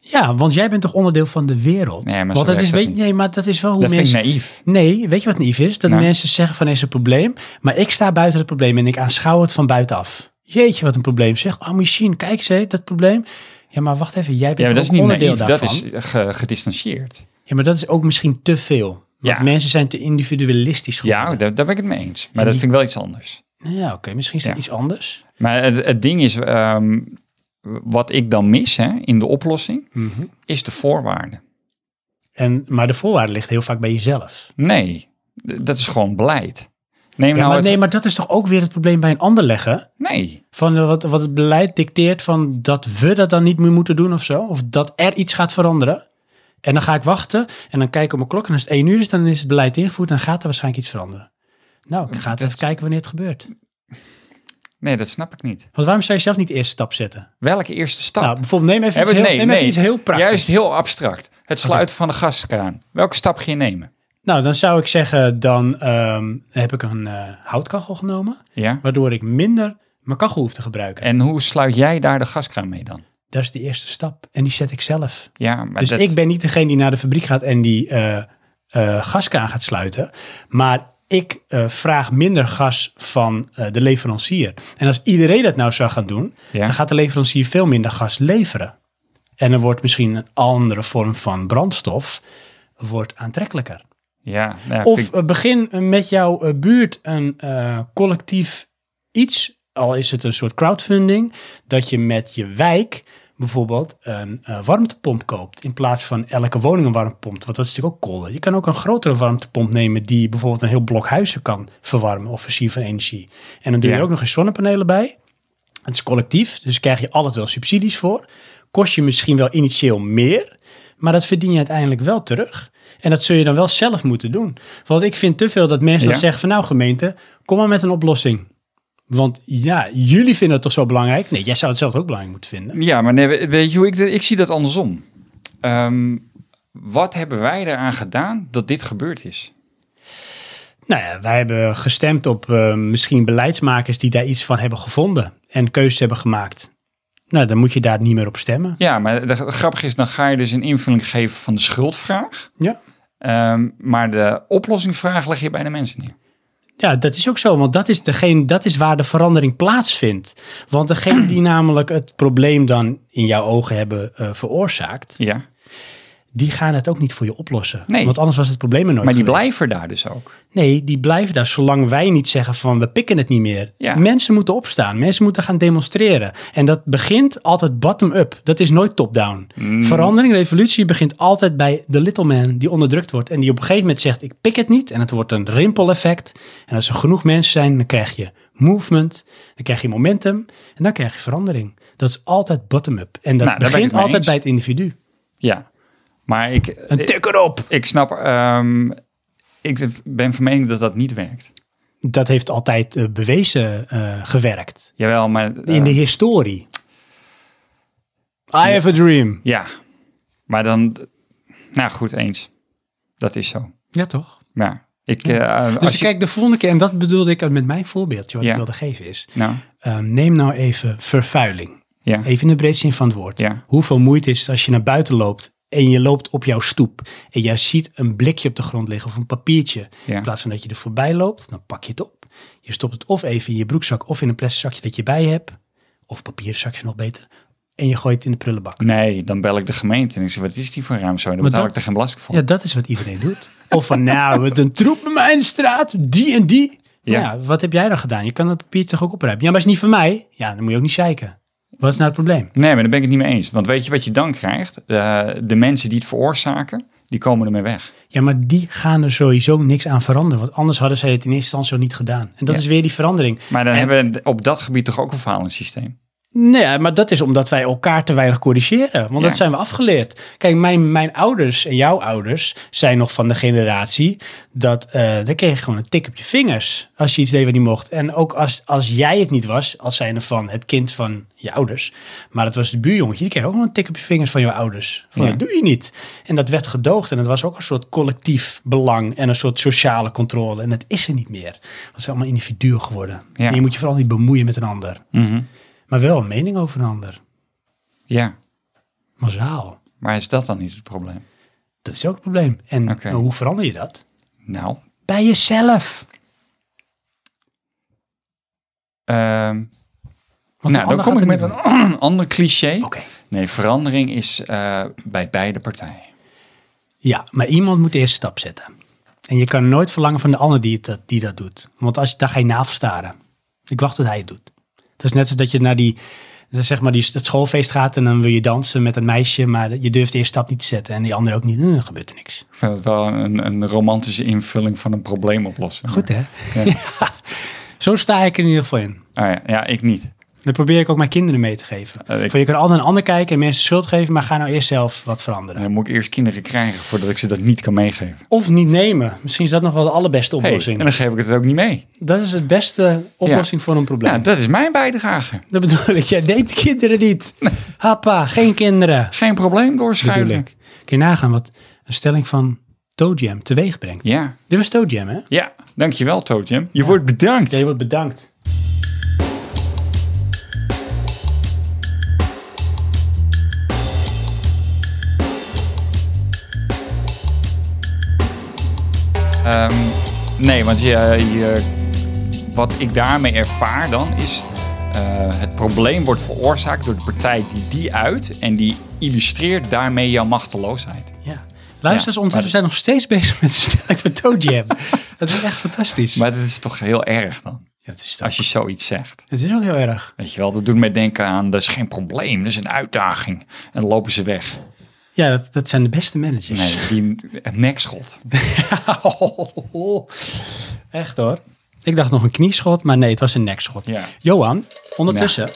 [SPEAKER 1] Ja, want jij bent toch onderdeel van de wereld?
[SPEAKER 2] Nee, maar zo
[SPEAKER 1] want dat
[SPEAKER 2] werkt
[SPEAKER 1] is,
[SPEAKER 2] dat
[SPEAKER 1] weet,
[SPEAKER 2] niet.
[SPEAKER 1] nee, maar dat is wel hoe
[SPEAKER 2] dat
[SPEAKER 1] mensen...
[SPEAKER 2] vind ik naïef.
[SPEAKER 1] Nee, weet je wat naïef is? Dat
[SPEAKER 2] Nou.
[SPEAKER 1] mensen zeggen van er is een probleem, maar ik sta buiten het probleem en ik aanschouw het van buitenaf. Jeetje, wat een probleem zeg. Oh, misschien, kijk eens, hè, dat probleem. Ja, maar wacht even, jij
[SPEAKER 2] Ja,
[SPEAKER 1] bent
[SPEAKER 2] maar
[SPEAKER 1] ook
[SPEAKER 2] dat is niet
[SPEAKER 1] onderdeel
[SPEAKER 2] naïef.
[SPEAKER 1] daarvan.
[SPEAKER 2] Dat is ge- gedistanceerd.
[SPEAKER 1] Ja, maar dat is ook misschien te veel. Want
[SPEAKER 2] Ja.
[SPEAKER 1] mensen zijn te individualistisch
[SPEAKER 2] Ja,
[SPEAKER 1] geworden.
[SPEAKER 2] daar, daar ben ik het mee eens. Maar
[SPEAKER 1] En
[SPEAKER 2] dat
[SPEAKER 1] die-
[SPEAKER 2] vind ik wel iets anders.
[SPEAKER 1] Ja, oké, misschien is dat
[SPEAKER 2] Ja.
[SPEAKER 1] iets anders.
[SPEAKER 2] Maar het, het ding is, ehm, wat ik dan mis hè, in de oplossing... is de voorwaarden.
[SPEAKER 1] En, maar de voorwaarde ligt heel vaak bij jezelf.
[SPEAKER 2] Nee, d- dat is gewoon beleid. Neem
[SPEAKER 1] Ja,
[SPEAKER 2] nou
[SPEAKER 1] maar,
[SPEAKER 2] het...
[SPEAKER 1] Nee, maar dat is toch ook weer het probleem bij een ander leggen?
[SPEAKER 2] Nee,
[SPEAKER 1] Van eh, wat, wat het beleid dicteert van dat we dat dan niet meer moeten doen of zo. Of dat er iets gaat veranderen. En dan ga ik wachten en dan kijk ik op mijn klok. En als het één uur is, dan is het beleid ingevoerd. Dan gaat er waarschijnlijk iets veranderen. Nou, ik ga het
[SPEAKER 2] Dat-
[SPEAKER 1] even kijken wanneer het gebeurt.
[SPEAKER 2] nee, dat snap ik niet.
[SPEAKER 1] Want waarom zou je zelf niet de eerste stap zetten?
[SPEAKER 2] Welke eerste stap?
[SPEAKER 1] Nou, bijvoorbeeld neem even, iets
[SPEAKER 2] Hebben-
[SPEAKER 1] heel, neem even iets heel praktisch.
[SPEAKER 2] Juist heel abstract. Het sluiten van de gaskraan. Welke stap ga je nemen?
[SPEAKER 1] Nou, dan zou ik zeggen, dan ehm, heb ik een eh, houtkachel genomen.
[SPEAKER 2] Ja.
[SPEAKER 1] Waardoor ik minder mijn kachel hoef te gebruiken.
[SPEAKER 2] En hoe sluit jij daar de gaskraan mee dan?
[SPEAKER 1] Dat is de eerste stap. En die zet ik zelf.
[SPEAKER 2] Ja, maar
[SPEAKER 1] Dus
[SPEAKER 2] dat-
[SPEAKER 1] ik ben niet degene die naar de fabriek gaat en die eh eh, gaskraan gaat sluiten. Maar ik eh, vraag minder gas van eh, de leverancier. En als iedereen dat nou zou gaan doen,
[SPEAKER 2] Ja.
[SPEAKER 1] dan gaat de leverancier veel minder gas leveren. En dan wordt misschien een andere vorm van brandstof wordt aantrekkelijker.
[SPEAKER 2] Ja, nou,
[SPEAKER 1] Of
[SPEAKER 2] vind ik-
[SPEAKER 1] eh, begin met jouw eh, buurt een eh, collectief iets, al is het een soort crowdfunding, dat je met je wijk bijvoorbeeld een eh, warmtepomp koopt in plaats van elke woning een warmtepomp. Want dat is natuurlijk ook kolder. Je kan ook een grotere warmtepomp nemen die bijvoorbeeld een heel blok huizen kan verwarmen of voorzien van energie. En dan doe je
[SPEAKER 2] Ja.
[SPEAKER 1] er ook nog eens zonnepanelen bij. Het is collectief, dus krijg je altijd wel subsidies voor. Kost je misschien wel initieel meer, maar dat verdien je uiteindelijk wel terug. En dat zul je dan wel zelf moeten doen. Want ik vind te veel dat mensen
[SPEAKER 2] Ja.
[SPEAKER 1] dan zeggen van nou gemeente, kom maar met een oplossing. Want ja, jullie vinden het toch zo belangrijk? Nee, jij zou het zelf ook belangrijk moeten vinden.
[SPEAKER 2] ja, maar nee, we- weet je hoe ik, dit- ik zie dat andersom. Ehm, wat hebben wij eraan gedaan dat dit gebeurd is?
[SPEAKER 1] Nou ja, wij hebben gestemd op eh, misschien beleidsmakers die daar iets van hebben gevonden en keuzes hebben gemaakt. Nou, dan moet je daar niet meer op stemmen.
[SPEAKER 2] Ja, maar de, de grappig is, dan ga je dus een invulling geven van de schuldvraag.
[SPEAKER 1] Ja.
[SPEAKER 2] Ehm, maar de oplossingvraag leg je bij de mensen neer.
[SPEAKER 1] Ja, dat is ook zo, want dat is, degene, dat is waar de verandering plaatsvindt. Want degene die namelijk het probleem dan in jouw ogen hebben eh, veroorzaakt,
[SPEAKER 2] Ja.
[SPEAKER 1] die gaan het ook niet voor je oplossen.
[SPEAKER 2] Nee.
[SPEAKER 1] Want anders was het probleem er nooit
[SPEAKER 2] Maar die
[SPEAKER 1] geweest.
[SPEAKER 2] blijven daar dus ook.
[SPEAKER 1] Nee, die blijven daar zolang wij niet zeggen van we pikken het niet meer.
[SPEAKER 2] Ja.
[SPEAKER 1] Mensen moeten opstaan, mensen moeten gaan demonstreren. En dat begint altijd bottom-up. Dat is nooit top-down.
[SPEAKER 2] Mm.
[SPEAKER 1] Verandering, revolutie begint altijd bij de little man die onderdrukt wordt. En die op een gegeven moment zegt ik pik het niet. En het wordt een rimpeleffect. En als er genoeg mensen zijn, dan krijg je movement. Dan krijg je momentum. En dan krijg je verandering. Dat is altijd bottom-up. En dat
[SPEAKER 2] Nou, daar ben ik
[SPEAKER 1] begint
[SPEAKER 2] het mee
[SPEAKER 1] altijd
[SPEAKER 2] eens.
[SPEAKER 1] bij het individu.
[SPEAKER 2] Ja. Maar ik,
[SPEAKER 1] Een
[SPEAKER 2] ik,
[SPEAKER 1] tik erop!
[SPEAKER 2] ik snap, ehm, ik ben van mening dat dat niet werkt.
[SPEAKER 1] Dat heeft altijd eh, bewezen eh, gewerkt.
[SPEAKER 2] Jawel, maar... eh,
[SPEAKER 1] in de historie. I have a dream.
[SPEAKER 2] Ja. Maar dan... Nou, goed, eens. Dat is zo.
[SPEAKER 1] Ja, toch?
[SPEAKER 2] Ja. Ik, eh,
[SPEAKER 1] Dus
[SPEAKER 2] als je,
[SPEAKER 1] kijk, de volgende keer, en dat bedoelde ik met mijn voorbeeldje, wat
[SPEAKER 2] Ja.
[SPEAKER 1] ik wilde geven is,
[SPEAKER 2] nou,
[SPEAKER 1] eh, neem nou even vervuiling.
[SPEAKER 2] ja.
[SPEAKER 1] Even in de breedste zin van het woord.
[SPEAKER 2] Ja.
[SPEAKER 1] Hoeveel moeite is het als je naar buiten loopt en je loopt op jouw stoep en jij ziet een blikje op de grond liggen of een papiertje.
[SPEAKER 2] Ja.
[SPEAKER 1] In plaats van dat je er voorbij loopt, dan pak je het op. Je stopt het of even in je broekzak of in een plastic zakje dat je bij je hebt. Of papieren zakjes nog beter. En je gooit het in de prullenbak.
[SPEAKER 2] Nee, dan bel ik de gemeente en ik zeg, wat is die voor ruimte? Dan betaal
[SPEAKER 1] dat-
[SPEAKER 2] ik er geen belasting voor.
[SPEAKER 1] Ja, dat is wat iedereen doet. Of van, nou, met een troep bij mij in de straat, die en die.
[SPEAKER 2] Ja.
[SPEAKER 1] Ja. ja, wat heb jij dan gedaan? Je kan dat papier toch ook opruimen? Ja, maar is niet van mij. Ja, dan moet je ook niet zeiken. Wat is nou het probleem?
[SPEAKER 2] Nee, maar daar ben ik het niet mee eens. Want weet je wat je dan krijgt? Eh, de mensen die het veroorzaken, die komen ermee weg.
[SPEAKER 1] Ja, maar die gaan er sowieso niks aan veranderen. Want anders hadden zij het in eerste instantie al niet gedaan. En dat
[SPEAKER 2] Ja.
[SPEAKER 1] is weer die verandering.
[SPEAKER 2] Maar dan
[SPEAKER 1] En-
[SPEAKER 2] hebben we op dat gebied toch ook een falend systeem.
[SPEAKER 1] Nee, maar dat is omdat wij elkaar te weinig corrigeren. Want
[SPEAKER 2] Ja.
[SPEAKER 1] dat zijn we afgeleerd. Kijk, mijn, mijn ouders en jouw ouders zijn nog van de generatie dat eh dan kreeg je gewoon een tik op je vingers als je iets deed wat niet mocht. En ook als, als jij het niet was, als zijnde van het kind van je ouders, maar het was de buurjongetje, die kreeg ook nog een tik op je vingers van je ouders. Van
[SPEAKER 2] Ja.
[SPEAKER 1] dat doe je niet. En dat werd gedoogd en het was ook een soort collectief belang en een soort sociale controle. En dat is er niet meer. Dat zijn allemaal individuen geworden.
[SPEAKER 2] Ja.
[SPEAKER 1] En je moet je vooral niet bemoeien met een ander maar wel een mening over een ander.
[SPEAKER 2] Ja,
[SPEAKER 1] Massaal.
[SPEAKER 2] maar is dat dan niet het probleem?
[SPEAKER 1] Dat is ook het probleem. En
[SPEAKER 2] Oké.
[SPEAKER 1] eh, hoe verander je dat?
[SPEAKER 2] Nou,
[SPEAKER 1] Bij jezelf.
[SPEAKER 2] ehm,
[SPEAKER 1] Want
[SPEAKER 2] nou dan kom ik met een
[SPEAKER 1] Oké.
[SPEAKER 2] ander cliché. Nee, verandering is eh, bij beide partijen.
[SPEAKER 1] Ja, maar iemand moet de eerste stap zetten. En je kan nooit verlangen van de ander die, het dat, die dat doet. Want als, daar ga je navel staren. Ik wacht tot hij het doet. Het is net als dat je naar die, zeg maar die, dat schoolfeest gaat... en dan wil je dansen met een meisje... maar je durft de eerste stap niet te zetten. En die andere ook niet. En dan gebeurt er niks.
[SPEAKER 2] Ik vind het wel een, een romantische invulling van een probleem oplossen.
[SPEAKER 1] Goed, hè?
[SPEAKER 2] Ja.
[SPEAKER 1] Zo sta ik er in ieder geval in.
[SPEAKER 2] Ah, ja, ja, ik niet.
[SPEAKER 1] Dat probeer ik ook mijn kinderen mee te geven.
[SPEAKER 2] Eh, ik-
[SPEAKER 1] Van, je kan altijd een ander kijken en mensen schuld geven, maar ga nou eerst zelf wat veranderen.
[SPEAKER 2] Dan moet ik eerst kinderen krijgen voordat ik ze dat niet kan meegeven.
[SPEAKER 1] Of niet nemen. Misschien is dat nog wel de allerbeste
[SPEAKER 2] Hey,
[SPEAKER 1] oplossing.
[SPEAKER 2] en dan geef ik het ook niet mee.
[SPEAKER 1] dat is het beste oplossing voor een probleem.
[SPEAKER 2] Nou,
[SPEAKER 1] dat...
[SPEAKER 2] dat is mijn bijdrage.
[SPEAKER 1] bedoel ik. Jij neemt de kinderen niet. Happa, geen kinderen.
[SPEAKER 2] Geen probleem
[SPEAKER 1] Bedoel
[SPEAKER 2] doorschuiven.
[SPEAKER 1] ik. Kun je nagaan wat een stelling van Toe Jam teweeg brengt.
[SPEAKER 2] Ja,
[SPEAKER 1] Dit was Toe Jam, hè?
[SPEAKER 2] ja. Dankjewel, Tootjem. Je wordt bedankt.
[SPEAKER 1] Jij wordt bedankt.
[SPEAKER 2] Ehm, nee, want je, je, wat ik daarmee ervaar dan is... eh, het probleem wordt veroorzaakt door de partij die die uit... en die illustreert daarmee jouw machteloosheid.
[SPEAKER 1] Ja. Luisteraars,
[SPEAKER 2] Ja,
[SPEAKER 1] ons,
[SPEAKER 2] maar
[SPEAKER 1] we zijn nog steeds bezig met de stelling van Toe Jam. dat is echt fantastisch.
[SPEAKER 2] Maar dat is toch heel erg dan,
[SPEAKER 1] ja, het, is toch-
[SPEAKER 2] als je zoiets zegt.
[SPEAKER 1] het is ook heel erg.
[SPEAKER 2] Weet je wel, dat doet mij denken aan... dat is geen probleem, dat is een uitdaging. En dan lopen ze weg.
[SPEAKER 1] Ja, dat, dat zijn de beste managers.
[SPEAKER 2] Nee, die het nekschot.
[SPEAKER 1] Echt hoor. Ik dacht nog een knieschot, maar nee, het was een nekschot.
[SPEAKER 2] Ja.
[SPEAKER 1] Johan, ondertussen.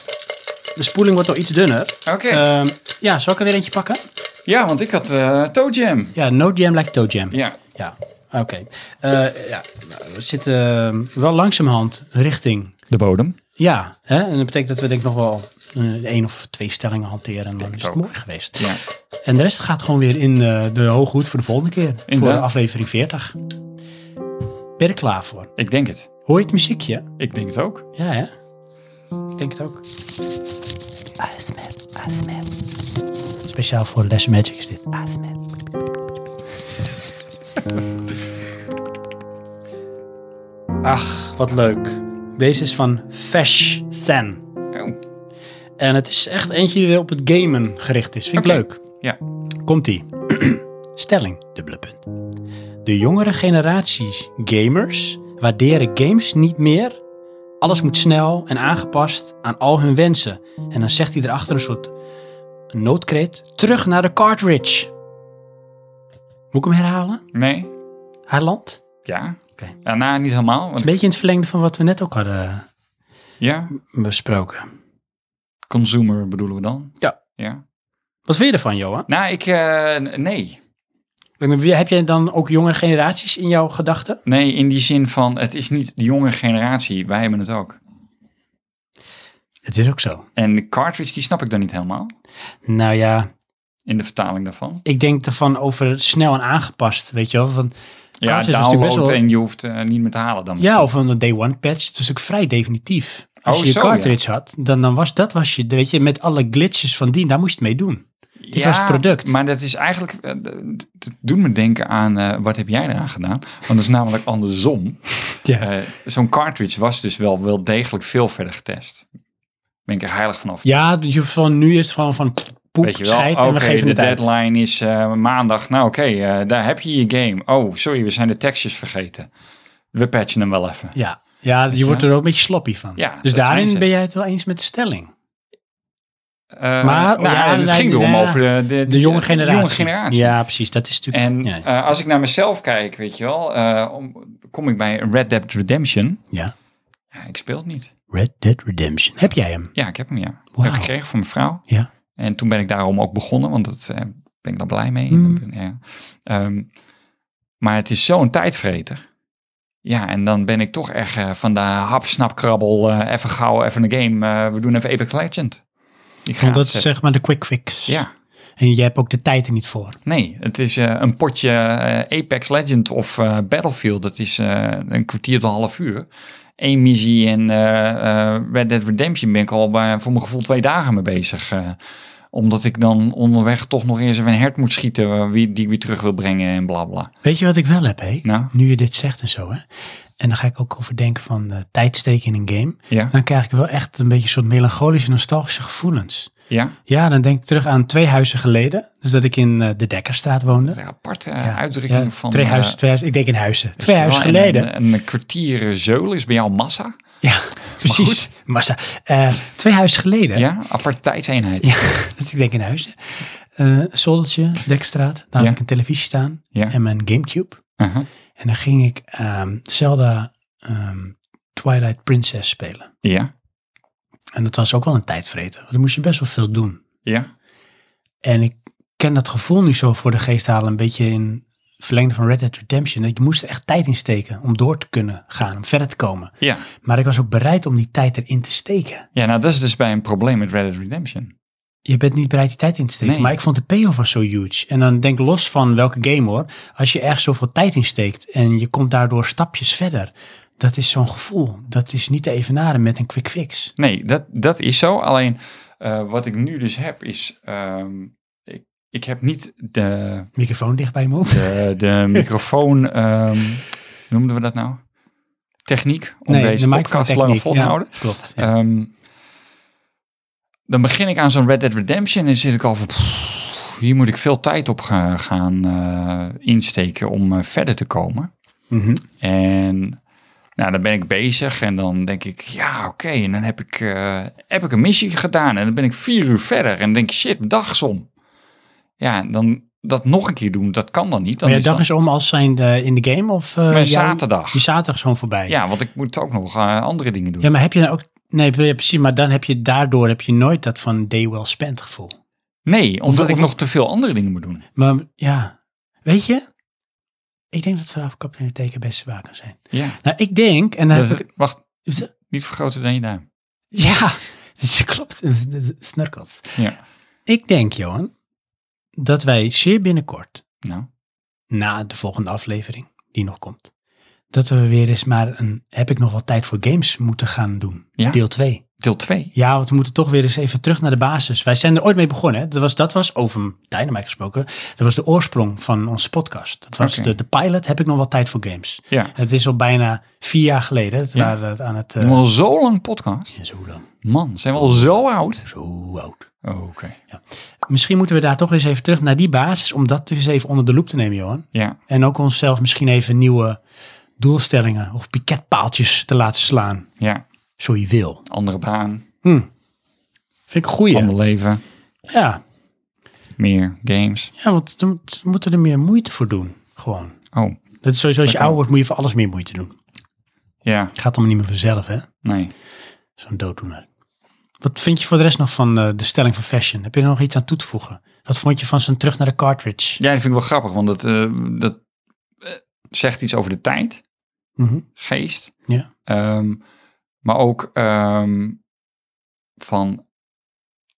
[SPEAKER 1] De spoeling wordt al iets dunner.
[SPEAKER 2] Oké,
[SPEAKER 1] Ehm, ja, zal ik er weer eentje pakken?
[SPEAKER 2] ja, want ik had eh toe jam.
[SPEAKER 1] Ja, no jam like toe jam.
[SPEAKER 2] Ja,
[SPEAKER 1] Ja, oké. Eh, ja, nou, we zitten eh, wel langzamerhand richting...
[SPEAKER 2] de bodem.
[SPEAKER 1] Ja, hè? en dat betekent dat we denk ik nog wel een één of twee stellingen hanteren. En dan is het
[SPEAKER 2] ook.
[SPEAKER 1] mooi geweest.
[SPEAKER 2] Ja.
[SPEAKER 1] En de rest gaat gewoon weer in eh, de hoge hoed voor de volgende keer. Voor
[SPEAKER 2] Inderdaad.
[SPEAKER 1] aflevering 40. Ben je er klaar voor?
[SPEAKER 2] Ik denk het.
[SPEAKER 1] Hoor je het muziekje?
[SPEAKER 2] Ik denk het ook.
[SPEAKER 1] Ja, hè? Ik denk het ook. ASMR, ASMR. Speciaal voor Lesser Magic is dit. ASMR. Ach, wat leuk. Deze is van Fesh Sen.
[SPEAKER 2] Oh,
[SPEAKER 1] En het is echt eentje die weer op het gamen gericht is. Vind ik
[SPEAKER 2] Oké.
[SPEAKER 1] leuk.
[SPEAKER 2] ja.
[SPEAKER 1] Komt-ie. Stelling, dubbele punt. De jongere generaties gamers waarderen games niet meer. Alles moet snel en aangepast aan al hun wensen. En dan zegt hij erachter een soort noodkreet. Terug naar de cartridge. Moet ik hem herhalen?
[SPEAKER 2] Nee.
[SPEAKER 1] Haar land?
[SPEAKER 2] Ja.
[SPEAKER 1] Oké.
[SPEAKER 2] Daarna niet helemaal.
[SPEAKER 1] Een
[SPEAKER 2] Want,
[SPEAKER 1] beetje in het verlengde van wat we net ook hadden
[SPEAKER 2] ja.
[SPEAKER 1] besproken.
[SPEAKER 2] Consumer bedoelen we dan.
[SPEAKER 1] Ja.
[SPEAKER 2] Ja.
[SPEAKER 1] Wat vind je ervan, Johan?
[SPEAKER 2] Nou, ik... eh, n- nee.
[SPEAKER 1] Heb jij dan ook jongere generaties in jouw gedachten?
[SPEAKER 2] Nee, in die zin van, het is niet de jonge generatie. Wij hebben het ook.
[SPEAKER 1] Het is ook zo.
[SPEAKER 2] En de cartridge, die snap ik dan niet helemaal.
[SPEAKER 1] Nou ja,
[SPEAKER 2] In de vertaling daarvan.
[SPEAKER 1] ik denk ervan over snel en aangepast, weet je wel. Van,
[SPEAKER 2] Ja,
[SPEAKER 1] Cartridge is natuurlijk best
[SPEAKER 2] download
[SPEAKER 1] wel-
[SPEAKER 2] en je hoeft eh, niet meer te halen dan misschien.
[SPEAKER 1] ja, of een day one patch. Het is ook vrij definitief. Als
[SPEAKER 2] Oh,
[SPEAKER 1] je je
[SPEAKER 2] zo,
[SPEAKER 1] cartridge had, dan, dan was dat was je, weet je, met alle glitches van die, daar moest je het mee doen. dit was het product.
[SPEAKER 2] Maar dat is eigenlijk, eh, d- d- dat doet me denken aan, eh, wat heb jij eraan gedaan? Want dat is namelijk andersom.
[SPEAKER 1] Ja.
[SPEAKER 2] Eh, Zo'n cartridge was dus wel, wel degelijk veel verder getest. Ben ik er heilig vanaf.
[SPEAKER 1] Ja, je, van nu is het gewoon van poep,
[SPEAKER 2] Weet je wel,
[SPEAKER 1] scheid
[SPEAKER 2] oké,
[SPEAKER 1] en we geven
[SPEAKER 2] de
[SPEAKER 1] het uit.
[SPEAKER 2] deadline is eh, maandag. Nou oké, eh, daar heb je je game. Oh, sorry, we zijn de tekstjes vergeten. We patchen hem wel even.
[SPEAKER 1] Ja, ja je
[SPEAKER 2] je?
[SPEAKER 1] wordt er ook een beetje sloppy van.
[SPEAKER 2] Ja,
[SPEAKER 1] dus
[SPEAKER 2] dat zijn
[SPEAKER 1] daarin
[SPEAKER 2] ze.
[SPEAKER 1] ben jij het wel eens met de stelling.
[SPEAKER 2] Eh,
[SPEAKER 1] Maar, oh
[SPEAKER 2] nou,
[SPEAKER 1] ja,
[SPEAKER 2] het
[SPEAKER 1] nee,
[SPEAKER 2] ging erom
[SPEAKER 1] ja.
[SPEAKER 2] over de, de,
[SPEAKER 1] De jonge generatie.
[SPEAKER 2] jonge generatie.
[SPEAKER 1] Ja, precies. Dat is natuurlijk...
[SPEAKER 2] En
[SPEAKER 1] ja,
[SPEAKER 2] eh, als ik naar mezelf kijk, weet je wel, eh, om, kom ik bij Red Dead Redemption.
[SPEAKER 1] ja.
[SPEAKER 2] Ja, ik speel het niet.
[SPEAKER 1] Red Dead Redemption. Heb jij hem?
[SPEAKER 2] Ja, ik heb hem ja.
[SPEAKER 1] Wauw.
[SPEAKER 2] Heb ik gekregen van mijn vrouw.
[SPEAKER 1] Ja.
[SPEAKER 2] En toen ben ik daarom ook begonnen, want dat eh, ben ik dan blij mee.
[SPEAKER 1] Mm.
[SPEAKER 2] Ja. Ehm, maar het is zo'n tijdvreter. Ja, en dan ben ik toch echt eh, van de hap, snap, krabbel, eh, even gauw, even een game. eh, we doen even Apex Legend. Ik ga
[SPEAKER 1] Want dat
[SPEAKER 2] het
[SPEAKER 1] is
[SPEAKER 2] zetten.
[SPEAKER 1] zeg maar de quick fix.
[SPEAKER 2] Ja,
[SPEAKER 1] En je hebt ook de tijd er niet voor.
[SPEAKER 2] nee, het is eh, een potje eh, Apex Legend of eh, Battlefield. Dat is eh, een kwartier tot een half uur. Eén missie en eh, eh, Red Dead Redemption ben ik al bij, voor mijn gevoel twee dagen mee bezig. eh, omdat ik dan onderweg toch nog eens even een hert moet schieten eh, wie, die ik weer terug wil brengen en bla bla.
[SPEAKER 1] Weet je wat ik wel heb, hé?
[SPEAKER 2] Nou,
[SPEAKER 1] nu je dit zegt en zo, hè. En dan ga ik ook over denken van eh, tijd steken in een game.
[SPEAKER 2] ja,
[SPEAKER 1] Dan krijg ik wel echt een beetje een soort melancholische, nostalgische gevoelens.
[SPEAKER 2] ja.
[SPEAKER 1] Ja, dan denk ik terug aan twee huizen geleden. Dus dat ik in eh, de Dekkerstraat woonde.
[SPEAKER 2] Wat Een aparte eh,
[SPEAKER 1] Ja,
[SPEAKER 2] uitdrukking
[SPEAKER 1] ja,
[SPEAKER 2] van...
[SPEAKER 1] Twee
[SPEAKER 2] eh,
[SPEAKER 1] huizen, twee huizen. Ik denk in huizen.
[SPEAKER 2] weet
[SPEAKER 1] Twee
[SPEAKER 2] je wel,
[SPEAKER 1] huizen
[SPEAKER 2] en
[SPEAKER 1] geleden.
[SPEAKER 2] Een, eh, een kwartier zeulen is bij jou massa.
[SPEAKER 1] ja, precies. Massa. Eh, twee huizen geleden.
[SPEAKER 2] Ja, aparte tijdseenheid.
[SPEAKER 1] Ja, dus ik denk in huizen. Eh zoldertje, Dekkerstraat. Daar
[SPEAKER 2] Ja.
[SPEAKER 1] had ik een televisie staan.
[SPEAKER 2] Ja.
[SPEAKER 1] En mijn Gamecube.
[SPEAKER 2] Aha,
[SPEAKER 1] En dan ging ik ehm, Zelda ehm, Twilight Princess spelen.
[SPEAKER 2] ja,
[SPEAKER 1] En dat was ook wel een tijdvreter. Want dan moest je best wel veel doen.
[SPEAKER 2] ja,
[SPEAKER 1] En ik ken dat gevoel nu zo voor de geest halen. Een beetje in het verlengde van Red Dead Redemption. Dat je moest er echt tijd in steken om door te kunnen gaan. Om verder te komen.
[SPEAKER 2] ja.
[SPEAKER 1] Maar ik was ook bereid om die tijd erin te steken.
[SPEAKER 2] Ja, nou dat is dus bij een probleem met Red Dead Redemption.
[SPEAKER 1] Je bent niet bereid die tijd in te steken.
[SPEAKER 2] Nee.
[SPEAKER 1] Maar ik vond de payoff was zo huge. En dan denk los van welke game hoor. Als je ergens zoveel tijd in steekt. En je komt daardoor stapjes verder. Dat is zo'n gevoel. Dat is niet te evenaren met een quick fix.
[SPEAKER 2] Nee, dat, dat is zo. Alleen eh, wat ik nu dus heb is... ehm, ik, ik heb niet de,
[SPEAKER 1] Microfoon dicht bij je mond.
[SPEAKER 2] de, de microfoon... ehm, hoe noemden we dat nou? Techniek om deze podcast
[SPEAKER 1] microfoontechniek.
[SPEAKER 2] langer vol te
[SPEAKER 1] Ja,
[SPEAKER 2] houden.
[SPEAKER 1] Klopt. ja.
[SPEAKER 2] Ehm, dan begin ik aan zo'n Red Dead Redemption en zit ik al van... pff, hier moet ik veel tijd op ga- gaan eh, insteken om eh, verder te komen.
[SPEAKER 1] Mhm.
[SPEAKER 2] En nou, dan ben ik bezig en dan denk ik, ja, oké. En dan heb ik, eh, heb ik een missie gedaan en dan ben ik vier uur verder. En dan denk ik, shit, mijn dag is om. Ja, en dan dat nog een keer doen, dat kan dan niet. Dan
[SPEAKER 1] maar je
[SPEAKER 2] is
[SPEAKER 1] dag
[SPEAKER 2] dat
[SPEAKER 1] is om als zijn de, in de game of... eh,
[SPEAKER 2] mijn
[SPEAKER 1] jouw-
[SPEAKER 2] zaterdag.
[SPEAKER 1] Die zaterdag is gewoon voorbij.
[SPEAKER 2] Ja, want ik moet ook nog eh, andere dingen doen.
[SPEAKER 1] Ja, maar heb je dan ook... Nee, wil je precies, maar dan heb je daardoor heb je nooit dat van day well spent gevoel.
[SPEAKER 2] nee, omdat
[SPEAKER 1] Of-
[SPEAKER 2] ik
[SPEAKER 1] of-
[SPEAKER 2] nog te veel andere dingen moet doen.
[SPEAKER 1] Maar ja, weet je? Ik denk dat het vanavond kapitein de teken best zwaar kan zijn.
[SPEAKER 2] Ja,
[SPEAKER 1] Nou, ik denk, en dan
[SPEAKER 2] dat
[SPEAKER 1] heb
[SPEAKER 2] is-
[SPEAKER 1] ik...
[SPEAKER 2] wacht, niet vergroten dan je duim.
[SPEAKER 1] Ja, dat klopt. Het Snurkelt.
[SPEAKER 2] Ja.
[SPEAKER 1] Ik denk, Johan, dat wij zeer binnenkort,
[SPEAKER 2] Nou,
[SPEAKER 1] na de volgende aflevering die nog komt, dat we weer eens maar een heb ik nog wat tijd voor games moeten gaan doen.
[SPEAKER 2] Ja.
[SPEAKER 1] Deel 2.
[SPEAKER 2] Deel 2.
[SPEAKER 1] Ja, want we moeten toch weer eens even terug naar de basis. Wij zijn er ooit mee begonnen. Hè? Dat was, dat was over Dynamite gesproken. Dat was de oorsprong van onze podcast. Dat was
[SPEAKER 2] Oké.
[SPEAKER 1] de, de pilot, heb ik nog wat tijd voor games.
[SPEAKER 2] Ja.
[SPEAKER 1] Het is al bijna vier jaar geleden. Dat
[SPEAKER 2] Ja.
[SPEAKER 1] waren we aan het...
[SPEAKER 2] Doen we al zo lang podcast?
[SPEAKER 1] eh, zo lang,
[SPEAKER 2] Man, zijn we al zo oud?
[SPEAKER 1] zo oud.
[SPEAKER 2] Oh, Oké.
[SPEAKER 1] Misschien moeten we daar toch eens even terug naar die basis. Om dat dus even onder de loep te nemen, Johan.
[SPEAKER 2] Ja.
[SPEAKER 1] En ook onszelf misschien even nieuwe doelstellingen of piketpaaltjes te laten slaan.
[SPEAKER 2] Ja.
[SPEAKER 1] Zo je wil.
[SPEAKER 2] Andere baan,
[SPEAKER 1] Hm. Vind ik een goeie.
[SPEAKER 2] ander leven,
[SPEAKER 1] Ja.
[SPEAKER 2] meer games.
[SPEAKER 1] ja, want we we moeten er meer moeite voor doen. Gewoon.
[SPEAKER 2] Oh,
[SPEAKER 1] Dat is sowieso als je
[SPEAKER 2] Dat kan.
[SPEAKER 1] ouder wordt moet je voor alles meer moeite doen.
[SPEAKER 2] ja.
[SPEAKER 1] Het gaat allemaal niet meer vanzelf hè.
[SPEAKER 2] Nee.
[SPEAKER 1] Zo'n dooddoener. Wat vind je voor de rest nog van eh, de stelling van fashion? Heb je er nog iets aan toe te voegen? Wat vond je van zijn terug naar de cartridge?
[SPEAKER 2] Ja, dat vind ik wel grappig, want dat, eh, dat eh, zegt iets over de tijd,
[SPEAKER 1] Mhm.
[SPEAKER 2] geest.
[SPEAKER 1] Ja.
[SPEAKER 2] Ehm, maar ook ehm, van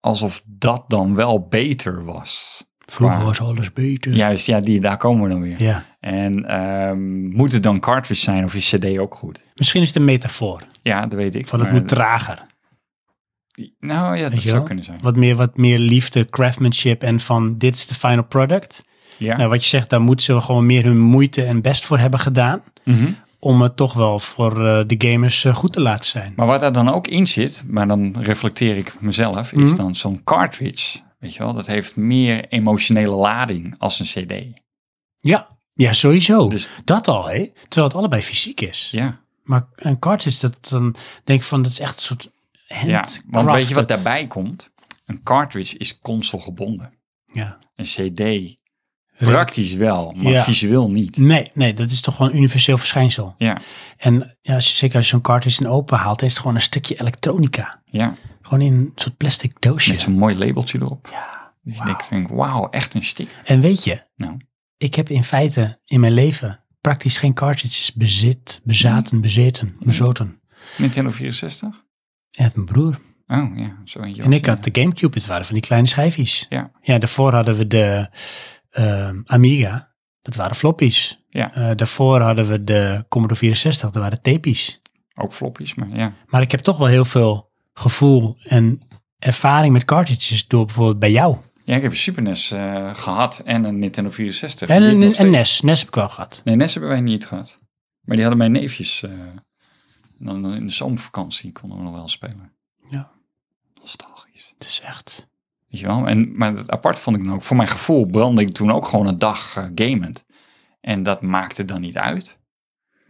[SPEAKER 2] alsof dat dan wel beter was.
[SPEAKER 1] Vroeger
[SPEAKER 2] Waar?
[SPEAKER 1] was alles beter.
[SPEAKER 2] Juist, ja, die, daar komen we dan weer.
[SPEAKER 1] Ja.
[SPEAKER 2] En ehm, moet het dan cartridge zijn of is CD ook goed?
[SPEAKER 1] Misschien is het een metafoor.
[SPEAKER 2] Ja, dat weet ik.
[SPEAKER 1] Van het
[SPEAKER 2] maar-
[SPEAKER 1] moet trager.
[SPEAKER 2] Nou ja, dat
[SPEAKER 1] je
[SPEAKER 2] zou
[SPEAKER 1] wel?
[SPEAKER 2] kunnen zijn.
[SPEAKER 1] Wat meer, wat meer liefde, craftsmanship en van dit is de final product.
[SPEAKER 2] Ja.
[SPEAKER 1] Nou, wat je zegt, daar moeten ze gewoon meer hun moeite en best voor hebben gedaan.
[SPEAKER 2] Mhm.
[SPEAKER 1] Om het toch wel voor eh, de gamers eh, goed te laten zijn.
[SPEAKER 2] Maar wat daar dan ook in zit, maar dan reflecteer ik mezelf, is
[SPEAKER 1] Mhm.
[SPEAKER 2] dan zo'n cartridge. Weet je wel, dat heeft meer emotionele lading als een CD.
[SPEAKER 1] Ja, ja sowieso.
[SPEAKER 2] Dus
[SPEAKER 1] Dat al, hè? Terwijl het allebei fysiek is.
[SPEAKER 2] ja.
[SPEAKER 1] Maar een cartridge, dat dan denk ik van, dat is echt een soort
[SPEAKER 2] Ja,
[SPEAKER 1] handcrafted.
[SPEAKER 2] want weet je wat daarbij komt? Een cartridge is console gebonden.
[SPEAKER 1] Ja.
[SPEAKER 2] Een CD praktisch wel, maar
[SPEAKER 1] Ja.
[SPEAKER 2] visueel niet.
[SPEAKER 1] Nee, nee, dat is toch gewoon een universeel verschijnsel.
[SPEAKER 2] Ja,
[SPEAKER 1] En ja, als je, zeker als je zo'n cartridge in open haalt, is het gewoon een stukje elektronica.
[SPEAKER 2] ja.
[SPEAKER 1] Gewoon in een soort plastic doosje.
[SPEAKER 2] Met zo'n mooi labeltje erop.
[SPEAKER 1] Ja.
[SPEAKER 2] Dus
[SPEAKER 1] Wauw.
[SPEAKER 2] ik denk, wauw, echt een sticker.
[SPEAKER 1] En weet je,
[SPEAKER 2] Nou.
[SPEAKER 1] ik heb in feite in mijn leven praktisch geen cartridges bezit, bezaten, bezeten, bezoten.
[SPEAKER 2] Nintendo 64?
[SPEAKER 1] En mijn broer.
[SPEAKER 2] Oh ja, zo eentje.
[SPEAKER 1] En
[SPEAKER 2] was,
[SPEAKER 1] ik
[SPEAKER 2] ja.
[SPEAKER 1] had de Gamecube, het waren van die kleine schijfjes.
[SPEAKER 2] Ja.
[SPEAKER 1] Ja, daarvoor hadden we de ehm, Amiga, dat waren floppies.
[SPEAKER 2] Ja.
[SPEAKER 1] Eh, daarvoor hadden we de Commodore 64, dat waren tapies.
[SPEAKER 2] Ook floppies, maar ja.
[SPEAKER 1] Maar ik heb toch wel heel veel gevoel en ervaring met cartridges door bijvoorbeeld bij jou.
[SPEAKER 2] Ja, ik heb een Super NES eh, gehad en een Nintendo 64.
[SPEAKER 1] En
[SPEAKER 2] Die heb ik nog
[SPEAKER 1] een, een NES,
[SPEAKER 2] steeds.
[SPEAKER 1] NES heb ik wel gehad.
[SPEAKER 2] Nee, NES hebben wij niet gehad. Maar die hadden mijn neefjes. eh, en dan in de zomervakantie konden we nog wel spelen.
[SPEAKER 1] Ja.
[SPEAKER 2] Nostalgisch.
[SPEAKER 1] Het is echt...
[SPEAKER 2] Weet je wel? En, maar het apart vond ik dan ook, voor mijn gevoel brandde ik toen ook gewoon een dag eh, gamend. En dat maakte dan niet uit.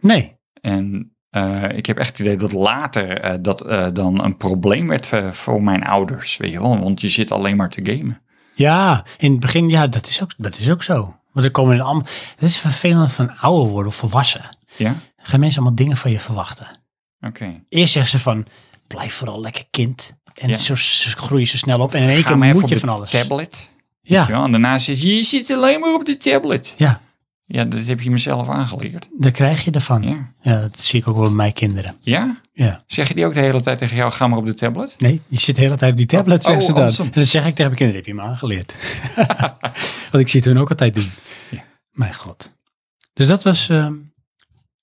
[SPEAKER 1] Nee,
[SPEAKER 2] En eh, ik heb echt het idee dat later eh, dat eh, dan een probleem werd eh, voor mijn ouders. Weet je wel? Want je zit alleen maar te gamen.
[SPEAKER 1] Ja, in het begin, ja, dat is ook, dat is ook zo. Want er komen in allemaal, het is vervelend van ouder worden of volwassen.
[SPEAKER 2] Ja?
[SPEAKER 1] Dan gaan mensen allemaal dingen van je verwachten.
[SPEAKER 2] Oké.
[SPEAKER 1] Eerst zeggen ze van, blijf vooral lekker kind. En
[SPEAKER 2] Ja.
[SPEAKER 1] zo s- groeien ze snel op. En in één
[SPEAKER 2] Ga
[SPEAKER 1] keer
[SPEAKER 2] maar even
[SPEAKER 1] moet
[SPEAKER 2] op
[SPEAKER 1] je
[SPEAKER 2] de
[SPEAKER 1] van alles.
[SPEAKER 2] tablet. Weet je
[SPEAKER 1] Ja,
[SPEAKER 2] wel? En daarna zit je, je zit alleen maar op de tablet.
[SPEAKER 1] ja,
[SPEAKER 2] Ja, dat heb je mezelf aangeleerd.
[SPEAKER 1] daar krijg je ervan. Ja.
[SPEAKER 2] Ja.
[SPEAKER 1] dat zie ik ook wel bij mijn kinderen.
[SPEAKER 2] Ja?
[SPEAKER 1] Ja.
[SPEAKER 2] Zeg je die ook de hele tijd tegen jou, ga maar op de tablet?
[SPEAKER 1] Nee, je zit de hele tijd op die tablet,
[SPEAKER 2] Oh,
[SPEAKER 1] zeggen ze dan.
[SPEAKER 2] awesome.
[SPEAKER 1] En dan zeg ik tegen mijn kinderen, heb je me aangeleerd. Want ik zie het hun ook altijd doen.
[SPEAKER 2] Ja.
[SPEAKER 1] Mijn god. Dus dat was ehm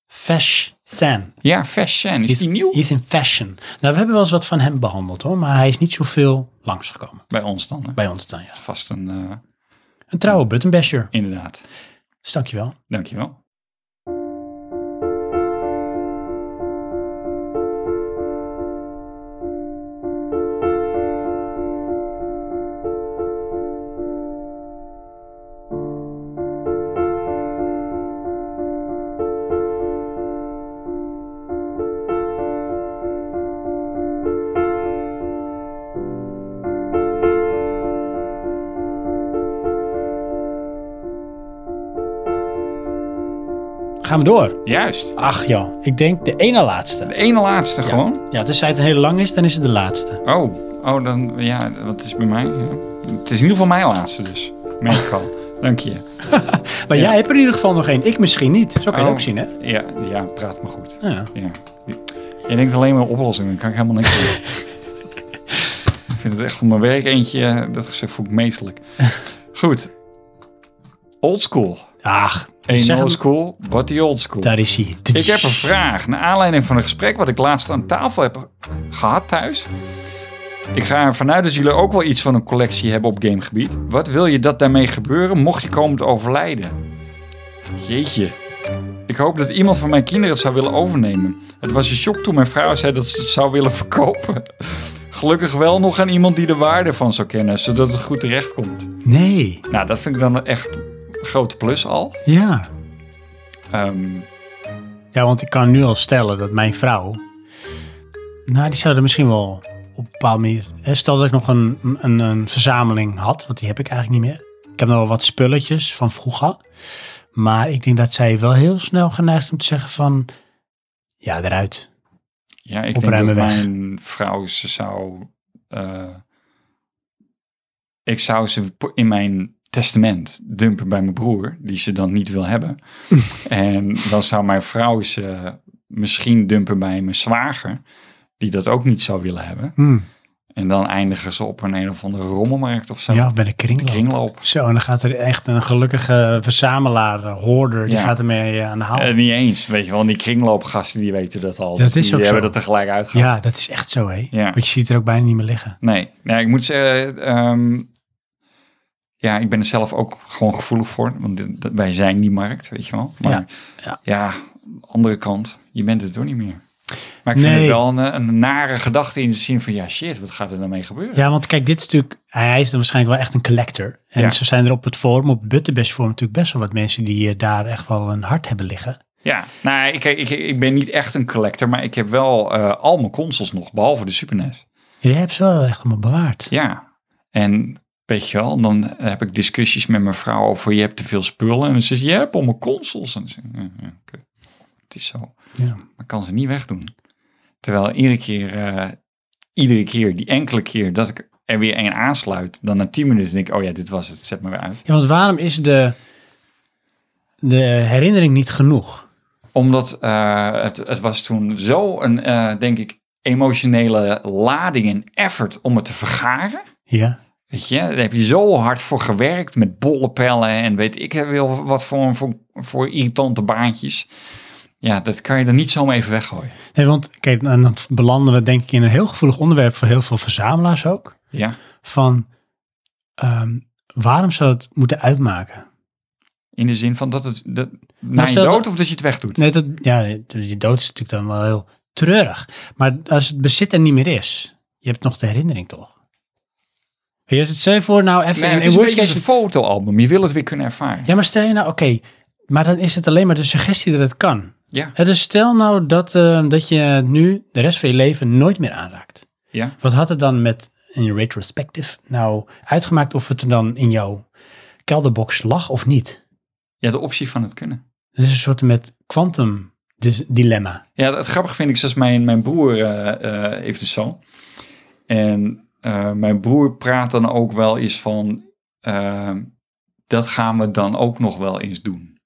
[SPEAKER 1] Fesh San.
[SPEAKER 2] Ja, fashion. Is die nieuw?
[SPEAKER 1] He's in fashion. Nou, we hebben wel eens wat van hem behandeld hoor, maar hij is niet zoveel langsgekomen
[SPEAKER 2] Bij ons dan. hè?
[SPEAKER 1] bij ons dan, ja.
[SPEAKER 2] Vast een, eh,
[SPEAKER 1] Een trouwe buttonbasher.
[SPEAKER 2] inderdaad.
[SPEAKER 1] Dus dankjewel.
[SPEAKER 2] Dankjewel.
[SPEAKER 1] Gaan we door.
[SPEAKER 2] Juist.
[SPEAKER 1] Ach joh, ik denk de ene laatste.
[SPEAKER 2] De ene laatste gewoon.
[SPEAKER 1] Ja, tenzij het een hele lang is, dan is het de laatste.
[SPEAKER 2] Oh, oh, dan, ja, wat is bij mij? Ja. Het is in ieder geval mijn laatste dus. Merk ik al. Dank je.
[SPEAKER 1] Maar
[SPEAKER 2] Ja.
[SPEAKER 1] jij hebt er in ieder geval nog één. Ik misschien niet. Zo kan je het
[SPEAKER 2] Oh.
[SPEAKER 1] ook zien, hè?
[SPEAKER 2] Ja, ja, praat maar goed.
[SPEAKER 1] Ja.
[SPEAKER 2] Ja. Je denkt alleen maar oplossingen, dan kan ik helemaal niks doen. ik vind het echt voor mijn werk eentje, eh, dat gezegd voel ik meestelijk. Goed. Oldschool.
[SPEAKER 1] Ach, zeg
[SPEAKER 2] Een
[SPEAKER 1] hem.
[SPEAKER 2] old school, what the old school.
[SPEAKER 1] daar is hij.
[SPEAKER 2] Ik heb een vraag. Naar aanleiding van een gesprek wat ik laatst aan tafel heb gehad thuis. Ik ga ervan uit dat jullie ook wel iets van een collectie hebben op gamegebied. Wat wil je dat daarmee gebeuren mocht je komen te overlijden? Jeetje. Ik hoop dat iemand van mijn kinderen het zou willen overnemen. Het was een shock toen mijn vrouw zei dat ze het zou willen verkopen. Gelukkig wel nog aan iemand die de waarde van zou kennen, zodat het goed terecht komt.
[SPEAKER 1] Nee,
[SPEAKER 2] Nou, dat vind ik dan echt een grote plus al.
[SPEAKER 1] ja.
[SPEAKER 2] Ehm,
[SPEAKER 1] Ja, want ik kan nu al stellen dat mijn vrouw... Nou, die zou er misschien wel op een bepaalde manier... hè, Stel dat ik nog een, een, een verzameling had, want die heb ik eigenlijk niet meer. Ik heb nog wel wat spulletjes van vroeger. Maar ik denk dat zij wel heel snel geneigd is om te zeggen van... Ja, eruit.
[SPEAKER 2] Ja, ik denk
[SPEAKER 1] Opruimen
[SPEAKER 2] dat
[SPEAKER 1] weg.
[SPEAKER 2] mijn vrouw ze zou. eh, ik zou ze po- in mijn testament dumpen bij mijn broer, die ze dan niet wil hebben. en dan zou mijn vrouw ze misschien dumpen bij mijn zwager, die dat ook niet zou willen hebben.
[SPEAKER 1] Hmm.
[SPEAKER 2] En dan eindigen ze op een een of andere rommelmarkt of zo.
[SPEAKER 1] Ja, bij de kringloop.
[SPEAKER 2] Kringloop.
[SPEAKER 1] Zo, en dan gaat er echt een gelukkige verzamelaar, eh, hoorder, die
[SPEAKER 2] Ja.
[SPEAKER 1] gaat ermee eh, aan de haal.
[SPEAKER 2] Eh, niet eens, weet je wel. Die kringloopgasten die weten dat al.
[SPEAKER 1] Dat
[SPEAKER 2] Dus
[SPEAKER 1] is
[SPEAKER 2] die
[SPEAKER 1] ook
[SPEAKER 2] hebben
[SPEAKER 1] zo.
[SPEAKER 2] dat er gelijk uitgehaald.
[SPEAKER 1] ja, dat is echt zo, hè.
[SPEAKER 2] Ja.
[SPEAKER 1] Want je ziet er ook bijna niet meer liggen.
[SPEAKER 2] Nee, nee ik moet zeggen, ehm, ja, ik ben er zelf ook gewoon gevoelig voor, want dit- dat- wij zijn die markt, weet je wel. Maar ja,
[SPEAKER 1] Ja, ja.
[SPEAKER 2] andere kant, je bent het toch niet meer. Maar ik vind
[SPEAKER 1] Nee.
[SPEAKER 2] het wel een, een nare gedachte in de zin van, ja shit, wat gaat er dan mee gebeuren?
[SPEAKER 1] Ja, want kijk, dit is natuurlijk, hij is dan waarschijnlijk wel echt een collector. En
[SPEAKER 2] Ja.
[SPEAKER 1] zo zijn er op het forum, op het Butterbest forum, natuurlijk best wel wat mensen die eh, daar echt wel een hart hebben liggen.
[SPEAKER 2] Ja, nou, ik, ik, ik ben niet echt een collector, maar ik heb wel eh, al mijn consoles nog, behalve de Super E NES.
[SPEAKER 1] Je hebt ze wel echt allemaal bewaard.
[SPEAKER 2] Ja, en weet je wel, dan heb ik discussies met mijn vrouw over je hebt te veel spullen. En dan zegt ze, je hebt allemaal consoles. En dan zeg ik, "Ja, ja, oké. het is zo.
[SPEAKER 1] Ja.
[SPEAKER 2] Maar ik kan ze niet wegdoen. Terwijl iedere keer, eh, iedere keer, die enkele keer dat ik er weer een aansluit, dan na 10 minuten denk ik, oh ja, dit was het, zet me weer uit.
[SPEAKER 1] Ja, want waarom is de, de herinnering niet genoeg?
[SPEAKER 2] Omdat eh, het, het was toen zo een, eh, denk ik, emotionele lading en effort om het te vergaren.
[SPEAKER 1] Ja,
[SPEAKER 2] Weet je, daar heb je zo hard voor gewerkt met bollenpellen en weet ik wel wat voor, voor, voor irritante baantjes. Ja, dat kan je er niet zomaar even weggooien.
[SPEAKER 1] nee, want kijk, en dan belanden we denk ik in een heel gevoelig onderwerp voor heel veel verzamelaars ook.
[SPEAKER 2] Ja,
[SPEAKER 1] Van ehm, waarom zou het moeten uitmaken?
[SPEAKER 2] in de zin van dat het dat, na
[SPEAKER 1] Maar
[SPEAKER 2] je
[SPEAKER 1] stel
[SPEAKER 2] dood
[SPEAKER 1] dat-
[SPEAKER 2] of dat je het wegdoet.
[SPEAKER 1] Nee, dat, ja, je dood is natuurlijk dan wel heel treurig. Maar als het bezit er niet meer is, je hebt nog de herinnering toch? Weet Je het stel je voor nou even
[SPEAKER 2] Nee,
[SPEAKER 1] in-
[SPEAKER 2] het
[SPEAKER 1] in
[SPEAKER 2] is een
[SPEAKER 1] worst
[SPEAKER 2] beetje
[SPEAKER 1] case.
[SPEAKER 2] een fotoalbum. Je wil het weer kunnen ervaren.
[SPEAKER 1] Ja, maar stel je nou, oké, maar dan is het alleen maar de suggestie dat het kan.
[SPEAKER 2] Ja.
[SPEAKER 1] Hè, dus stel nou dat, eh, dat je nu de rest van je leven nooit meer aanraakt.
[SPEAKER 2] Ja.
[SPEAKER 1] Wat had het dan met in retrospective nou uitgemaakt of het er dan in jouw kelderbox lag of niet?
[SPEAKER 2] ja, de optie van het kunnen.
[SPEAKER 1] Dat is een soort met quantum dis- dilemma.
[SPEAKER 2] Ja, het grappig vind ik, zoals mijn, mijn broer eh, eh, heeft een zoon. En eh, mijn broer praat dan ook wel eens van, eh, dat gaan we dan ook nog wel eens doen.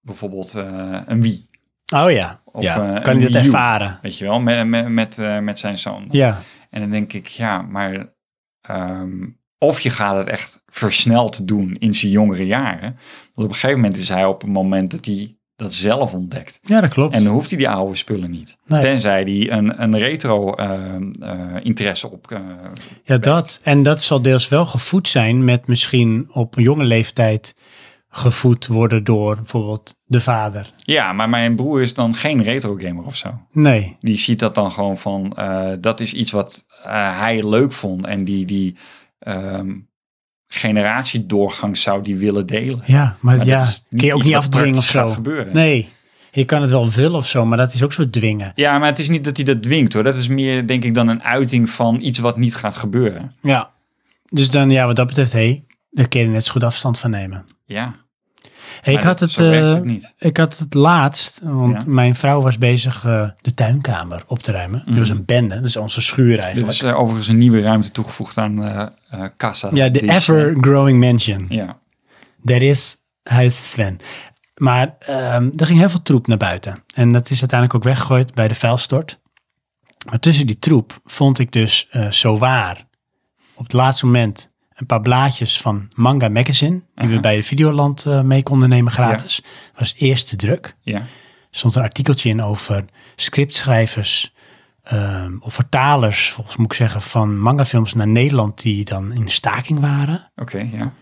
[SPEAKER 2] Bijvoorbeeld eh, een wie,
[SPEAKER 1] Oh ja,
[SPEAKER 2] Of,
[SPEAKER 1] ja.
[SPEAKER 2] eh,
[SPEAKER 1] kan
[SPEAKER 2] een
[SPEAKER 1] je dat
[SPEAKER 2] Wii U.
[SPEAKER 1] ervaren?
[SPEAKER 2] weet je wel, met, met, met, eh, met zijn zoon.
[SPEAKER 1] Ja,
[SPEAKER 2] En dan denk ik, ja, maar ehm, of je gaat het echt versneld doen in zijn jongere jaren. Want op een gegeven moment is hij op een moment dat hij dat zelf ontdekt.
[SPEAKER 1] ja dat klopt.
[SPEAKER 2] En dan hoeft hij die oude spullen niet.
[SPEAKER 1] Nee.
[SPEAKER 2] Tenzij hij een, een retro ehm, eh, interesse op... eh,
[SPEAKER 1] ja, dat. En dat zal deels wel gevoed zijn met misschien op een jonge leeftijd gevoed worden door bijvoorbeeld de vader.
[SPEAKER 2] ja, maar mijn broer is dan geen retro gamer of zo.
[SPEAKER 1] Nee,
[SPEAKER 2] Die ziet dat dan gewoon van... eh, dat is iets wat eh, hij leuk vond. En die, die ehm, generatiedoorgang zou die willen delen.
[SPEAKER 1] ja, maar,
[SPEAKER 2] Maar dat
[SPEAKER 1] ja,
[SPEAKER 2] is
[SPEAKER 1] kun je ook
[SPEAKER 2] iets
[SPEAKER 1] niet
[SPEAKER 2] wat
[SPEAKER 1] afdwingen of
[SPEAKER 2] praktisch
[SPEAKER 1] zo.
[SPEAKER 2] gaat gebeuren.
[SPEAKER 1] Nee, je kan het wel willen of zo, maar dat is ook zo dwingen.
[SPEAKER 2] Ja, maar het is niet dat hij dat dwingt hoor. Dat is meer denk ik dan een uiting van iets wat niet gaat gebeuren.
[SPEAKER 1] Ja. Dus dan, ja, wat dat betreft, hé, hey, daar kun je er net zo goed afstand van nemen.
[SPEAKER 2] Ja,
[SPEAKER 1] Hey, ik,
[SPEAKER 2] maar
[SPEAKER 1] had
[SPEAKER 2] dat-
[SPEAKER 1] het,
[SPEAKER 2] zo werkt
[SPEAKER 1] eh,
[SPEAKER 2] het niet.
[SPEAKER 1] ik had het laatst, want
[SPEAKER 2] Ja.
[SPEAKER 1] mijn vrouw was bezig eh, de tuinkamer op te ruimen.
[SPEAKER 2] Mhm.
[SPEAKER 1] Dat was een bende, dat is onze schuur
[SPEAKER 2] Dit
[SPEAKER 1] eigenlijk.
[SPEAKER 2] is eh, overigens een nieuwe ruimte toegevoegd aan eh eh, Casa.
[SPEAKER 1] Ja, de
[SPEAKER 2] Die is, eh,
[SPEAKER 1] ever-growing mansion.
[SPEAKER 2] Ja,
[SPEAKER 1] Daar is huis Sven. Maar ehm, er ging heel veel troep naar buiten. En dat is uiteindelijk ook weggegooid bij de vuilstort. Maar tussen die troep vond ik dus eh zo waar op het laatste moment een paar blaadjes van Manga Magazine. Die we
[SPEAKER 2] Aha.
[SPEAKER 1] bij de Videoland eh, mee konden nemen gratis. Dat was het eerste druk.
[SPEAKER 2] Ja.
[SPEAKER 1] Er stond een artikeltje in over scriptschrijvers ehm, of vertalers, volgens moet ik zeggen, van mangafilms naar Nederland die dan in staking waren.
[SPEAKER 2] Oké, ja.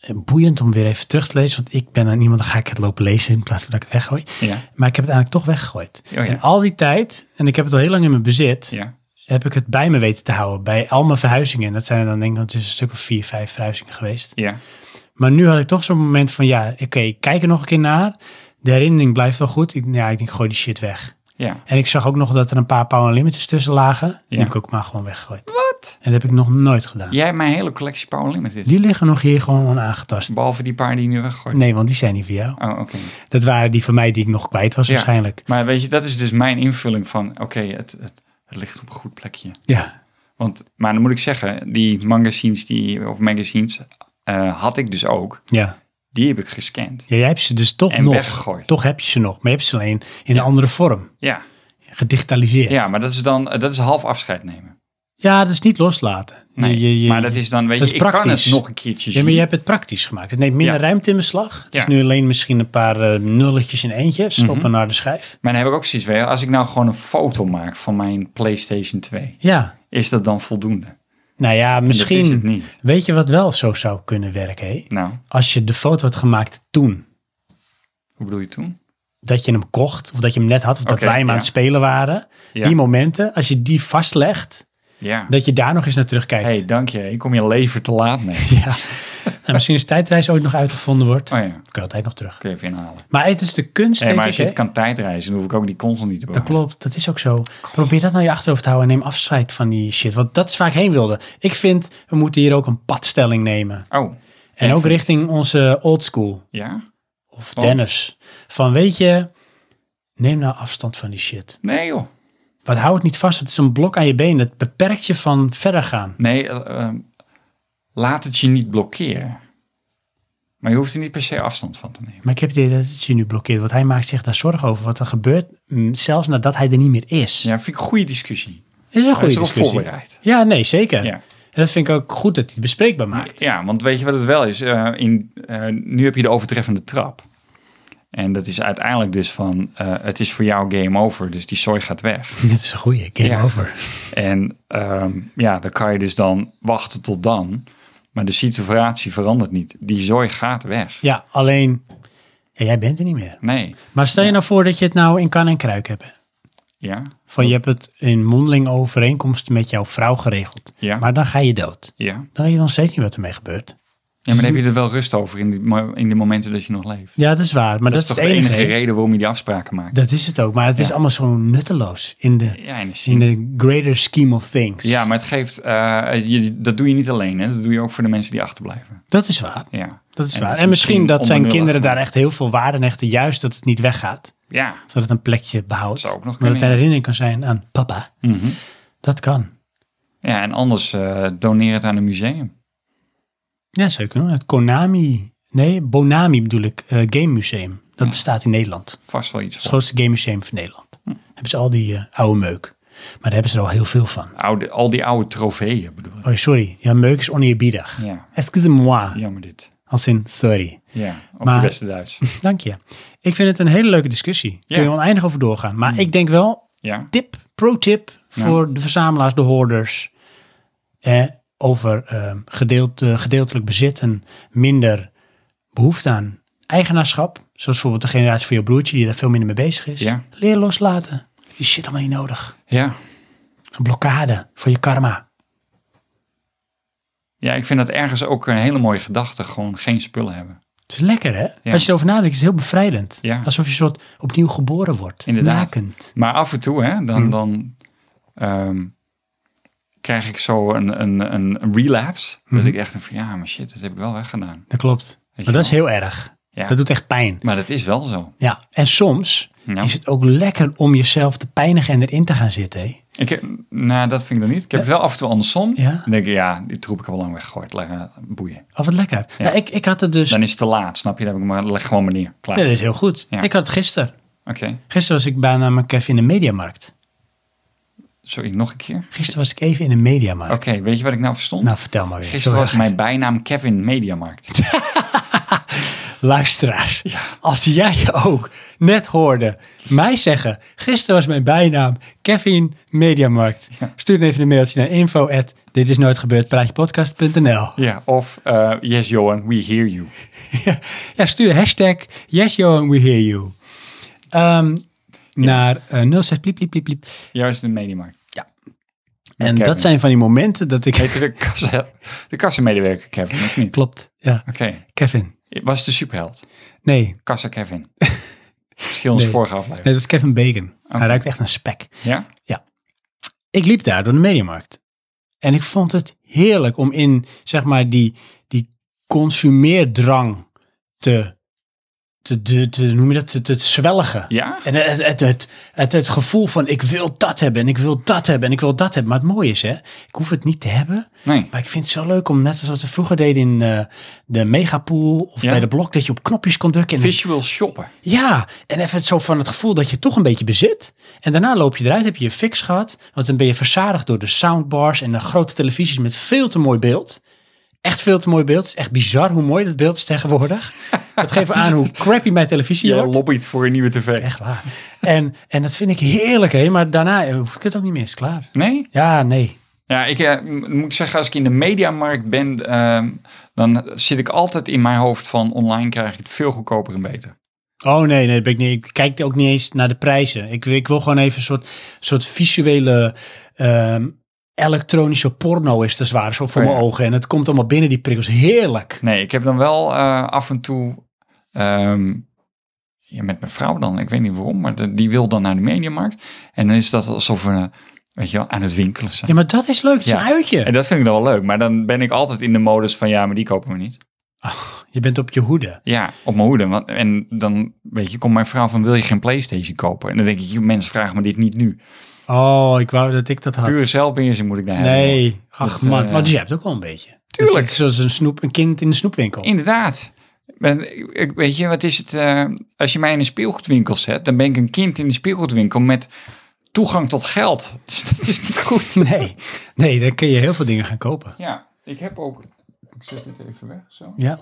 [SPEAKER 1] Eh, Boeiend om weer even terug te lezen, want ik ben aan iemand, dan ga ik het lopen lezen in plaats van dat ik het weggooi.
[SPEAKER 2] Ja.
[SPEAKER 1] Maar ik heb het eigenlijk toch weggegooid.
[SPEAKER 2] Oh, ja.
[SPEAKER 1] En al die tijd, en ik heb het al heel lang in mijn bezit,
[SPEAKER 2] Ja.
[SPEAKER 1] heb ik het bij me weten te houden. Bij al mijn verhuizingen. En dat zijn er dan denk ik het is een stuk of vier, vijf verhuizingen geweest.
[SPEAKER 2] Ja.
[SPEAKER 1] Maar nu had ik toch zo'n moment van, ja, oké, ik kijk er nog een keer naar. De herinnering blijft wel goed. Ik, ja, ik denk, gooi die shit weg.
[SPEAKER 2] Ja.
[SPEAKER 1] En ik zag ook nog dat er een paar Power Limiters tussen lagen. Die
[SPEAKER 2] Ja.
[SPEAKER 1] heb ik ook maar gewoon weggegooid. Wat? En dat heb ik nog nooit gedaan.
[SPEAKER 2] Jij hebt mijn hele collectie Power Limited.
[SPEAKER 1] Die liggen nog hier gewoon onaangetast.
[SPEAKER 2] Behalve die paar die je nu weggooit.
[SPEAKER 1] Nee, want die zijn niet voor jou.
[SPEAKER 2] Oh, oké.
[SPEAKER 1] Dat waren die van mij die ik nog kwijt was
[SPEAKER 2] Ja.
[SPEAKER 1] waarschijnlijk.
[SPEAKER 2] Maar weet je, dat is dus mijn invulling van... Oké, het, het, het ligt op een goed plekje.
[SPEAKER 1] Ja.
[SPEAKER 2] Want, maar dan moet ik zeggen, die magazines die, of magazines eh, had ik dus ook.
[SPEAKER 1] ja.
[SPEAKER 2] Die heb ik gescand.
[SPEAKER 1] Ja, jij hebt ze dus toch
[SPEAKER 2] En
[SPEAKER 1] nog.
[SPEAKER 2] weggegooid.
[SPEAKER 1] Toch heb je ze nog. Maar je hebt ze alleen in
[SPEAKER 2] Ja.
[SPEAKER 1] een andere vorm.
[SPEAKER 2] Ja,
[SPEAKER 1] Gedigitaliseerd.
[SPEAKER 2] ja maar dat is dan dat is half afscheid nemen.
[SPEAKER 1] Ja, dat is niet loslaten.
[SPEAKER 2] Nee,
[SPEAKER 1] Je- je- je-
[SPEAKER 2] maar dat is dan, weet je,
[SPEAKER 1] dat
[SPEAKER 2] ik
[SPEAKER 1] is
[SPEAKER 2] kan het
[SPEAKER 1] praktisch.
[SPEAKER 2] nog een keertje
[SPEAKER 1] Ja, maar
[SPEAKER 2] zien.
[SPEAKER 1] je hebt het praktisch gemaakt. Het neemt minder
[SPEAKER 2] Ja.
[SPEAKER 1] ruimte in beslag. Het is
[SPEAKER 2] Ja. Mhm.
[SPEAKER 1] nu alleen misschien een paar eh, nulletjes en eentjes op een harde schijf.
[SPEAKER 2] Maar dan heb ik ook zoiets weer. Als ik nou gewoon een foto maak van mijn PlayStation 2,
[SPEAKER 1] Ja.
[SPEAKER 2] is dat dan voldoende?
[SPEAKER 1] Nou ja,
[SPEAKER 2] Dat is het
[SPEAKER 1] misschien.
[SPEAKER 2] niet.
[SPEAKER 1] Weet je wat wel zo zou kunnen werken? Hé?
[SPEAKER 2] Nou,
[SPEAKER 1] Als je de foto had gemaakt toen.
[SPEAKER 2] hoe bedoel je toen?
[SPEAKER 1] Dat je hem kocht. Of dat je hem net had. Of dat
[SPEAKER 2] Oké,
[SPEAKER 1] wij hem
[SPEAKER 2] ja.
[SPEAKER 1] aan het spelen waren.
[SPEAKER 2] Ja.
[SPEAKER 1] Die momenten. Als je die vastlegt.
[SPEAKER 2] Ja.
[SPEAKER 1] Dat je daar nog eens naar terugkijkt.
[SPEAKER 2] hey, dank je. Ik kom je lever te laat mee.
[SPEAKER 1] Ja. nou, misschien is tijdreis ooit nog uitgevonden wordt.
[SPEAKER 2] Oh ja,
[SPEAKER 1] Kun je altijd nog terug.
[SPEAKER 2] kun je even inhalen.
[SPEAKER 1] Maar het is de kunst,
[SPEAKER 2] Nee,
[SPEAKER 1] denk
[SPEAKER 2] maar
[SPEAKER 1] ik.
[SPEAKER 2] als je het
[SPEAKER 1] hè?
[SPEAKER 2] kan tijdreizen, dan hoef ik ook die console niet te
[SPEAKER 1] Dat
[SPEAKER 2] bewaren.
[SPEAKER 1] klopt, dat is ook zo. Probeer dat nou je achterhoofd te houden en neem afscheid van die shit. Want dat is waar ik heen wilde. Ik vind, we moeten hier ook een padstelling nemen.
[SPEAKER 2] Oh.
[SPEAKER 1] En
[SPEAKER 2] Ja,
[SPEAKER 1] ook
[SPEAKER 2] vind-
[SPEAKER 1] richting onze old school
[SPEAKER 2] Ja?
[SPEAKER 1] of
[SPEAKER 2] Want?
[SPEAKER 1] Dennis. Van weet je, neem nou afstand van die shit.
[SPEAKER 2] Nee joh.
[SPEAKER 1] Want hou het niet vast, het is een blok aan je been. Het beperkt je van verder gaan.
[SPEAKER 2] Nee, eh, ehm, laat het je niet blokkeren. Maar je hoeft er niet per se afstand van te nemen.
[SPEAKER 1] Maar ik heb het idee dat het je nu blokkeert. Want hij maakt zich daar zorgen over wat er gebeurt. mm, Zelfs nadat hij er niet meer is.
[SPEAKER 2] Ja, vind ik een goede discussie.
[SPEAKER 1] Is een
[SPEAKER 2] Hij is
[SPEAKER 1] goede
[SPEAKER 2] erop
[SPEAKER 1] discussie.
[SPEAKER 2] voorbereid.
[SPEAKER 1] Ja, nee, zeker.
[SPEAKER 2] Ja.
[SPEAKER 1] En dat vind ik ook goed dat hij het bespreekbaar maakt.
[SPEAKER 2] ja, want weet je wat het wel is? Eh, in, eh, nu heb je de overtreffende trap. En dat is uiteindelijk dus van, eh, het is voor jou game over, dus die zooi gaat weg.
[SPEAKER 1] Dit is een goede game
[SPEAKER 2] Ja.
[SPEAKER 1] over.
[SPEAKER 2] En ehm, ja, dan kan je dus dan wachten tot dan. Maar de situatie verandert niet. Die zooi gaat weg.
[SPEAKER 1] Ja, alleen ja, jij bent er niet meer.
[SPEAKER 2] Nee.
[SPEAKER 1] Maar stel je nou voor dat je het nou in kan en kruik hebt.
[SPEAKER 2] Ja.
[SPEAKER 1] Van je hebt het in mondeling overeenkomst met jouw vrouw geregeld.
[SPEAKER 2] Ja.
[SPEAKER 1] Maar dan ga je dood.
[SPEAKER 2] Ja. ja,
[SPEAKER 1] Dan weet je nog steeds niet wat ermee gebeurt.
[SPEAKER 2] maar dan heb je er wel rust over in die, mo- in die momenten dat je nog leeft.
[SPEAKER 1] Ja, dat is waar. Maar dat,
[SPEAKER 2] dat,
[SPEAKER 1] is
[SPEAKER 2] is
[SPEAKER 1] het
[SPEAKER 2] toch
[SPEAKER 1] enige.
[SPEAKER 2] de enige reden waarom je die afspraken maakt.
[SPEAKER 1] Dat is het ook. Maar het is
[SPEAKER 2] Ja.
[SPEAKER 1] allemaal zo nutteloos in de,
[SPEAKER 2] Ja, in de
[SPEAKER 1] in
[SPEAKER 2] zin.
[SPEAKER 1] de greater scheme of things.
[SPEAKER 2] Ja, maar het geeft, eh, je, dat doe je niet alleen. Hè? Dat doe je ook voor de mensen die achterblijven.
[SPEAKER 1] Dat is waar.
[SPEAKER 2] Ja,
[SPEAKER 1] Dat is
[SPEAKER 2] En
[SPEAKER 1] waar.
[SPEAKER 2] het is
[SPEAKER 1] en misschien,
[SPEAKER 2] misschien
[SPEAKER 1] dat zijn
[SPEAKER 2] onbenullig,
[SPEAKER 1] kinderen daar
[SPEAKER 2] maar-
[SPEAKER 1] echt heel veel waarde aan hechten. Juist dat het niet weggaat.
[SPEAKER 2] ja.
[SPEAKER 1] Zodat het een plekje behoudt.
[SPEAKER 2] Zou ook nog
[SPEAKER 1] maar
[SPEAKER 2] kunnen,
[SPEAKER 1] dat het
[SPEAKER 2] ja.
[SPEAKER 1] een herinnering kan zijn aan papa.
[SPEAKER 2] Mhm.
[SPEAKER 1] Dat kan.
[SPEAKER 2] ja en anders eh, doneer het aan een museum.
[SPEAKER 1] Ja, zou je kunnen. doen. Het Konami, nee, Bonami bedoel ik, eh, Game Museum. Dat bestaat in Nederland. Het
[SPEAKER 2] Vast wel iets
[SPEAKER 1] is het
[SPEAKER 2] voor.
[SPEAKER 1] grootste game museum van Nederland.
[SPEAKER 2] Hm.
[SPEAKER 1] Hebben ze al die eh, oude meuk. Maar daar hebben ze er al heel veel van.
[SPEAKER 2] Oude, al die oude trofeeën bedoel ik.
[SPEAKER 1] Oh, sorry. Ja, meuk is oneerbiedig.
[SPEAKER 2] Ja,
[SPEAKER 1] Excuse-moi.
[SPEAKER 2] jammer dit.
[SPEAKER 1] Als in, sorry.
[SPEAKER 2] Ja, op
[SPEAKER 1] Maar-
[SPEAKER 2] het beste Duits.
[SPEAKER 1] Dank je. Ik vind het een hele leuke discussie.
[SPEAKER 2] Ja. Hmm.
[SPEAKER 1] Kun je oneindig over doorgaan. Maar ik denk wel,
[SPEAKER 2] Ja,
[SPEAKER 1] tip, pro-tip voor de verzamelaars, de hoorders. Eh, over eh, gedeelt, eh, gedeeltelijk bezit en minder behoefte aan eigenaarschap. Zoals bijvoorbeeld de generatie van je broertje die daar veel minder mee bezig is.
[SPEAKER 2] Ja.
[SPEAKER 1] Leer loslaten. Die shit allemaal niet nodig.
[SPEAKER 2] ja.
[SPEAKER 1] Een blokkade voor je karma.
[SPEAKER 2] ja, ik vind dat ergens ook een hele mooie gedachte. Gewoon geen spullen hebben.
[SPEAKER 1] Het is lekker hè?
[SPEAKER 2] Ja.
[SPEAKER 1] Als je erover nadenkt, is het heel bevrijdend.
[SPEAKER 2] Ja.
[SPEAKER 1] Alsof je een soort opnieuw geboren wordt.
[SPEAKER 2] Inderdaad.
[SPEAKER 1] Nakend.
[SPEAKER 2] Maar af en toe, hè,
[SPEAKER 1] Hmm.
[SPEAKER 2] dan, dan ehm, krijg ik zo een, een, een relapse.
[SPEAKER 1] Hmm.
[SPEAKER 2] Dat ik echt denk van, ja, maar shit, dat heb ik wel weggedaan.
[SPEAKER 1] Dat klopt.
[SPEAKER 2] Weet
[SPEAKER 1] Maar
[SPEAKER 2] je
[SPEAKER 1] dat is heel erg.
[SPEAKER 2] Ja.
[SPEAKER 1] Dat doet echt pijn.
[SPEAKER 2] Maar dat is wel zo.
[SPEAKER 1] Ja. En soms
[SPEAKER 2] Ja.
[SPEAKER 1] is het ook lekker om jezelf te pijnigen en erin te gaan zitten. Hè?
[SPEAKER 2] Ik heb, nou, dat vind ik dan niet. Ik heb het wel af en toe andersom.
[SPEAKER 1] Ja.
[SPEAKER 2] Dan denk ik, ja, die troep ik al lang weggegooid. Leg, eh, boeien.
[SPEAKER 1] Oh, wat lekker.
[SPEAKER 2] Ja.
[SPEAKER 1] Nou, ik, ik had het dus...
[SPEAKER 2] Dan is het te laat, snap je? Dan heb ik maar, leg gewoon maar neer. Klaar.
[SPEAKER 1] Ja, dus- dat is heel goed.
[SPEAKER 2] Ja.
[SPEAKER 1] Ik had het gisteren.
[SPEAKER 2] Oké.
[SPEAKER 1] Gisteren was ik bijna mijn even in de mediamarkt.
[SPEAKER 2] Sorry, nog een keer.
[SPEAKER 1] Gisteren was ik even in de mediamarkt.
[SPEAKER 2] Oké, weet je wat ik nou verstond?
[SPEAKER 1] Nou, vertel maar weer.
[SPEAKER 2] Gisteren
[SPEAKER 1] Sorry,
[SPEAKER 2] was mijn bijnaam Kevin Mediamarkt.
[SPEAKER 1] Luisteraars, als jij ook net hoorde mij zeggen... gisteren was mijn bijnaam Kevin Mediamarkt. Stuur dan even een mailtje naar info at ditisnooitgebeurdpraatjepodcast.nl
[SPEAKER 2] ja, of eh, yes Johan, we hear you.
[SPEAKER 1] Ja, stuur hashtag yes Johan, we hear you. Ehm, Naar eh 06 pliep pliep pliep pliep.
[SPEAKER 2] Juist de Mediamarkt.
[SPEAKER 1] En
[SPEAKER 2] Kevin.
[SPEAKER 1] dat zijn van die momenten dat ik...
[SPEAKER 2] Heette de, kassa, de kassamedewerker Kevin, of niet?
[SPEAKER 1] Klopt, ja.
[SPEAKER 2] Oké,
[SPEAKER 1] Kevin.
[SPEAKER 2] was de superheld.
[SPEAKER 1] Nee,
[SPEAKER 2] Kassa Kevin. Zie ons
[SPEAKER 1] Nee.
[SPEAKER 2] vorige aflevering.
[SPEAKER 1] Nee, dat is Kevin Bacon. Hij ruikt echt naar spek.
[SPEAKER 2] Ja?
[SPEAKER 1] Ik liep daar door de Mediamarkt. En ik vond het heerlijk om in, zeg maar, die, die consumeerdrang te, te, te, te- noem je dat, te, te zwelligen.
[SPEAKER 2] Ja?
[SPEAKER 1] En het, het, het, het, het gevoel van ik wil dat hebben en ik wil dat hebben en ik wil dat hebben. Maar het mooie is, hè, ik hoef het niet te hebben.
[SPEAKER 2] Nee.
[SPEAKER 1] Maar ik vind het zo leuk om, net zoals we vroeger deden in eh, de Megapool of
[SPEAKER 2] Ja.
[SPEAKER 1] bij de Blok, dat je op knopjes kon drukken. En
[SPEAKER 2] Visual shoppen.
[SPEAKER 1] ja, en even zo van het gevoel dat je toch een beetje bezit. En daarna loop je eruit, heb je je fix gehad. Want dan ben je verzadigd door de soundbars en de grote televisies met veel te mooi beeld. Echt veel te mooi beeld. Het is echt bizar hoe mooi dat beeld is tegenwoordig. Dat geeft aan hoe crappy mijn televisie
[SPEAKER 2] Je
[SPEAKER 1] wordt.
[SPEAKER 2] lobbyt voor een nieuwe tv.
[SPEAKER 1] Echt waar. En, en dat vind ik heerlijk, hè. Maar daarna eh, hoef ik het ook niet meer. Is klaar.
[SPEAKER 2] Nee?
[SPEAKER 1] Ja, nee.
[SPEAKER 2] Ja, ik eh, m- moet zeggen, als ik in de mediamarkt ben, ehm, dan zit ik altijd in mijn hoofd van online krijg ik het veel goedkoper en beter.
[SPEAKER 1] Oh nee, nee, dat ben ik, niet, ik kijk ook niet eens naar de prijzen. Ik, ik wil gewoon even een soort, soort visuele ehm, elektronische porno is te zwaar, zo voor
[SPEAKER 2] Oh,
[SPEAKER 1] mijn
[SPEAKER 2] ja.
[SPEAKER 1] ogen. En het komt allemaal binnen, die prikkels. Heerlijk.
[SPEAKER 2] Nee, ik heb dan wel eh, af en toe, ehm, ja, met mijn vrouw dan, ik weet niet waarom, maar de- die wil dan naar de mediamarkt. En dan is dat alsof we, eh, weet je wel, aan het winkelen zijn.
[SPEAKER 1] Ja, maar dat is leuk. Het is
[SPEAKER 2] Ja.
[SPEAKER 1] een uitje.
[SPEAKER 2] En dat vind ik dan wel leuk, maar dan ben ik altijd in de modus van, ja, maar die kopen we niet.
[SPEAKER 1] Je bent op je hoede.
[SPEAKER 2] Ja, op mijn hoede. Want, en dan, weet je, komt mijn vrouw van, wil je geen Playstation kopen? En dan denk ik, joh, mensen vragen me dit niet nu.
[SPEAKER 1] Oh, ik wou dat ik dat had.
[SPEAKER 2] Pure zelfbeheersing moet ik daar hebben.
[SPEAKER 1] Nee, ach
[SPEAKER 2] Dat,
[SPEAKER 1] man.
[SPEAKER 2] eh,
[SPEAKER 1] maar die hebt ook wel een beetje.
[SPEAKER 2] Tuurlijk.
[SPEAKER 1] Dat is echt zoals een, snoep, een kind in de snoepwinkel.
[SPEAKER 2] Inderdaad. Ben, ik- ik, weet je, wat is het? eh, als je mij in een speelgoedwinkel zet, dan ben ik een kind in een speelgoedwinkel met toegang tot geld. Dus dat is niet goed.
[SPEAKER 1] Nee, nee, dan kun je heel veel dingen gaan kopen.
[SPEAKER 2] Ja, ik heb ook. Ik zet dit even weg. Zo.
[SPEAKER 1] Ja,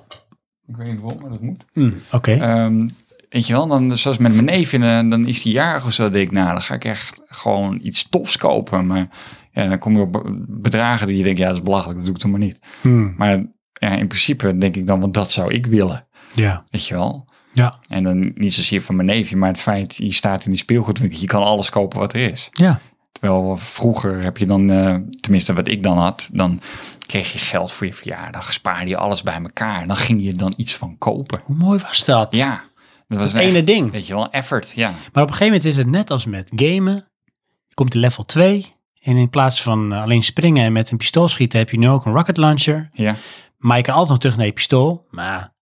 [SPEAKER 2] Ik weet niet waarom, maar dat moet.
[SPEAKER 1] Mm, oké.
[SPEAKER 2] Ehm, weet je wel, dan, dus zoals met mijn neef, en, eh, dan is die jarig of zo. Dan denk ik, nou, dan ga ik echt gewoon iets tofs kopen. Maar ja, dan kom je op bedragen die je denkt, ja, dat is belachelijk, dat doe ik toch maar niet.
[SPEAKER 1] Mm,
[SPEAKER 2] Maar ja, in principe denk ik dan, want dat zou ik willen.
[SPEAKER 1] ja,
[SPEAKER 2] Weet je wel?
[SPEAKER 1] ja,
[SPEAKER 2] En dan niet zozeer van mijn neefje, maar het feit, je staat in die speelgoedwinkel, je kan alles kopen wat er is.
[SPEAKER 1] ja.
[SPEAKER 2] Terwijl vroeger heb je dan, eh, tenminste wat ik dan had, dan kreeg je geld voor je verjaardag, spaarde je alles bij elkaar en dan ging je dan iets van kopen.
[SPEAKER 1] Hoe mooi was dat?
[SPEAKER 2] Ja, dat was
[SPEAKER 1] Het
[SPEAKER 2] een
[SPEAKER 1] ene
[SPEAKER 2] echt,
[SPEAKER 1] ding.
[SPEAKER 2] Weet je wel, effort, ja.
[SPEAKER 1] Maar op een gegeven moment is het net als met gamen. Je komt in level 2. En in plaats van eh, alleen springen en met een pistool schieten, heb je nu ook een rocket launcher.
[SPEAKER 2] ja.
[SPEAKER 1] Maar je kan altijd nog terug naar je pistool. Maar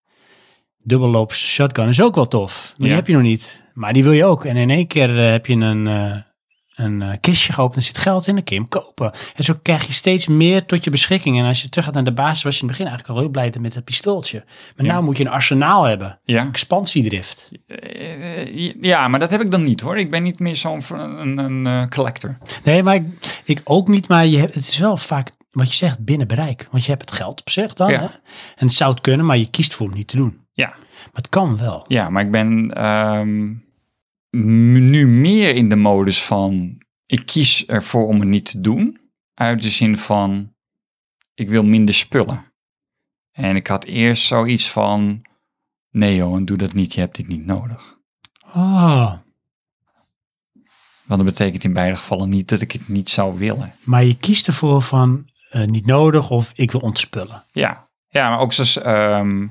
[SPEAKER 1] dubbelloops shotgun is ook wel tof. Maar
[SPEAKER 2] Ja.
[SPEAKER 1] die heb je nog niet. Maar die wil je ook. En in één keer eh, heb je een, eh, een eh, kistje geopend. Er zit geld in. Dan kun je hem kopen. En zo krijg je steeds meer tot je beschikking. En als je terug gaat naar de basis, was je in het begin eigenlijk al heel blij met het pistooltje. Maar
[SPEAKER 2] Ja.
[SPEAKER 1] nu moet je een arsenaal hebben.
[SPEAKER 2] Ja.
[SPEAKER 1] Expansiedrift.
[SPEAKER 2] Eh, ja, maar dat heb ik dan niet hoor. Ik ben niet meer zo'n v- een, een, eh, collector.
[SPEAKER 1] Nee, maar ik, ik ook niet. Maar je hebt, het is wel vaak wat je zegt binnen bereik. Want je hebt het geld op zich dan.
[SPEAKER 2] Ja.
[SPEAKER 1] Hè? En het zou het kunnen, maar je kiest voor om niet te doen.
[SPEAKER 2] Ja,
[SPEAKER 1] Maar het kan wel.
[SPEAKER 2] ja maar ik ben ehm, m- nu meer in de modus van, ik kies ervoor om het niet te doen. Uit de zin van, ik wil minder spullen. En ik had eerst zoiets van, nee Johan, doe dat niet, je hebt dit niet nodig.
[SPEAKER 1] Ah,
[SPEAKER 2] Want dat betekent in beide gevallen niet dat ik het niet zou willen.
[SPEAKER 1] maar je kiest ervoor van eh, niet nodig of ik wil ontspullen.
[SPEAKER 2] Ja, ja maar ook zoals ehm,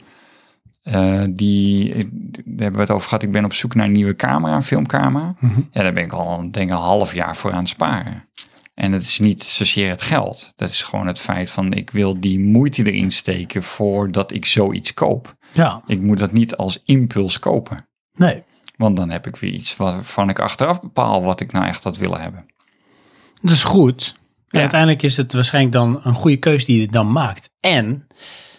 [SPEAKER 2] eh, die, eh, daar hebben we het over gehad. Ik ben op zoek naar een nieuwe camera, een filmcamera.
[SPEAKER 1] Mhm.
[SPEAKER 2] Ja, daar ben ik al denk ik, een half jaar voor aan het sparen. En het is niet zozeer het geld. Dat is gewoon het feit van ik wil die moeite erin steken voordat ik zoiets koop.
[SPEAKER 1] Ja,
[SPEAKER 2] Ik moet dat niet als impuls kopen.
[SPEAKER 1] nee.
[SPEAKER 2] Want dan heb ik weer iets waarvan ik achteraf bepaal wat ik nou echt had willen hebben.
[SPEAKER 1] Dat is goed. En
[SPEAKER 2] Ja.
[SPEAKER 1] uiteindelijk is het waarschijnlijk dan een goede keus die je dan maakt. En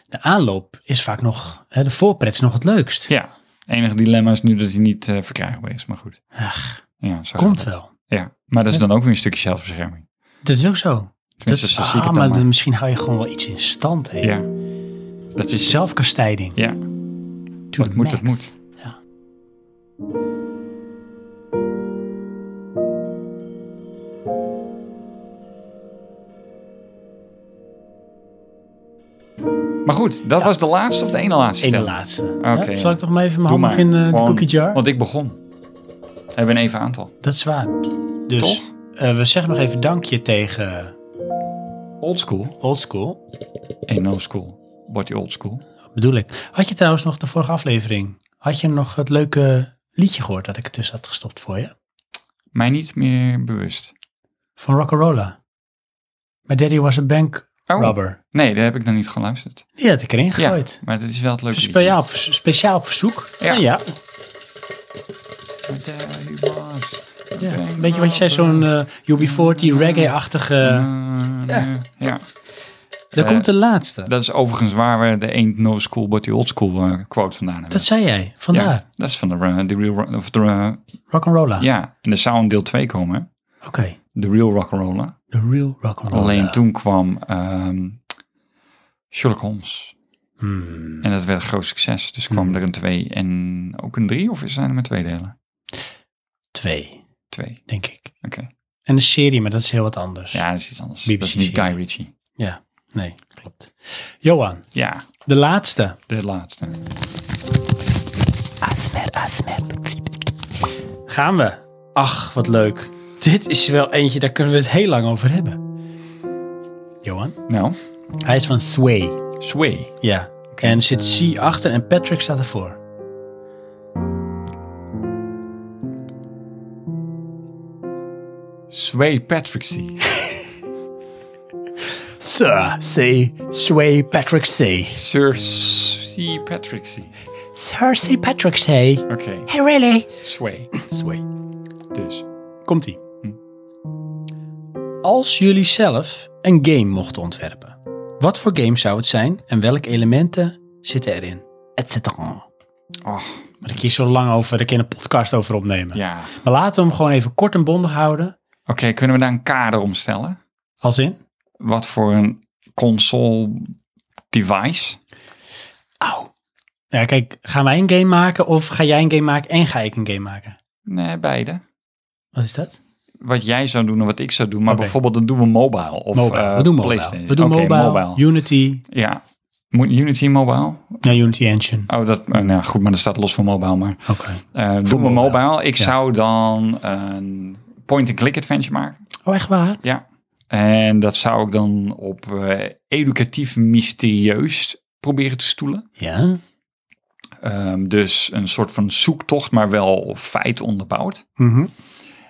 [SPEAKER 1] de aanloop is vaak nog, hè, de voorpret is nog het leukst.
[SPEAKER 2] Ja, enige dilemma is nu dat hij niet eh, verkrijgbaar is, maar goed.
[SPEAKER 1] Ach,
[SPEAKER 2] Ja, zo gaat
[SPEAKER 1] komt
[SPEAKER 2] het.
[SPEAKER 1] wel.
[SPEAKER 2] Ja, maar dat is dan ook weer een stukje zelfbescherming.
[SPEAKER 1] Dat is ook zo. Dat,
[SPEAKER 2] Tenminste, zo zie ik
[SPEAKER 1] ah,
[SPEAKER 2] het
[SPEAKER 1] maar
[SPEAKER 2] dan maar.
[SPEAKER 1] dan misschien hou je gewoon wel iets in stand. Hè?
[SPEAKER 2] Ja, dat is zelf.
[SPEAKER 1] Zelfkastijding.
[SPEAKER 2] Ja,
[SPEAKER 1] To
[SPEAKER 2] Wat
[SPEAKER 1] the
[SPEAKER 2] moet, dat
[SPEAKER 1] max.
[SPEAKER 2] moet.
[SPEAKER 1] Ja.
[SPEAKER 2] maar goed, dat was de laatste of de ene laatste?
[SPEAKER 1] Eén
[SPEAKER 2] stel?
[SPEAKER 1] laatste.
[SPEAKER 2] Oké.
[SPEAKER 1] Ja, zal ik toch maar even mijn
[SPEAKER 2] Doe
[SPEAKER 1] hand nog
[SPEAKER 2] maar.
[SPEAKER 1] in eh, de
[SPEAKER 2] Gewoon-
[SPEAKER 1] cookie jar?
[SPEAKER 2] Want ik begon. Hebben we een even aantal.
[SPEAKER 1] Dat is waar. Dus
[SPEAKER 2] Toch?
[SPEAKER 1] eh, we zeggen nog even dankje tegen
[SPEAKER 2] Old school.
[SPEAKER 1] Oldschool.
[SPEAKER 2] En no school. Wordt die old school.
[SPEAKER 1] Bedoel ik. Had je trouwens nog de vorige aflevering, had je nog het leuke liedje gehoord dat ik ertussen had gestopt voor je?
[SPEAKER 2] Mij niet meer bewust.
[SPEAKER 1] Van Rock'n'Rolla. My daddy was a bank
[SPEAKER 2] Oh,
[SPEAKER 1] robber.
[SPEAKER 2] nee, daar heb ik dan niet geluisterd.
[SPEAKER 1] Die had ik erin
[SPEAKER 2] Ja,
[SPEAKER 1] gegooid. Dus
[SPEAKER 2] maar dat is wel het leuke.
[SPEAKER 1] Speciaal, op- speciaal op verzoek.
[SPEAKER 2] Ja.
[SPEAKER 1] Nou ja.
[SPEAKER 2] liedje. There he was.
[SPEAKER 1] Ja, een beetje wat je zei, zo'n eh, UB40 reggae-achtige.
[SPEAKER 2] ja. ja,
[SPEAKER 1] Daar
[SPEAKER 2] eh,
[SPEAKER 1] komt de laatste.
[SPEAKER 2] dat is overigens waar we de Ain't No School But The Old School eh, quote vandaan hebben.
[SPEAKER 1] Dat zei jij,
[SPEAKER 2] Ja,
[SPEAKER 1] vandaar.
[SPEAKER 2] dat is van de, eh, de Real Rock- of de, eh,
[SPEAKER 1] Rock'n'Rolla.
[SPEAKER 2] Ja, en er zou een deel 2 komen. hè?
[SPEAKER 1] Oké,
[SPEAKER 2] The Real Rock'n'Roller.
[SPEAKER 1] the real Rock'n'Rolla.
[SPEAKER 2] Alleen toen kwam ehm, Sherlock Holmes.
[SPEAKER 1] Hmm.
[SPEAKER 2] En dat werd een groot succes. Dus kwam
[SPEAKER 1] Hmm.
[SPEAKER 2] er een 2 en ook een 3. Of zijn er maar twee delen?
[SPEAKER 1] Twee,
[SPEAKER 2] Twee.
[SPEAKER 1] denk ik.
[SPEAKER 2] Oké.
[SPEAKER 1] En een serie, maar dat is heel wat anders.
[SPEAKER 2] Ja, dat is iets anders.
[SPEAKER 1] BBC
[SPEAKER 2] dat is niet
[SPEAKER 1] serie.
[SPEAKER 2] Guy Ritchie.
[SPEAKER 1] Ja, nee, klopt. Johan,
[SPEAKER 2] Ja,
[SPEAKER 1] de laatste.
[SPEAKER 2] de laatste.
[SPEAKER 1] Asmer, asmer. Gaan we. Ach, wat leuk. Dit is wel eentje, daar kunnen we het heel lang over hebben. Johan?
[SPEAKER 2] Nou,
[SPEAKER 1] Hij is van Sway.
[SPEAKER 2] Sway.
[SPEAKER 1] Ja. En zit C achter en Patrick staat ervoor.
[SPEAKER 2] Sway Patrick C.
[SPEAKER 1] Sir C. Sway Patrick C.
[SPEAKER 2] Sir C. Patrick C.
[SPEAKER 1] Sir C. Patrick C.
[SPEAKER 2] Oké,
[SPEAKER 1] Hey, really?
[SPEAKER 2] Sway.
[SPEAKER 1] Sway.
[SPEAKER 2] Dus.
[SPEAKER 1] Komt ie. Als jullie zelf een game mochten ontwerpen, wat voor game zou het zijn en welke elementen zitten erin? Et cetera.
[SPEAKER 2] Oh,
[SPEAKER 1] Maar ik hier zo lang over, daar kan je een podcast over opnemen.
[SPEAKER 2] ja. Oké,
[SPEAKER 1] Maar laten we hem gewoon even kort en bondig houden.
[SPEAKER 2] kunnen we daar een kader omstellen?
[SPEAKER 1] Als in?
[SPEAKER 2] Wat voor een console device?
[SPEAKER 1] Au. Ja, kijk, gaan wij een game maken of ga jij een game maken en ga ik een game maken?
[SPEAKER 2] Nee, beide.
[SPEAKER 1] Wat is dat?
[SPEAKER 2] Wat jij zou doen en wat ik zou doen. Maar
[SPEAKER 1] Oké.
[SPEAKER 2] bijvoorbeeld dan doen we mobile. Of,
[SPEAKER 1] mobile.
[SPEAKER 2] eh,
[SPEAKER 1] we doen mobile.
[SPEAKER 2] PlayStation.
[SPEAKER 1] We doen
[SPEAKER 2] Oké,
[SPEAKER 1] mobile, Unity.
[SPEAKER 2] Ja. Moet Unity mobile?
[SPEAKER 1] Ja, Unity Engine.
[SPEAKER 2] Oh, dat, eh, nou ja, goed, maar dat staat los van mobile. Maar
[SPEAKER 1] Oké.
[SPEAKER 2] eh doen we
[SPEAKER 1] mobile.
[SPEAKER 2] mobile. Ik
[SPEAKER 1] Ja.
[SPEAKER 2] zou dan een point-and-click adventure maken.
[SPEAKER 1] Oh, echt waar?
[SPEAKER 2] Ja. En dat zou ik dan op eh, educatief mysterieus proberen te stoelen.
[SPEAKER 1] Ja.
[SPEAKER 2] Ehm, dus een soort van zoektocht, maar wel feit onderbouwd.
[SPEAKER 1] Mhm.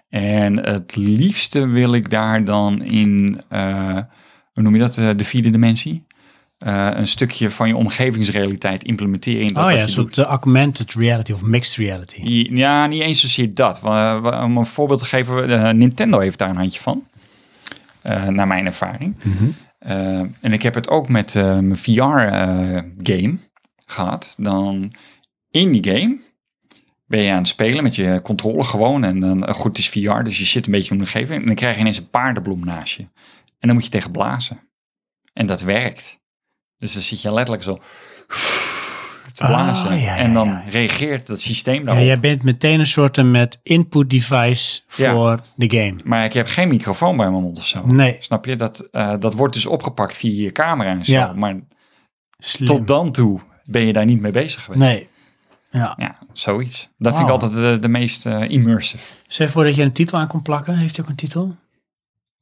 [SPEAKER 2] En het liefste wil ik daar dan in, eh, hoe noem je dat, eh, de vierde dimensie? Eh, een stukje van je omgevingsrealiteit implementeren in dat
[SPEAKER 1] Oh
[SPEAKER 2] wat
[SPEAKER 1] ja, een
[SPEAKER 2] je
[SPEAKER 1] soort eh, augmented reality of mixed reality.
[SPEAKER 2] Ja, niet eens zozeer dat. Wa- wa- Om een voorbeeld te geven, eh, Nintendo heeft daar een handje van. Eh, naar mijn ervaring.
[SPEAKER 1] Mhm.
[SPEAKER 2] Eh, en ik heb het ook met eh, mijn VR-game gehad. Dan in die game ben je aan het spelen met je controle gewoon. En dan, eh, goed, het is VR, dus je zit een beetje om de omgeving. En dan krijg je ineens een paardenbloem naast je. En dan moet je tegen blazen. En dat werkt. Dus dan zit je letterlijk zo te
[SPEAKER 1] Ah,
[SPEAKER 2] blazen.
[SPEAKER 1] ja, ja,
[SPEAKER 2] en dan
[SPEAKER 1] ja.
[SPEAKER 2] reageert dat systeem
[SPEAKER 1] Ja,
[SPEAKER 2] daarop.
[SPEAKER 1] jij bent meteen een soort eh, met input device
[SPEAKER 2] Ja.
[SPEAKER 1] voor de game.
[SPEAKER 2] Maar ik heb geen microfoon bij mijn mond of zo.
[SPEAKER 1] Nee,
[SPEAKER 2] Snap je? Dat, eh, dat wordt dus opgepakt via je camera en zo.
[SPEAKER 1] Ja.
[SPEAKER 2] Maar
[SPEAKER 1] slim.
[SPEAKER 2] tot dan toe ben je daar niet mee bezig geweest.
[SPEAKER 1] Nee. Oh. Ja.
[SPEAKER 2] Ja, zoiets. Dat vind ik
[SPEAKER 1] Wauw.
[SPEAKER 2] altijd de, de meest eh, immersive.
[SPEAKER 1] Zeg voor dat je een titel aan kon plakken. Heeft hij ook een titel?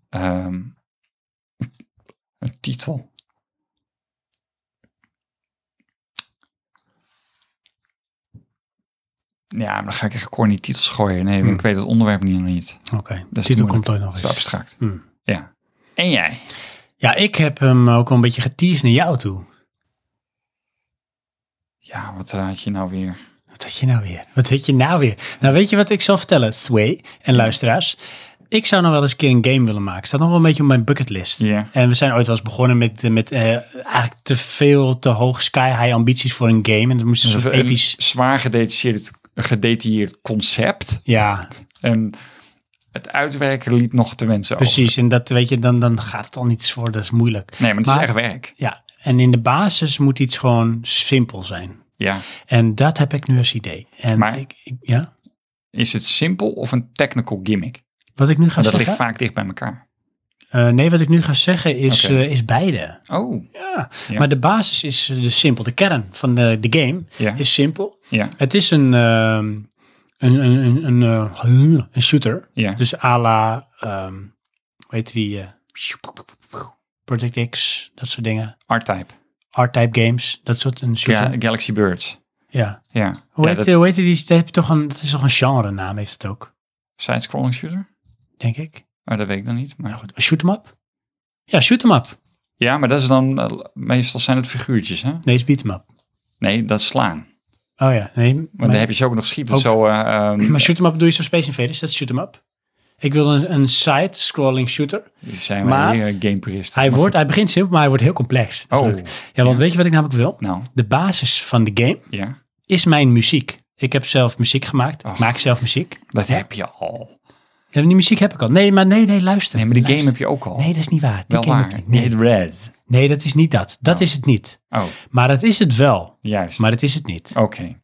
[SPEAKER 2] Ehm, een titel. Ja, maar dan ga ik echt corny titels gooien. Nee,
[SPEAKER 1] Hmm.
[SPEAKER 2] ik weet het onderwerp niet. niet.
[SPEAKER 1] Oké,
[SPEAKER 2] is
[SPEAKER 1] titel
[SPEAKER 2] moeilijk.
[SPEAKER 1] komt ooit nog
[SPEAKER 2] Dat is
[SPEAKER 1] eens.
[SPEAKER 2] te abstract.
[SPEAKER 1] Hmm.
[SPEAKER 2] Ja. En jij?
[SPEAKER 1] Ja, ik heb hem ook wel een beetje geteased naar jou toe.
[SPEAKER 2] Ja, wat eh, had je nou weer?
[SPEAKER 1] Wat had je nou weer? Wat had je nou weer? Nou, weet je wat ik zal vertellen, Sway en luisteraars? Ik zou nog wel eens een keer een game willen maken. Staat nog wel een beetje op mijn bucketlist.
[SPEAKER 2] Ja.
[SPEAKER 1] En we zijn ooit wel eens begonnen met, met eh, eigenlijk te veel, te hoog sky high ambities voor een game. En dat moest een soort
[SPEAKER 2] een
[SPEAKER 1] episch...
[SPEAKER 2] zwaar gedetailleerd, gedetailleerd concept.
[SPEAKER 1] Ja,
[SPEAKER 2] En het uitwerken liet nog te wensen over.
[SPEAKER 1] Precies, en dat weet je, dan, dan gaat het al niets worden, dat is moeilijk.
[SPEAKER 2] Nee, maar het
[SPEAKER 1] Maar-
[SPEAKER 2] is echt werk.
[SPEAKER 1] Ja, en in de basis moet iets gewoon simpel zijn.
[SPEAKER 2] Ja.
[SPEAKER 1] En dat heb ik nu als idee. En
[SPEAKER 2] Maar-
[SPEAKER 1] ik, ik- ja,
[SPEAKER 2] Is het simpel of een technical gimmick?
[SPEAKER 1] wat ik nu ga
[SPEAKER 2] En dat
[SPEAKER 1] zeggen.
[SPEAKER 2] ligt vaak dicht bij elkaar.
[SPEAKER 1] Eh, nee, wat ik nu ga zeggen is,
[SPEAKER 2] Oké.
[SPEAKER 1] eh, is beide.
[SPEAKER 2] Oh,
[SPEAKER 1] Ja.
[SPEAKER 2] Ja.
[SPEAKER 1] maar de basis is eh, dus simpel. De kern van de, de game
[SPEAKER 2] ja.
[SPEAKER 1] is simpel.
[SPEAKER 2] Ja.
[SPEAKER 1] Het is een, ehm, een, een, een, een, eh, een shooter.
[SPEAKER 2] Ja.
[SPEAKER 1] Dus à la, ehm, hoe heet die? eh, Project X, dat soort dingen.
[SPEAKER 2] R-Type.
[SPEAKER 1] R-type games, dat soort een shooter.
[SPEAKER 2] Ja,
[SPEAKER 1] Ja.
[SPEAKER 2] Galaxy Birds. Ja.
[SPEAKER 1] Hoe,
[SPEAKER 2] ja,
[SPEAKER 1] heet,
[SPEAKER 2] dat-
[SPEAKER 1] eh, hoe heet die? Dat, heb je toch een, dat is toch een genre naam, heeft het ook,
[SPEAKER 2] Side-scrolling shooter?
[SPEAKER 1] denk ik.
[SPEAKER 2] Oh, dat weet ik dan niet. Maar
[SPEAKER 1] Maar goed, shoot 'em up? Ja, shoot 'em up.
[SPEAKER 2] Ja, maar dat is dan... eh, meestal zijn het figuurtjes, hè?
[SPEAKER 1] Nee, is beat 'em up.
[SPEAKER 2] Nee, dat is slaan. Want
[SPEAKER 1] Oh ja, nee. Maar,
[SPEAKER 2] dan heb je ze ook nog schieten.
[SPEAKER 1] Ook-
[SPEAKER 2] Zo, eh, ehm,
[SPEAKER 1] maar shoot 'em up doe je zo Space Invaders, dat is shoot 'em up. Ik wil een, een side-scrolling shooter.
[SPEAKER 2] die zijn maar,
[SPEAKER 1] maar-
[SPEAKER 2] weer gameperisten.
[SPEAKER 1] Hij,
[SPEAKER 2] Maar
[SPEAKER 1] wordt, hij begint simpel, maar hij wordt heel complex.
[SPEAKER 2] goed.
[SPEAKER 1] Dat is
[SPEAKER 2] Oh,
[SPEAKER 1] leuk. Ja, want weet je wat ik namelijk wil?
[SPEAKER 2] nou,
[SPEAKER 1] De basis van de game
[SPEAKER 2] ja.
[SPEAKER 1] is mijn muziek. Ik heb zelf muziek gemaakt.
[SPEAKER 2] Och.
[SPEAKER 1] Ik maak zelf muziek.
[SPEAKER 2] Dat
[SPEAKER 1] Ja.
[SPEAKER 2] heb je al.
[SPEAKER 1] Ja, maar die muziek heb ik al. Nee, maar nee, nee, luister.
[SPEAKER 2] Nee, maar die
[SPEAKER 1] Luister.
[SPEAKER 2] game heb je ook al.
[SPEAKER 1] Nee, dat is niet waar. Die
[SPEAKER 2] Wel
[SPEAKER 1] game
[SPEAKER 2] waar.
[SPEAKER 1] heb ik
[SPEAKER 2] Die
[SPEAKER 1] niet.
[SPEAKER 2] heet
[SPEAKER 1] Nee,
[SPEAKER 2] Red.
[SPEAKER 1] nee, dat is niet dat. Dat is het niet.
[SPEAKER 2] Oh,
[SPEAKER 1] Maar dat is het wel.
[SPEAKER 2] juist.
[SPEAKER 1] Maar dat is het niet.
[SPEAKER 2] Oké.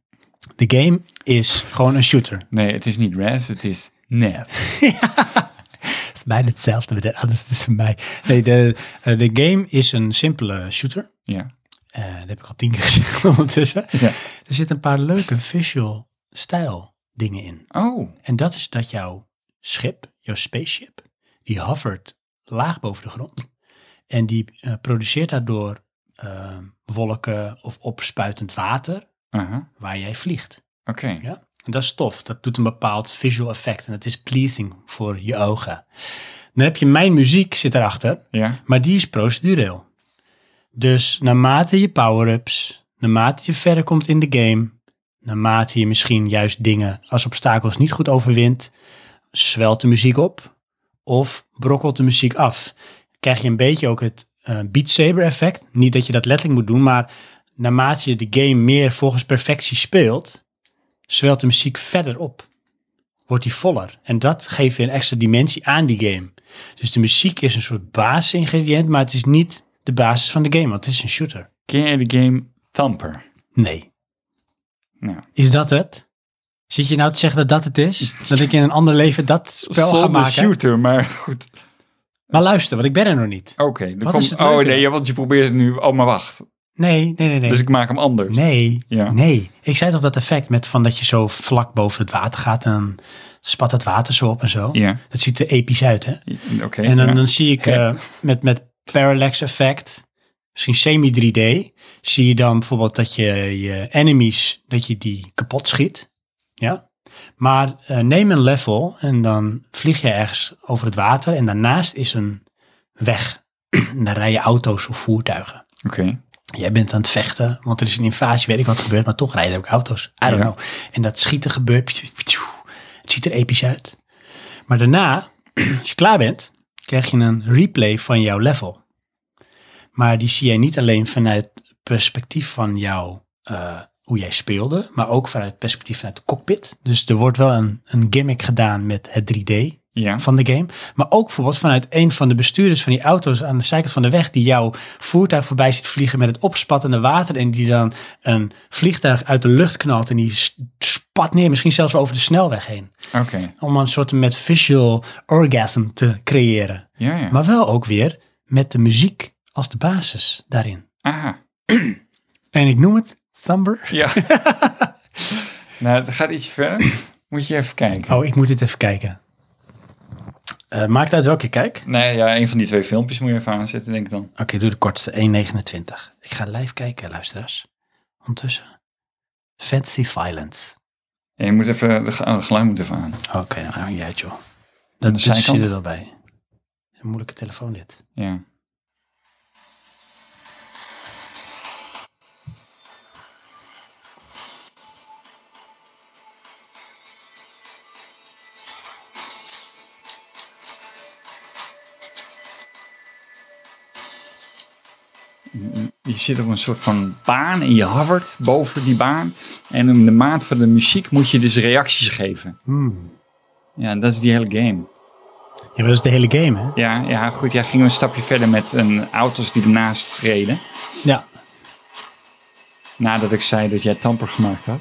[SPEAKER 1] De game is gewoon een shooter.
[SPEAKER 2] Nee, het is niet Red, het is Nef.
[SPEAKER 1] Het is bijna hetzelfde, maar dat- anders is het voor mij. Nee, de, eh, de game is een simpele shooter.
[SPEAKER 2] Ja.
[SPEAKER 1] Eh, dat heb ik al tien keer gezegd ondertussen.
[SPEAKER 2] Ja.
[SPEAKER 1] Er zitten een paar leuke visual stijl dingen in.
[SPEAKER 2] Oh,
[SPEAKER 1] En dat is dat jouw schip, jouw spaceship, die hovert laag boven de grond. En die eh, produceert daardoor eh, wolken of opspuitend water
[SPEAKER 2] aha.
[SPEAKER 1] waar jij vliegt.
[SPEAKER 2] oké.
[SPEAKER 1] En dat is tof. Dat doet een bepaald visual effect en het is pleasing voor je ogen. Dan heb je mijn muziek zit erachter,
[SPEAKER 2] Ja,
[SPEAKER 1] maar die is procedureel. Dus naarmate je power-ups, naarmate je verder komt in de game, naarmate je misschien juist dingen als obstakels niet goed overwint, zwelt de muziek op of brokkelt de muziek af. Krijg je een beetje ook het eh Beat Saber effect. Niet dat je dat letterlijk moet doen, maar naarmate je de game meer volgens perfectie speelt, zwelt de muziek verder op. Wordt die voller. En dat geeft weer een extra dimensie aan die game. Dus de muziek is een soort basisingrediënt, maar het is niet de basis van de game, want het is een shooter.
[SPEAKER 2] ken jij de game Tamper?
[SPEAKER 1] Nee.
[SPEAKER 2] Nou,
[SPEAKER 1] Is dat het? Zit je nou te zeggen dat dat het is? Dat ik in een ander leven dat spel ga
[SPEAKER 2] zonder
[SPEAKER 1] maken?
[SPEAKER 2] shooter, maar goed.
[SPEAKER 1] Maar luister, want ik ben er nog niet.
[SPEAKER 2] Oké, dan
[SPEAKER 1] Wat
[SPEAKER 2] komt-
[SPEAKER 1] is het
[SPEAKER 2] Oh
[SPEAKER 1] leuke?
[SPEAKER 2] nee, ja, want je probeert het nu. Oh, maar wacht.
[SPEAKER 1] Nee, nee, nee, nee.
[SPEAKER 2] Dus ik maak hem anders.
[SPEAKER 1] Nee,
[SPEAKER 2] Ja.
[SPEAKER 1] nee. Ik zei toch dat effect met van dat je zo vlak boven het water gaat en dan spat het water zo op en zo.
[SPEAKER 2] Ja,
[SPEAKER 1] Dat ziet er episch uit, hè?
[SPEAKER 2] oké.
[SPEAKER 1] En dan,
[SPEAKER 2] ja.
[SPEAKER 1] dan zie ik
[SPEAKER 2] Ja.
[SPEAKER 1] eh, met, met parallax effect, misschien semi-3D, zie je dan bijvoorbeeld dat je je enemies, dat je die kapot schiet. Ja? Maar eh, neem een level en dan vlieg je ergens over het water en daarnaast is een weg. En dan rijden auto's of voertuigen.
[SPEAKER 2] Oké,
[SPEAKER 1] Jij bent aan het vechten, want er is een invasie, weet ik wat er gebeurt, maar toch rijden er ook auto's. I don't
[SPEAKER 2] Ja.
[SPEAKER 1] know. En dat schieten gebeurt. Het ziet er episch uit. Maar daarna, als je klaar bent, krijg je een replay van jouw level. Maar die zie jij niet alleen vanuit het perspectief van jouw, eh, hoe jij speelde, maar ook vanuit het perspectief vanuit de cockpit. Dus er wordt wel een, een gimmick gedaan met het 3D,
[SPEAKER 2] ja.
[SPEAKER 1] van de game. Maar ook bijvoorbeeld vanuit een van de bestuurders van die auto's aan de zijkant van de weg. die jouw voertuig voorbij ziet vliegen met het opspattende water. en die dan een vliegtuig uit de lucht knalt. en die s- spat neer, misschien zelfs wel over de snelweg heen.
[SPEAKER 2] Oké,
[SPEAKER 1] Om een soort met visual orgasm te creëren.
[SPEAKER 2] ja, ja.
[SPEAKER 1] Maar wel ook weer met de muziek als de basis daarin.
[SPEAKER 2] Aha,
[SPEAKER 1] En ik noem het Thumber.
[SPEAKER 2] ja. nou, het gaat ietsje verder. Moet je even kijken.
[SPEAKER 1] Oh, ik moet dit even kijken. Eh, maakt uit welke ik kijk.
[SPEAKER 2] Nee, ja, een van die twee filmpjes moet je even aanzetten, denk ik dan.
[SPEAKER 1] Oké, doe de kortste. 1,29. Ik ga live kijken, luisteraars. Ondertussen. Fantasy Violence.
[SPEAKER 2] En je moet even, de, ge- oh, het geluid moet even aan.
[SPEAKER 1] Oké, nou, hang je uit, joh.
[SPEAKER 2] Aan de
[SPEAKER 1] Dat zit
[SPEAKER 2] zijkant?
[SPEAKER 1] er wel bij. Een moeilijke telefoon dit.
[SPEAKER 2] Ja. Je zit op een soort van baan en je hovert boven die baan. En in de maat van de muziek moet je dus reacties geven. Ja, en dat is die hele game.
[SPEAKER 1] Ja, maar dat is de hele game, hè?
[SPEAKER 2] Ja, ja goed. Ja, gingen we een stapje verder met een, auto's die ernaast reden.
[SPEAKER 1] Ja.
[SPEAKER 2] Nadat ik zei dat jij tamper gemaakt had.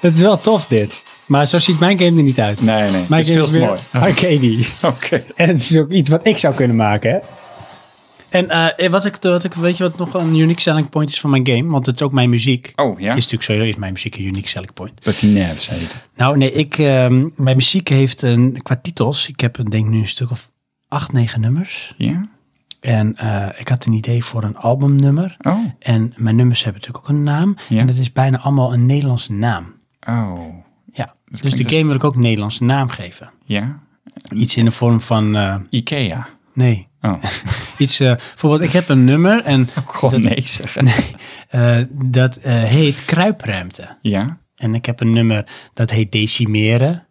[SPEAKER 1] Het is wel tof, dit. Maar zo ziet mijn game er niet uit.
[SPEAKER 2] Nee, nee.
[SPEAKER 1] Mijn
[SPEAKER 2] het is veel te
[SPEAKER 1] weer
[SPEAKER 2] mooi.
[SPEAKER 1] Arcadey.
[SPEAKER 2] Oké.
[SPEAKER 1] En het is ook iets wat ik zou kunnen maken, hè? En eh, wat ik, wat ik, weet je wat nog een unique selling point is van mijn game? Want het is ook mijn muziek.
[SPEAKER 2] Oh, ja?
[SPEAKER 1] Is natuurlijk zo, is mijn muziek een unique selling point.
[SPEAKER 2] But he nerves heet.
[SPEAKER 1] Nou nee, ik, ehm, mijn muziek heeft een, qua titels, ik heb denk nu een stuk of acht, negen nummers.
[SPEAKER 2] Ja?
[SPEAKER 1] En eh, ik had een idee voor een albumnummer.
[SPEAKER 2] Oh.
[SPEAKER 1] En mijn nummers hebben natuurlijk ook een naam.
[SPEAKER 2] Ja.
[SPEAKER 1] En het is bijna allemaal een Nederlandse naam.
[SPEAKER 2] Oh.
[SPEAKER 1] Ja, dus
[SPEAKER 2] klinkt
[SPEAKER 1] de
[SPEAKER 2] als-
[SPEAKER 1] game wil ik ook een Nederlandse naam geven.
[SPEAKER 2] Ja?
[SPEAKER 1] Iets in de vorm van, eh,
[SPEAKER 2] Ikea.
[SPEAKER 1] nee,
[SPEAKER 2] Oh.
[SPEAKER 1] iets, eh, bijvoorbeeld ik heb een nummer en
[SPEAKER 2] Gewoon Oh, nee zeggen.
[SPEAKER 1] eh, dat eh, heet Kruipruimte.
[SPEAKER 2] Ja?
[SPEAKER 1] En ik heb een nummer dat heet Decimeren.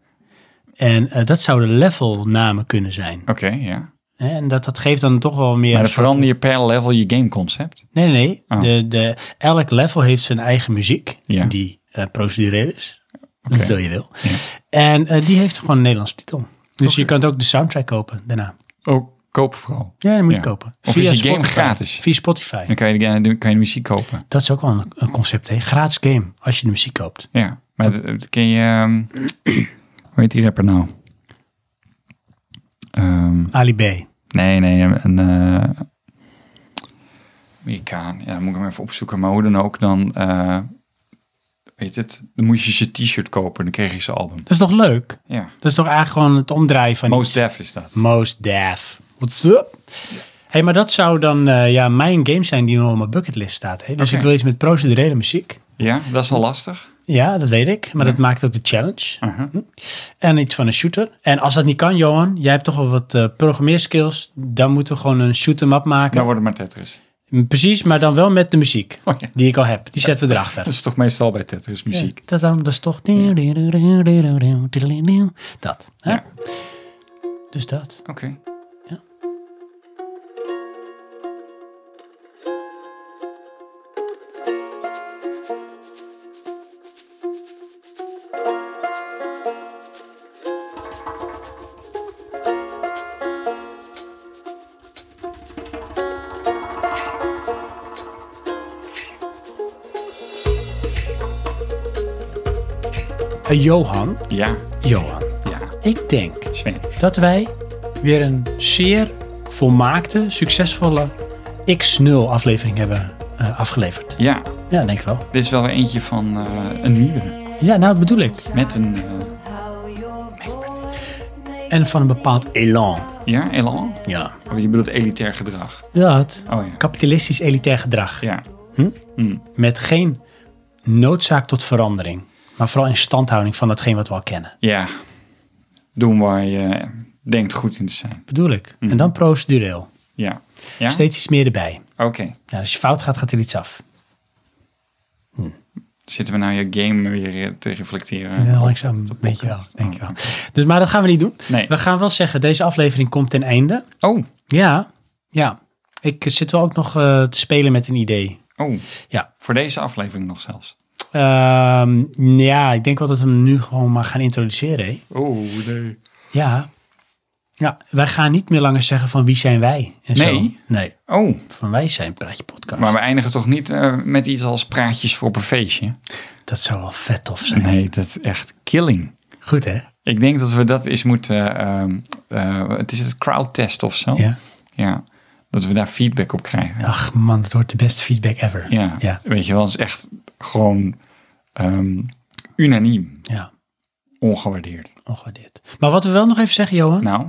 [SPEAKER 1] En eh, dat zouden levelnamen kunnen zijn.
[SPEAKER 2] Oké, ja.
[SPEAKER 1] Hè, En dat, dat geeft dan toch wel meer...
[SPEAKER 2] Maar
[SPEAKER 1] een
[SPEAKER 2] dan
[SPEAKER 1] soort-
[SPEAKER 2] verander je per level je gameconcept.
[SPEAKER 1] Nee, nee, nee.
[SPEAKER 2] Ah.
[SPEAKER 1] De, de, elk level heeft zijn eigen muziek.
[SPEAKER 2] Ja.
[SPEAKER 1] Die eh, procedureel is.
[SPEAKER 2] Oké.
[SPEAKER 1] Zo je wil.
[SPEAKER 2] Ja.
[SPEAKER 1] En eh, die heeft gewoon een Nederlandse titel. Dus je kunt ook de soundtrack kopen daarna.
[SPEAKER 2] Ook Oh, koop vooral.
[SPEAKER 1] Ja, dat moet
[SPEAKER 2] Ja.
[SPEAKER 1] je kopen.
[SPEAKER 2] Of is die game gratis?
[SPEAKER 1] Via Spotify.
[SPEAKER 2] Dan kan je, de- dan kan je de muziek kopen.
[SPEAKER 1] Dat is ook wel een, een concept, hè. Gratis game, als je de muziek koopt.
[SPEAKER 2] Ja. Maar dat- dat ken je... ehm, hoe heet die rapper nou? Ehm,
[SPEAKER 1] Ali B.
[SPEAKER 2] nee, nee. Een eh, Amerikaan. Ja, dan moet ik hem even opzoeken. Maar hoe dan ook, dan... eh, weet het? Dan moet je zijn t-shirt kopen. Dan kreeg je zijn album.
[SPEAKER 1] Dat is toch leuk?
[SPEAKER 2] Ja.
[SPEAKER 1] Dat is toch eigenlijk gewoon het omdraaien van
[SPEAKER 2] Most
[SPEAKER 1] iets.
[SPEAKER 2] Def is dat.
[SPEAKER 1] Most Def. What's up? hey, maar dat zou dan eh, ja, mijn game zijn die nog op mijn bucketlist staat. Hè? Dus
[SPEAKER 2] Oké.
[SPEAKER 1] ik wil iets met procedurele muziek.
[SPEAKER 2] Ja, dat is al lastig.
[SPEAKER 1] Ja, dat weet ik. Maar dat maakt ook de challenge.
[SPEAKER 2] Uh-huh.
[SPEAKER 1] En iets van een shooter. En als dat niet kan, Johan, jij hebt toch wel wat eh, programmeerskills. Dan moeten we gewoon een shoot-em-up maken.
[SPEAKER 2] Dan wordt het maar Tetris.
[SPEAKER 1] Precies, maar dan wel met de muziek
[SPEAKER 2] Oh, ja.
[SPEAKER 1] die ik al heb. Die zetten we erachter.
[SPEAKER 2] Dat is toch meestal bij Tetris muziek.
[SPEAKER 1] Ja, dat, dan, dat is toch... Dat. Hè?
[SPEAKER 2] Ja.
[SPEAKER 1] Dus dat.
[SPEAKER 2] Oké.
[SPEAKER 1] Ja. Eh, Johan,
[SPEAKER 2] Ja,
[SPEAKER 1] Johan,
[SPEAKER 2] ja.
[SPEAKER 1] ik denk
[SPEAKER 2] Sven.
[SPEAKER 1] dat wij weer een zeer volmaakte, succesvolle X0 aflevering hebben eh, afgeleverd.
[SPEAKER 2] Ja,
[SPEAKER 1] Ja, denk ik wel.
[SPEAKER 2] dit is wel weer eentje van eh, een nieuwe.
[SPEAKER 1] Ja, nou, dat bedoel ik.
[SPEAKER 2] Met een, eh,
[SPEAKER 1] En van een bepaald elan.
[SPEAKER 2] ja, elan.
[SPEAKER 1] Ja.
[SPEAKER 2] Oh, je bedoelt elitair gedrag.
[SPEAKER 1] Dat.
[SPEAKER 2] Oh ja.
[SPEAKER 1] Kapitalistisch elitair gedrag.
[SPEAKER 2] Ja,
[SPEAKER 1] Met geen noodzaak tot verandering. Maar vooral in standhouding van datgene wat we al kennen.
[SPEAKER 2] ja. Doen waar je eh, denkt goed in te zijn.
[SPEAKER 1] Bedoel ik. En dan procedureel.
[SPEAKER 2] Ja. Mhm. Ja?
[SPEAKER 1] Steeds iets meer erbij.
[SPEAKER 2] Oké.
[SPEAKER 1] Ja, als je fout gaat, gaat er iets af.
[SPEAKER 2] Zitten we nou je game weer eh, te reflecteren?
[SPEAKER 1] Ja, langzaam een beetje wel, denk ik
[SPEAKER 2] Oh,
[SPEAKER 1] wel. Dus, maar dat gaan we niet doen.
[SPEAKER 2] Nee.
[SPEAKER 1] We gaan wel zeggen, deze aflevering komt ten einde.
[SPEAKER 2] Oh,
[SPEAKER 1] Ja, ja. Ik zit wel ook nog eh, te spelen met een idee.
[SPEAKER 2] oh.
[SPEAKER 1] Ja.
[SPEAKER 2] Voor deze aflevering nog zelfs.
[SPEAKER 1] Ehm, ja, ik denk wel dat we hem nu gewoon maar gaan introduceren. hè.
[SPEAKER 2] Oh, nee.
[SPEAKER 1] Ja. ja. Wij gaan niet meer langer zeggen van wie zijn wij en zo.
[SPEAKER 2] Nee.
[SPEAKER 1] Nee.
[SPEAKER 2] Oh,
[SPEAKER 1] Van wij zijn Praatje Podcast.
[SPEAKER 2] maar we eindigen toch niet eh, met iets als praatjes voor op een feestje?
[SPEAKER 1] Dat zou wel vet tof zijn.
[SPEAKER 2] Nee, dat is echt killing.
[SPEAKER 1] Goed hè?
[SPEAKER 2] Ik denk dat we dat eens moeten. ehm, eh, het is het crowdtest of zo.
[SPEAKER 1] Ja.
[SPEAKER 2] Ja. Dat we daar feedback op krijgen.
[SPEAKER 1] Ach man, dat wordt de beste feedback ever.
[SPEAKER 2] Ja.
[SPEAKER 1] Ja.
[SPEAKER 2] Weet je wel, het is echt gewoon ehm, unaniem
[SPEAKER 1] Ja,
[SPEAKER 2] ongewaardeerd.
[SPEAKER 1] ongewaardeerd. Maar wat we wel nog even zeggen, Johan.
[SPEAKER 2] Nou,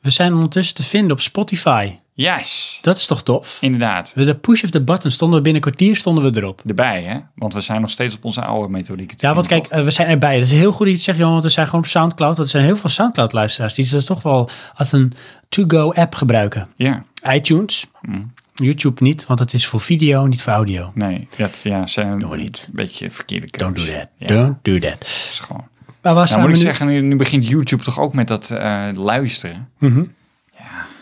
[SPEAKER 1] We zijn ondertussen te vinden op Spotify.
[SPEAKER 2] yes.
[SPEAKER 1] Dat is toch tof?
[SPEAKER 2] Inderdaad.
[SPEAKER 1] We de push of the button stonden we binnen een kwartier stonden we erop.
[SPEAKER 2] Erbij, hè? Want we zijn nog steeds op onze oude methodiek. te
[SPEAKER 1] Ja, want
[SPEAKER 2] vinden,
[SPEAKER 1] kijk, eh, we zijn erbij. Dat is heel goed dat je het zegt, Johan, want we zijn gewoon op Soundcloud. Want er zijn heel veel Soundcloud-luisteraars die dat toch wel als een to-go-app gebruiken.
[SPEAKER 2] toch? Ja,
[SPEAKER 1] iTunes,
[SPEAKER 2] Mm.
[SPEAKER 1] YouTube niet, want het is voor video, niet voor audio.
[SPEAKER 2] nee. Dat ja, zijn
[SPEAKER 1] we niet.
[SPEAKER 2] een beetje verkeerde keuzes.
[SPEAKER 1] Don't do that.
[SPEAKER 2] Ja,
[SPEAKER 1] Don't do that.
[SPEAKER 2] dat is gewoon.
[SPEAKER 1] Maar waar
[SPEAKER 2] Nou
[SPEAKER 1] staan
[SPEAKER 2] moet
[SPEAKER 1] we
[SPEAKER 2] ik
[SPEAKER 1] nu?
[SPEAKER 2] zeggen, nu, nu begint YouTube toch ook met dat eh, luisteren.
[SPEAKER 1] Mhm.
[SPEAKER 2] Ja,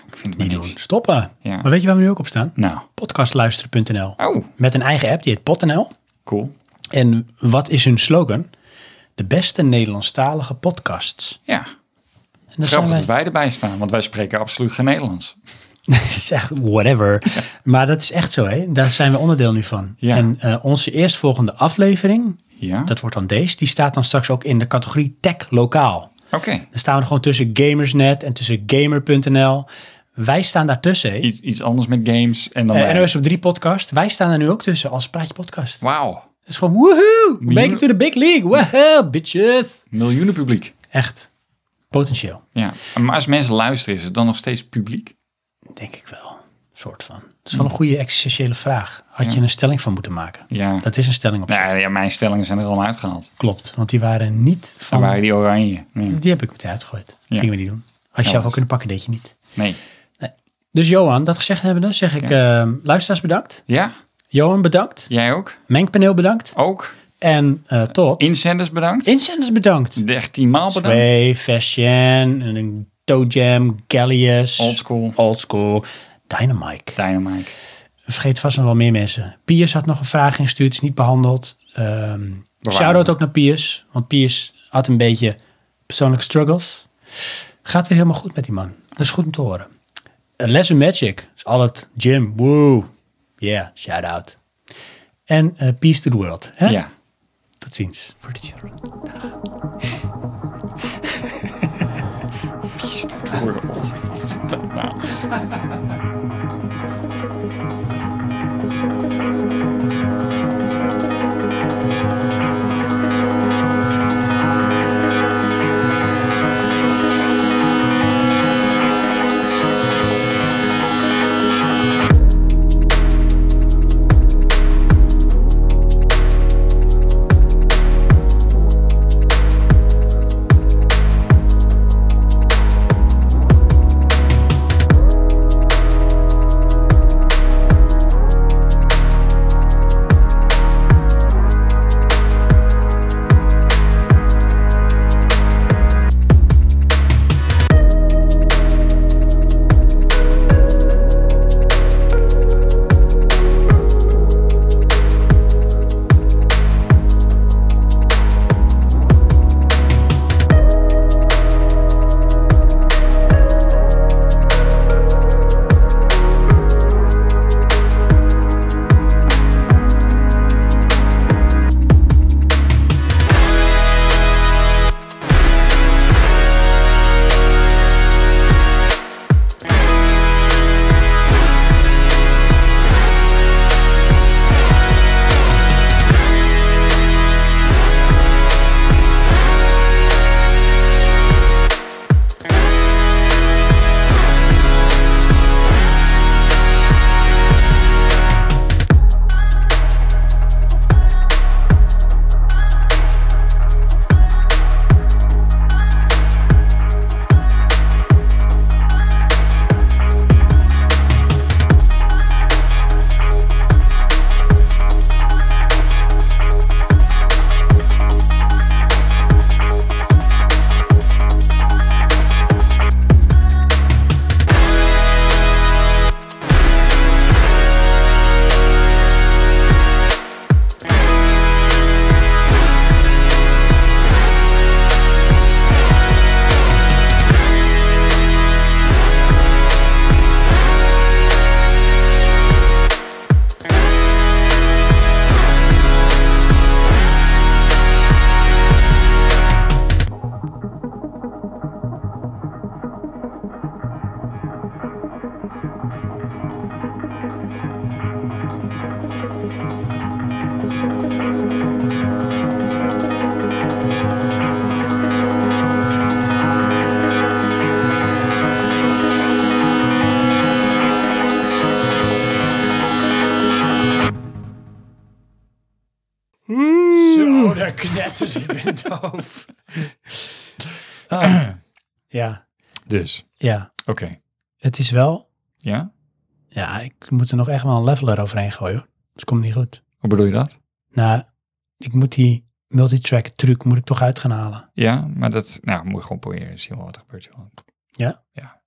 [SPEAKER 2] ik vind het maar
[SPEAKER 1] Niet
[SPEAKER 2] niks.
[SPEAKER 1] doen. Stoppen.
[SPEAKER 2] Ja.
[SPEAKER 1] Maar weet je waar we nu ook op staan?
[SPEAKER 2] Nou,
[SPEAKER 1] Podcastluisteren.nl.
[SPEAKER 2] oh,
[SPEAKER 1] Met een eigen app, die heet Pot.nl.
[SPEAKER 2] cool.
[SPEAKER 1] En wat is hun slogan? de beste Nederlandstalige podcasts.
[SPEAKER 2] Ja,
[SPEAKER 1] En daar zijn
[SPEAKER 2] grappig
[SPEAKER 1] wij.
[SPEAKER 2] dat wij erbij staan, want wij spreken absoluut geen Nederlands.
[SPEAKER 1] Het is echt whatever. Maar dat is echt zo, hè? Daar zijn we onderdeel nu van.
[SPEAKER 2] Ja.
[SPEAKER 1] En eh, onze eerstvolgende aflevering,
[SPEAKER 2] Ja,
[SPEAKER 1] dat wordt dan deze, die staat dan straks ook in de categorie tech lokaal.
[SPEAKER 2] oké.
[SPEAKER 1] Dan staan we gewoon tussen Gamersnet en tussen Gamer.nl. Wij staan daartussen. hè?
[SPEAKER 2] Iets, iets anders met games en dan...
[SPEAKER 1] Eh,
[SPEAKER 2] wij.
[SPEAKER 1] NOS op 3 podcast. Wij staan er nu ook tussen als Praatje Podcast.
[SPEAKER 2] Wauw,
[SPEAKER 1] Het is gewoon woehoe!
[SPEAKER 2] Miljoen-
[SPEAKER 1] Make it to the big league! Wow, bitches!
[SPEAKER 2] miljoenen publiek.
[SPEAKER 1] Echt potentieel,
[SPEAKER 2] Ja, maar als mensen luisteren, is het dan nog steeds publiek?
[SPEAKER 1] denk ik wel. Soort van. Het is wel een goede existentiële vraag. Had je een stelling van moeten maken?
[SPEAKER 2] Hm. Ja. Oh.
[SPEAKER 1] Dat is een stelling op zich.
[SPEAKER 2] Nou ja, mijn stellingen zijn er allemaal uitgehaald.
[SPEAKER 1] Klopt, want die waren niet
[SPEAKER 2] Dan
[SPEAKER 1] van...
[SPEAKER 2] waren die oranje. Nee.
[SPEAKER 1] Die heb ik meteen uitgegooid.
[SPEAKER 2] Ja. dus-
[SPEAKER 1] Gingen we niet doen. Had je zelf ook
[SPEAKER 2] was-
[SPEAKER 1] kunnen pakken, deed je niet.
[SPEAKER 2] nee.
[SPEAKER 1] Dus Johan, dat gezegd hebbende, zeg ik ehm, luisteraars bedankt.
[SPEAKER 2] Ja,
[SPEAKER 1] Johan bedankt.
[SPEAKER 2] jij ook?
[SPEAKER 1] Mengpaneel bedankt.
[SPEAKER 2] Ook.
[SPEAKER 1] En eh, tot...
[SPEAKER 2] Inzenders bedankt.
[SPEAKER 1] Inzenders bedankt.
[SPEAKER 2] 13 maal bedankt.
[SPEAKER 1] Sway, Fashion, een Toe Jam, Gallius,
[SPEAKER 2] Oldschool.
[SPEAKER 1] Old School, Dynamite.
[SPEAKER 2] Dynamite.
[SPEAKER 1] Vergeet vast nog wel meer mensen. Piers had nog een vraag ingestuurd, is niet behandeld. Ehm shout-out ook naar Piers, want Piers had een beetje persoonlijke struggles. Gaat weer helemaal goed met die man. Dat is goed om te horen. Eh, Lesson Magic is al het gym. Woo. Yeah, shout-out. En eh, Peace to the World. Hè?
[SPEAKER 2] Ja.
[SPEAKER 1] Tot ziens. For the children.
[SPEAKER 2] World. Wat is dat nou?
[SPEAKER 1] Zo, daar knetters, ik ben doof. ja,
[SPEAKER 2] Ah. Dus,
[SPEAKER 1] ja.
[SPEAKER 2] oké.
[SPEAKER 1] Het is wel...
[SPEAKER 2] Ja?
[SPEAKER 1] Ja, ik moet er nog echt wel een leveler overheen gooien. hoor. Dus komt niet goed.
[SPEAKER 2] Hoe bedoel je dat?
[SPEAKER 1] Nou, ik moet die multitrack truc moet ik toch uit gaan halen.
[SPEAKER 2] Ja, maar dat... Nou, moet je gewoon proberen. Zie wel wat er gebeurt. joh.
[SPEAKER 1] Ja?
[SPEAKER 2] Ja.